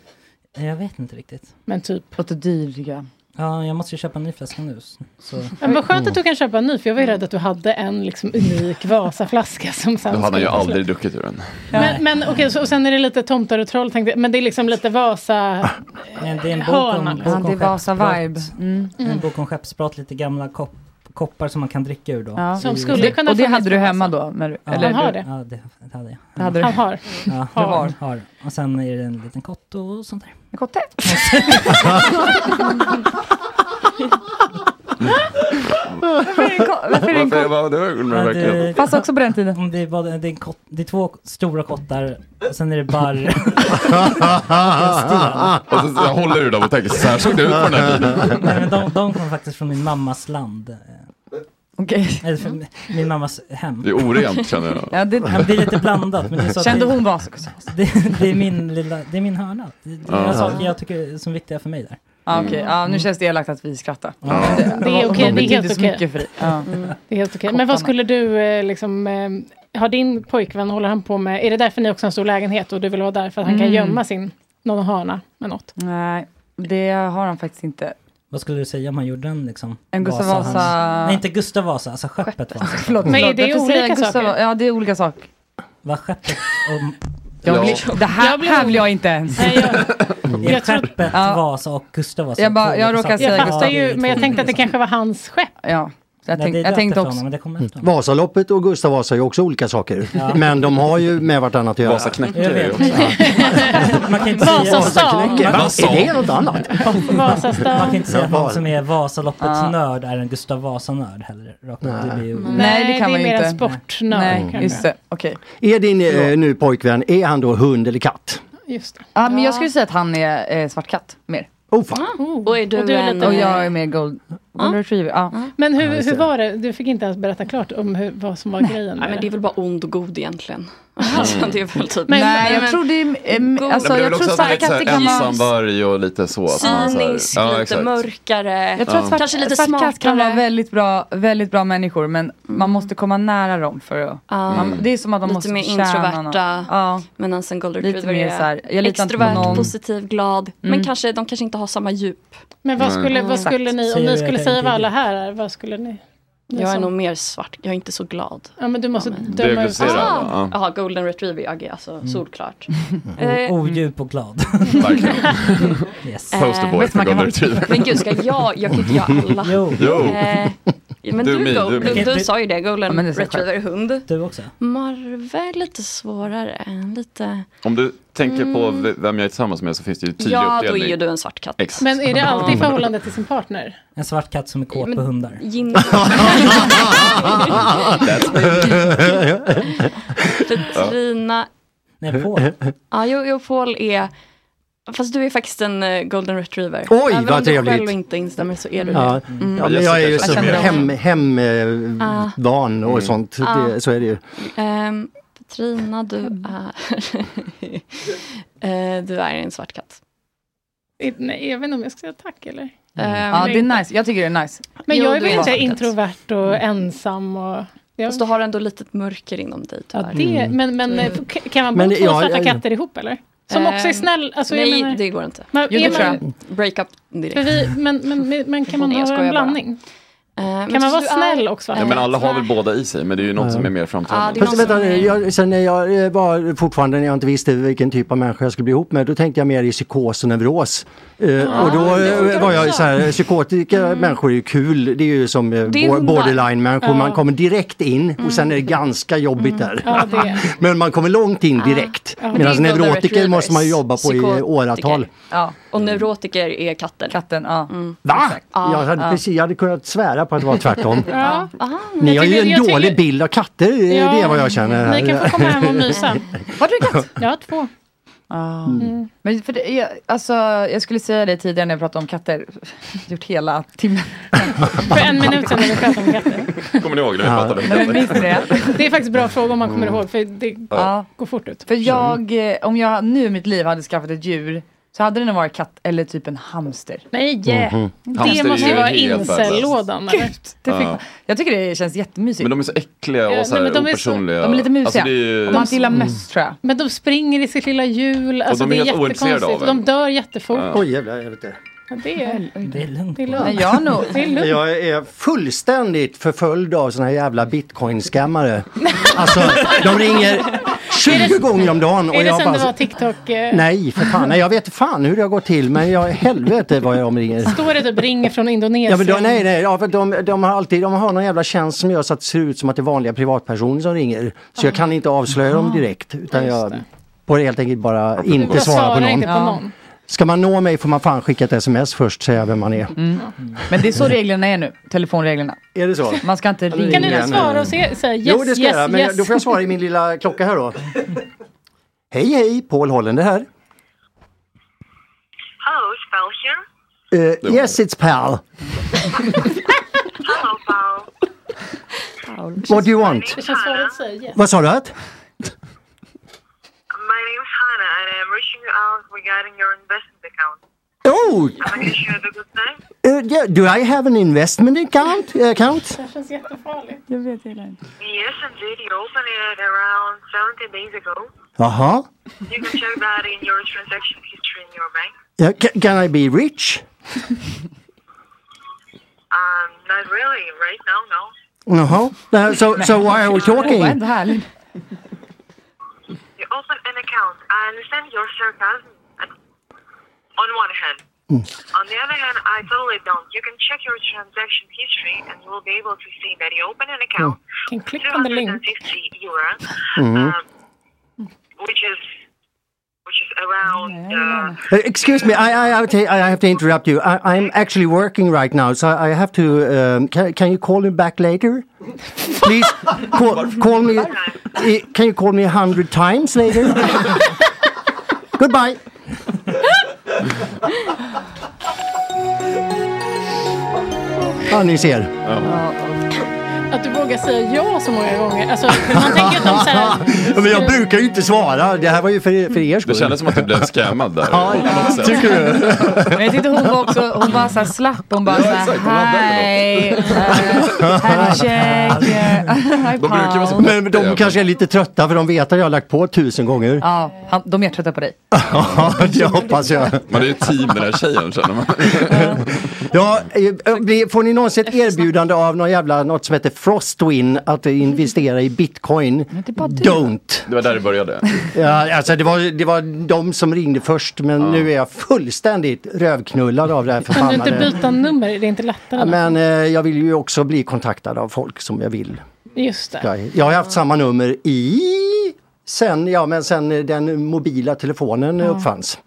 [SPEAKER 8] Eh, Jag vet inte riktigt.
[SPEAKER 3] Men typ.
[SPEAKER 15] Låter dyriga.
[SPEAKER 8] Ja, jag måste ju köpa en ny flaska nu. s- Så.
[SPEAKER 3] Men vad
[SPEAKER 15] Mm.
[SPEAKER 3] skönt att du kan köpa en ny, för jag var ju rädd att du hade en liksom unik Vasaflaska som sen
[SPEAKER 7] Då hade han
[SPEAKER 3] skulle
[SPEAKER 7] ju
[SPEAKER 3] ta slut.
[SPEAKER 7] aldrig druckit ur den.
[SPEAKER 3] Men, men okej, så, och sen är det lite tomtar och troll tänkte jag, men det är liksom lite Vasa...
[SPEAKER 8] Men det är en bok om,
[SPEAKER 3] Hörnan.
[SPEAKER 8] bok
[SPEAKER 3] Ja,
[SPEAKER 8] om
[SPEAKER 3] det är Vasa
[SPEAKER 8] skeppsbrott.
[SPEAKER 3] vibe. Mm.
[SPEAKER 8] En bok om skeppsbrott, lite gamla kopp, koppar som man kan dricka ur då.
[SPEAKER 15] Ja.
[SPEAKER 8] I-
[SPEAKER 15] och det hade du hemma då? När, du-
[SPEAKER 8] Ja.
[SPEAKER 15] eller du,
[SPEAKER 8] Ja, det, det hade jag.
[SPEAKER 15] Det hade du.
[SPEAKER 3] Han *laughs* har.
[SPEAKER 8] Ja,
[SPEAKER 15] Har.
[SPEAKER 8] har. har. Och sen är det en liten kott och sånt där.
[SPEAKER 15] En kotte? Varför är det en ko- varför är det en ko-
[SPEAKER 8] Ja, det-
[SPEAKER 15] Fast också på den tiden.
[SPEAKER 8] Om Det är, bara, det, är en kott, det är två stora kottar och sen är det barr.
[SPEAKER 15] *laughs*
[SPEAKER 7] Och så, så håller du dem och tänker, så här såg det ut på den här tiden.
[SPEAKER 8] Nej, men de, de kommer faktiskt från min mammas land.
[SPEAKER 15] Okej.
[SPEAKER 8] Eller från min mammas hem.
[SPEAKER 7] Det är orent, känner jag.
[SPEAKER 15] Ja, det-
[SPEAKER 8] Ja, det är lite blandat. Men det är så att
[SPEAKER 15] Kände
[SPEAKER 8] det,
[SPEAKER 15] hon vasen?
[SPEAKER 8] Det, det, är min lilla, det är min hörna. Det, det är några
[SPEAKER 15] Ja.
[SPEAKER 8] saker jag tycker som är viktiga för mig där. Mm.
[SPEAKER 15] Ja, Ah, okej. Ja, nu känns det elakt att vi skrattar.
[SPEAKER 8] Ja. Det är
[SPEAKER 15] de- de
[SPEAKER 3] okej, det är
[SPEAKER 15] betyder
[SPEAKER 3] helt
[SPEAKER 15] så
[SPEAKER 3] okej.
[SPEAKER 15] mycket för dig. Ja.
[SPEAKER 3] Det är helt okej. Men vad
[SPEAKER 15] Kottarna.
[SPEAKER 3] skulle du eh, liksom... eh, Har din pojkvän, håller han på med... Är det därför ni också har en stor lägenhet och du vill vara där för att han kan
[SPEAKER 15] Mm.
[SPEAKER 3] gömma sin... Någon hörna med något?
[SPEAKER 15] Nej, det har han faktiskt inte.
[SPEAKER 8] Vad skulle du säga om han gjorde en liksom?
[SPEAKER 15] En Gustav
[SPEAKER 8] Vasa-
[SPEAKER 15] Vasa-
[SPEAKER 8] Nej, inte Gustav Vasa, alltså skeppet Vasa.
[SPEAKER 15] *laughs* Förlåt, förlåt. Jag får säga Gustav- Ja, det är olika saker.
[SPEAKER 8] Vad skeppet och...
[SPEAKER 15] Jag blir, det här, här vill jag inte ens.
[SPEAKER 8] Är skeppet Vasa och Gustav Vasa?
[SPEAKER 15] Jag bara- jag
[SPEAKER 8] två olika
[SPEAKER 15] råkar
[SPEAKER 8] saker?
[SPEAKER 15] säga
[SPEAKER 8] Ja,
[SPEAKER 15] Gustav.
[SPEAKER 8] det är
[SPEAKER 3] Ju, men jag
[SPEAKER 8] två
[SPEAKER 3] tänkte att det
[SPEAKER 8] olika
[SPEAKER 3] kanske var hans skepp.
[SPEAKER 15] Ja. Jag,
[SPEAKER 8] Nej,
[SPEAKER 15] tänk,
[SPEAKER 8] det är
[SPEAKER 15] jag
[SPEAKER 8] döpt
[SPEAKER 15] tänkte
[SPEAKER 8] efter
[SPEAKER 15] också...
[SPEAKER 8] honom, men det kommer efter honom.
[SPEAKER 6] Vasaloppet och Gustav Vasa är ju också olika saker.
[SPEAKER 8] Ja.
[SPEAKER 6] *laughs* Men de har ju med vartannat att göra.
[SPEAKER 8] Jag vet. Man kan inte säga...
[SPEAKER 6] Vasaknäcke. Va? Är det något annat?
[SPEAKER 7] Mm.
[SPEAKER 3] Vasastan.
[SPEAKER 8] Man kan inte säga att någon
[SPEAKER 6] Jaha.
[SPEAKER 8] som är Vasaloppets
[SPEAKER 15] Ja.
[SPEAKER 8] nörd är en Gustav Vasa-nörd heller. Rakt upp. Det blir ju...
[SPEAKER 15] Nej, det kan man ju inte. Nej,
[SPEAKER 6] kanske.
[SPEAKER 15] just det. Okej.
[SPEAKER 6] Mm. Är din eh, nu pojkvän, är han då hund eller katt?
[SPEAKER 3] Just det.
[SPEAKER 15] *laughs* Ja, men jag skulle säga att han är eh, svart katt mer.
[SPEAKER 6] Oh, fan.
[SPEAKER 3] Ah.
[SPEAKER 4] Och är du,
[SPEAKER 15] och, du är
[SPEAKER 4] en... eh,
[SPEAKER 15] lite... och jag är mer gold, gold retriever. Ja.
[SPEAKER 3] Men
[SPEAKER 15] Ja,
[SPEAKER 3] hur,
[SPEAKER 15] just
[SPEAKER 3] hur
[SPEAKER 15] det.
[SPEAKER 3] var det? Du fick inte ens berätta klart om hur, vad som var grejen.
[SPEAKER 4] Nej, men det är väl bara ond och god egentligen. *laughs* Alltså, det är väl typ...
[SPEAKER 15] Men- Nej, jag tror det är- em,
[SPEAKER 4] god-
[SPEAKER 15] alltså,
[SPEAKER 7] Nej, Mm. men det är väl också att man är lite såhär ensamvarg och lite så. att man så här-
[SPEAKER 4] Cynisk,
[SPEAKER 7] Ja,
[SPEAKER 4] lite
[SPEAKER 7] exakt.
[SPEAKER 4] mörkare,
[SPEAKER 15] Jag tror att svart,
[SPEAKER 4] kanske lite
[SPEAKER 15] svart katt kan vara
[SPEAKER 4] smartare. Mm.
[SPEAKER 15] väldigt bra, väldigt bra människor men man måste komma nära dem för att...
[SPEAKER 4] Ja.
[SPEAKER 6] Mm.
[SPEAKER 15] Man, det är som att de
[SPEAKER 4] lite
[SPEAKER 15] måste
[SPEAKER 4] mer
[SPEAKER 15] förtjäna
[SPEAKER 4] introverta.
[SPEAKER 15] någon. Ja.
[SPEAKER 4] Medan en golden
[SPEAKER 15] Lite
[SPEAKER 4] retriever
[SPEAKER 15] mer
[SPEAKER 4] är
[SPEAKER 15] så här, jag litar inte på
[SPEAKER 4] extrovert,
[SPEAKER 15] någon.
[SPEAKER 4] positiv, glad. Men
[SPEAKER 15] Mm.
[SPEAKER 4] kanske, de kanske inte har samma djup.
[SPEAKER 3] Men vad skulle, vad skulle ni, om ni skulle säga vad alla här är, vad skulle ni? ni
[SPEAKER 15] Liksom.
[SPEAKER 4] Jag är
[SPEAKER 3] som-
[SPEAKER 4] nog mer svart, jag är inte så glad.
[SPEAKER 3] Ja, men du måste döma ut.
[SPEAKER 4] Jaha,
[SPEAKER 3] Ah.
[SPEAKER 4] ah, Jaha, golden retriever jag är alltså solklart.
[SPEAKER 8] Mm. *laughs* O-
[SPEAKER 4] *laughs* Eh,
[SPEAKER 8] Odjup
[SPEAKER 15] *laughs*
[SPEAKER 8] och glad. yes.
[SPEAKER 4] eh, vet man kan vara- Men gud, ska jag, jag kan inte göra
[SPEAKER 6] *laughs*
[SPEAKER 4] alla.
[SPEAKER 8] Jo.
[SPEAKER 4] Eh, men du, go- du, du, sa ju det, golden
[SPEAKER 8] men det är så
[SPEAKER 4] retriever är hund.
[SPEAKER 8] Du också?
[SPEAKER 4] Marve är lite svårare, lite...
[SPEAKER 7] Om du tänker på
[SPEAKER 4] Mm.
[SPEAKER 7] v- vem jag är tillsammans med så finns det ju tydlig
[SPEAKER 4] Ja, då
[SPEAKER 7] uppdelning.
[SPEAKER 4] är ju du en svart katt.
[SPEAKER 7] Exakt.
[SPEAKER 3] Men är
[SPEAKER 7] *laughs*
[SPEAKER 3] det alltid i förhållande till sin partner?
[SPEAKER 8] En svart katt som är kåt på hundar.
[SPEAKER 4] Gin... Petrina...
[SPEAKER 8] *laughs* Nej, Paul.
[SPEAKER 4] Ja, jo, jo, Paul är... Fast du är faktiskt en eh, golden retriever.
[SPEAKER 6] Oj,
[SPEAKER 4] Även
[SPEAKER 6] vad
[SPEAKER 4] om
[SPEAKER 6] trevligt.
[SPEAKER 4] du själv inte instämmer så är du
[SPEAKER 6] Ja.
[SPEAKER 4] det.
[SPEAKER 8] Mm.
[SPEAKER 6] Ja, men jag är ju så hem, hem
[SPEAKER 4] Ah.
[SPEAKER 6] eh, van och sånt.
[SPEAKER 4] Ah.
[SPEAKER 6] Det, så är det ju.
[SPEAKER 4] Ehm, Petrina, du är... *laughs* Eh, du är en svart katt.
[SPEAKER 3] I- Nej, jag vet inte om jag ska säga tack eller?
[SPEAKER 6] Mm.
[SPEAKER 15] Ja, det är nice. Jag tycker det är nice.
[SPEAKER 3] Men
[SPEAKER 4] eh, Jo,
[SPEAKER 3] jag är
[SPEAKER 4] du
[SPEAKER 3] väl
[SPEAKER 4] är
[SPEAKER 3] inte
[SPEAKER 4] svart katt.
[SPEAKER 3] introvert och ensam och... Jag...
[SPEAKER 4] Mm. Fast du har ändå lite mörker inom dig
[SPEAKER 3] Ja, det,
[SPEAKER 4] tyvärr.
[SPEAKER 3] men, men eh, k- kan man bo
[SPEAKER 4] Men
[SPEAKER 3] två
[SPEAKER 4] jag-
[SPEAKER 3] svarta
[SPEAKER 4] jag-
[SPEAKER 3] katter ihop eller? Som också är
[SPEAKER 4] Ehm,
[SPEAKER 3] snäll? Alltså, jag
[SPEAKER 4] nej,
[SPEAKER 3] menar-
[SPEAKER 4] det går inte.
[SPEAKER 3] Men, är man,
[SPEAKER 4] Break up direkt.
[SPEAKER 3] För vi, men, men, men, men kan man
[SPEAKER 4] Nej, jag
[SPEAKER 3] ha en
[SPEAKER 4] skojar bara.
[SPEAKER 3] blandning?
[SPEAKER 4] Ehm,
[SPEAKER 3] Kan man
[SPEAKER 4] så
[SPEAKER 3] vara
[SPEAKER 4] du
[SPEAKER 3] snäll och svart?
[SPEAKER 7] Ja, men alla har väl båda i sig, men det är ju något
[SPEAKER 6] Ja.
[SPEAKER 7] som är mer framträdande.
[SPEAKER 6] Fast vänta, jag, sen när jag eh, var fortfarande när jag inte visste vilken typ av människa jag skulle bli ihop med, då tänkte jag mer i psykos och neuros. Eh, och då
[SPEAKER 7] det
[SPEAKER 6] eh,
[SPEAKER 7] funkar
[SPEAKER 6] var jag
[SPEAKER 7] också.
[SPEAKER 6] så här, psykotiska människor är ju kul, det är ju som eh,
[SPEAKER 7] Det är
[SPEAKER 6] bo-
[SPEAKER 7] hundar.
[SPEAKER 6] borderline-människor,
[SPEAKER 7] Ja.
[SPEAKER 6] man kommer direkt in och sen är det ganska jobbigt där.
[SPEAKER 3] Ja, det är-
[SPEAKER 6] *laughs* Men man kommer långt in direkt.
[SPEAKER 4] Ja. Men det är
[SPEAKER 6] Medan
[SPEAKER 4] ju golden
[SPEAKER 6] neurotiker måste man ju
[SPEAKER 4] retrievers,
[SPEAKER 6] jobba på i
[SPEAKER 4] psykotiker.
[SPEAKER 6] åratal.
[SPEAKER 15] Ja.
[SPEAKER 4] Och neurotiker är katten. Mm.
[SPEAKER 15] Katten, ja.
[SPEAKER 6] Va?
[SPEAKER 4] Ja,
[SPEAKER 6] jag, hade,
[SPEAKER 4] ja.
[SPEAKER 6] precis, jag hade kunnat svära på att det
[SPEAKER 4] *laughs*
[SPEAKER 6] var tvärtom.
[SPEAKER 3] Ja.
[SPEAKER 6] Ni har ju
[SPEAKER 3] tycker-
[SPEAKER 6] en
[SPEAKER 3] jag tycker-
[SPEAKER 6] dålig bild av katter, eh,
[SPEAKER 3] Ja.
[SPEAKER 6] det är vad jag känner.
[SPEAKER 3] Ni kan få komma hem och
[SPEAKER 6] *laughs*
[SPEAKER 3] mysa.
[SPEAKER 15] Har du katt?
[SPEAKER 3] Jag har två.
[SPEAKER 15] Mm. Men för det, jag, alltså, jag skulle säga det tidigare när jag pratade om katter. *laughs* Gjort hela timmen.
[SPEAKER 3] För en minut sedan när vi pratade om katter.
[SPEAKER 7] *laughs* Kommer ni ihåg när vi pratade om
[SPEAKER 15] Nej, men minns
[SPEAKER 7] *laughs*
[SPEAKER 15] ni det?
[SPEAKER 3] Det är faktiskt bra fråga om man kommer ihåg för det
[SPEAKER 15] Ja.
[SPEAKER 3] går fort ut.
[SPEAKER 15] För jag, eh, om jag nu i mitt liv hade skaffat ett djur så hade det nog varit katt eller typ en hamster.
[SPEAKER 3] Nej,
[SPEAKER 7] Mhm. Hamster
[SPEAKER 3] det måste ju
[SPEAKER 7] är
[SPEAKER 3] vara
[SPEAKER 7] helt
[SPEAKER 3] incellådan. eller?
[SPEAKER 15] Gud, det fick,
[SPEAKER 7] Ja.
[SPEAKER 15] Jag tycker det känns jättemysigt.
[SPEAKER 7] Men de är så äckliga
[SPEAKER 3] Ja,
[SPEAKER 7] och så
[SPEAKER 3] nej,
[SPEAKER 7] här
[SPEAKER 3] men de är så- Mm.
[SPEAKER 7] opersonliga.
[SPEAKER 15] de är lite
[SPEAKER 7] Alltså,
[SPEAKER 15] mysiga.
[SPEAKER 7] det är ju- Mm.
[SPEAKER 15] Om man inte gillar möss tror jag.
[SPEAKER 3] Men de springer i sitt lilla hjul. Alltså,
[SPEAKER 7] de är
[SPEAKER 3] det är
[SPEAKER 7] helt ointresserade av
[SPEAKER 3] jättekonstigt.
[SPEAKER 7] en.
[SPEAKER 3] De dör jättefort.
[SPEAKER 7] Ja.
[SPEAKER 6] Oj jävlar, jag vet det.
[SPEAKER 3] Ja, det,
[SPEAKER 15] Mm.
[SPEAKER 3] är,
[SPEAKER 8] det är lugnt.
[SPEAKER 3] Det är lugnt.
[SPEAKER 15] Men jag har nog-
[SPEAKER 3] det är lugnt.
[SPEAKER 6] *laughs* Jag är fullständigt förföljd av såna här jävla bitcoin-scammare. Alltså, de ringer 20 gånger om dagen och
[SPEAKER 3] är det
[SPEAKER 6] jag
[SPEAKER 3] sen det var
[SPEAKER 6] bara...
[SPEAKER 3] TikTok? eh,
[SPEAKER 6] *laughs* Nej, för fan. Nej, jag vet fan hur det har gått till men jag helvete vad jag ringer.
[SPEAKER 3] Står det typ ringer från Indonesien?
[SPEAKER 6] Ja, men de, nej, nej, ja, för de, de har alltid de har någon jävla tjänst som gör så att det ser ut som att det är vanliga privatpersoner som ringer. Så jag kan inte avslöja dem direkt utan jag får helt enkelt bara
[SPEAKER 3] Jag
[SPEAKER 6] inte svara på
[SPEAKER 3] svarar
[SPEAKER 6] någon.
[SPEAKER 3] inte på någon.
[SPEAKER 6] Ska man nå mig får man fan skicka ett sms först, säga vem man är.
[SPEAKER 15] Mm. Men det är så reglerna är nu, telefonreglerna.
[SPEAKER 6] Är det så?
[SPEAKER 15] Man ska inte
[SPEAKER 6] Kan du
[SPEAKER 15] ringa.
[SPEAKER 6] inte svara och
[SPEAKER 3] se- säga yes,
[SPEAKER 6] jo, det ska
[SPEAKER 3] yes,
[SPEAKER 6] jag. Men
[SPEAKER 3] yes.
[SPEAKER 6] då får jag svara i min lilla klocka här då. *laughs* hej, hej, Paul Hollander här.
[SPEAKER 12] Hello, Spell here.
[SPEAKER 6] Eh, yes, it's
[SPEAKER 12] Hello,
[SPEAKER 6] Pal.
[SPEAKER 12] Paul.
[SPEAKER 6] What do you want?
[SPEAKER 3] Det känns svårt att säga.
[SPEAKER 6] Vad sa du? Att?
[SPEAKER 12] My name's Hannah, and I'm reaching you out regarding your investment account.
[SPEAKER 6] Oh!
[SPEAKER 12] Am I sure the good time?
[SPEAKER 6] eh, yeah, do I have an investment account? Eh, account?
[SPEAKER 3] Det här känns jättefarligt.
[SPEAKER 15] Jag vet inte.
[SPEAKER 12] Yes, indeed. You opened it around 70 days ago.
[SPEAKER 6] Jaha.
[SPEAKER 12] You can check that in your transaction history in your bank.
[SPEAKER 6] Yeah, Eh, ca- can I be rich?
[SPEAKER 12] Um, not really. Right now, no.
[SPEAKER 6] Jaha. Uh,
[SPEAKER 3] *laughs*
[SPEAKER 6] so, so why are we talking?
[SPEAKER 12] You open an account. I understand your sarcasm at- on one hand. On the other hand, I totally don't. You can check your transaction history and you will be able to see that you open an account
[SPEAKER 3] Mm. Can click on the link.
[SPEAKER 12] 250 euro,
[SPEAKER 6] Mhm.
[SPEAKER 12] um, which is which is around uh,
[SPEAKER 6] Uh, excuse me, I, I, have to, I have to interrupt you. I, I'm actually working right now, so I have to. Um, can, can you call me back later? Please call, call me. i- Can you call me a hundred times later? *laughs* Goodbye. Ja, ni ser.
[SPEAKER 3] *laughs* Att du vågar säga ja så många gånger. Alltså, man tänker att de så
[SPEAKER 6] *laughs*
[SPEAKER 3] här,
[SPEAKER 6] Men jag brukar ju inte svara. Det här var ju för, för er skull.
[SPEAKER 7] Det kändes som att du blev scammad där.
[SPEAKER 6] Ja, tycker du?
[SPEAKER 15] Men jag tyckte hon var också, hon var såhär slapp, hon bara såhär hej, eh, check, hi Paul.
[SPEAKER 6] Men de kanske är lite trötta för de vet att jag har lagt på tusen gånger.
[SPEAKER 15] Ja, han, de är trötta på dig.
[SPEAKER 12] uh,
[SPEAKER 6] *laughs* Ja, det hoppas jag.
[SPEAKER 7] Man är ju ett team med den här tjejen känner man.
[SPEAKER 6] Ja, eh, blir- får ni någonsin ett erbjudande av någon jävla, något som heter Frostwin att investera i bitcoin? Don't!
[SPEAKER 7] Det var där det
[SPEAKER 4] *laughs*
[SPEAKER 7] började.
[SPEAKER 6] Ja, alltså det var, det var de som ringde först men nu är jag fullständigt rövknullad av det här
[SPEAKER 3] kan du inte
[SPEAKER 6] förbannade.
[SPEAKER 3] byta nummer? Det är inte lättare.
[SPEAKER 6] Men eh, jag vill ju också bli kontaktad av folk som jag vill.
[SPEAKER 3] Just det.
[SPEAKER 6] Jag, jag har haft samma nummer i sen, ja, men sen eh, den mobila telefonen eh,
[SPEAKER 3] Ja.
[SPEAKER 6] uppfanns.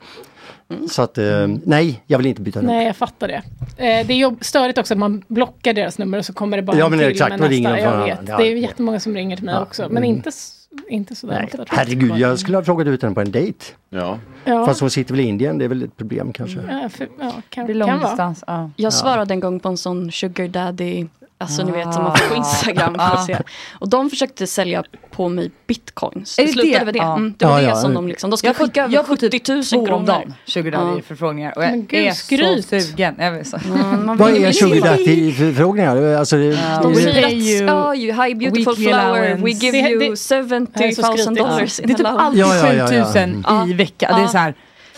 [SPEAKER 4] Mm.
[SPEAKER 6] Så att eh, nej, jag vill inte byta nummer.
[SPEAKER 3] Nej, jag fattar det. Eh, Det är jobb- störigt också att man blockar deras nummer och så kommer det bara
[SPEAKER 6] Ja,
[SPEAKER 3] en
[SPEAKER 6] men
[SPEAKER 3] till
[SPEAKER 6] exakt,
[SPEAKER 3] med
[SPEAKER 6] då
[SPEAKER 3] nästa.
[SPEAKER 6] ringer de från
[SPEAKER 3] jag
[SPEAKER 6] en
[SPEAKER 3] vet.
[SPEAKER 6] annan. Ja,
[SPEAKER 3] Det är ju
[SPEAKER 6] det-
[SPEAKER 3] jättemånga som ringer till mig
[SPEAKER 6] Ja,
[SPEAKER 3] också, men
[SPEAKER 6] mm.
[SPEAKER 3] inte, s- inte sådär ofta. tror jag.
[SPEAKER 6] Herregud, jag skulle ha frågat ut henne på en dejt.
[SPEAKER 7] Ja.
[SPEAKER 3] Ja.
[SPEAKER 6] Fast hon sitter väl i Indien, det är väl ett problem kanske.
[SPEAKER 3] Ja, för, ja, kan,
[SPEAKER 4] Det är
[SPEAKER 3] kan vara.
[SPEAKER 15] långdistans, ja.
[SPEAKER 4] Jag
[SPEAKER 6] Ja.
[SPEAKER 4] svarade en gång på en sån sugar daddy, alltså ni vet som man
[SPEAKER 15] Ah.
[SPEAKER 4] får på Instagram för att
[SPEAKER 15] Ah.
[SPEAKER 4] se. Och de försökte sälja på mig bitcoins.
[SPEAKER 15] Är
[SPEAKER 4] Det
[SPEAKER 15] det
[SPEAKER 4] slutade
[SPEAKER 15] det?
[SPEAKER 4] med det.
[SPEAKER 15] Ja.
[SPEAKER 4] Mm, det var
[SPEAKER 15] Ja,
[SPEAKER 4] det
[SPEAKER 15] ja.
[SPEAKER 4] som de liksom, de skulle
[SPEAKER 15] Jag får-
[SPEAKER 4] skicka över
[SPEAKER 15] jag får typ
[SPEAKER 4] 70 000
[SPEAKER 15] Två om
[SPEAKER 4] kronor.
[SPEAKER 15] dagen, 20 dagar i
[SPEAKER 4] Ja.
[SPEAKER 15] förfrågningar. Och jag
[SPEAKER 4] Men gud,
[SPEAKER 15] är
[SPEAKER 4] skryt.
[SPEAKER 15] så sugen. Jag är så. *laughs*
[SPEAKER 6] Vad är sugar daddy-förfrågningar? Alltså, det-
[SPEAKER 4] De
[SPEAKER 6] det-
[SPEAKER 4] säger att ja, Oh, you, hi beautiful
[SPEAKER 15] weekly
[SPEAKER 4] flower, we
[SPEAKER 15] allowance.
[SPEAKER 4] give
[SPEAKER 15] Det-
[SPEAKER 4] you
[SPEAKER 15] det-
[SPEAKER 4] 70 000 dollars
[SPEAKER 15] Det är typ alltid
[SPEAKER 6] Ja, ja, ja, ja.
[SPEAKER 15] 7000 i veckan. Det är så här.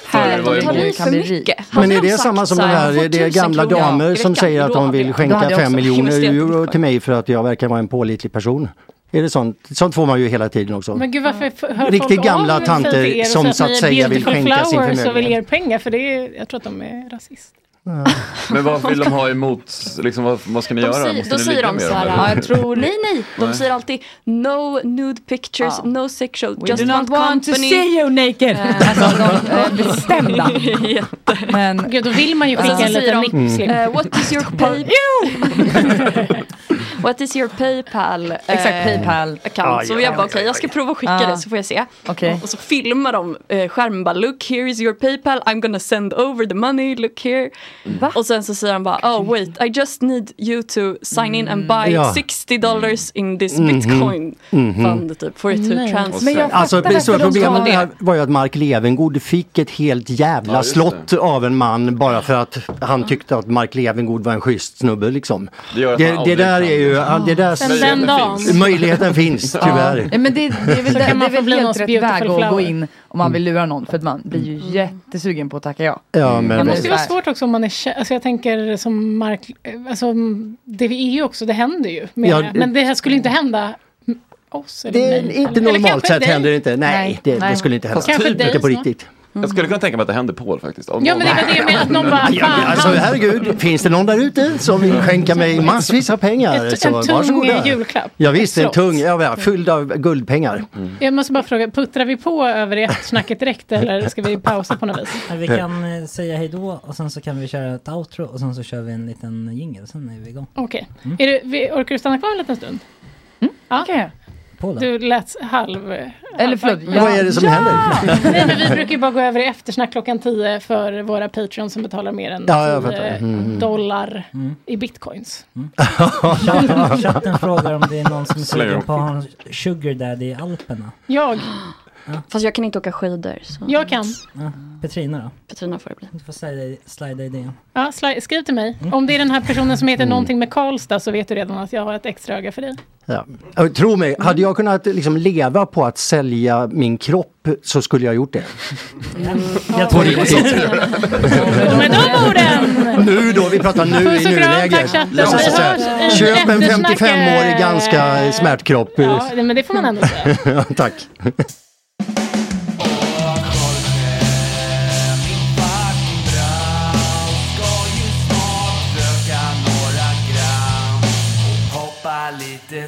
[SPEAKER 4] Här,
[SPEAKER 6] var det
[SPEAKER 4] tar i
[SPEAKER 6] mycket.
[SPEAKER 4] för mycket.
[SPEAKER 6] Men är
[SPEAKER 4] Hade
[SPEAKER 6] det
[SPEAKER 4] de
[SPEAKER 6] samma
[SPEAKER 4] sagt
[SPEAKER 6] som
[SPEAKER 4] så
[SPEAKER 6] de
[SPEAKER 4] här,
[SPEAKER 6] här, det är
[SPEAKER 4] 4000
[SPEAKER 6] gamla
[SPEAKER 4] kronor i
[SPEAKER 6] damer som
[SPEAKER 4] veckan,
[SPEAKER 6] säger att
[SPEAKER 4] då
[SPEAKER 6] de
[SPEAKER 4] hade
[SPEAKER 6] vill
[SPEAKER 4] jag- då hade
[SPEAKER 6] skänka
[SPEAKER 4] jag också
[SPEAKER 6] 5 miljoner
[SPEAKER 4] investerat i
[SPEAKER 6] euro
[SPEAKER 4] bitcoin.
[SPEAKER 6] till mig för att jag verkar vara en pålitlig person? Är det sånt? Sånt får man ju hela tiden också.
[SPEAKER 3] Men gud varför f- hör
[SPEAKER 6] Riktigt
[SPEAKER 3] folk
[SPEAKER 6] gamla
[SPEAKER 3] av sig
[SPEAKER 6] tanter
[SPEAKER 3] till er och
[SPEAKER 6] som
[SPEAKER 3] säger
[SPEAKER 6] så att
[SPEAKER 3] ni är
[SPEAKER 6] säga vill
[SPEAKER 3] beautiful
[SPEAKER 6] skänka sin
[SPEAKER 3] flowers och vill ge er
[SPEAKER 6] förmögenhet.
[SPEAKER 3] pengar för det är, jag tror att de är rasister.
[SPEAKER 7] Men vad vill de ha emot, liksom, vad, vad ska ni
[SPEAKER 4] De
[SPEAKER 7] göra?
[SPEAKER 4] säger,
[SPEAKER 7] Måste
[SPEAKER 4] då
[SPEAKER 7] ni
[SPEAKER 4] säger
[SPEAKER 7] ligga
[SPEAKER 4] de
[SPEAKER 7] med
[SPEAKER 4] så
[SPEAKER 7] dem,
[SPEAKER 4] här,
[SPEAKER 7] eller?
[SPEAKER 4] jag
[SPEAKER 15] *laughs*
[SPEAKER 4] tror, nej nej, de
[SPEAKER 7] Nej.
[SPEAKER 4] säger alltid no nude pictures, no sexual,
[SPEAKER 15] We
[SPEAKER 4] just
[SPEAKER 15] do not
[SPEAKER 4] want
[SPEAKER 15] want to
[SPEAKER 4] company.
[SPEAKER 15] see you naked. Alltså de är bestämda.
[SPEAKER 4] *laughs*
[SPEAKER 15] Men,
[SPEAKER 3] Gud, då vill man ju
[SPEAKER 4] Och sen
[SPEAKER 3] skicka en
[SPEAKER 4] Alltså, så säger
[SPEAKER 3] liten
[SPEAKER 4] de,
[SPEAKER 3] nippsling.
[SPEAKER 4] eh, what is your pay... *laughs* what is your Paypal? eh,
[SPEAKER 15] Exakt, Paypal.
[SPEAKER 4] Account.
[SPEAKER 15] Ah,
[SPEAKER 4] så
[SPEAKER 15] ja,
[SPEAKER 4] jag bara
[SPEAKER 15] ja,
[SPEAKER 4] okej, jag ska prova att skicka
[SPEAKER 15] Ah.
[SPEAKER 4] det så får jag se.
[SPEAKER 15] Okej.
[SPEAKER 4] Och så filmar de eh, skärmen bara look here is your Paypal, I'm gonna send over the money, look here. Och sen så säger han bara oh wait, I just need you to sign in and buy
[SPEAKER 6] Ja.
[SPEAKER 4] 60 dollars in this
[SPEAKER 6] Mhm.
[SPEAKER 4] bitcoin
[SPEAKER 6] Mhm.
[SPEAKER 4] fund typ, for it to
[SPEAKER 6] Nej.
[SPEAKER 4] transfer.
[SPEAKER 15] Men jag
[SPEAKER 6] Alltså
[SPEAKER 15] fattar
[SPEAKER 6] det stora
[SPEAKER 15] varför de
[SPEAKER 6] problemet
[SPEAKER 15] tar-
[SPEAKER 6] här var ju att Mark Levengood fick ett helt jävla
[SPEAKER 15] Ja, just det.
[SPEAKER 6] slott av en man bara för att han tyckte att Mark Levengood var en schysst snubbe liksom.
[SPEAKER 7] Det gör att man
[SPEAKER 6] Det, det
[SPEAKER 7] aldrig
[SPEAKER 6] där
[SPEAKER 7] kan- liksom-
[SPEAKER 6] är ju, ja, det där
[SPEAKER 7] Sen den dagen.
[SPEAKER 6] möjligheten finns tyvärr.
[SPEAKER 15] Ja, men det,
[SPEAKER 3] *laughs*
[SPEAKER 15] det är väl,
[SPEAKER 3] Så
[SPEAKER 15] det,
[SPEAKER 3] kan
[SPEAKER 15] det
[SPEAKER 3] man
[SPEAKER 15] är
[SPEAKER 3] få bli
[SPEAKER 15] väl
[SPEAKER 3] någons
[SPEAKER 15] helt rätt
[SPEAKER 3] beautiful
[SPEAKER 15] väg
[SPEAKER 3] flower. Mm.
[SPEAKER 15] att gå in om man vill lura någon. För att man blir ju jättesugen på att tacka ja.
[SPEAKER 6] Ja, men
[SPEAKER 3] Det
[SPEAKER 6] väl.
[SPEAKER 3] måste ju vara svårt också om man är kä- alltså jag tänker som Mark, alltså det är ju också, det händer ju. menar
[SPEAKER 6] Ja,
[SPEAKER 3] jag. men det här skulle inte hända m- oss eller
[SPEAKER 6] Det är
[SPEAKER 3] mig.
[SPEAKER 6] inte
[SPEAKER 3] eller
[SPEAKER 6] normalt
[SPEAKER 3] kanske
[SPEAKER 6] sett
[SPEAKER 3] dig.
[SPEAKER 6] händer det inte. Nej, det, det skulle inte hända.
[SPEAKER 3] Kanske dig
[SPEAKER 6] inte på
[SPEAKER 3] snart.
[SPEAKER 6] riktigt.
[SPEAKER 7] Jag skulle kunna tänka mig att det händer Paul faktiskt. Om
[SPEAKER 3] Ja, men det var det jag menade, att någon bara,
[SPEAKER 7] Ja,
[SPEAKER 3] fan,
[SPEAKER 6] Alltså herregud, finns det någon där ute som vill skänka mig massvis av pengar?
[SPEAKER 3] Ett- en tung julklapp.
[SPEAKER 6] Ja visst, en
[SPEAKER 3] Slott.
[SPEAKER 6] tung, ja, ja, fylld av guldpengar.
[SPEAKER 7] Mm.
[SPEAKER 3] Jag måste bara fråga, puttrar vi på över i eftersnacket direkt eller ska vi pausa på något vis?
[SPEAKER 8] Men vi kan eh, säga hej då och sen så kan vi köra ett outro och sen så kör vi en liten jingle sen är vi igång.
[SPEAKER 3] Okej.
[SPEAKER 8] Mm.
[SPEAKER 3] Är du- vi- Orkar du stanna kvar en liten stund? Ja.
[SPEAKER 8] På då.
[SPEAKER 3] Du lät halv...
[SPEAKER 20] Eller förlåt, ja.
[SPEAKER 6] Vad är det som
[SPEAKER 3] ja! *laughs*
[SPEAKER 6] händer?
[SPEAKER 3] Nej, men vi brukar ju bara gå över i eftersnack klockan 10 för våra Patreons som betalar mer än
[SPEAKER 6] Ja, jag
[SPEAKER 3] 10
[SPEAKER 6] fattar. Mm.
[SPEAKER 3] dollar i bitcoins.
[SPEAKER 8] Mm.
[SPEAKER 3] Mm.
[SPEAKER 8] Chatten, *laughs* chatten frågar om det är någon som är
[SPEAKER 4] Slay
[SPEAKER 8] sugen
[SPEAKER 4] up.
[SPEAKER 8] på att ha en sugar daddy i Alperna.
[SPEAKER 3] Jag.
[SPEAKER 4] Fast jag kan inte åka skidor. Så.
[SPEAKER 3] Jag kan.
[SPEAKER 8] Ja, Petrina då?
[SPEAKER 4] Petrina får det bli.
[SPEAKER 8] Du får slida, slida idén.
[SPEAKER 3] Ja, sli- skriv till mig.
[SPEAKER 8] Mm.
[SPEAKER 3] Om det är den här personen som heter
[SPEAKER 6] Mm.
[SPEAKER 3] någonting med Karlstad så vet du redan att jag har ett extra öga för dig.
[SPEAKER 6] Ja. Och Tro mig, hade jag kunnat liksom leva på att sälja min kropp så skulle jag gjort det.
[SPEAKER 3] Ja.
[SPEAKER 6] På riktigt.
[SPEAKER 3] Och med de orden!
[SPEAKER 6] Nu då, vi
[SPEAKER 3] *laughs*
[SPEAKER 15] *laughs*
[SPEAKER 6] pratar nu
[SPEAKER 3] Puss
[SPEAKER 6] i
[SPEAKER 3] och kram,
[SPEAKER 6] nuläget.
[SPEAKER 3] tack chatten.
[SPEAKER 6] Jag ska
[SPEAKER 3] Vi
[SPEAKER 6] säga,
[SPEAKER 3] hörs i
[SPEAKER 6] Köp en
[SPEAKER 3] eftersnacket.
[SPEAKER 6] 55-årig ganska smärtkropp.
[SPEAKER 3] Ja, men det får man ändå säga.
[SPEAKER 6] *laughs* Tack.
[SPEAKER 18] Röka några gram och poppa lite